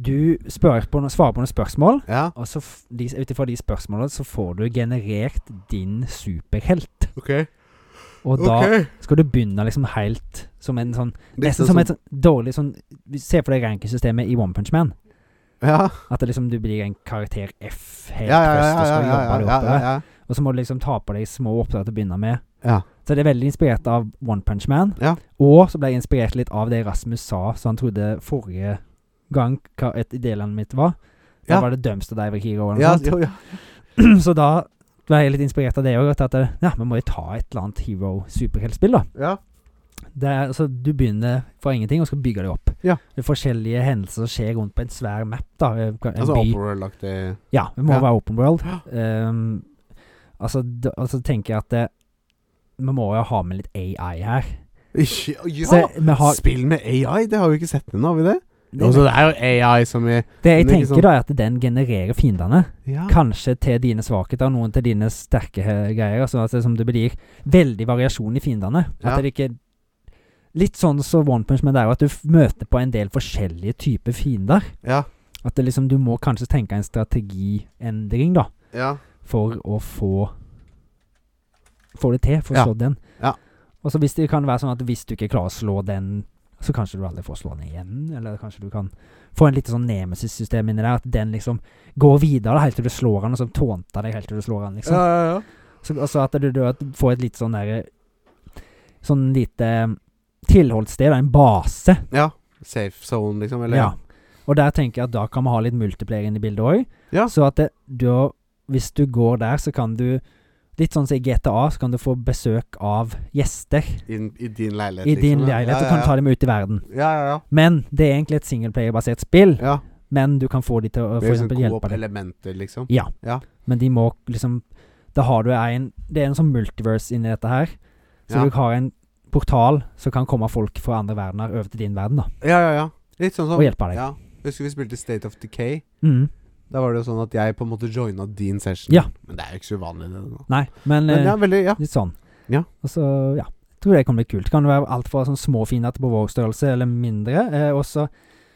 [SPEAKER 2] du spør på noe, svarer på noen spørsmål,
[SPEAKER 1] Ja,
[SPEAKER 2] og så f- de- ut ifra de spørsmålene så får du generert din superhelt.
[SPEAKER 1] ok.
[SPEAKER 2] Og da
[SPEAKER 1] ok.
[SPEAKER 2] skal du begynne liksom helt som en sånn
[SPEAKER 1] Dette
[SPEAKER 2] Nesten som et sånn dårlig sånn Se for deg rankingssystemet i One Punch Man.
[SPEAKER 1] Ja,
[SPEAKER 2] At det liksom du blir en karakter F helt
[SPEAKER 1] ja, ja. ja,
[SPEAKER 2] først, og så
[SPEAKER 1] ja,
[SPEAKER 2] skal du
[SPEAKER 1] ja,
[SPEAKER 2] jobbe deg
[SPEAKER 1] ja,
[SPEAKER 2] oppover.
[SPEAKER 1] ja,
[SPEAKER 2] Og så må du liksom ta på deg små oppdrag til å begynne med.
[SPEAKER 1] ja.
[SPEAKER 2] Så det er veldig inspirert av One Punch Man.
[SPEAKER 1] Ja.
[SPEAKER 2] Og så ble jeg inspirert litt av det Rasmus sa, så han trodde forrige gang hva et idélandet mitt var. Da
[SPEAKER 1] Ja.
[SPEAKER 2] var det Dumpster Diver
[SPEAKER 1] Ja,
[SPEAKER 2] Hero eller
[SPEAKER 1] ja, jo,
[SPEAKER 2] noe
[SPEAKER 1] ja.
[SPEAKER 2] sånt. så da ble jeg litt inspirert av det òg. At det- ja, vi må jo ta et eller annet hero superheltspill, da.
[SPEAKER 1] ja.
[SPEAKER 2] Det er, altså, du begynner fra ingenting og skal bygge deg opp.
[SPEAKER 1] Ja.
[SPEAKER 2] Det er forskjellige hendelser som skjer rundt på en svær map. da eh, En
[SPEAKER 1] Altså
[SPEAKER 2] by.
[SPEAKER 1] opera-aktig
[SPEAKER 2] Ja, det må
[SPEAKER 1] Ja.
[SPEAKER 2] være open world.
[SPEAKER 1] Ja.
[SPEAKER 2] Ehm, altså, d- altså tenker jeg at det, vi må jo ha med litt AI her. Så
[SPEAKER 1] Ja!
[SPEAKER 2] vi har,
[SPEAKER 1] Spill med AI, det har vi ikke sett ennå, har vi det? Altså,
[SPEAKER 2] det,
[SPEAKER 1] det er jo AI som i
[SPEAKER 2] jeg
[SPEAKER 1] men ikke
[SPEAKER 2] tenker
[SPEAKER 1] sånn-
[SPEAKER 2] da er at den genererer fiendene.
[SPEAKER 1] Ja.
[SPEAKER 2] Kanskje til dine svakheter, noen til dine sterke eh, greier. Altså, altså som det blir veldig variasjon i fiendene.
[SPEAKER 1] Ja.
[SPEAKER 2] At det ikke Litt sånn som One Punch Man, det er jo at du f- møter på en del forskjellige typer fiender.
[SPEAKER 1] Ja.
[SPEAKER 2] At det liksom, du må kanskje tenke en strategiendring, da.
[SPEAKER 1] ja.
[SPEAKER 2] for å få Få det til, for å
[SPEAKER 1] Ja.
[SPEAKER 2] slå den.
[SPEAKER 1] Ja.
[SPEAKER 2] Og så hvis det kan være sånn at hvis du ikke klarer å slå den, så kanskje du aldri får slå den igjen, eller kanskje du kan få en lite sånn nemesis-system inni der, at den liksom går videre da, helt til du slår den, og så tånter deg helt til du slår den, liksom.
[SPEAKER 1] ja, ja.
[SPEAKER 2] Så, og så at du, du får et litt sånn derre Sånn lite tilholdssted, da, en base,
[SPEAKER 1] Ja. Safe zone, liksom? Eller?
[SPEAKER 2] ja. Og der tenker jeg at da kan vi ha litt multiplayer inn i bildet òg.
[SPEAKER 1] Ja.
[SPEAKER 2] Så at det, da, hvis du går der, så kan du Litt sånn som i GTA, så kan du få besøk av gjester
[SPEAKER 1] Inn- I din leilighet,
[SPEAKER 2] i din
[SPEAKER 1] liksom, ja.
[SPEAKER 2] leilighet. Du kan ta dem ut i verden.
[SPEAKER 1] Ja, ja, ja.
[SPEAKER 2] Men det er egentlig et singleplayer-basert spill.
[SPEAKER 1] ja.
[SPEAKER 2] Men du kan få de til
[SPEAKER 1] Det er
[SPEAKER 2] å for
[SPEAKER 1] liksom
[SPEAKER 2] eksempel hjelpe deg.
[SPEAKER 1] elementer, liksom.
[SPEAKER 2] Ja.
[SPEAKER 1] Ja.
[SPEAKER 2] Men de må liksom Da har du en Det er en sånn multiverse inni dette her. Så
[SPEAKER 1] Ja.
[SPEAKER 2] du har en portal som kan komme folk fra andre verdener over til din verden, da.
[SPEAKER 1] Ja, ja, ja. Litt sånn som
[SPEAKER 2] Og hjelpe deg.
[SPEAKER 1] Ja. Husker vi spilte State of Decay.
[SPEAKER 2] Mm.
[SPEAKER 1] Da var det jo sånn at jeg på en måte joina din session.
[SPEAKER 2] Ja.
[SPEAKER 1] Men det er jo ikke så uvanlig. det nå.
[SPEAKER 2] Nei, men,
[SPEAKER 1] Men
[SPEAKER 2] eh,
[SPEAKER 1] det er veldig Ja.
[SPEAKER 2] Litt sånn.
[SPEAKER 1] Ja.
[SPEAKER 2] Og så, ja. Tror det kan bli kult. Kan det være alt fra sånn små finheter på vår størrelse eller mindre, eh, og så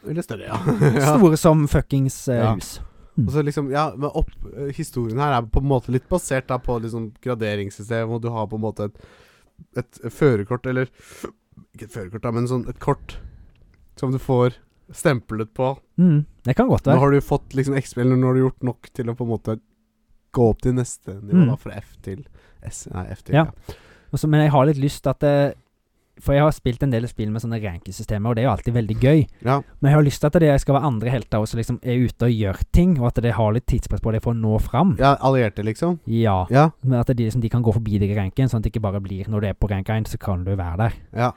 [SPEAKER 1] Eller større, ja. ja.
[SPEAKER 2] store som fuckings eh,
[SPEAKER 1] Ja.
[SPEAKER 2] hus.
[SPEAKER 1] Og så liksom, ja, men opp, eh, Historien her er på en måte litt basert da på liksom graderingssystem, og du har på en måte et, et førerkort, eller Ikke et førerkort, da, men sånn et kort som du får stemplet på.
[SPEAKER 2] Mm. Det kan godt
[SPEAKER 1] Nå
[SPEAKER 2] være.
[SPEAKER 1] har du fått liksom XP, eller nå har du gjort nok til å på en måte gå opp til neste nivå,
[SPEAKER 2] Mm.
[SPEAKER 1] da, fra F til S Nei, F til
[SPEAKER 2] Ja. Og så- men jeg har litt lyst at eh, For jeg har spilt en del spill med sånne rankingssystemer, og det er jo alltid veldig gøy.
[SPEAKER 1] Ja.
[SPEAKER 2] Men jeg har lyst til at det skal være andre helter også, som liksom er ute og gjør ting, og at de har litt tidspress på det for å nå fram.
[SPEAKER 1] ja. Allierte, liksom.
[SPEAKER 2] Ja.
[SPEAKER 1] Ja.
[SPEAKER 2] Men at de, liksom, de kan gå forbi deg i ranken, sånn at det ikke bare blir når du er på rank 1, så kan du være der.
[SPEAKER 1] Ja.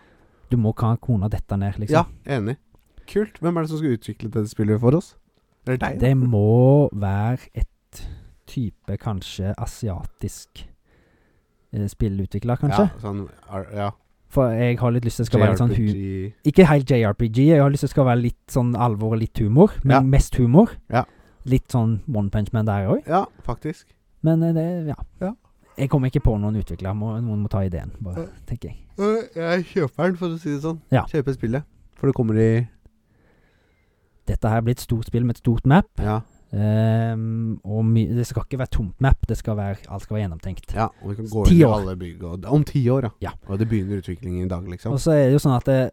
[SPEAKER 2] Du må kan kona dette ned, liksom.
[SPEAKER 1] ja enig. Kult. Hvem er det som skal utvikle dette spillet for oss? Eller deg? da?
[SPEAKER 2] Det må være et type kanskje asiatisk eh, spillutvikler, kanskje.
[SPEAKER 1] Ja, sånn, ar- ja.
[SPEAKER 2] For jeg har litt lyst til det skal være litt sånn hu
[SPEAKER 1] JRPG.
[SPEAKER 2] Ikke helt JRPG, jeg har lyst til det skal være litt sånn alvor og litt humor, men
[SPEAKER 1] Ja.
[SPEAKER 2] mest humor.
[SPEAKER 1] Ja.
[SPEAKER 2] Litt sånn One Punch Man der òg,
[SPEAKER 1] Ja, faktisk.
[SPEAKER 2] men eh, det ja.
[SPEAKER 1] Ja.
[SPEAKER 2] Jeg kommer ikke på noen utvikler, må, noen må ta ideen, bare, tenker jeg.
[SPEAKER 1] Øh, Jeg kjøper den, for å si det sånn.
[SPEAKER 2] Ja.
[SPEAKER 1] Kjøper spillet. For det kommer i
[SPEAKER 2] Dette her blir et stort spill med et stort map,
[SPEAKER 1] Ja,
[SPEAKER 2] ehm, og my det skal ikke være tomt map, det skal være, alt skal være gjennomtenkt.
[SPEAKER 1] ja og vi kan gå
[SPEAKER 2] Ti
[SPEAKER 1] inn i
[SPEAKER 2] år.
[SPEAKER 1] alle bygg. Og, om ti år,
[SPEAKER 2] Ja.
[SPEAKER 1] Og det begynner utviklingen i dag, liksom.
[SPEAKER 2] Og så er det jo sånn at det,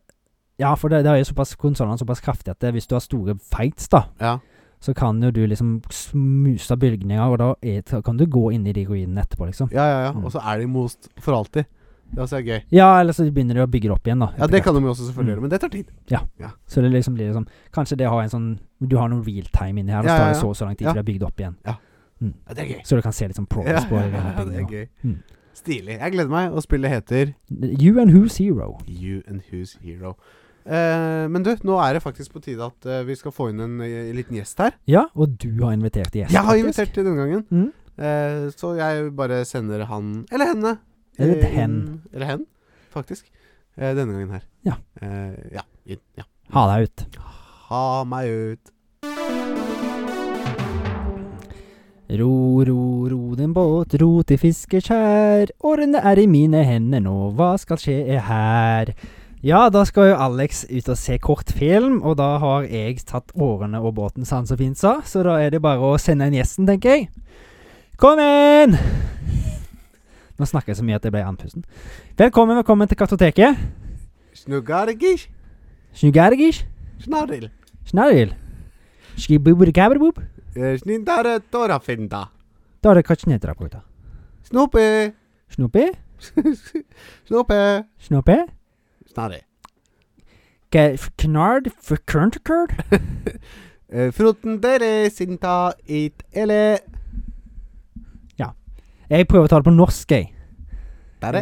[SPEAKER 2] Ja, for det, det er jo såpass konsollene såpass kraftige at det, hvis du har store fights, da,
[SPEAKER 1] Ja.
[SPEAKER 2] så kan jo du liksom smuse av bygninger, og da er, så kan du gå inn i de ruinene etterpå, liksom.
[SPEAKER 1] ja, ja, ja.
[SPEAKER 2] Mm.
[SPEAKER 1] Og så er de most for alltid. Det også er gøy.
[SPEAKER 2] Ja, eller så begynner de å bygge det opp igjen, da.
[SPEAKER 1] Ja, det
[SPEAKER 2] etter hvert.
[SPEAKER 1] kan de jo også selvfølgelig
[SPEAKER 2] Mm.
[SPEAKER 1] gjøre, men det tar tid.
[SPEAKER 2] Så det liksom blir liksom Kanskje det har en sånn Du har noen real time inni her, og
[SPEAKER 1] Ja,
[SPEAKER 2] så tar det
[SPEAKER 1] ja,
[SPEAKER 2] så og så lang tid
[SPEAKER 1] ja.
[SPEAKER 2] til det er bygd opp igjen.
[SPEAKER 1] Ja, det er gøy.
[SPEAKER 2] Så du kan se litt sånn
[SPEAKER 1] Ja,
[SPEAKER 2] progress på
[SPEAKER 1] ja,
[SPEAKER 2] hele
[SPEAKER 1] ja, det er
[SPEAKER 2] bygningen.
[SPEAKER 1] gøy.
[SPEAKER 2] Mm.
[SPEAKER 1] Stilig. Jeg gleder meg, og spillet heter
[SPEAKER 2] You and Who's Hero.
[SPEAKER 1] You and Who's Hero. Eh, men du, nå er det faktisk på tide at eh, vi skal få inn en eh, liten gjest her.
[SPEAKER 2] Ja, og du har invitert gjest.
[SPEAKER 1] Jeg har
[SPEAKER 2] faktisk.
[SPEAKER 1] invitert til denne gangen,
[SPEAKER 2] Mm.
[SPEAKER 1] eh, så jeg bare sender han Eller henne.
[SPEAKER 2] Eller
[SPEAKER 1] eh,
[SPEAKER 2] hen.
[SPEAKER 1] inn- Eller hen, faktisk. Eh, denne gangen her.
[SPEAKER 2] Ja.
[SPEAKER 1] Eh, ja. Inn. ja.
[SPEAKER 2] Ha deg ut.
[SPEAKER 1] Ha meg ut.
[SPEAKER 2] Ro, ro, ro din båt, ro til fiskeskjær. Årene er i mine hender nå, hva skal skje er her? Ja, da skal jo Alex ut og se kortfilm, og da har jeg tatt årene og båten, sa han så fint sa. Så da er det bare å sende inn gjesten, tenker jeg. Kom inn! Nå snakker jeg så mye at jeg ble andpusten. Velkommen, velkommen til Kartoteket.
[SPEAKER 1] Snuggargish,
[SPEAKER 2] Snugargish,
[SPEAKER 1] snaril,
[SPEAKER 2] snaril. Skibuburikabrabub.
[SPEAKER 1] eh, snindare torafinda,
[SPEAKER 2] Da er det katsjnedraputa.
[SPEAKER 1] snope,
[SPEAKER 2] Snopi,
[SPEAKER 1] snope,
[SPEAKER 2] snopi.
[SPEAKER 1] snarri.
[SPEAKER 2] Knard, fkerntkerd.
[SPEAKER 1] Eh, Fruten dere sinta it ele
[SPEAKER 2] Jeg prøver å ta det på norsk, jeg.
[SPEAKER 1] Dere.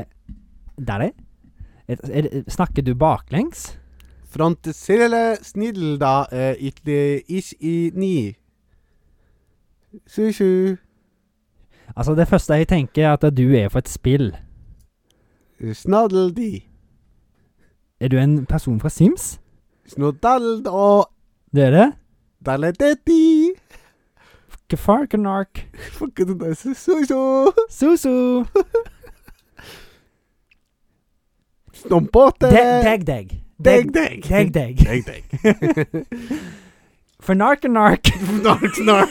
[SPEAKER 2] Der er det. Er det- Snakker du baklengs?
[SPEAKER 1] Frontesille sniddelda eh, itli ish i ni. Sju sju
[SPEAKER 2] Altså, det første jeg tenker, er at du er for et spill.
[SPEAKER 1] snaddeldi.
[SPEAKER 2] Er du en person fra Sims?
[SPEAKER 1] Snoddald og
[SPEAKER 2] Det er det.
[SPEAKER 1] daledetti.
[SPEAKER 2] Kefarkenark.
[SPEAKER 1] Fucken, det er så- så- så.
[SPEAKER 2] Susu.
[SPEAKER 1] Snompåte.
[SPEAKER 2] Deg-deg.
[SPEAKER 1] Deg, deg.
[SPEAKER 2] Deg-deg.
[SPEAKER 1] Deg, deg.
[SPEAKER 2] Fornarkenark.
[SPEAKER 1] Snark, snark.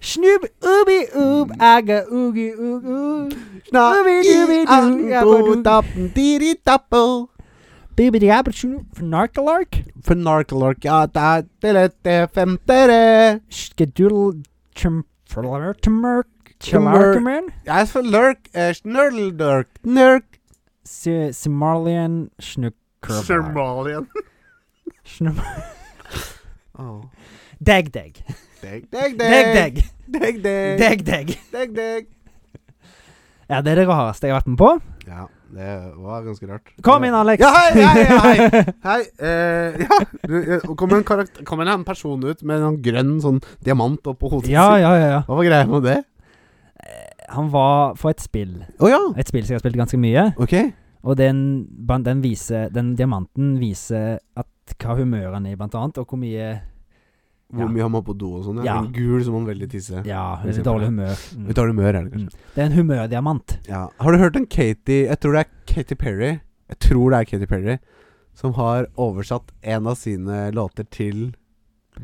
[SPEAKER 2] Snubb ubi ub aga ugi ug ug.
[SPEAKER 1] Snark i anto tappen diri tappo.
[SPEAKER 2] Bibidi abertunu. Fornarkelark.
[SPEAKER 1] For narkolark, ja, da, delete femtere.
[SPEAKER 2] Skedudel chumflertemerk.
[SPEAKER 1] Chummer.
[SPEAKER 2] Chalarkeman.
[SPEAKER 1] Jeg er for lurk, eh, snørdeldurk, nørk.
[SPEAKER 2] Simalian snukurvar.
[SPEAKER 1] Somalian. Oh.
[SPEAKER 2] Deg-deg.
[SPEAKER 1] Deg, deg, deg.
[SPEAKER 2] Deg-deg.
[SPEAKER 1] Deg, deg.
[SPEAKER 2] Deg-deg.
[SPEAKER 1] Deg, deg.
[SPEAKER 2] Ja, det er det rareste jeg har vært med på.
[SPEAKER 1] Ja, det var ganske rart.
[SPEAKER 2] Kom inn, Alex.
[SPEAKER 1] Ja, hei, hei, hei. Hei. Eh, ja. Du, eh, kom, en karakter, kom en person ut med en grønn sånn diamant oppå hodet
[SPEAKER 2] ja,
[SPEAKER 1] sitt.
[SPEAKER 2] ja, ja, ja.
[SPEAKER 1] Hva var greia med det?
[SPEAKER 2] Han var for et spill.
[SPEAKER 1] Å ja.
[SPEAKER 2] Et spill som jeg har spilt ganske mye.
[SPEAKER 1] Ok.
[SPEAKER 2] Og den, ban- den, viser, den diamanten viser at hva humør han er i, blant annet, og hvor mye
[SPEAKER 1] Hvor
[SPEAKER 2] Ja.
[SPEAKER 1] mye har man på do og sånn? Ja.
[SPEAKER 2] Ja.
[SPEAKER 1] En gul som man veldig tisser.
[SPEAKER 2] Ja,
[SPEAKER 1] Vi ser
[SPEAKER 2] eller
[SPEAKER 1] for
[SPEAKER 2] dårlig
[SPEAKER 1] det.
[SPEAKER 2] humør. Mm.
[SPEAKER 1] Litt dårlig humør er det kanskje.
[SPEAKER 2] Det er en humørdiamant.
[SPEAKER 1] Ja. Har du hørt om Katie Jeg tror det er Katy Perry. Jeg tror det er Katy Perry som har oversatt en av sine låter til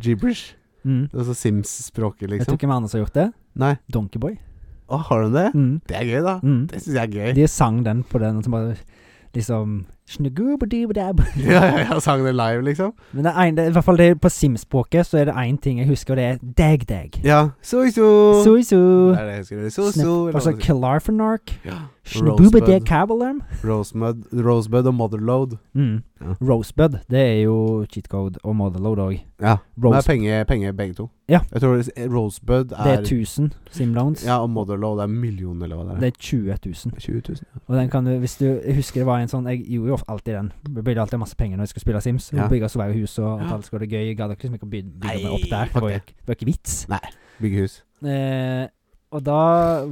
[SPEAKER 1] gibberish.
[SPEAKER 2] Mm.
[SPEAKER 1] Altså Sims-språket,
[SPEAKER 2] Vet du
[SPEAKER 1] liksom.
[SPEAKER 2] hvem andre som har gjort det?
[SPEAKER 1] Nei.
[SPEAKER 2] Donkeyboy.
[SPEAKER 1] Å, har hun det?
[SPEAKER 2] Mm.
[SPEAKER 1] Det er gøy, da.
[SPEAKER 2] Mm.
[SPEAKER 1] Det syns jeg er gøy.
[SPEAKER 2] De sang den på den, og så bare liksom snugubbedibedab.
[SPEAKER 1] Ja, ja, jeg sang det live, liksom.
[SPEAKER 2] Men det er en, det, er i hvert fall det, på Sims-språket så er det én ting jeg husker, og det er deg-deg.
[SPEAKER 1] Ja. So-so.
[SPEAKER 2] Suisu.
[SPEAKER 1] Det er det jeg husker. So-so.
[SPEAKER 2] Snipp-
[SPEAKER 1] eller
[SPEAKER 2] Altså
[SPEAKER 1] hva det-
[SPEAKER 2] Klarfenark.
[SPEAKER 1] Ja.
[SPEAKER 2] Snububede
[SPEAKER 1] Rosebud.
[SPEAKER 2] Cabalarm.
[SPEAKER 1] Rosebud, Rosebud og Motherload.
[SPEAKER 2] Mm.
[SPEAKER 1] Ja.
[SPEAKER 2] Rosebud, det er jo cheat code og motherload òg.
[SPEAKER 1] Ja. Det er
[SPEAKER 2] Rosebud
[SPEAKER 1] penger, penger begge to.
[SPEAKER 2] Ja.
[SPEAKER 1] Jeg tror det- Rosebud
[SPEAKER 2] det er
[SPEAKER 1] er
[SPEAKER 2] 1000 simloans.
[SPEAKER 1] Ja, og Motherload er millioner, eller hva det er.
[SPEAKER 2] Det er 20 000.
[SPEAKER 1] 20 000.
[SPEAKER 2] Og den kan du, hvis du jeg husker det var en sånn Jeg gjorde jo alltid den. Jeg bygde alltid masse penger når jeg skulle spille Sims.
[SPEAKER 1] Ja.
[SPEAKER 2] Ja. Bygga svære hus og alt skulle være gøy. Jeg gadd ikke liksom ikke å bygge, bygge meg opp
[SPEAKER 1] Nei,
[SPEAKER 2] der. Det var
[SPEAKER 1] fuck
[SPEAKER 2] jo ikke- det var ikke vits.
[SPEAKER 1] Bygge hus.
[SPEAKER 2] Eh, og da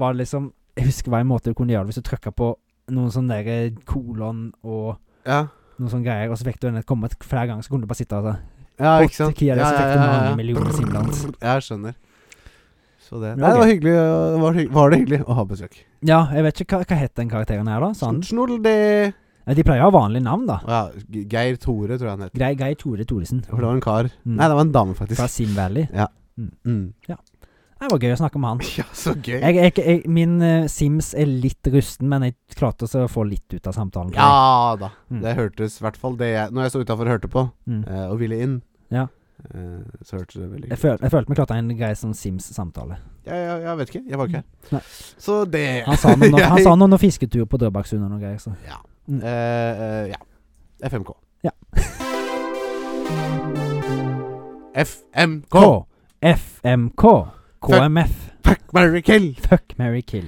[SPEAKER 2] var det liksom Jeg husker hva en måte du kunne gjøre det hvis du trykka på noen sånne der eh, kolon og
[SPEAKER 1] Ja,
[SPEAKER 2] noen sånne greier, og så fikk du den kommet flere ganger, så kunne du bare sitte og altså.
[SPEAKER 1] ja ikke
[SPEAKER 2] Åtte
[SPEAKER 1] sant?
[SPEAKER 2] Kia,
[SPEAKER 1] ja,
[SPEAKER 2] så fikk du mange millioner simlans.
[SPEAKER 1] Brrr, Jeg skjønner. Så det
[SPEAKER 2] Men
[SPEAKER 1] Nei, det
[SPEAKER 2] ok.
[SPEAKER 1] var hyggelig, øh, det var, hygg- var det hyggelig å ha besøk.
[SPEAKER 2] Ja, jeg vet ikke hva, hva het den karakteren her, da? Sa
[SPEAKER 1] Sånn.
[SPEAKER 2] han?
[SPEAKER 1] Snorlde
[SPEAKER 2] Ja, de pleier å ha vanlige navn, da.
[SPEAKER 1] Å ja, G- Geir Tore, tror jeg han het.
[SPEAKER 2] Grei Geir Tore Thoresen.
[SPEAKER 1] For det var en kar.
[SPEAKER 2] Mm.
[SPEAKER 1] Nei, det var en dame,
[SPEAKER 2] Fra
[SPEAKER 1] faktisk.
[SPEAKER 2] Sim Valley.
[SPEAKER 1] Mm.
[SPEAKER 2] Det var gøy å snakke med han.
[SPEAKER 1] Ja, så gøy.
[SPEAKER 2] Jeg, jeg, jeg, min eh, Sims er litt rusten, men jeg klarte også å få litt ut av samtalen.
[SPEAKER 1] Ja da.
[SPEAKER 2] Mm.
[SPEAKER 1] Det hørtes i hvert fall det jeg Når jeg sto utafor og hørte på,
[SPEAKER 2] Mm.
[SPEAKER 1] eh, og ville inn,
[SPEAKER 2] Ja.
[SPEAKER 1] eh, så hørtes det veldig
[SPEAKER 2] Jeg,
[SPEAKER 1] gøy
[SPEAKER 2] føl, jeg følte meg klart av en grei sånn Sims-samtale.
[SPEAKER 1] Ja, ja, jeg vet ikke. Jeg var ikke
[SPEAKER 2] Nei.
[SPEAKER 1] her. Så det
[SPEAKER 2] Han sa noe,
[SPEAKER 1] Jeg-
[SPEAKER 2] han sa noe om noen fisketur på Drøbaksund og noe greier. Så.
[SPEAKER 1] Ja.
[SPEAKER 2] Mm.
[SPEAKER 1] Eh, eh, ja. FMK.
[SPEAKER 2] Ja.
[SPEAKER 1] FMK.
[SPEAKER 2] K. FMK. KMF.
[SPEAKER 1] Fuck, marry, kill.
[SPEAKER 2] Fuck, marry, kill.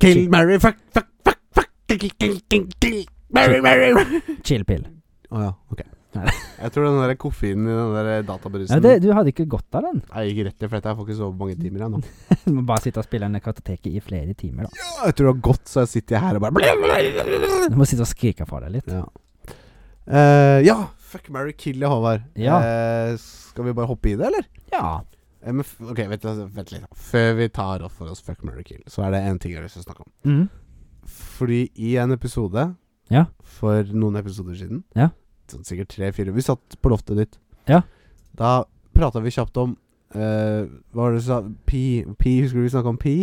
[SPEAKER 1] Kill,
[SPEAKER 2] Shit.
[SPEAKER 1] marry, fuck, fuck, fuck, fuck. Kill, kill, kill, kill. Marry,
[SPEAKER 2] Shit.
[SPEAKER 1] marry, marry.
[SPEAKER 2] Chillpill.
[SPEAKER 1] Å ja, ok.
[SPEAKER 2] Nei.
[SPEAKER 1] Jeg tror den der koffeinen i den der
[SPEAKER 2] Ja,
[SPEAKER 1] databrusen
[SPEAKER 2] det, du hadde ikke godt av den.
[SPEAKER 1] Jeg gikk rett i fletta. Jeg får ikke sove mange timer jeg nå.
[SPEAKER 2] Du må bare sitte og spille en kartoteket i flere timer, da.
[SPEAKER 1] Ja, jeg tror det har gått, så jeg sitter her og bare
[SPEAKER 2] Du må sitte og skrike fra deg litt.
[SPEAKER 1] Ja. Eh, ja. Fuck, marry, kill, ja, Håvard.
[SPEAKER 2] Ja.
[SPEAKER 1] Eh, skal vi bare hoppe i det, eller?
[SPEAKER 2] Ja.
[SPEAKER 1] Eh, Men, f- ok, vent, altså, vent litt. da. Før vi tar opp for oss Fuck, marry, kill, så er det en ting jeg har lyst til å snakke om.
[SPEAKER 2] Mm.
[SPEAKER 1] Fordi i en episode
[SPEAKER 2] Ja.
[SPEAKER 1] for noen episoder siden.
[SPEAKER 2] Ja.
[SPEAKER 1] Sånn, sikkert tre-fire. Vi satt på loftet ditt.
[SPEAKER 2] Ja.
[SPEAKER 1] Da prata vi kjapt om eh, Hva var det du sa? Pi, pi Husker du vi snakka om pi?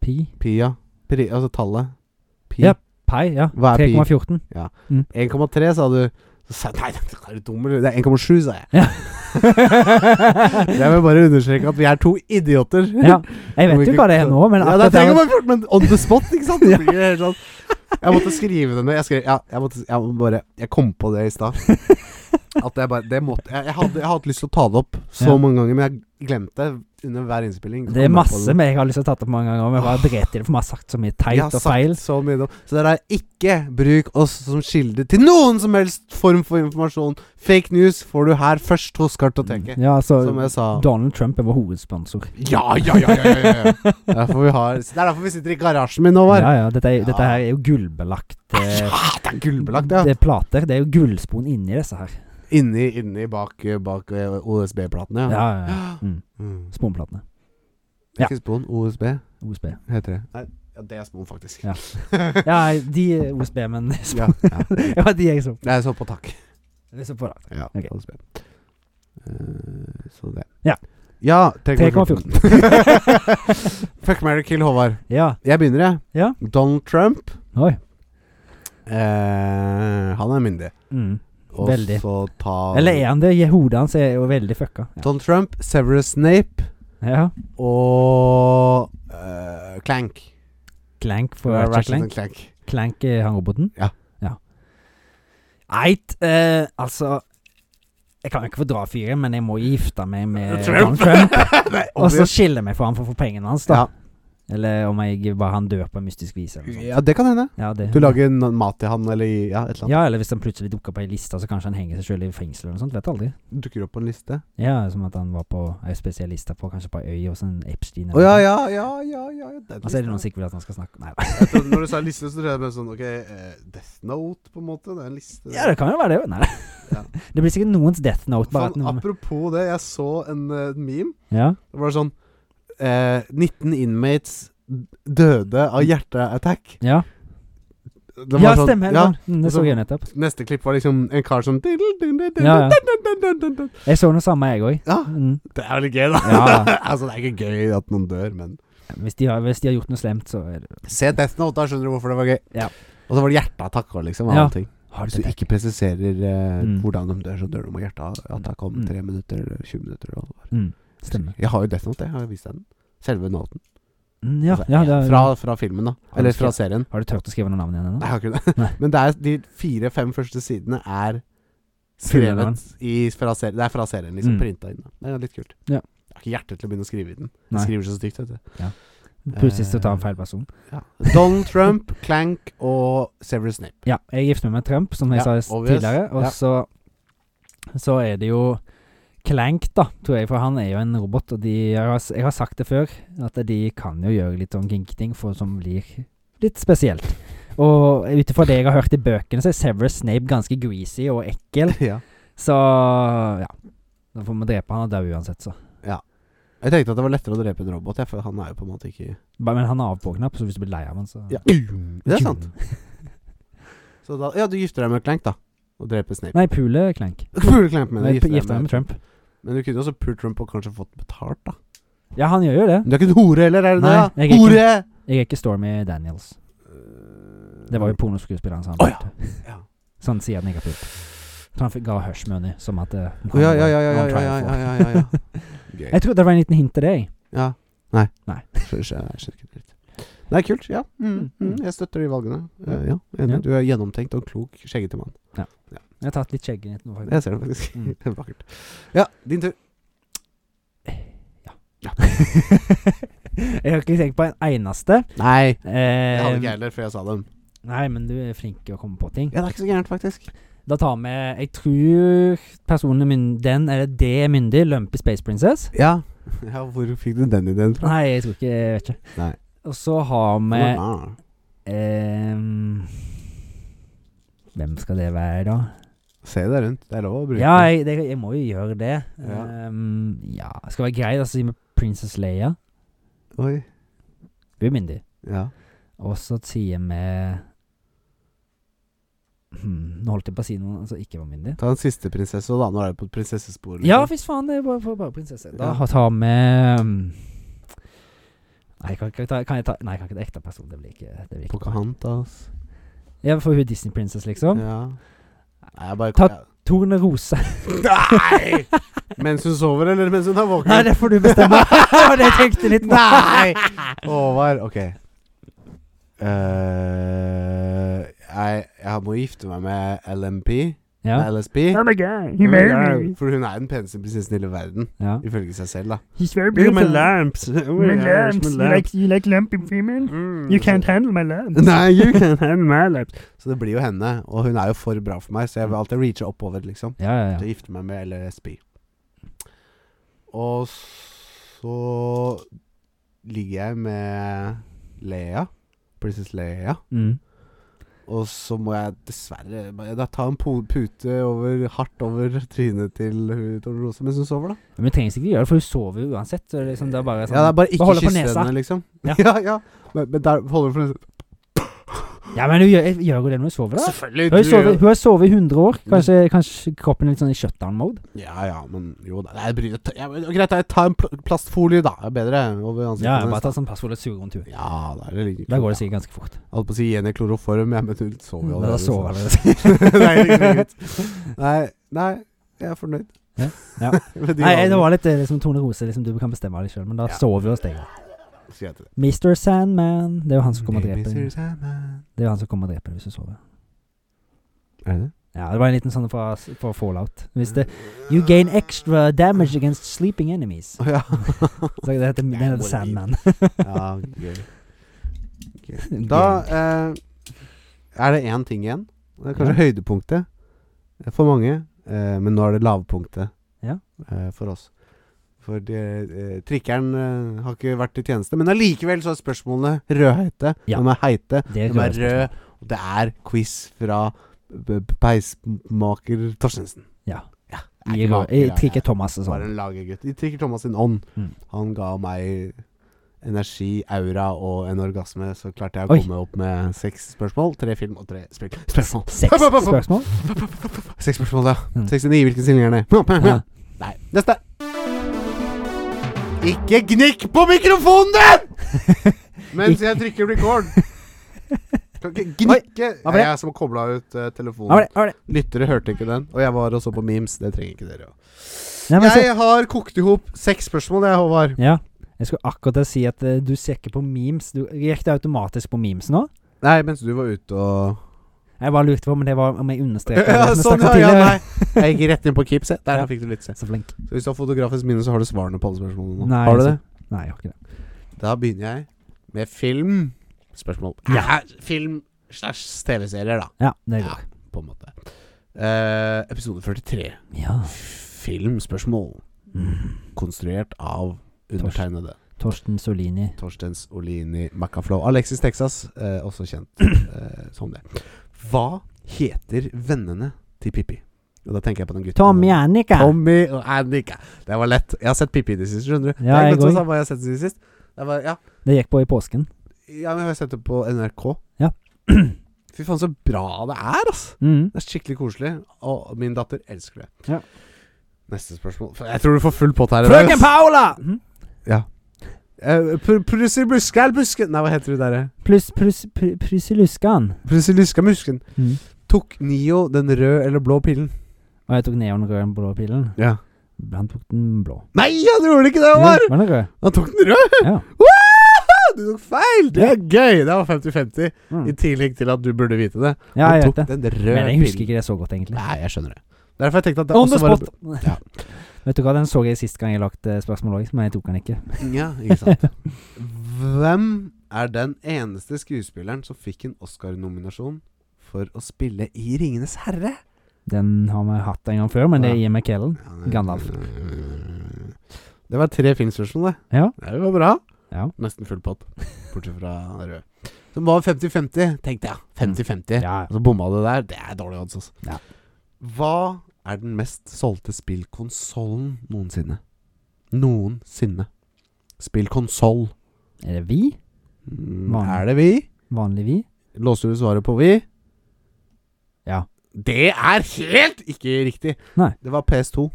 [SPEAKER 2] Pi?
[SPEAKER 1] Pi, ja. Pri, altså tallet. Pi.
[SPEAKER 2] Ja. Pi, ja.
[SPEAKER 1] Hva er pi?
[SPEAKER 2] 3,14.
[SPEAKER 1] 1,3 sa du. Så sa jeg nei, er du dum, eller? Det er 1,7, sa jeg. Jeg vil bare understreke at vi er to idioter.
[SPEAKER 2] ja. Jeg vet jo hva det er nå, men
[SPEAKER 1] ja,
[SPEAKER 2] akkurat
[SPEAKER 1] det er
[SPEAKER 2] der-
[SPEAKER 1] 3,14, men on the spot, ikke sant?
[SPEAKER 2] Ja.
[SPEAKER 1] Det blir helt sånn. Jeg måtte skrive det ned. Jeg skrev, ja, jeg, måtte, jeg må bare Jeg kom på det i stad. At jeg bare Det måtte Jeg, jeg, hadde, jeg hadde lyst til å ta det opp så
[SPEAKER 2] Ja.
[SPEAKER 1] mange ganger, men jeg glemte det under hver innspilling. Så
[SPEAKER 2] Det er
[SPEAKER 1] kom jeg på
[SPEAKER 2] masse men jeg har lyst til å tatt opp mange ganger, men jeg bare driter i det, for vi har sagt så mye
[SPEAKER 1] Jeg
[SPEAKER 2] teit
[SPEAKER 1] har
[SPEAKER 2] og feil.
[SPEAKER 1] sagt så mye nå. Så dere er ikke bruk oss som kilde til noen som helst form for informasjon. Fake news får du her først hos Kartoteket.
[SPEAKER 2] Mm, Ja, så
[SPEAKER 1] Som jeg sa.
[SPEAKER 2] Donald Trump er vår hovedsponsor.
[SPEAKER 1] Ja, ja, ja, ja, ja, ja. Derfor vi har, det er derfor vi sitter i garasjen min nå, Var.
[SPEAKER 2] Ja, ja, dette, er,
[SPEAKER 1] Ja.
[SPEAKER 2] dette her er jo gullbelagt eh,
[SPEAKER 1] det er gullbelagt, ja.
[SPEAKER 2] Det er plater. Det er jo gullspon inni disse her.
[SPEAKER 1] Inni, inni bak, bak eh, OSB-platene,
[SPEAKER 2] Ja,
[SPEAKER 1] ja.
[SPEAKER 2] ja, ja. Mm.
[SPEAKER 1] Mm.
[SPEAKER 2] Sponplatene. Ja.
[SPEAKER 1] Ikke spon, OSB
[SPEAKER 2] OSB.
[SPEAKER 1] heter det. Nei, ja, det er spon, faktisk.
[SPEAKER 2] Ja. Ja, de er OSB, men
[SPEAKER 1] ja, ja.
[SPEAKER 2] Det var de jeg så.
[SPEAKER 1] Det er så på takk.
[SPEAKER 2] Jeg så på det.
[SPEAKER 1] Ja,
[SPEAKER 2] Ok.
[SPEAKER 1] OSB. Eh, så det.
[SPEAKER 2] Ja.
[SPEAKER 1] Ja,
[SPEAKER 2] 3,14.
[SPEAKER 1] Fuck, marry, kill, Håvard.
[SPEAKER 2] Ja.
[SPEAKER 1] Jeg begynner, jeg.
[SPEAKER 2] Ja.
[SPEAKER 1] Donald Trump.
[SPEAKER 2] Oi.
[SPEAKER 1] Eh, han er myndig.
[SPEAKER 2] Mm.
[SPEAKER 1] Og
[SPEAKER 2] Veldig.
[SPEAKER 1] så ta
[SPEAKER 2] Eller er han det? I Hodet hans er jo veldig fucka. Ja.
[SPEAKER 1] Donald Trump, Severus Snape
[SPEAKER 2] ja.
[SPEAKER 1] og eh, Clank.
[SPEAKER 2] Clank for Ratchet Clank.
[SPEAKER 1] and Clank.
[SPEAKER 2] Clank er han roboten?
[SPEAKER 1] Ja.
[SPEAKER 2] ja. Eit, eh, altså Jeg kan jo ikke få dra fyren, men jeg må jo gifte meg med Donald
[SPEAKER 1] Trump.
[SPEAKER 2] Eh, Trump.
[SPEAKER 1] Nei,
[SPEAKER 2] Og så
[SPEAKER 1] obvious.
[SPEAKER 2] skille meg fra han for å få pengene hans, da. Eller om jeg bare han dør på mystisk vis, eller
[SPEAKER 1] ja.
[SPEAKER 2] noe sånt.
[SPEAKER 1] ja, det kan hende.
[SPEAKER 2] Ja, det,
[SPEAKER 1] Du lager no- mat til han, eller i- ja, et eller annet.
[SPEAKER 2] ja, eller hvis han plutselig dukker på ei liste, så kanskje han henger seg sjøl i fengsel eller noe sånt. Vet aldri.
[SPEAKER 1] Dukker opp på en liste.
[SPEAKER 2] Ja, som at han var på ei spesiell liste på kanskje på ei øy hos en Epstein. sånn.
[SPEAKER 1] Å ja, ja, ja, ja, ja, ja den
[SPEAKER 2] Og så er det noen
[SPEAKER 1] lista.
[SPEAKER 2] som ikke vil at han skal snakke Nei da.
[SPEAKER 1] Jeg trodde Når du sa liste, så trodde jeg bare sånn Ok, eh, Death Note, på en måte. Det er en liste.
[SPEAKER 2] Ja, det kan jo være det, jo. Nei.
[SPEAKER 1] Ja. Sånn
[SPEAKER 2] Det blir sikkert noens death note. Bare at
[SPEAKER 1] Faen,
[SPEAKER 2] noen,
[SPEAKER 1] apropos det, jeg så en eh, meme.
[SPEAKER 2] ja.
[SPEAKER 1] Det var sånn eh, 19 inmates døde av hjerteattack.
[SPEAKER 2] Ja.
[SPEAKER 1] Det
[SPEAKER 2] ja,
[SPEAKER 1] var sånn-
[SPEAKER 2] stemmer.
[SPEAKER 1] ja.
[SPEAKER 2] Ja. Det så jeg nettopp.
[SPEAKER 1] Neste klipp var liksom en kar som
[SPEAKER 2] Ja, Jeg så noe samme, jeg òg.
[SPEAKER 1] Ja,
[SPEAKER 2] Mm.
[SPEAKER 1] Det er vel gøy, da.
[SPEAKER 2] Ja.
[SPEAKER 1] altså, det er ikke gøy at noen dør, men
[SPEAKER 2] Hvis, de har- hvis de har gjort noe slemt, så er det
[SPEAKER 1] Se Death Note, da skjønner du hvorfor det var gøy.
[SPEAKER 2] Ja.
[SPEAKER 1] Og så var det hjerteattakk og liksom.
[SPEAKER 2] Ja.
[SPEAKER 1] Ja.
[SPEAKER 2] Har
[SPEAKER 1] Hvis
[SPEAKER 2] du
[SPEAKER 1] du ikke presiserer eh,
[SPEAKER 2] Mm.
[SPEAKER 1] hvordan de dør, så dør de med hjerteattakk om
[SPEAKER 2] Mm.
[SPEAKER 1] tre minutter eller 20 minutter. Eller hva det var.
[SPEAKER 2] Mm. Stemmer.
[SPEAKER 1] Jeg har jo Death Note, jeg har jo vist deg den. Selve noten.
[SPEAKER 2] Mm, Ja,
[SPEAKER 1] Altså,
[SPEAKER 2] ja, det er,
[SPEAKER 1] fra, fra filmen, da.
[SPEAKER 2] Har du
[SPEAKER 1] Eller fra
[SPEAKER 2] skrevet-
[SPEAKER 1] serien.
[SPEAKER 2] Har du turt å skrive noe navn igjen ennå?
[SPEAKER 1] Nei, jeg har ikke det.
[SPEAKER 2] Nei.
[SPEAKER 1] Men det er de fire-fem første sidene er
[SPEAKER 2] Fulle navn.
[SPEAKER 1] skrevet i, fra serien. Det er fra serien, liksom.
[SPEAKER 2] Mm.
[SPEAKER 1] Printa inn. da. Det er litt kult.
[SPEAKER 2] Ja.
[SPEAKER 1] Jeg har ikke hjerte til å begynne å skrive i den.
[SPEAKER 2] Nei.
[SPEAKER 1] Jeg skriver så stygt, vet du.
[SPEAKER 2] Plutselig så tar han feil person.
[SPEAKER 1] Ja. Donald Trump, Clank og Severus Snape.
[SPEAKER 2] Ja, jeg er gift meg med Trump, som jeg
[SPEAKER 1] Ja,
[SPEAKER 2] sa s-
[SPEAKER 1] obvious.
[SPEAKER 2] tidligere. Og
[SPEAKER 1] Ja.
[SPEAKER 2] så Så er det jo Clank, da, tror jeg, for han er jo en robot. Og de, jeg, har, s- jeg har sagt det før, at de kan jo gjøre litt sånn kinky ting for, som blir litt spesielt. Og ut ifra det jeg har hørt i bøkene, så er Severus Snape ganske greasy og ekkel.
[SPEAKER 1] ja.
[SPEAKER 2] Så ja. Da får vi drepe han og dø uansett, så.
[SPEAKER 1] Jeg tenkte at det var lettere å drepe en robot, jeg, for han er jo på en måte ikke
[SPEAKER 2] Ba- Men han er av på-knapp, så hvis du blir lei av han, så
[SPEAKER 1] ja. Det er sant. Så da, ja, du gifter deg med Clank, da. Og dreper Snape.
[SPEAKER 2] Nei, pule Clank.
[SPEAKER 1] Pule Clank, mener jeg.
[SPEAKER 2] Gifte
[SPEAKER 1] Gifter deg
[SPEAKER 2] meg med Trump.
[SPEAKER 1] Men du kunne jo også pult Trump og kanskje fått betalt, da.
[SPEAKER 2] Ja, han gjør jo det.
[SPEAKER 1] Men du er ikke en hore heller, er du
[SPEAKER 2] Nei,
[SPEAKER 1] det?
[SPEAKER 2] jeg
[SPEAKER 1] da?
[SPEAKER 2] er
[SPEAKER 1] Hore!
[SPEAKER 2] Jeg er ikke Stormy Daniels. Det var jo pornoskuespilleren som han
[SPEAKER 1] Eh, Å, ja.
[SPEAKER 2] brukte.
[SPEAKER 1] Ja.
[SPEAKER 2] Så han sier at han ikke har pult. Så han fikk- ga hush money som at eh,
[SPEAKER 1] Å, ja, ja,
[SPEAKER 2] han var
[SPEAKER 1] ja, ja,
[SPEAKER 2] on
[SPEAKER 1] ja,
[SPEAKER 2] trial
[SPEAKER 1] ja,
[SPEAKER 2] for.
[SPEAKER 1] ja, ja, ja, ja. Gøy.
[SPEAKER 2] Jeg trodde det var en liten hint til deg.
[SPEAKER 1] Ja. Nei.
[SPEAKER 2] Nei.
[SPEAKER 1] Skjø- skjø- Jeg skjønner ikke dritt. Nei, kult. Ja. Mm, mm, jeg støtter de valgene. Eh, ja, enig.
[SPEAKER 2] Ja.
[SPEAKER 1] Du er gjennomtenkt og klok, skjeggete mann.
[SPEAKER 2] Jeg har tatt litt skjegg i nå, faktisk.
[SPEAKER 1] Jeg ser det faktisk.
[SPEAKER 2] Mm.
[SPEAKER 1] Det er Vakkert. Ja, din tur.
[SPEAKER 2] jeg har ikke tenkt på en eneste.
[SPEAKER 1] Nei, jeg hadde ikke
[SPEAKER 2] Eh,
[SPEAKER 1] heller før jeg sa dem.
[SPEAKER 2] nei, men du er flink i å komme på ting.
[SPEAKER 1] Ja, det er ikke så gærent, faktisk.
[SPEAKER 2] Da tar vi Jeg tror personen er mynd- den, eller det er myndig. Lumpy Space Princess.
[SPEAKER 1] Ja. ja hvor fikk du den ideen fra?
[SPEAKER 2] Nei, jeg tror ikke Jeg vet ikke.
[SPEAKER 1] Nei.
[SPEAKER 2] Og så har vi
[SPEAKER 1] Ah.
[SPEAKER 2] ehm, Hvem skal det være, da?
[SPEAKER 1] Se deg rundt. Det er lov å bruke.
[SPEAKER 2] Ja, jeg, det, jeg må jo gjøre det.
[SPEAKER 1] Ja.
[SPEAKER 2] Ehm, ja. Skal være grei, da, så sier vi Princess Leia.
[SPEAKER 1] Oi.
[SPEAKER 2] Hun er myndig.
[SPEAKER 1] Ja.
[SPEAKER 2] Og så sier vi hmm, Nå holdt jeg på å si noe som ikke var myndig.
[SPEAKER 1] Ta en siste prinsesse, og da. Nå er det på prinsessesporet. liksom.
[SPEAKER 2] Ja, hvis faen, det er bare, bare, bare prinsesse. Da
[SPEAKER 1] Ja.
[SPEAKER 2] tar vi mm, Nei, kan, kan, jeg ta, kan jeg ta Nei, jeg kan ikke ta ekte person. Det blir ikke, det blir ikke bra.
[SPEAKER 1] Pocahontas.
[SPEAKER 2] Ja, for hun er Disney Princess, liksom.
[SPEAKER 1] Ja. Nei, jeg bare
[SPEAKER 2] Ta- Tornerose.
[SPEAKER 1] Nei! Mens hun sover, eller mens hun er våken?
[SPEAKER 2] Nei, det får du bestemme. Og det tenkte jeg litt på.
[SPEAKER 1] Nei! Håvard, ok. Eh, jeg, jeg må gifte meg med LMP.
[SPEAKER 2] Ja,
[SPEAKER 1] Med LSP.
[SPEAKER 3] I'm a guy. He married me.
[SPEAKER 1] For hun er den peneste prinsessen i hele verden,
[SPEAKER 2] ja.
[SPEAKER 1] ifølge seg selv, da.
[SPEAKER 3] He's very beautiful.
[SPEAKER 1] lamps.
[SPEAKER 3] My lamps. You like, you like lumpy female?
[SPEAKER 2] Mm.
[SPEAKER 3] You
[SPEAKER 1] Mm.
[SPEAKER 3] can't handle my lamps.
[SPEAKER 1] Nei, you can't
[SPEAKER 3] handle my lamps.
[SPEAKER 1] Så det blir jo henne, og hun er jo for bra for meg, så jeg vil alltid reache oppover, liksom.
[SPEAKER 2] ja, ja, ja.
[SPEAKER 1] til å gifte meg med LSB. Og så ligger jeg med Lea, prinsesse Lea,
[SPEAKER 2] Mm.
[SPEAKER 1] og så må jeg dessverre bare- da ta en po- pute over, hardt over trynet til hun Tornerose mens hun sover, da.
[SPEAKER 2] Men vi trenger sikkert gjøre det, for hun sover jo uansett. Så det er liksom, det er bare sånn
[SPEAKER 1] ja, det er bare
[SPEAKER 2] holde
[SPEAKER 1] ikke
[SPEAKER 2] på
[SPEAKER 1] kysse
[SPEAKER 2] nesa.
[SPEAKER 1] henne, liksom.
[SPEAKER 2] Ja.
[SPEAKER 1] Ja, ja. Men, men der holder hun på nesa.
[SPEAKER 2] Ja, men hun gjør, gjør jo det når hun sover, da.
[SPEAKER 1] Selvfølgelig.
[SPEAKER 2] Hun har
[SPEAKER 1] du Mm.
[SPEAKER 2] sovet-
[SPEAKER 1] gjør-
[SPEAKER 2] hun har sovet i 100 år. Kanskje, kanskje kroppen er litt sånn i shutdown-mode.
[SPEAKER 1] Ja ja, men jo da. Nei, jeg bryr, ta, ja, men, greit, jeg tar en pl plastfolie, da. Det er bedre over ansiktet.
[SPEAKER 2] Ja,
[SPEAKER 1] hennes,
[SPEAKER 2] bare
[SPEAKER 1] da.
[SPEAKER 2] ta sånn passord og sugerund tur.
[SPEAKER 1] ja da er det like
[SPEAKER 2] Da går det
[SPEAKER 1] kult, Altså, ja.
[SPEAKER 2] sikkert ganske fort.
[SPEAKER 1] Jeg holdt på å si gi henne kloroform, ja, men hun sover jo
[SPEAKER 2] Mm, Da
[SPEAKER 1] allerede.
[SPEAKER 2] sover
[SPEAKER 1] så-
[SPEAKER 2] allerede.
[SPEAKER 1] nei, liksom ikke. nei, nei, jeg er fornøyd.
[SPEAKER 2] Ja, ja.
[SPEAKER 1] Med de
[SPEAKER 2] Nei, det
[SPEAKER 1] valgene.
[SPEAKER 2] var litt eh, liksom Tone Rose, liksom, du kan bestemme deg sjøl, men da
[SPEAKER 1] Ja.
[SPEAKER 2] sover vi hos deg.
[SPEAKER 1] Sier jeg til deg.
[SPEAKER 2] Mr. Sandman. Det er jo han som kommer og
[SPEAKER 1] Baby
[SPEAKER 2] dreper deg.
[SPEAKER 1] serious Sandman.
[SPEAKER 2] Det er jo han som kommer og dreper deg hvis du sover.
[SPEAKER 1] Er det det?
[SPEAKER 2] Ja, det var en liten sånn fra, fra Fallout. Hvis det
[SPEAKER 1] Mm.
[SPEAKER 2] You gain extra damage against sleeping enemies.
[SPEAKER 1] Å, ja.
[SPEAKER 2] Så det heter, den heter Sandman.
[SPEAKER 1] ja, gøy. gøy. Da eh, er det én ting igjen. Det er kanskje høydepunktet for mange, eh, men nå er det lavpunktet
[SPEAKER 2] Ja.
[SPEAKER 1] eh, for oss. For det, eh, trikkeren eh, har ikke vært i tjeneste, men allikevel så er spørsmålene rødheite.
[SPEAKER 2] Ja.
[SPEAKER 1] De er heite.
[SPEAKER 2] Det
[SPEAKER 1] De
[SPEAKER 2] er
[SPEAKER 1] er
[SPEAKER 2] røde
[SPEAKER 1] røde, og det er quiz fra b- b- peismaker Torstensen.
[SPEAKER 2] Ja.
[SPEAKER 1] ja.
[SPEAKER 2] I, i, i Trikke Thomas og
[SPEAKER 1] Bare
[SPEAKER 2] sånn.
[SPEAKER 1] en lagergutt. I Trikker Thomas sin ånd.
[SPEAKER 2] Mm.
[SPEAKER 1] Han ga meg energi, aura og en orgasme, så klarte jeg å
[SPEAKER 2] Oi.
[SPEAKER 1] komme opp med seks spørsmål. Tre film og tre spill.
[SPEAKER 2] S-
[SPEAKER 1] spørsmål.
[SPEAKER 2] Seks spørsmål?
[SPEAKER 1] Seks spørsmål, ja.
[SPEAKER 2] Mm.
[SPEAKER 1] 69. Hvilken stilling er det?
[SPEAKER 2] Ja.
[SPEAKER 1] Nei. Neste. Ikke gnikk på mikrofonen din! Mens jeg trykker record. Kan ikke gnikke.
[SPEAKER 2] hva var
[SPEAKER 1] Det
[SPEAKER 2] det?
[SPEAKER 1] er jeg som kobla ut eh, telefonen.
[SPEAKER 2] Hva var det? Hva var det?
[SPEAKER 1] Lyttere hørte ikke den. Og jeg var og så på memes. Det trenger ikke dere. å-
[SPEAKER 2] Nei, men se-
[SPEAKER 1] Jeg har kokt i hop seks spørsmål, jeg, Håvard.
[SPEAKER 2] Ja. Jeg skulle akkurat til å si at eh, du ser ikke på memes. Du gikk det automatisk på memes nå?
[SPEAKER 1] Nei, mens du var ute og
[SPEAKER 2] Jeg bare lurte på om det var om jeg understreket
[SPEAKER 1] Ja,
[SPEAKER 2] det
[SPEAKER 1] sånn, ja,
[SPEAKER 2] som jeg snakket
[SPEAKER 1] ja,
[SPEAKER 2] tidligere.
[SPEAKER 1] nei. Jeg gikk rett inn på Keep, se. Der
[SPEAKER 2] Ja.
[SPEAKER 1] fikk du litt se.
[SPEAKER 2] Så flink.
[SPEAKER 1] Så hvis du har fotografisk minne, så har du svarene på alle spørsmålene. nå.
[SPEAKER 2] Nei,
[SPEAKER 1] har du
[SPEAKER 2] så-
[SPEAKER 1] det?
[SPEAKER 2] Nei, jeg har ikke det.
[SPEAKER 1] Da begynner jeg med film. Spørsmål.
[SPEAKER 2] Ja.
[SPEAKER 1] Eh, Film slash TV-serier, da,
[SPEAKER 2] Ja, det
[SPEAKER 1] Ja.
[SPEAKER 2] går.
[SPEAKER 1] på en måte. Eh, episode 43.
[SPEAKER 2] Ja.
[SPEAKER 1] Filmspørsmål.
[SPEAKER 2] Mm.
[SPEAKER 1] Konstruert av undertegnede.
[SPEAKER 2] Torsten Solini.
[SPEAKER 1] Torstens Olini Macaflow. Alexis Texas, eh, også kjent eh, som det. Hva heter vennene til Pippi? Og da tenker jeg på den gutten
[SPEAKER 2] Tom Jannica!
[SPEAKER 1] Tommy og Annika. Det var lett. Jeg har sett Pippi i det siste, skjønner du.
[SPEAKER 2] Ja,
[SPEAKER 1] det er
[SPEAKER 2] jeg
[SPEAKER 1] godt å
[SPEAKER 2] går.
[SPEAKER 1] sa hva jeg har sett siden sist. Det var, ja. ja,
[SPEAKER 2] Det gikk på i påsken.
[SPEAKER 1] men jeg har sett det på NRK.
[SPEAKER 2] Ja.
[SPEAKER 1] Fy faen, så bra det er, altså.
[SPEAKER 2] Mm.
[SPEAKER 1] Det er skikkelig koselig. Og min datter elsker det.
[SPEAKER 2] Ja.
[SPEAKER 1] Neste spørsmål. Jeg tror du får full pott her. i dag,
[SPEAKER 2] Frøken
[SPEAKER 1] ass.
[SPEAKER 2] Paula! Mm.
[SPEAKER 1] Eh, pr- Prussi Bluskal Busken Nei, hva heter hun der? eh?
[SPEAKER 2] Pluss pluss pr- Prussiluskan.
[SPEAKER 1] Prussi Luska Musken.
[SPEAKER 2] Mm.
[SPEAKER 1] Tok Nio den røde eller blå pillen?
[SPEAKER 2] Og jeg tok neonrød blå pilen.
[SPEAKER 1] Ja.
[SPEAKER 2] Han tok den blå.
[SPEAKER 1] Nei, han gjorde ikke det,
[SPEAKER 2] Jo,
[SPEAKER 1] Omar!
[SPEAKER 2] Var den rød?
[SPEAKER 1] Han tok den røde!
[SPEAKER 2] Ja.
[SPEAKER 1] Wow! Du tok feil! Det er gøy! Det var 50-50.
[SPEAKER 2] Mm.
[SPEAKER 1] I tillegg til at du burde vite det.
[SPEAKER 2] Ja,
[SPEAKER 1] Han
[SPEAKER 2] jeg
[SPEAKER 1] tok
[SPEAKER 2] vet det.
[SPEAKER 1] den røde
[SPEAKER 2] Men jeg husker
[SPEAKER 1] pillen.
[SPEAKER 2] ikke det så godt, egentlig.
[SPEAKER 1] Nei, jeg skjønner det. Derfor jeg tenkte at det
[SPEAKER 2] On the
[SPEAKER 1] også var
[SPEAKER 2] spot!
[SPEAKER 1] Ja.
[SPEAKER 2] Vet du hva, den så jeg sist gang jeg lagde spørsmål òg, men jeg tok den ikke.
[SPEAKER 1] Ja, ikke sant. Hvem er den eneste skuespilleren som fikk en Oscar-nominasjon for å spille i 'Ringenes herre'?
[SPEAKER 2] Den har vi hatt en gang før, men det er
[SPEAKER 1] Ja.
[SPEAKER 2] Ian McKellen.
[SPEAKER 1] Ja, det-
[SPEAKER 2] Gandalf.
[SPEAKER 1] Det var tre filmspørsmål, det.
[SPEAKER 2] Ja.
[SPEAKER 1] Det var bra.
[SPEAKER 2] Ja.
[SPEAKER 1] Nesten full pott, bortsett fra rød. Som var 50-50, tenkte jeg. 50-50.
[SPEAKER 2] Mm. Ja,
[SPEAKER 1] Og så bomma det der. Det er dårlige odds, altså.
[SPEAKER 2] Ja.
[SPEAKER 1] Hva er den mest solgte spillkonsollen noensinne? Noensinne. Spillkonsoll.
[SPEAKER 2] Er det vi?
[SPEAKER 1] Mm,
[SPEAKER 2] Vanlig.
[SPEAKER 1] er det vi?
[SPEAKER 2] Vanlig vi?
[SPEAKER 1] Låser du svaret på vi?
[SPEAKER 2] Ja.
[SPEAKER 1] Det er helt ikke riktig!
[SPEAKER 2] Nei.
[SPEAKER 1] Det var PS2.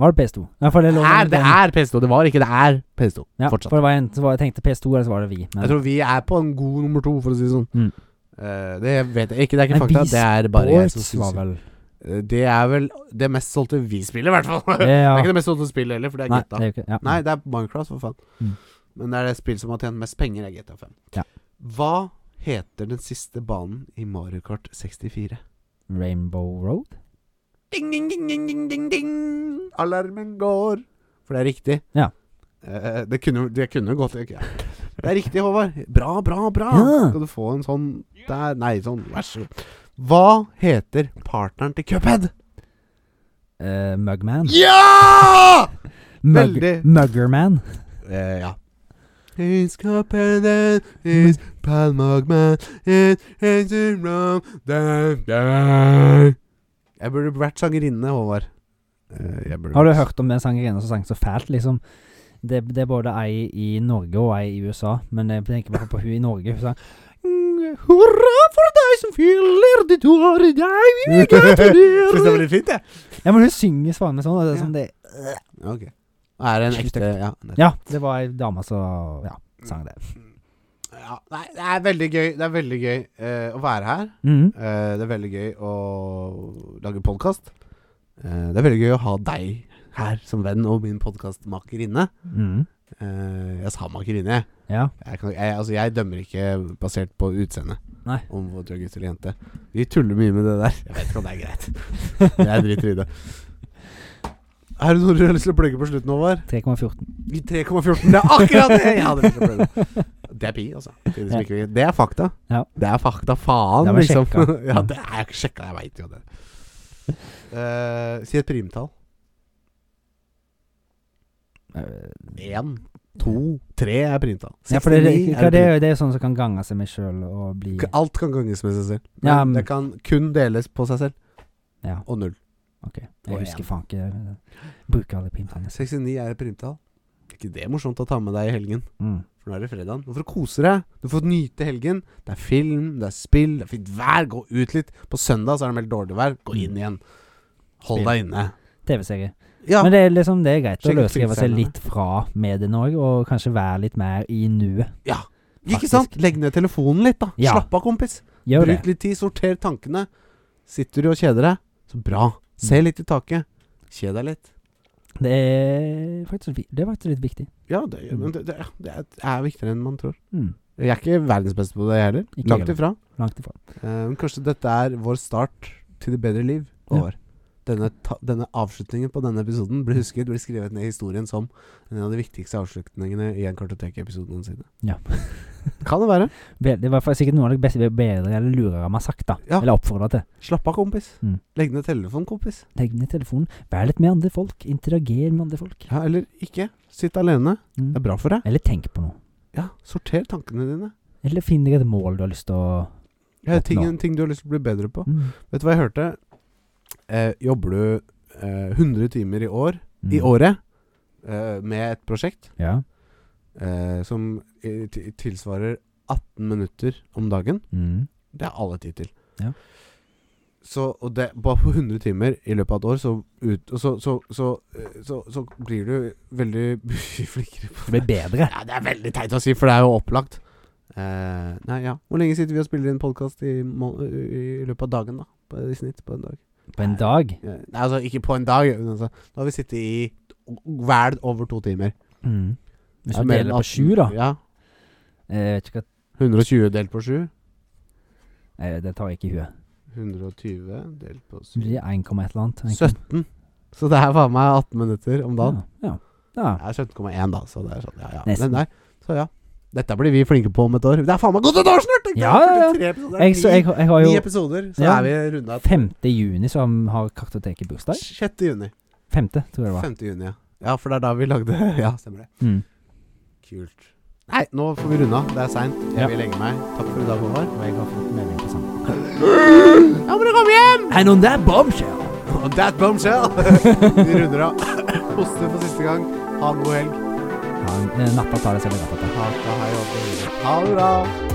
[SPEAKER 2] Var det PS2? Ja, for det,
[SPEAKER 1] Det
[SPEAKER 2] lå
[SPEAKER 1] er, det
[SPEAKER 2] mellom den-
[SPEAKER 1] er PS2. Det var ikke, det er PS2.
[SPEAKER 2] ja,
[SPEAKER 1] Fortsatt.
[SPEAKER 2] For det var enten så var, jeg tenkte PS2, eller så var det vi. Men
[SPEAKER 1] Jeg tror vi er på en god nummer to, for å si det sånn.
[SPEAKER 2] Mm.
[SPEAKER 1] Eh, det vet jeg ikke. Det er ikke
[SPEAKER 2] Men
[SPEAKER 1] fakta.
[SPEAKER 2] vi
[SPEAKER 1] Det er bare jeg som
[SPEAKER 2] Sports var
[SPEAKER 1] syns
[SPEAKER 2] vel
[SPEAKER 1] Eh, Det er vel det mest solgte vi spillet, i hvert fall. Det
[SPEAKER 2] ja.
[SPEAKER 1] er ikke det mest solgte spillet heller, for det er
[SPEAKER 2] Nei,
[SPEAKER 1] GTA.
[SPEAKER 2] det er jo ikke ja.
[SPEAKER 1] Nei, det er Minecraft, for faen.
[SPEAKER 2] Mm.
[SPEAKER 1] Men det er det spill som har tjent mest penger, er GTA 5.
[SPEAKER 2] Ja.
[SPEAKER 1] Hva heter den siste banen i Mario Kart 64?
[SPEAKER 2] Rainbow Road?
[SPEAKER 1] Ding, ding, ding, ding, ding, ding, ding. Alarmen går. For det er riktig.
[SPEAKER 2] Ja.
[SPEAKER 1] Eh, det kunne det kunne gått ja. Det er riktig, Håvard. Bra, bra, bra.
[SPEAKER 2] Ja.
[SPEAKER 1] Skal du få en sånn der Nei, sånn. Vær så god. Hva heter partneren til Cuphead?
[SPEAKER 2] Eh, Mugman?
[SPEAKER 1] Ja!
[SPEAKER 2] Mug,
[SPEAKER 1] veldig.
[SPEAKER 2] Muggerman?
[SPEAKER 1] Eh, ja. It's Copenhagen, it's Palmogman, it's Room, Jeg burde vært sangerinne, Håvard. Eh, jeg burde
[SPEAKER 2] Har du
[SPEAKER 1] vært-
[SPEAKER 2] hørt om den sangerinnen som sang så fælt, liksom? Det, det er både ei i Norge og ei i USA, men jeg tenker bare på hun i Norge. Hun sang
[SPEAKER 1] Mm, Hurra for deg som fyller ditt år i deg, vi gratulerer!
[SPEAKER 2] Synes det var
[SPEAKER 1] litt fint, jeg.
[SPEAKER 2] Ja, men hun synger svarene sånn. og Det er som det,
[SPEAKER 1] Ok. Er det en ekte Ja. nettopp.
[SPEAKER 2] ja, det var ei dame som ja, sang det.
[SPEAKER 1] ja. Nei, det er veldig gøy. Det er veldig gøy eh, å være her.
[SPEAKER 2] Mhm.
[SPEAKER 1] Eh, det er veldig gøy å lage podkast. det er veldig gøy å ha deg her som venn og min podkastmakerinne.
[SPEAKER 2] Mhm.
[SPEAKER 1] Eh, jeg sa makerinne, jeg.
[SPEAKER 2] Ja.
[SPEAKER 1] Jeg, kan, jeg. Altså, jeg dømmer ikke basert på utseende
[SPEAKER 2] Nei.
[SPEAKER 1] om hvor du er gutt eller jente. Vi tuller mye med det der. Jeg vet ikke om det er greit. Jeg driter i det. Er det noe du har lyst til å plugge på slutten, Håvard?
[SPEAKER 2] 3,14.
[SPEAKER 1] I 3,14. Det er akkurat det jeg hadde lyst til å plugge. Det er pi, altså. Det er, det er fakta.
[SPEAKER 2] Ja.
[SPEAKER 1] Det er fakta, faen,
[SPEAKER 2] Det var
[SPEAKER 1] liksom.
[SPEAKER 2] sjekka.
[SPEAKER 1] ja, det er ikke sjekka, jeg veit jo det. Eh, si et primtall.
[SPEAKER 2] Eh,
[SPEAKER 1] Én, to, tre er primtall.
[SPEAKER 2] Ja, for det,
[SPEAKER 1] 69 er
[SPEAKER 2] det, det, det,
[SPEAKER 1] primtall.
[SPEAKER 2] er jo- det er jo sånn som kan gange seg med sjøl og bli
[SPEAKER 1] Alt kan ganges med seg selv. Men
[SPEAKER 2] Ja, men-
[SPEAKER 1] det kan kun deles på seg selv.
[SPEAKER 2] Ja,
[SPEAKER 1] Og null.
[SPEAKER 2] OK.
[SPEAKER 1] Og
[SPEAKER 2] Jeg husker
[SPEAKER 1] en.
[SPEAKER 2] faen ikke eh, Bruker alle primtallene.
[SPEAKER 1] 69 er et primtall. Er ikke det morsomt å ta med deg i helgen?
[SPEAKER 2] Mm.
[SPEAKER 1] For nå er det fredagen. Du får kose deg. Du får nyte helgen. Det er film, det er spill, det er fint vær. Gå ut litt. På søndag så er det meldt dårlig vær. Gå inn igjen. Hold
[SPEAKER 2] Mm. Spill.
[SPEAKER 1] deg inne.
[SPEAKER 2] TV-serie.
[SPEAKER 1] Ja.
[SPEAKER 2] Men det er liksom det er greit å
[SPEAKER 1] Sjekk ut
[SPEAKER 2] løsrive seg
[SPEAKER 1] filmstjernene.
[SPEAKER 2] litt fra medien òg, og kanskje være litt mer i nuet.
[SPEAKER 1] ja.
[SPEAKER 2] Faktisk.
[SPEAKER 1] Ikke sant? Legg ned telefonen litt, da.
[SPEAKER 2] Ja.
[SPEAKER 1] Slapp av, kompis.
[SPEAKER 2] Gjør det.
[SPEAKER 1] Bruk litt tid. Sorter tankene. Sitter du og kjeder deg? Så bra. Se
[SPEAKER 2] Mm.
[SPEAKER 1] litt i taket. Kjed deg litt.
[SPEAKER 2] Det er faktisk, vi- det er faktisk litt viktig.
[SPEAKER 1] Ja, det, men det, det, det er- det er viktigere enn man tror.
[SPEAKER 2] Mm.
[SPEAKER 1] Jeg er ikke verdens beste på det, jeg heller.
[SPEAKER 2] Ikke
[SPEAKER 1] Langt
[SPEAKER 2] heller.
[SPEAKER 1] ifra.
[SPEAKER 2] Langt ifra.
[SPEAKER 1] Eh, Men kanskje dette er vår start til det bedre liv.
[SPEAKER 2] Ja.
[SPEAKER 1] Håvard. Denne, ta, denne avslutningen på denne episoden blir husket blir skrevet ned i historien som en av de viktigste avslutningene i en kartotek-episode noensinne.
[SPEAKER 2] Ja.
[SPEAKER 1] Kan det være.
[SPEAKER 2] Vel, Det var fa- sikkert noe av det beste bedre eller lurere man har sagt, da.
[SPEAKER 1] Ja.
[SPEAKER 2] Eller oppfordra til.
[SPEAKER 1] Slapp av, kompis.
[SPEAKER 2] Mm.
[SPEAKER 1] Legg ned telefonen, kompis.
[SPEAKER 2] Legg ned telefonen. Vær litt med andre folk. Interager med andre folk.
[SPEAKER 1] Ja, eller ikke. Sitt alene.
[SPEAKER 2] Mm.
[SPEAKER 1] Det er bra for deg.
[SPEAKER 2] Eller tenk på noe.
[SPEAKER 1] Ja, Sorter tankene dine.
[SPEAKER 2] Eller finn deg et mål du har lyst til å
[SPEAKER 1] Ja,
[SPEAKER 2] Oppnå.
[SPEAKER 1] ting, ting du har lyst til å bli bedre på.
[SPEAKER 2] mm.
[SPEAKER 1] Vet du hva jeg hørte? Eh, jobber du eh, 100 timer i år i
[SPEAKER 2] Mm.
[SPEAKER 1] året eh, med et prosjekt
[SPEAKER 2] Ja.
[SPEAKER 1] eh, som i- ti- tilsvarer 18 minutter om dagen.
[SPEAKER 2] Mm.
[SPEAKER 1] Det er alle tid til.
[SPEAKER 2] Ja.
[SPEAKER 1] Så og det, bare på 100 timer i løpet av et år, så, ut, og så, så, så, eh, så, så blir du veldig mye flinkere
[SPEAKER 2] Det
[SPEAKER 1] på
[SPEAKER 2] blir bedre.
[SPEAKER 1] Ja, det er veldig teit å si, for det er jo opplagt. Eh, nei, ja. Hvor lenge sitter vi og spiller inn podkast i, må- i løpet av dagen, da? På, I snitt på en dag.
[SPEAKER 2] På en dag.
[SPEAKER 1] Ja, Nei, altså ikke på en dag. Men altså, da har vi sittet i vel over to timer.
[SPEAKER 2] Mm. Hvis
[SPEAKER 1] Ja,
[SPEAKER 2] du
[SPEAKER 1] mer enn
[SPEAKER 2] deler på
[SPEAKER 1] 18.
[SPEAKER 2] sju, da.
[SPEAKER 1] Ja.
[SPEAKER 2] Jeg vet ikke hva
[SPEAKER 1] 120 delt på 7.
[SPEAKER 2] Nei, Det tar jeg ikke i huet.
[SPEAKER 1] 120 delt på
[SPEAKER 2] Det
[SPEAKER 1] 7.
[SPEAKER 2] blir 1, et eller annet.
[SPEAKER 1] 17. Så det her var meg 18 minutter om dagen.
[SPEAKER 2] Ja. ja. ja.
[SPEAKER 1] Det er 17,1, da. Så det er sånn, ja, ja.
[SPEAKER 2] Nesten.
[SPEAKER 1] Men nei, så ja. Dette blir vi flinke på om et år. Det er faen meg gått et år snart! tenkte jeg.
[SPEAKER 2] Ja, ja, ja.
[SPEAKER 1] 43 episoder.
[SPEAKER 2] Jeg, så, jeg, jeg har
[SPEAKER 1] Ni, ni
[SPEAKER 2] jo
[SPEAKER 1] episoder, så
[SPEAKER 2] Ja.
[SPEAKER 1] er vi runda
[SPEAKER 2] 5. juni som har kartoteket bursdag.
[SPEAKER 1] 6. juni.
[SPEAKER 2] 5. tror jeg det var.
[SPEAKER 1] 5. juni, ja. Ja, for det er da vi lagde Ja, stemmer det.
[SPEAKER 2] Mm.
[SPEAKER 1] Kult. Nei, nå får vi runde av. Det er seint. Jeg
[SPEAKER 2] Ja.
[SPEAKER 1] vil legge meg. Takk for i dag, Håvard.
[SPEAKER 2] Og jeg har fått melding på samme.
[SPEAKER 1] Ja, men kom igjen!
[SPEAKER 2] And on that bombshell!
[SPEAKER 1] Og that bombshell! vi runder av. Hoste for siste gang. Ha en god helg.
[SPEAKER 2] Ja, natta tar det selv i natta.
[SPEAKER 1] Ha, ha, hei, og ha det bra.